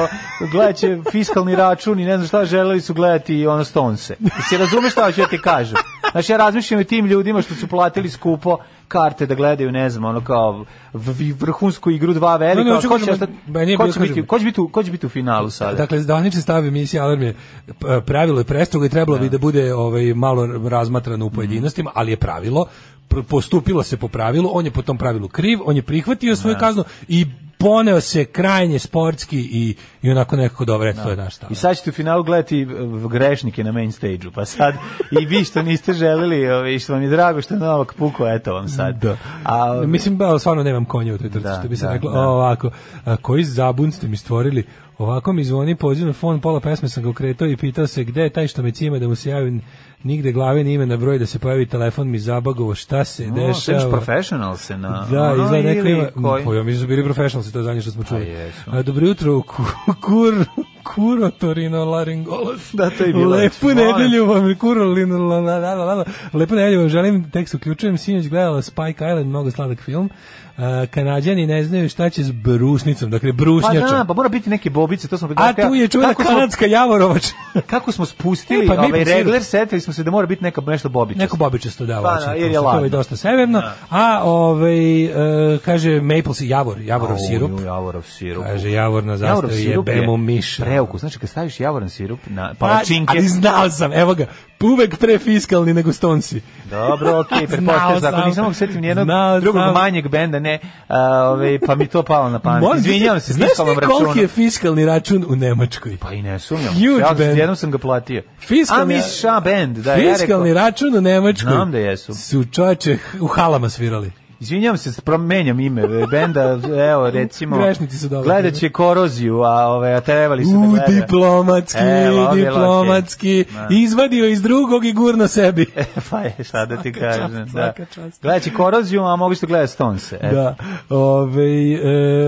[SPEAKER 7] gledaće fiskalni račun i ne znam šta želeli su gledati ono Stonese. Jesi razumeš šta ću ja ti kažem? Znači ja razmišljam o tim ljudima što su platili skupo karte da gledaju, ne znam, ono kao v- v- vrhunsku igru dva velika,
[SPEAKER 6] Ne, ne,
[SPEAKER 7] a
[SPEAKER 6] hoću
[SPEAKER 7] ko će
[SPEAKER 6] kažem,
[SPEAKER 7] ostat-
[SPEAKER 6] meni je
[SPEAKER 7] ko
[SPEAKER 6] bio,
[SPEAKER 7] će biti-
[SPEAKER 6] kažem-
[SPEAKER 7] ko će biti u- ko će biti u finalu sada?
[SPEAKER 6] Dakle, zvanični stav emisije Alarm je p- pravilo je prestrugo i trebalo bi da bude ovaj malo razmatrano
[SPEAKER 7] Mhm.
[SPEAKER 6] u pojedinostima, ali je pravilo Pr- postupilo se po pravilu, on je po tom pravilu kriv, on je prihvatio svoju
[SPEAKER 7] Da.
[SPEAKER 6] kaznu i poneo se krajnje sportski i, i onako nekako dobro, eto, to je naš stav.
[SPEAKER 7] Da. I sad ćete u finalu gledati v- grešnike na main stage-u, pa sad i vi što niste želili, ove, i što vam je drago što je Novak pukao, eto vam sad. Da. A,
[SPEAKER 6] Mislim, ba, stvarno nemam konja u toj trci,
[SPEAKER 7] Da,
[SPEAKER 6] što bi se
[SPEAKER 7] da,
[SPEAKER 6] reklo.
[SPEAKER 7] da.
[SPEAKER 6] Ovako, a, koji zabun ste mi stvorili? Ovako mi zvoni poziv na fon, pola pesme sam ga okretao i pitao se gde je taj što me cima da mu se javim nigde glave ni ime na broj da se pojavi telefon mi zabagovo šta se
[SPEAKER 7] o, sad još
[SPEAKER 6] dešava.
[SPEAKER 7] professional se na...
[SPEAKER 6] Da,
[SPEAKER 7] ono,
[SPEAKER 6] izgleda neko
[SPEAKER 7] ili
[SPEAKER 6] ima...
[SPEAKER 7] koji? Pa
[SPEAKER 6] Pa ja mislim da su bili professionalci, to je zadnje što smo čuli.
[SPEAKER 7] jesu.
[SPEAKER 6] A, dobro jutro, ku, kur, kuro torino laringolos.
[SPEAKER 7] Da, to je bilo.
[SPEAKER 6] Lepu
[SPEAKER 7] Molim.
[SPEAKER 6] nedelju vam, kuro lino, la, la, la, la, la, la. Lepu nedelju vam želim, tekst uključujem, sinoć gledala Spike Island, mnogo sladak film. A, Kanadjani ne znaju šta će s brusnicom, dakle
[SPEAKER 7] Pa
[SPEAKER 6] brusnjačom.
[SPEAKER 7] da, pa mora biti neke bobice, to smo...
[SPEAKER 6] A tu je čuvena
[SPEAKER 7] kako smo,
[SPEAKER 6] kanadska javorovač.
[SPEAKER 7] kako smo spustili
[SPEAKER 6] E, pa mi
[SPEAKER 7] ovaj
[SPEAKER 6] pustili.
[SPEAKER 7] regler, setili smo se da mora biti neka nešto bobice.
[SPEAKER 6] Neko babičasto da,
[SPEAKER 7] Pa,
[SPEAKER 6] hoće,
[SPEAKER 7] da, jer je
[SPEAKER 6] to
[SPEAKER 7] ladno. Da.
[SPEAKER 6] je dosta severno. A ovaj e, kaže maple si javor, javorov
[SPEAKER 7] Au,
[SPEAKER 6] sirup.
[SPEAKER 7] ju, Javorov sirup.
[SPEAKER 6] Kaže, javor na zastavi
[SPEAKER 7] Javorov sirup
[SPEAKER 6] je bemo miša.
[SPEAKER 7] Preukus, znači kad staviš javoran sirup na
[SPEAKER 6] Pa,
[SPEAKER 7] palačinke...
[SPEAKER 6] Ali znao sam, evo ga, uvek pre fiskalni nego stonsi.
[SPEAKER 7] Dobro,
[SPEAKER 6] Znao
[SPEAKER 7] okej, pretpostavljam zato.
[SPEAKER 6] sam.
[SPEAKER 7] Nisam mogu setim nijednog
[SPEAKER 6] Znao
[SPEAKER 7] drugog
[SPEAKER 6] sam.
[SPEAKER 7] manjeg benda, ne, a, ovaj, pa mi to palo na pamet.
[SPEAKER 6] Molim te,
[SPEAKER 7] Izvinjavam se,
[SPEAKER 6] znaš
[SPEAKER 7] fiskalnom
[SPEAKER 6] ti koliki
[SPEAKER 7] računu.
[SPEAKER 6] je fiskalni račun u Nemačkoj?
[SPEAKER 7] Pa i ne sumnjam.
[SPEAKER 6] Huge
[SPEAKER 7] ja,
[SPEAKER 6] band.
[SPEAKER 7] Jednom sam ga platio.
[SPEAKER 6] Fiskalni-
[SPEAKER 7] A misliš, a band, da, ja rekao.
[SPEAKER 6] fiskalni račun u Nemačkoj
[SPEAKER 7] Znam da jesu.
[SPEAKER 6] su čoveče u halama svirali.
[SPEAKER 7] Izvinjavam se, promenjam ime e, benda, evo, recimo...
[SPEAKER 6] Grešnici su dobri.
[SPEAKER 7] Gledat će koroziju, a, ove, a trebali su da
[SPEAKER 6] U,
[SPEAKER 7] gledaju.
[SPEAKER 6] diplomatski,
[SPEAKER 7] Evo, bilo je
[SPEAKER 6] diplomatski.
[SPEAKER 7] okej. Da.
[SPEAKER 6] Izvadio iz drugog i gurno sebi.
[SPEAKER 7] Pa je, šta da ti
[SPEAKER 6] Svaka čast,
[SPEAKER 7] kažem. Da.
[SPEAKER 6] svaka čast.
[SPEAKER 7] Gledat će koroziju, a mogu što gledati Stonse. e. eto.
[SPEAKER 6] Da. Ove,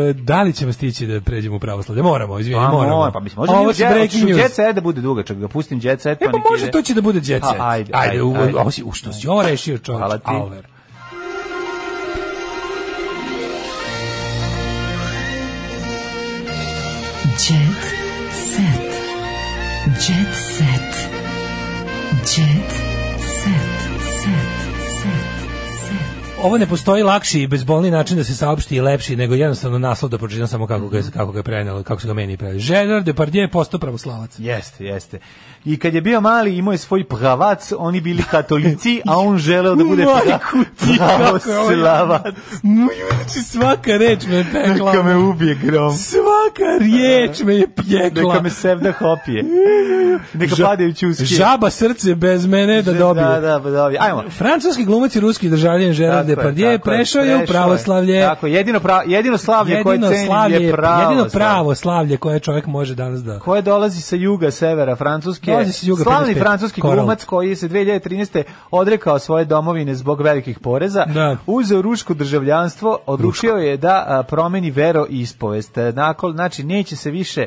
[SPEAKER 6] e, da li ćemo stići da pređemo u pravoslavlje? Moramo, izvini,
[SPEAKER 7] Pa
[SPEAKER 6] moramo.
[SPEAKER 7] mora, pa mislim, može
[SPEAKER 6] Ovo su breaking news.
[SPEAKER 7] Jet set da bude dugačak, da pustim jet set,
[SPEAKER 6] E
[SPEAKER 7] pa
[SPEAKER 6] pa
[SPEAKER 7] nek
[SPEAKER 6] može,
[SPEAKER 7] ide.
[SPEAKER 6] to će da bude jet
[SPEAKER 7] A,
[SPEAKER 6] set.
[SPEAKER 7] ajde,
[SPEAKER 6] Ajde,
[SPEAKER 7] ajde,
[SPEAKER 6] ajde, u-
[SPEAKER 7] ajde.
[SPEAKER 6] ovo si, u što si ovo rešio čovječ,
[SPEAKER 7] Hvala ti.
[SPEAKER 6] Auler.
[SPEAKER 5] Jet set. Jet set. Jet set. Set. Set. Set.
[SPEAKER 6] Ovo ne postoji lakši i bezbolni način da se saopšti i lepši, nego jednostavno naslov da pročitam samo kako ga, kako ga je prenelo, kako su ga meni preneli. Gerard Depardieu je postao pravoslavac.
[SPEAKER 7] Jeste, jeste. I kad je bio mali, imao je svoj pravac, oni bili katolici, a on želeo da bude pra-
[SPEAKER 6] Majku ti, kako je ovo
[SPEAKER 7] pravoslavac.
[SPEAKER 6] Moju, znači svaka reč me je pekla.
[SPEAKER 7] Neka me ubije grom.
[SPEAKER 6] Svaka riječ me je pjekla.
[SPEAKER 7] Neka me sevda hopije. Neka
[SPEAKER 6] Ža-
[SPEAKER 7] padaju čuske.
[SPEAKER 6] Žaba srce bez mene da dobije.
[SPEAKER 7] Da, da, da dobije. Ajmo.
[SPEAKER 6] Francuski glumac i ruski državljan Gerard
[SPEAKER 7] Tako je,
[SPEAKER 6] Depardieu
[SPEAKER 7] tako je,
[SPEAKER 6] pa prešao je u pravoslavlje.
[SPEAKER 7] Tako je, jedino, pra, jedino slavlje koje
[SPEAKER 6] jedino
[SPEAKER 7] cenim
[SPEAKER 6] slavlje,
[SPEAKER 7] je pravo.
[SPEAKER 6] jedino pravo slavlje koje čovjek može danas da
[SPEAKER 7] koje dolazi sa juga severa Francuske.
[SPEAKER 6] Dolazi sa juga,
[SPEAKER 7] Slavni
[SPEAKER 6] 55,
[SPEAKER 7] francuski
[SPEAKER 6] Koral.
[SPEAKER 7] glumac koji je se 2013. odrekao svoje domovine zbog velikih poreza,
[SPEAKER 6] Da.
[SPEAKER 7] uzeo ruško državljanstvo, odlučio je da a, promeni vero i ispovest. E, Nakon, znači, neće se više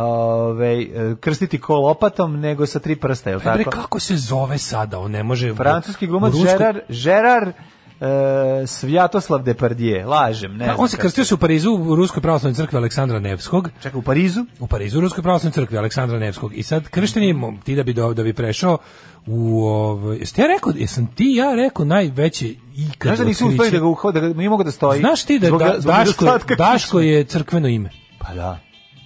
[SPEAKER 7] ovaj, e, krstiti ko lopatom, nego sa tri prsta, je li
[SPEAKER 6] E Bre,
[SPEAKER 7] tako?
[SPEAKER 6] kako se zove sada? On ne može...
[SPEAKER 7] Francuski glumac
[SPEAKER 6] u ruskoj-
[SPEAKER 7] Gerard, Gerard e, Svjatoslav Depardieu, lažem, ne
[SPEAKER 6] Da,
[SPEAKER 7] znam
[SPEAKER 6] on se
[SPEAKER 7] kako
[SPEAKER 6] krstio se u Parizu u Ruskoj pravoslavnoj crkvi Aleksandra Nevskog.
[SPEAKER 7] Čekaj, u Parizu?
[SPEAKER 6] U Parizu u Ruskoj pravoslavnoj crkvi Aleksandra Nevskog. I sad krštenje mo- ti da bi do, da bi prešao u ovaj jeste ja rekao jesam ti ja rekao najveće ikad.
[SPEAKER 7] Znaš da nisu
[SPEAKER 6] otkriće?
[SPEAKER 7] uspeli da ga uhode, da ga nije mogao da stoji.
[SPEAKER 6] Znaš ti da,
[SPEAKER 7] Zbog-
[SPEAKER 6] da-
[SPEAKER 7] zbog
[SPEAKER 6] Daško,
[SPEAKER 7] nedostatka
[SPEAKER 6] Daško je crkveno ime.
[SPEAKER 7] Pa da.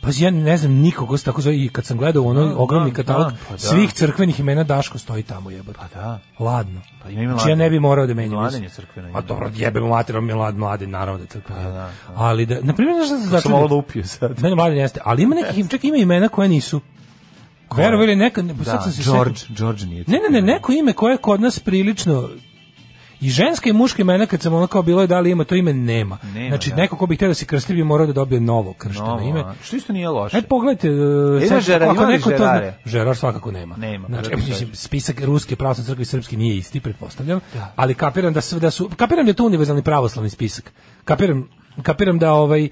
[SPEAKER 6] Pazi, ja ne znam nikog ko se tako zove i kad sam gledao onaj
[SPEAKER 7] Da,
[SPEAKER 6] ogromni
[SPEAKER 7] da,
[SPEAKER 6] katalog
[SPEAKER 7] da, pa da.
[SPEAKER 6] svih crkvenih imena Daško stoji tamo jebote.
[SPEAKER 7] Pa da.
[SPEAKER 6] Ladno.
[SPEAKER 7] Pa ima i
[SPEAKER 6] Znači, ja
[SPEAKER 7] Mladen.
[SPEAKER 6] ne bi morao da menjam.
[SPEAKER 7] Mladen je
[SPEAKER 6] isto.
[SPEAKER 7] crkveno ime.
[SPEAKER 6] A dobro, jebemo materom je mlad, mladen, naravno da je crkveno. ime. Ali da, na primjer, znaš šta se
[SPEAKER 7] sam
[SPEAKER 6] začudio?
[SPEAKER 7] malo lupio sad.
[SPEAKER 6] Ne, ne, mladen jeste. Ali ima nekih, čak ima imena koje nisu. Verovo ili neka, ne,
[SPEAKER 7] Da,
[SPEAKER 6] sad sam se
[SPEAKER 7] George,
[SPEAKER 6] setio.
[SPEAKER 7] George nije.
[SPEAKER 6] Ne, ne, ne, neko ime koje je kod nas prilično I ženska i muška imena kad sam ono kao bilo je da li ima to ime nema.
[SPEAKER 7] Nema,
[SPEAKER 6] znači
[SPEAKER 7] da.
[SPEAKER 6] neko ko bi htio da se krsti bi morao da dobije novo kršteno
[SPEAKER 7] Novo,
[SPEAKER 6] ime.
[SPEAKER 7] a? Što isto nije loše.
[SPEAKER 6] Ajde pogledajte,
[SPEAKER 7] Ima
[SPEAKER 6] e,
[SPEAKER 7] Žerara, ima li Žerare?
[SPEAKER 6] Žerar svakako nema.
[SPEAKER 7] Nema,
[SPEAKER 6] Znači,
[SPEAKER 7] pa da ti
[SPEAKER 6] mislim,
[SPEAKER 7] kažem.
[SPEAKER 6] spisak ruske pravoslavne crkve i srpski nije isti, pretpostavljam, ali kapiram da su, da su kapiram da je to univerzalni pravoslavni spisak. Kapiram kapiram da ovaj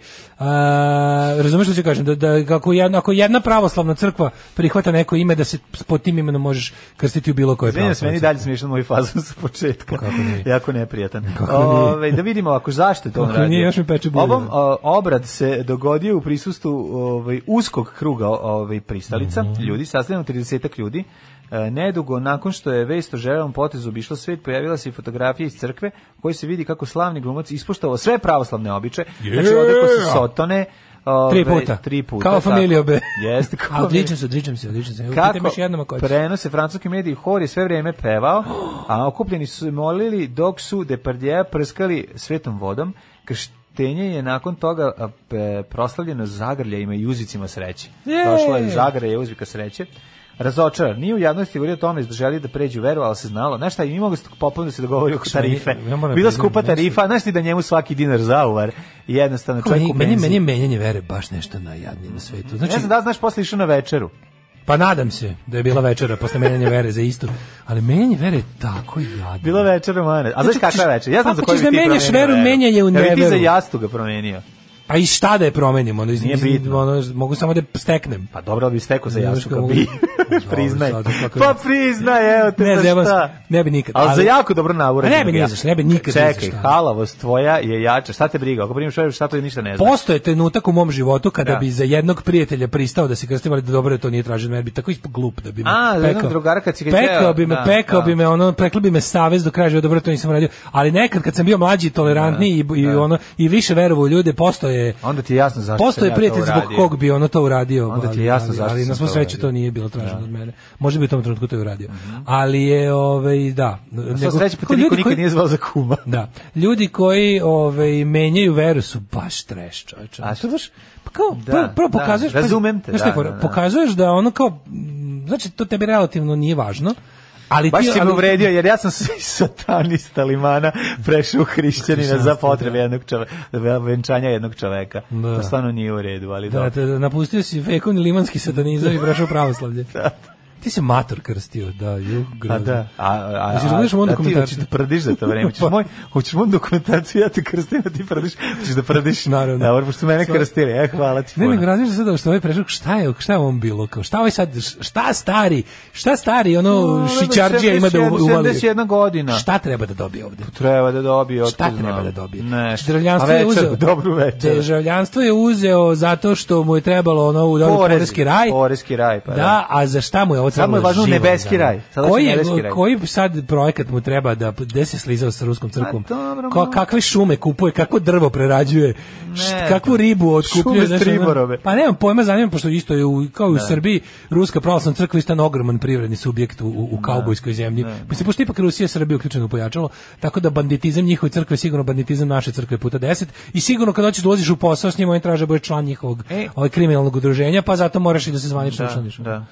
[SPEAKER 6] a, razumeš što ću kažem da, da kako jedna, ako jedna pravoslavna crkva prihvata neko ime da se pod tim imenom možeš krstiti u bilo koje
[SPEAKER 7] Izvinjam se,
[SPEAKER 6] pravoslavne
[SPEAKER 7] meni
[SPEAKER 6] crkve.
[SPEAKER 7] dalje smiješan moj fazon sa početka. Kako
[SPEAKER 6] nije?
[SPEAKER 7] Jako neprijatan.
[SPEAKER 6] Kako nije?
[SPEAKER 7] Ove, da vidimo ako zašto je to on
[SPEAKER 6] Kako
[SPEAKER 7] radio.
[SPEAKER 6] nije, još mi peče bulje.
[SPEAKER 7] Ovom o, obrad se dogodio u prisustu ovaj, uskog kruga ovaj, pristalica,
[SPEAKER 6] Mhm.
[SPEAKER 7] ljudi, sastavljeno 30 ljudi. E, nedugo nakon što je vest o željenom potezu obišla svet, pojavila se i fotografija iz crkve u kojoj se vidi kako slavni glumac ispoštovao sve pravoslavne običe. Znači, odrekao se
[SPEAKER 6] Yeah!
[SPEAKER 7] sotone, ove,
[SPEAKER 6] Tri puta.
[SPEAKER 7] Tri puta.
[SPEAKER 6] Kao
[SPEAKER 7] tako.
[SPEAKER 6] familio B.
[SPEAKER 7] Jeste, kao
[SPEAKER 6] A, odličan
[SPEAKER 7] familio-
[SPEAKER 6] se, odličan se, odličan se. Evo, pitam
[SPEAKER 7] da- kako
[SPEAKER 6] još jednom ako hoćeš.
[SPEAKER 7] prenose francuski mediji, hor je sve vrijeme pevao, a okupljeni su se molili dok su Depardieu prskali svetom vodom, krštenje je nakon toga a, pe- proslavljeno zagrljajima i uzvicima sreće.
[SPEAKER 6] Jej!
[SPEAKER 7] Došla je zagrljaja i uzvika sreće. Razočaran, nije u javnosti govorio o tome da želi da pređu veru, ali se znalo. Znaš šta, i mi mogu se popolno da se dogovori oko
[SPEAKER 6] Što meni-
[SPEAKER 7] tarife.
[SPEAKER 6] ja moram da
[SPEAKER 7] Bila
[SPEAKER 6] priznam,
[SPEAKER 7] skupa
[SPEAKER 6] meni su-
[SPEAKER 7] tarifa, znaš ti da njemu svaki dinar zauvar i jednostavno
[SPEAKER 6] Kao
[SPEAKER 7] čovjek
[SPEAKER 6] Meni,
[SPEAKER 7] u
[SPEAKER 6] meni, meni je
[SPEAKER 7] penziji.
[SPEAKER 6] menjanje vere baš nešto najjadnije na svetu. Znači,
[SPEAKER 7] Ne znam da li znaš, posle išao na večeru.
[SPEAKER 6] Pa nadam se da je bila večera posle menjanja vere za istu. Ali menjanje vere je tako jadno.
[SPEAKER 7] Bilo večer u mene. A znaš
[SPEAKER 6] Znači,
[SPEAKER 7] kakva je večer? Ja znam
[SPEAKER 6] kako
[SPEAKER 7] za koju
[SPEAKER 6] ćeš
[SPEAKER 7] bi
[SPEAKER 6] da
[SPEAKER 7] ti
[SPEAKER 6] menjaš
[SPEAKER 7] promenio
[SPEAKER 6] veru, menjanje u
[SPEAKER 7] Ja bi ti
[SPEAKER 6] neveru.
[SPEAKER 7] za jastu ga promenio.
[SPEAKER 6] A i šta da je promenim? Ono, iz,
[SPEAKER 7] Nije
[SPEAKER 6] iz-
[SPEAKER 7] bitno.
[SPEAKER 6] ono, mogu samo da steknem.
[SPEAKER 7] Pa dobro, ali bi stekao za
[SPEAKER 6] Ne,
[SPEAKER 7] jastu
[SPEAKER 6] znaš
[SPEAKER 7] ga
[SPEAKER 6] kako
[SPEAKER 7] bi.
[SPEAKER 6] mogu-
[SPEAKER 7] priznaj.
[SPEAKER 6] Dobro, sad, kako-
[SPEAKER 7] Pa priznaj, evo te
[SPEAKER 6] Ne,
[SPEAKER 7] za
[SPEAKER 6] zajebam se,
[SPEAKER 7] šta.
[SPEAKER 6] ne bi nikad,
[SPEAKER 7] Ali,
[SPEAKER 6] ali-
[SPEAKER 7] za jako dobro navoreno.
[SPEAKER 6] A ne bi ni za šta, ne bi nikad ni za
[SPEAKER 7] Čekaj,
[SPEAKER 6] šta.
[SPEAKER 7] halavost tvoja je jača. Šta te briga? Ako primiš veru, šta to ništa ne znaš.
[SPEAKER 6] Postoje trenutak u mom životu kada
[SPEAKER 7] Da.
[SPEAKER 6] bi za jednog prijatelja pristao da se krstim, ali da dobro je to nije traženo, jer bi tako ispod glup da bi me
[SPEAKER 7] A, za jednog
[SPEAKER 6] pekao.
[SPEAKER 7] drugara kad si ga
[SPEAKER 6] pekao
[SPEAKER 7] teo,
[SPEAKER 6] bi me,
[SPEAKER 7] da,
[SPEAKER 6] pekao
[SPEAKER 7] da.
[SPEAKER 6] bi me, ono, pekli bi me savez do kraja, života, dobro to nisam radio. Ali nekad kad sam bio mlađi, i tolerantniji i, i, ono, i više verovao u ljude, postoje
[SPEAKER 7] Da, Onda ti je jasno zašto
[SPEAKER 6] Postoje
[SPEAKER 7] sam ja to
[SPEAKER 6] prijatelj zbog
[SPEAKER 7] uradio.
[SPEAKER 6] kog bi ono to uradio.
[SPEAKER 7] Onda ti je
[SPEAKER 6] ali-
[SPEAKER 7] jasno
[SPEAKER 6] ali-
[SPEAKER 7] zašto
[SPEAKER 6] Ali
[SPEAKER 7] sam
[SPEAKER 6] na svu
[SPEAKER 7] to
[SPEAKER 6] sreću
[SPEAKER 7] uradio.
[SPEAKER 6] to nije bilo traženo
[SPEAKER 7] Da. Mhm.
[SPEAKER 6] od mene. Možda bi u tom trenutku to i uradio. Ali je, ovaj, da.
[SPEAKER 7] Na sva sreća, pa
[SPEAKER 6] kao
[SPEAKER 7] te niko
[SPEAKER 6] ljudi
[SPEAKER 7] nikad
[SPEAKER 6] koji-
[SPEAKER 7] nije zvao za kuma.
[SPEAKER 6] da. Ljudi koji ovaj menjaju veru su baš treš, čoveče. A to baš pa kao
[SPEAKER 7] Da,
[SPEAKER 6] prvo, prvo
[SPEAKER 7] da,
[SPEAKER 6] pokazuješ, pazi,
[SPEAKER 7] razumem te,
[SPEAKER 6] znaš šta je
[SPEAKER 7] da,
[SPEAKER 6] fora?
[SPEAKER 7] da, da.
[SPEAKER 6] pokazuješ da ono kao mm, znači to tebi relativno nije važno. Ali
[SPEAKER 7] Baš
[SPEAKER 6] ti,
[SPEAKER 7] si me
[SPEAKER 6] ali-
[SPEAKER 7] uvredio, jer ja sam s- iz satanista limana prešao u hrišćanina za
[SPEAKER 6] Hrišćanstvo,
[SPEAKER 7] potrebe jednog čoveka, venčanja jednog čoveka.
[SPEAKER 6] Da.
[SPEAKER 7] To stvarno nije u redu, ali
[SPEAKER 6] Da,
[SPEAKER 7] dobro.
[SPEAKER 6] da, da, napustio si vekovni limanski satanizam i prešao u pravoslavlje. Ti si mator krstio, da, ju,
[SPEAKER 7] Da. A
[SPEAKER 6] grozno.
[SPEAKER 7] da, a, a, a,
[SPEAKER 6] Jesi razumeš moj Pa.
[SPEAKER 7] a ti
[SPEAKER 6] dokumentarcu?
[SPEAKER 7] hoćeš da prdiš za to vreme. Hoćeš moj, hoćeš moj dokumentaciju, ja te krstim, a ti prdiš. Hoćeš da prdiš?
[SPEAKER 6] Naravno.
[SPEAKER 7] Dobro, pošto su mene
[SPEAKER 6] Sorry.
[SPEAKER 7] krstili, e, hvala ti.
[SPEAKER 6] Ne,
[SPEAKER 7] puno.
[SPEAKER 6] nego razmišljam sada što ovaj prešao, šta je, šta je on bilo, kao, šta ovaj sad, šta stari, šta stari, ono,
[SPEAKER 7] No,
[SPEAKER 6] šićarđija ima da u-
[SPEAKER 7] 71
[SPEAKER 6] uvali?
[SPEAKER 7] 71 godina.
[SPEAKER 6] Šta treba da dobije ovde?
[SPEAKER 7] Treba da dobije, otkud
[SPEAKER 6] Šta treba
[SPEAKER 7] znam.
[SPEAKER 6] da dobije?
[SPEAKER 7] Ne.
[SPEAKER 6] Državljanstvo
[SPEAKER 7] A
[SPEAKER 6] je
[SPEAKER 7] večer,
[SPEAKER 6] uzeo. Da,
[SPEAKER 7] Dobru večer.
[SPEAKER 6] Državljanstvo je uzeo zato što mu je trebalo ono u dobiti
[SPEAKER 7] Porezi,
[SPEAKER 6] poreski raj.
[SPEAKER 7] Poreski raj, pa
[SPEAKER 6] Da, a za šta mu je ovo
[SPEAKER 7] Sad mu je
[SPEAKER 6] trebalo
[SPEAKER 7] važno
[SPEAKER 6] život
[SPEAKER 7] nebeski
[SPEAKER 6] da.
[SPEAKER 7] raj. Sada će
[SPEAKER 6] Koji, je,
[SPEAKER 7] nebeski raj.
[SPEAKER 6] koji sad projekat mu treba da gde se slizao sa ruskom crkvom?
[SPEAKER 7] dobro,
[SPEAKER 6] Ko, kakve šume kupuje, kakvo drvo prerađuje, št, kakvu ribu otkupljuje,
[SPEAKER 7] Šume
[SPEAKER 6] znaš, ono-
[SPEAKER 7] Striborove.
[SPEAKER 6] Pa nemam pojma, zanima me, pošto isto je u, kao i u
[SPEAKER 7] Ne.
[SPEAKER 6] Srbiji ruska pravoslavna crkva je isto jedan ogroman privredni subjekt u,
[SPEAKER 7] Da.
[SPEAKER 6] u, u kaubojskoj zemlji. Mislim pošto ipak Rusija i Srbija uključeno pojačalo, tako da banditizam njihove crkve je sigurno banditizam naše crkve puta 10 i sigurno kad hoćeš da ulaziš u posao s njima oni traže da budeš član njihovog
[SPEAKER 7] E.
[SPEAKER 6] ovaj kriminalnog udruženja, pa zato moraš i da se zvanično
[SPEAKER 7] Da,
[SPEAKER 6] učlaniš.
[SPEAKER 7] da.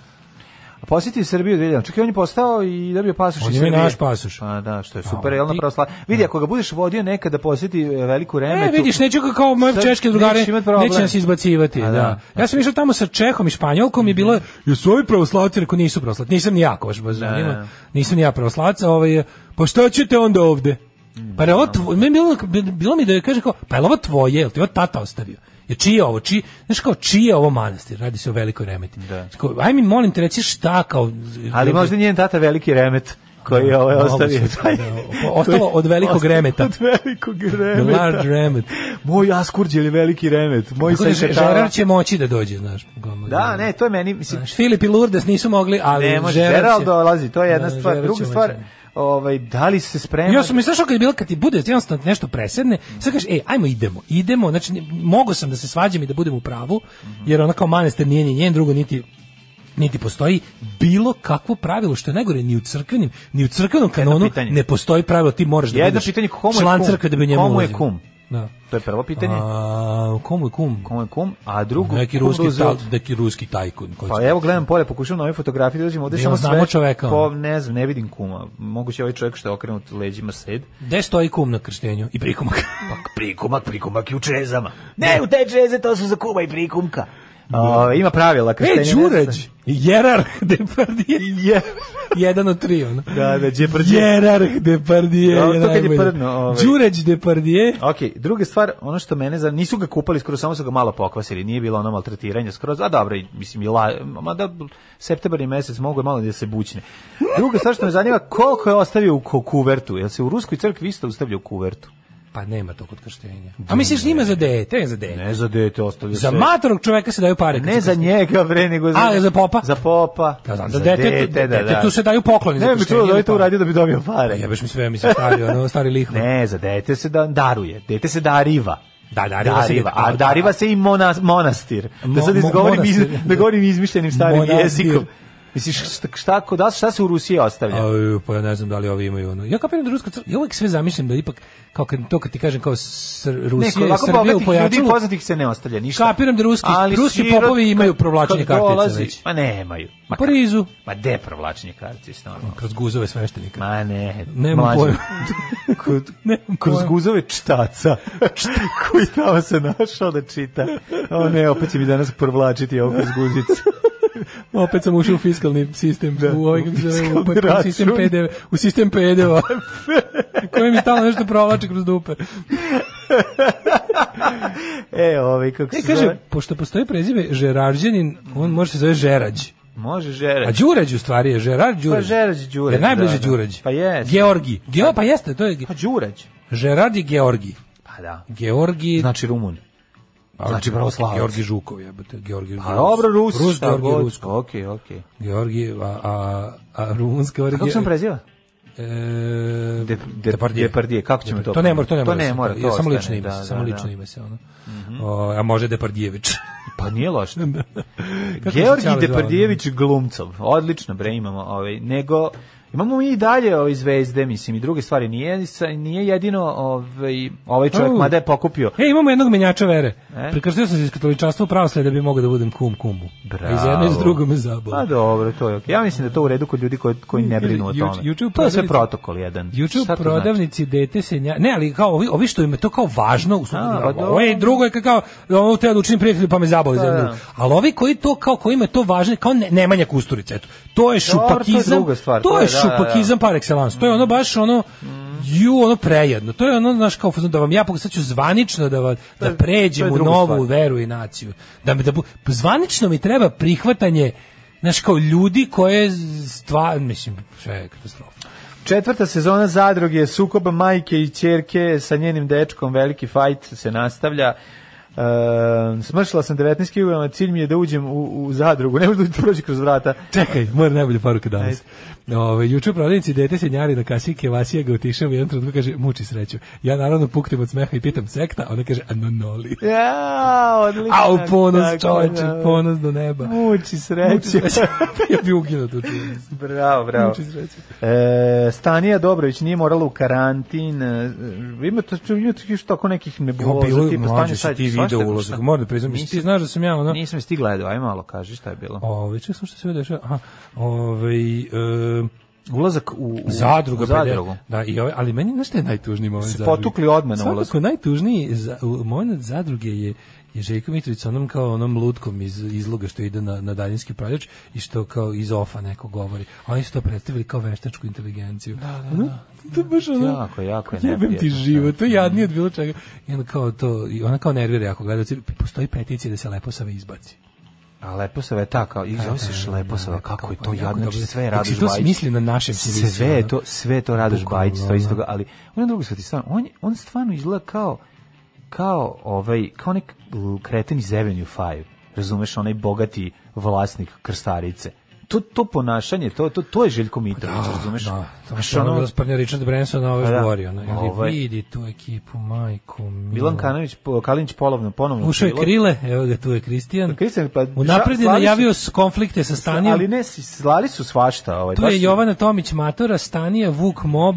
[SPEAKER 7] A posjetio Srbiju 2000. Čekaj, on je postao i dobio pasoš
[SPEAKER 6] On
[SPEAKER 7] iz
[SPEAKER 6] je mi
[SPEAKER 7] Srbije.
[SPEAKER 6] naš pasoš.
[SPEAKER 7] Pa da, što je super,
[SPEAKER 6] A,
[SPEAKER 7] jel na
[SPEAKER 6] ti- Da.
[SPEAKER 7] pravosla- Vidi, ako ga budeš vodio nekada posjeti e, veliku remetu.
[SPEAKER 6] E, vidiš, neću ga kao moje
[SPEAKER 7] Sad
[SPEAKER 6] češke drugare,
[SPEAKER 7] nećeš imat problem.
[SPEAKER 6] neće nas izbacivati.
[SPEAKER 7] A, Mhm.
[SPEAKER 6] da. Ja sam išao tamo sa Čehom i Španjolkom i bilo je, jesu ovi pravoslavci, rekao nisu pravoslavci, nisam ni ja, koš, baš zanima.
[SPEAKER 7] da.
[SPEAKER 6] nisam ni ja pravoslavac, a ovaj, je, pa što ćete onda ovde?
[SPEAKER 7] Mhm.
[SPEAKER 6] Pa je ovo tvo- meni bilo, bilo mi da je kaže kao, pa je ovo tvoje, jel ti ovo tata ostavio? Je čiji je ovo, čiji, znaš kao, čiji je ovo manastir, radi se o velikoj remeti. Da. Aj mi, molim te, reci šta kao...
[SPEAKER 7] Ali možda njen tata veliki remet koji je ovaj
[SPEAKER 6] Moguće,
[SPEAKER 7] ostavio. taj-
[SPEAKER 6] da, ostalo od velikog
[SPEAKER 7] Ostalo
[SPEAKER 6] remeta.
[SPEAKER 7] Od velikog
[SPEAKER 6] The
[SPEAKER 7] remeta.
[SPEAKER 6] large remet.
[SPEAKER 7] Moj Askurđ je veliki remet. Moj
[SPEAKER 6] Tako da Ž-
[SPEAKER 7] Sajšetala.
[SPEAKER 6] Žerar će moći da dođe, znaš. uglavnom.
[SPEAKER 7] Da, ne, to je meni, mislim,
[SPEAKER 6] Znaš, Filip i Lourdes nisu mogli, ali
[SPEAKER 7] ne može.
[SPEAKER 6] Gerard će-
[SPEAKER 7] Gerald dolazi, to je jedna
[SPEAKER 6] Da,
[SPEAKER 7] stvar.
[SPEAKER 6] Gerard
[SPEAKER 7] Druga
[SPEAKER 6] će
[SPEAKER 7] stvar,
[SPEAKER 6] moći.
[SPEAKER 7] ovaj, da li se sprema...
[SPEAKER 6] Ja sam mislio što kad je bilo kad ti bude jednostavno nešto presedne, sad kažeš ej, ajmo idemo. Idemo, znači ne- mogao sam da se svađam i da budem u pravu, jer ona kao manastir nije ni njen, drugo niti niti postoji bilo kakvo pravilo što je najgore ni u crkvenim ni u crkvenom kanonu
[SPEAKER 7] pitanje.
[SPEAKER 6] ne postoji pravilo ti moraš da
[SPEAKER 7] Jedno
[SPEAKER 6] budeš
[SPEAKER 7] pitanje, komu je
[SPEAKER 6] član
[SPEAKER 7] kum?
[SPEAKER 6] crkve da bi u njemu
[SPEAKER 7] Komu je
[SPEAKER 6] ulazio.
[SPEAKER 7] kum?
[SPEAKER 6] Da.
[SPEAKER 7] To je prvo pitanje.
[SPEAKER 6] A, komu je kum?
[SPEAKER 7] Komu je kum? A drugo,
[SPEAKER 6] neki
[SPEAKER 7] kum
[SPEAKER 6] ruski,
[SPEAKER 7] Roosevelta.
[SPEAKER 6] ta, neki ruski tajkun. Koji
[SPEAKER 7] Pa
[SPEAKER 6] se-
[SPEAKER 7] evo gledam polje, pokušavam na ovoj fotografiji da dođemo ovde
[SPEAKER 6] Da,
[SPEAKER 7] samo
[SPEAKER 6] znamo
[SPEAKER 7] sve.
[SPEAKER 6] čoveka,
[SPEAKER 7] Po,
[SPEAKER 6] ono.
[SPEAKER 7] ne znam, ne vidim kuma. Moguće je ovaj čovjek što je okrenut leđima sed.
[SPEAKER 6] Gde stoji kum na krštenju? I prikumak.
[SPEAKER 7] Pa prikumak, prikumak i u čezama. Ne, Da. u te čeze to su za kuma i prikumka. A, ima pravila krštenja.
[SPEAKER 6] E,
[SPEAKER 7] ne znam.
[SPEAKER 6] Đuređ! Jerarh Depardije. Jedan od tri, ono.
[SPEAKER 7] Da, da, Đepardije.
[SPEAKER 6] Jerarh Depardije.
[SPEAKER 7] Da,
[SPEAKER 6] je
[SPEAKER 7] to kad je
[SPEAKER 6] najbolji.
[SPEAKER 7] prdno, ovaj.
[SPEAKER 6] Đuređ Depardije.
[SPEAKER 7] Ok, druga stvar, ono što mene za nisu ga kupali skoro, samo su ga malo pokvasili, nije bilo ono maltretiranje skroz, a dobro, i, mislim, i la, mada septembar je mesec, mogu je malo da se bućne. Druga stvar što me zanima, koliko je ostavio u ko- kuvertu, jel se u ruskoj crkvi isto ostavlja u kuvertu?
[SPEAKER 6] Pa nema to kod krštenja. A misliš njima za dete? Ne za dete.
[SPEAKER 7] Ne E, za dete ostavlja
[SPEAKER 6] Za
[SPEAKER 7] se.
[SPEAKER 6] matorog čoveka se daju pare. kad
[SPEAKER 7] Ne
[SPEAKER 6] se
[SPEAKER 7] za
[SPEAKER 6] krsti.
[SPEAKER 7] njega, bre, nego za...
[SPEAKER 6] A, za popa?
[SPEAKER 7] Za popa.
[SPEAKER 6] Ja znam, za dete,
[SPEAKER 7] dete, da, da.
[SPEAKER 6] tu se daju pokloni. za
[SPEAKER 7] Ne bi
[SPEAKER 6] krštenje
[SPEAKER 7] čuo da
[SPEAKER 6] ili
[SPEAKER 7] je to
[SPEAKER 6] pa-
[SPEAKER 7] uradio da bi dobio pare.
[SPEAKER 6] Jebeš mi sve, mi se stari, ono, stari lihvar.
[SPEAKER 7] Ne, za dete se da, daruje. Dete se dariva.
[SPEAKER 6] Da, dariva se-
[SPEAKER 7] a dariva se i mona, monastir.
[SPEAKER 6] Mo-
[SPEAKER 7] Da sad
[SPEAKER 6] mo-
[SPEAKER 7] izgovorim, iz,
[SPEAKER 6] monastir.
[SPEAKER 7] da govorim izmišljenim starim
[SPEAKER 6] Monastir.
[SPEAKER 7] jezikom. Misliš, šta, šta, kod nas- šta se u Rusiji ostavlja?
[SPEAKER 6] Aj, pa ja ne znam da li ovi imaju ono. Ja kapiram da ruska crkva, ja uvek sve zamišljam da ipak, kao kad, to kad ti kažem kao Sr, Rusija,
[SPEAKER 7] ovako
[SPEAKER 6] Srbija u
[SPEAKER 7] bogatih ljudi
[SPEAKER 6] pojačalu,
[SPEAKER 7] poznatih se ne ostavlja ništa.
[SPEAKER 6] kapiram da ruski, ruski
[SPEAKER 7] sirot
[SPEAKER 6] popovi imaju
[SPEAKER 7] kad-
[SPEAKER 6] provlačenje
[SPEAKER 7] kad
[SPEAKER 6] kartice
[SPEAKER 7] dolazi-
[SPEAKER 6] već. Pa
[SPEAKER 7] Ma nemaju. Ma,
[SPEAKER 6] U Parizu,
[SPEAKER 7] ma de provlačenje kartice? Normalno.
[SPEAKER 6] kroz guzove sveštenika.
[SPEAKER 7] Ma ne.
[SPEAKER 6] Nemam
[SPEAKER 7] mlađe.
[SPEAKER 6] pojma.
[SPEAKER 7] Kod-
[SPEAKER 6] Nemam
[SPEAKER 7] kroz
[SPEAKER 6] pojma.
[SPEAKER 7] guzove čtaca koji tamo se našao da čita o ne, opet će mi danas provlačiti ovo kroz guzicu
[SPEAKER 6] Opet sam ušao u fiskalni sistem, u, ovaj, kako se zove, u,
[SPEAKER 7] Da, fiskalni
[SPEAKER 6] u,
[SPEAKER 7] račun.
[SPEAKER 6] sistem PDV, u sistem PDV-a, koji mi stalno nešto provlači kroz dupe.
[SPEAKER 7] Da. e, ovaj, kako
[SPEAKER 6] E,
[SPEAKER 7] se
[SPEAKER 6] kaže,
[SPEAKER 7] zove
[SPEAKER 6] pošto postoji prezime Žerarđanin, on može se zove Žerađ.
[SPEAKER 7] može
[SPEAKER 6] A
[SPEAKER 7] žerać
[SPEAKER 6] Đurađ u stvari je Žerard Đurađ.
[SPEAKER 7] pa žerać Đurać
[SPEAKER 6] Jer najbliže
[SPEAKER 7] da, da.
[SPEAKER 6] Đurađ.
[SPEAKER 7] pa jes
[SPEAKER 6] Georgi. Geo, pa jeste, to je
[SPEAKER 7] pa Đurać
[SPEAKER 6] Žerard je Georgi.
[SPEAKER 7] pa da
[SPEAKER 6] Georgi...
[SPEAKER 7] znači Rumun
[SPEAKER 6] pa,
[SPEAKER 7] znači pravoslavac.
[SPEAKER 6] Georgi Žukov, jebote. Georgi
[SPEAKER 7] pa dobro Rus,
[SPEAKER 6] Rus,
[SPEAKER 7] šta
[SPEAKER 6] Georgi
[SPEAKER 7] god.
[SPEAKER 6] Rusko.
[SPEAKER 7] ok, ok
[SPEAKER 6] Georgi, a, a, a rumunska...
[SPEAKER 7] a kako sam preziva?
[SPEAKER 6] E,
[SPEAKER 7] Da, De, de,
[SPEAKER 6] Depardije.
[SPEAKER 7] Depardije, kako ćemo to?
[SPEAKER 6] To ne mora, to ne mora. da
[SPEAKER 7] To ne mora, to
[SPEAKER 6] samo
[SPEAKER 7] ostane,
[SPEAKER 6] lično ime,
[SPEAKER 7] da,
[SPEAKER 6] samo
[SPEAKER 7] da,
[SPEAKER 6] lično
[SPEAKER 7] da.
[SPEAKER 6] ime se ono. O, a može da Depardijević.
[SPEAKER 7] Pa nije loše.
[SPEAKER 6] Da. Kako se
[SPEAKER 7] Georgi
[SPEAKER 6] Čale zvao?
[SPEAKER 7] Depardijević Glumcov. Odlično, bre, imamo. Ovaj, nego, imamo mi i dalje ove zvezde, mislim, i druge stvari. Nije, sa- nije jedino ovaj, ovaj čovjek,
[SPEAKER 6] Au.
[SPEAKER 7] mada je pokupio.
[SPEAKER 6] E, imamo jednog menjača vere.
[SPEAKER 7] E?
[SPEAKER 6] Prekrstio sam se iz katoličanstva u pravosled da bi mogao da budem kum kumu.
[SPEAKER 7] Bravo.
[SPEAKER 6] I za jedno i za drugo me zabavno.
[SPEAKER 7] Pa dobro, to je okej. Ja mislim da je to u redu kod ljudi koji, koji ne brinu o
[SPEAKER 6] Juče-
[SPEAKER 7] tome.
[SPEAKER 6] juče u
[SPEAKER 7] to je sve
[SPEAKER 6] prodavnici-
[SPEAKER 7] protokol jedan.
[SPEAKER 6] Juče u
[SPEAKER 7] Šta to znači?
[SPEAKER 6] prodavnici dete se nja... Ne, ali kao ovi, ovi što im je to kao važno u
[SPEAKER 7] A,
[SPEAKER 6] slučaju.
[SPEAKER 7] pa
[SPEAKER 6] Ovo je
[SPEAKER 7] dobro.
[SPEAKER 6] drugo je kao ono te da učinim prijatelju pa me zaboli
[SPEAKER 7] Da,
[SPEAKER 6] za nju.
[SPEAKER 7] da.
[SPEAKER 6] Ali ovi koji to kao kojima je to važno kao ne, Nemanja Kusturica, eto. To je
[SPEAKER 7] Dobro, to je
[SPEAKER 6] šupakizam.
[SPEAKER 7] druga stvar,
[SPEAKER 6] to je
[SPEAKER 7] da, da, da.
[SPEAKER 6] šupakizam par excellence. To je ono baš ono ju ono prejedno. To je ono znaš kao fazon da vam ja pokušaću zvanično da va- da
[SPEAKER 7] to je
[SPEAKER 6] pređem u
[SPEAKER 7] druga
[SPEAKER 6] novu
[SPEAKER 7] stvar.
[SPEAKER 6] veru i naciju. Da mi da bu- zvanično mi treba prihvatanje Znaš, kao ljudi koje stvar, mislim, sve je katastrofa.
[SPEAKER 7] Četvrta sezona zadruge je sukoba majke i ćerke sa njenim dečkom, veliki fajt se nastavlja. E, smršila sam 19 kg, cilj mi je da uđem u, u zadrugu, ne možda da prođe kroz vrata.
[SPEAKER 6] Čekaj, mora najbolja poruka danas. Ove, juče u prodavnici dete se njari da na kasi Kevasija ga utišao u jednom trenutku kaže muči sreću. Ja naravno puknem od smeha i pitam sekta, a ona kaže anonoli.
[SPEAKER 7] Ja, odlično.
[SPEAKER 6] A u ponos
[SPEAKER 7] Tako, da.
[SPEAKER 6] čoveče,
[SPEAKER 7] bravo.
[SPEAKER 6] ponos do neba.
[SPEAKER 7] Muči
[SPEAKER 6] Muči
[SPEAKER 7] sreće.
[SPEAKER 6] sreću. ja bi uginuo tu čuvenu.
[SPEAKER 7] bravo, bravo.
[SPEAKER 6] Muči sreću.
[SPEAKER 7] E, Stanija Dobrović nije morala u karantin. E, ima to ima to još tako nekih
[SPEAKER 6] Jo,
[SPEAKER 7] nebuloza
[SPEAKER 6] bilo je
[SPEAKER 7] tipa
[SPEAKER 6] mlađe
[SPEAKER 7] Stanje
[SPEAKER 6] si
[SPEAKER 7] sad
[SPEAKER 6] ti video ulazak, moram da priznam. Mislim, Ti znaš da sam ja ono...
[SPEAKER 7] Nisam jesi ti gledao, aj malo kaži šta je bilo.
[SPEAKER 6] Ove, čekaj sam što se dešava. Aha, ove, e,
[SPEAKER 7] Ulazak u, u
[SPEAKER 6] zadruga,
[SPEAKER 7] u zadrugu.
[SPEAKER 6] Da, i ove, ali meni znaš šta je najtužniji moment
[SPEAKER 7] Se
[SPEAKER 6] zadruge?
[SPEAKER 7] potukli odmah na
[SPEAKER 6] Svakako
[SPEAKER 7] ulazku.
[SPEAKER 6] najtužniji za, u- moment zadruge je je Željko Mitrović sa onom kao onom lutkom iz izloga što ide na, na daljinski upravljač i što kao iz ofa neko govori. A Oni su to predstavili kao veštačku inteligenciju. Da, da, da. To je baš ono,
[SPEAKER 7] Jako, jako je
[SPEAKER 6] jebem ti
[SPEAKER 7] neprijatno, da.
[SPEAKER 6] život, to je jadnije od bilo čega. I ona kao, to, i ona kao nervira jako gledalci, postoji peticija da se Leposava izbaci.
[SPEAKER 7] A Leposava je ta kao, i zove se Šleposava, kako je to
[SPEAKER 6] Jako
[SPEAKER 7] jadno, znači
[SPEAKER 6] dobro.
[SPEAKER 7] sve je
[SPEAKER 6] Znači,
[SPEAKER 7] Radoš
[SPEAKER 6] to
[SPEAKER 7] Bajić.
[SPEAKER 6] smisli na našem servisu,
[SPEAKER 7] Sve je
[SPEAKER 6] ono.
[SPEAKER 7] to, sve je to Radoš
[SPEAKER 6] Bukvalno,
[SPEAKER 7] Bajić, to isto
[SPEAKER 6] ono.
[SPEAKER 7] ga, ali on je drugo sveti stvarno, on, je- on stvarno izgleda kao, kao ovaj, kao nek l, kreten iz Avenue 5, razumeš, onaj bogati vlasnik krstarice. To, to ponašanje, to, to, to je Željko Mitrović, razumeš?
[SPEAKER 6] Da, to
[SPEAKER 7] Znaš,
[SPEAKER 6] je
[SPEAKER 7] ono,
[SPEAKER 6] ono da sprnja Richard Branson, ovo
[SPEAKER 7] Pa da.
[SPEAKER 6] je govorio. ono, Ili
[SPEAKER 7] Ovaj.
[SPEAKER 6] vidi tu ekipu, majku. mila.
[SPEAKER 7] Milan Kanović, po- Kalinić polovno, ponovno. u
[SPEAKER 6] Ušao je
[SPEAKER 7] prilog.
[SPEAKER 6] Krile, evo ga, tu je Kristijan.
[SPEAKER 7] Kristijan, pa...
[SPEAKER 6] Unapred je
[SPEAKER 7] slali su-
[SPEAKER 6] najavio s- konflikte sa Stanijem.
[SPEAKER 7] Ali ne, slali su svašta. Ovaj,
[SPEAKER 6] tu
[SPEAKER 7] baš
[SPEAKER 6] je
[SPEAKER 7] su- Mhm.
[SPEAKER 6] Jovana Tomić Matora, Stanija, Vuk Mob.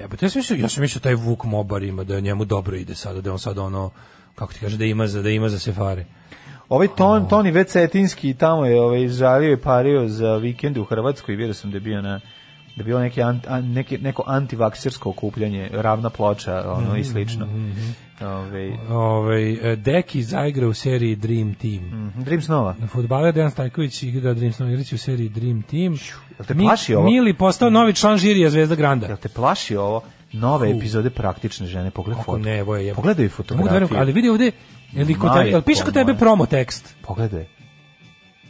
[SPEAKER 6] Jebote, ja sam mislio, ja sam mislio taj Vuk Mobar ima da njemu dobro ide sada, da on sad ono kako ti kaže da ima za da ima za sefare.
[SPEAKER 7] Ovaj ton, Toni Vecetinski tamo je ovaj, žalio i pario za vikend u Hrvatskoj i vidio sam da je bio na da je bilo neke ant, a, neke, neko antivaksersko okupljanje, ravna ploča ono,
[SPEAKER 6] Mhm,
[SPEAKER 7] i slično. Ovaj,
[SPEAKER 6] Ovaj e, Deki zaigra u seriji Dream Team.
[SPEAKER 7] Mhm.
[SPEAKER 6] Mm
[SPEAKER 7] Dream Snova.
[SPEAKER 6] Na fudbaler Dejan Stajković igra Dream Snova igraće u seriji Dream Team. Jel
[SPEAKER 7] te plaši ovo?
[SPEAKER 6] Mili postao novi član žirija Zvezda Granda. Jel
[SPEAKER 7] te plaši ovo? Nove epizode praktične žene, pogledaj
[SPEAKER 6] Kako
[SPEAKER 7] foto.
[SPEAKER 6] ne, evo je, jebote.
[SPEAKER 7] Pogledaj
[SPEAKER 6] Ne mogu da verujem,
[SPEAKER 7] fotografiju.
[SPEAKER 6] ali vidi ovde, je li kod tebe,
[SPEAKER 7] Majko
[SPEAKER 6] jel piše kod tebe
[SPEAKER 7] moja.
[SPEAKER 6] promo tekst?
[SPEAKER 7] Pogledaj.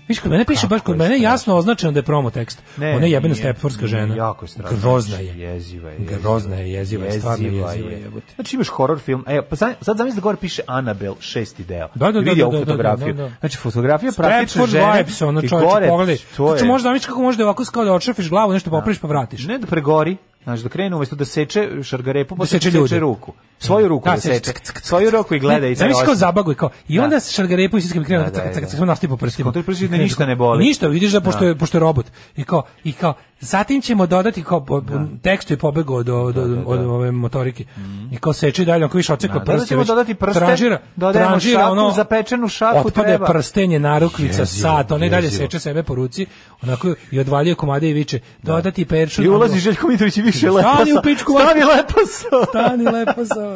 [SPEAKER 6] Viš, kod mene piše baš kod mene je jasno označeno da je promo tekst.
[SPEAKER 7] Ne,
[SPEAKER 6] Ona je jebena
[SPEAKER 7] nije.
[SPEAKER 6] stepforska žena.
[SPEAKER 7] Jako je strašno.
[SPEAKER 6] Grozna je.
[SPEAKER 7] Jeziva je.
[SPEAKER 6] Grozna je, jeziva je, stvarno jeziva je, jebote.
[SPEAKER 7] Znači imaš horror film, e, pa sad, sad zamisli da gore piše Anabel, šesti deo.
[SPEAKER 6] Da, da,
[SPEAKER 7] I
[SPEAKER 6] da,
[SPEAKER 7] vidi
[SPEAKER 6] da,
[SPEAKER 7] ovu
[SPEAKER 6] da, da,
[SPEAKER 7] fotografiju.
[SPEAKER 6] da, da.
[SPEAKER 7] Znači, fotografija praktično
[SPEAKER 6] Stepford
[SPEAKER 7] žene.
[SPEAKER 6] vibes, ono
[SPEAKER 7] i
[SPEAKER 6] čovječe,
[SPEAKER 7] gore,
[SPEAKER 6] pogledaj.
[SPEAKER 7] To
[SPEAKER 6] Znači,
[SPEAKER 7] je,
[SPEAKER 6] možda zamisliš kako možda je ovako kao da očefiš glavu, nešto popraviš pa vratiš.
[SPEAKER 7] ne da pregori, znači da krene umjesto da seče šargarepu,
[SPEAKER 6] Da
[SPEAKER 7] posle
[SPEAKER 6] seče
[SPEAKER 7] da
[SPEAKER 6] ljude.
[SPEAKER 7] seče ruku. Svoju ruku
[SPEAKER 6] Da,
[SPEAKER 7] da,
[SPEAKER 6] seče,
[SPEAKER 7] seče. Svoju ruku i gleda i
[SPEAKER 6] Zamisliš kao
[SPEAKER 7] osjeća.
[SPEAKER 6] zabaguj kao. I onda se šargarepu i siskam krenu
[SPEAKER 7] Da, da,
[SPEAKER 6] cak cak
[SPEAKER 7] da.
[SPEAKER 6] cak sve nastavi po prstima.
[SPEAKER 7] Kontrol prsti da ništa ne boli.
[SPEAKER 6] Ništa, vidiš da pošto
[SPEAKER 7] Da.
[SPEAKER 6] je pošto je robot. I kao i kao zatim ćemo dodati kao po-
[SPEAKER 7] Da.
[SPEAKER 6] tekstu je pobegao od od, od, od ove motorike. I kao seče dalje, ako više
[SPEAKER 7] Mhm. Da,
[SPEAKER 6] odsekao
[SPEAKER 7] dodat
[SPEAKER 6] prste,
[SPEAKER 7] ćemo
[SPEAKER 6] već
[SPEAKER 7] dodati prste,
[SPEAKER 6] tranžira,
[SPEAKER 7] dodajemo
[SPEAKER 6] tranžira
[SPEAKER 7] šaku,
[SPEAKER 6] ono
[SPEAKER 7] zapečenu šaku
[SPEAKER 6] otpada
[SPEAKER 7] treba.
[SPEAKER 6] je prstenje, narukvica,
[SPEAKER 7] Jezivo,
[SPEAKER 6] sat, ona i dalje
[SPEAKER 7] jezivo.
[SPEAKER 6] seče sebe po ruci, onako i odvaljuje komade i viče, dodati peršu.
[SPEAKER 7] Da. I ulazi Željko Mitrović i više leposa.
[SPEAKER 6] Stani u pičku,
[SPEAKER 7] Stani
[SPEAKER 6] vaš-
[SPEAKER 7] leposa.
[SPEAKER 6] Stani leposa.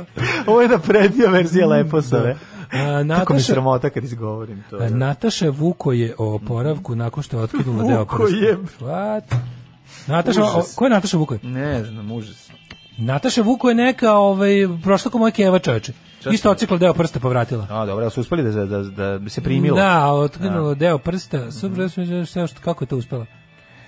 [SPEAKER 7] Ovo je naprednija verzija leposove.
[SPEAKER 6] Da. A,
[SPEAKER 7] Tako mi je
[SPEAKER 6] Nataša,
[SPEAKER 7] sramota kad izgovorim to. da.
[SPEAKER 6] E, Nataša Vuko je o oporavku nakon što je otkinula deo prsta.
[SPEAKER 7] Vuko je.
[SPEAKER 6] What? Nataša, o,
[SPEAKER 7] Užas.
[SPEAKER 6] ko je Nataša Vuko?
[SPEAKER 7] Ne znam, užas.
[SPEAKER 6] Nataša Vuko je neka, ovaj, prošla ko moja keva čoveče.
[SPEAKER 7] Časno.
[SPEAKER 6] Isto ocikla deo prsta pa vratila.
[SPEAKER 7] A, dobro, ali su uspeli da, da, da se primila.
[SPEAKER 6] Da, otkinula deo prsta.
[SPEAKER 7] Mhm.
[SPEAKER 6] Super, ja sam što kako je to
[SPEAKER 7] E.
[SPEAKER 6] uspela.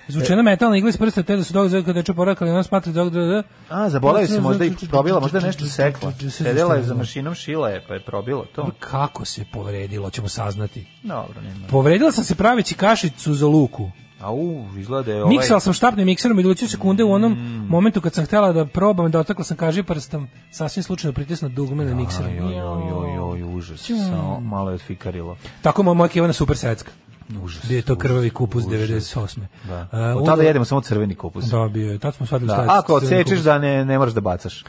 [SPEAKER 6] Zvučena metalna igla iz prsta, te da su dok kada je oporavka, ali ona smatra dok da... da.
[SPEAKER 7] A, zaboravio se možda i probila, možda je nešto sekla. Sedela je za mašinom, šila je, pa je probilo to.
[SPEAKER 6] Kako se povredilo, ćemo saznati.
[SPEAKER 7] Dobro, nema.
[SPEAKER 6] Povredila sam se praveći kašicu za luku.
[SPEAKER 7] Au, izgleda da je ovaj... Mm.
[SPEAKER 6] Miksala sam štapnim mikserom i doći sekunde u onom momentu kad sam htela da probam, da otakla sam kaži prstom, sasvim slučajno pritisnu dugme na mikseru.
[SPEAKER 7] Joj, joj, joj, joj, užas. Samo malo je odfikarilo.
[SPEAKER 6] Tako moja moja Kivana super secka.
[SPEAKER 7] Užas.
[SPEAKER 6] Gdje je to krvavi kupus 98.
[SPEAKER 7] Da.
[SPEAKER 6] E,
[SPEAKER 7] Od
[SPEAKER 6] onda-
[SPEAKER 7] tada jedemo samo crveni kupus.
[SPEAKER 6] Da, bio je. Tad smo shvatili šta
[SPEAKER 7] Da,
[SPEAKER 6] je
[SPEAKER 7] ako
[SPEAKER 6] crveni
[SPEAKER 7] odsečeš
[SPEAKER 6] kupus.
[SPEAKER 7] da ne, ne moraš da bacaš.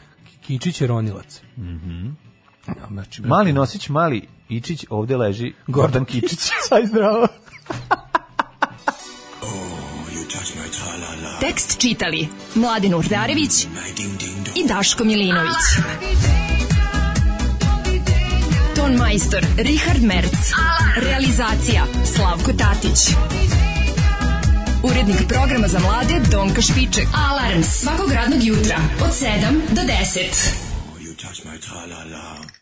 [SPEAKER 6] Kičić je ronilac. Ja, znači, brate,
[SPEAKER 7] Mali nosić, mali Ičić, ovde leži
[SPEAKER 6] Gordon
[SPEAKER 7] Gordon Kičić. Aj zdravo.
[SPEAKER 5] Tekst čitali Mladin Urdarević i Daško Milinović. Ton majstor Richard Merc. Realizacija Slavko Tatić. Urednik programa za mlade Donka Špiček. Alarms svakog radnog jutra od 7 do 10.
[SPEAKER 1] You touch my tra-la-la.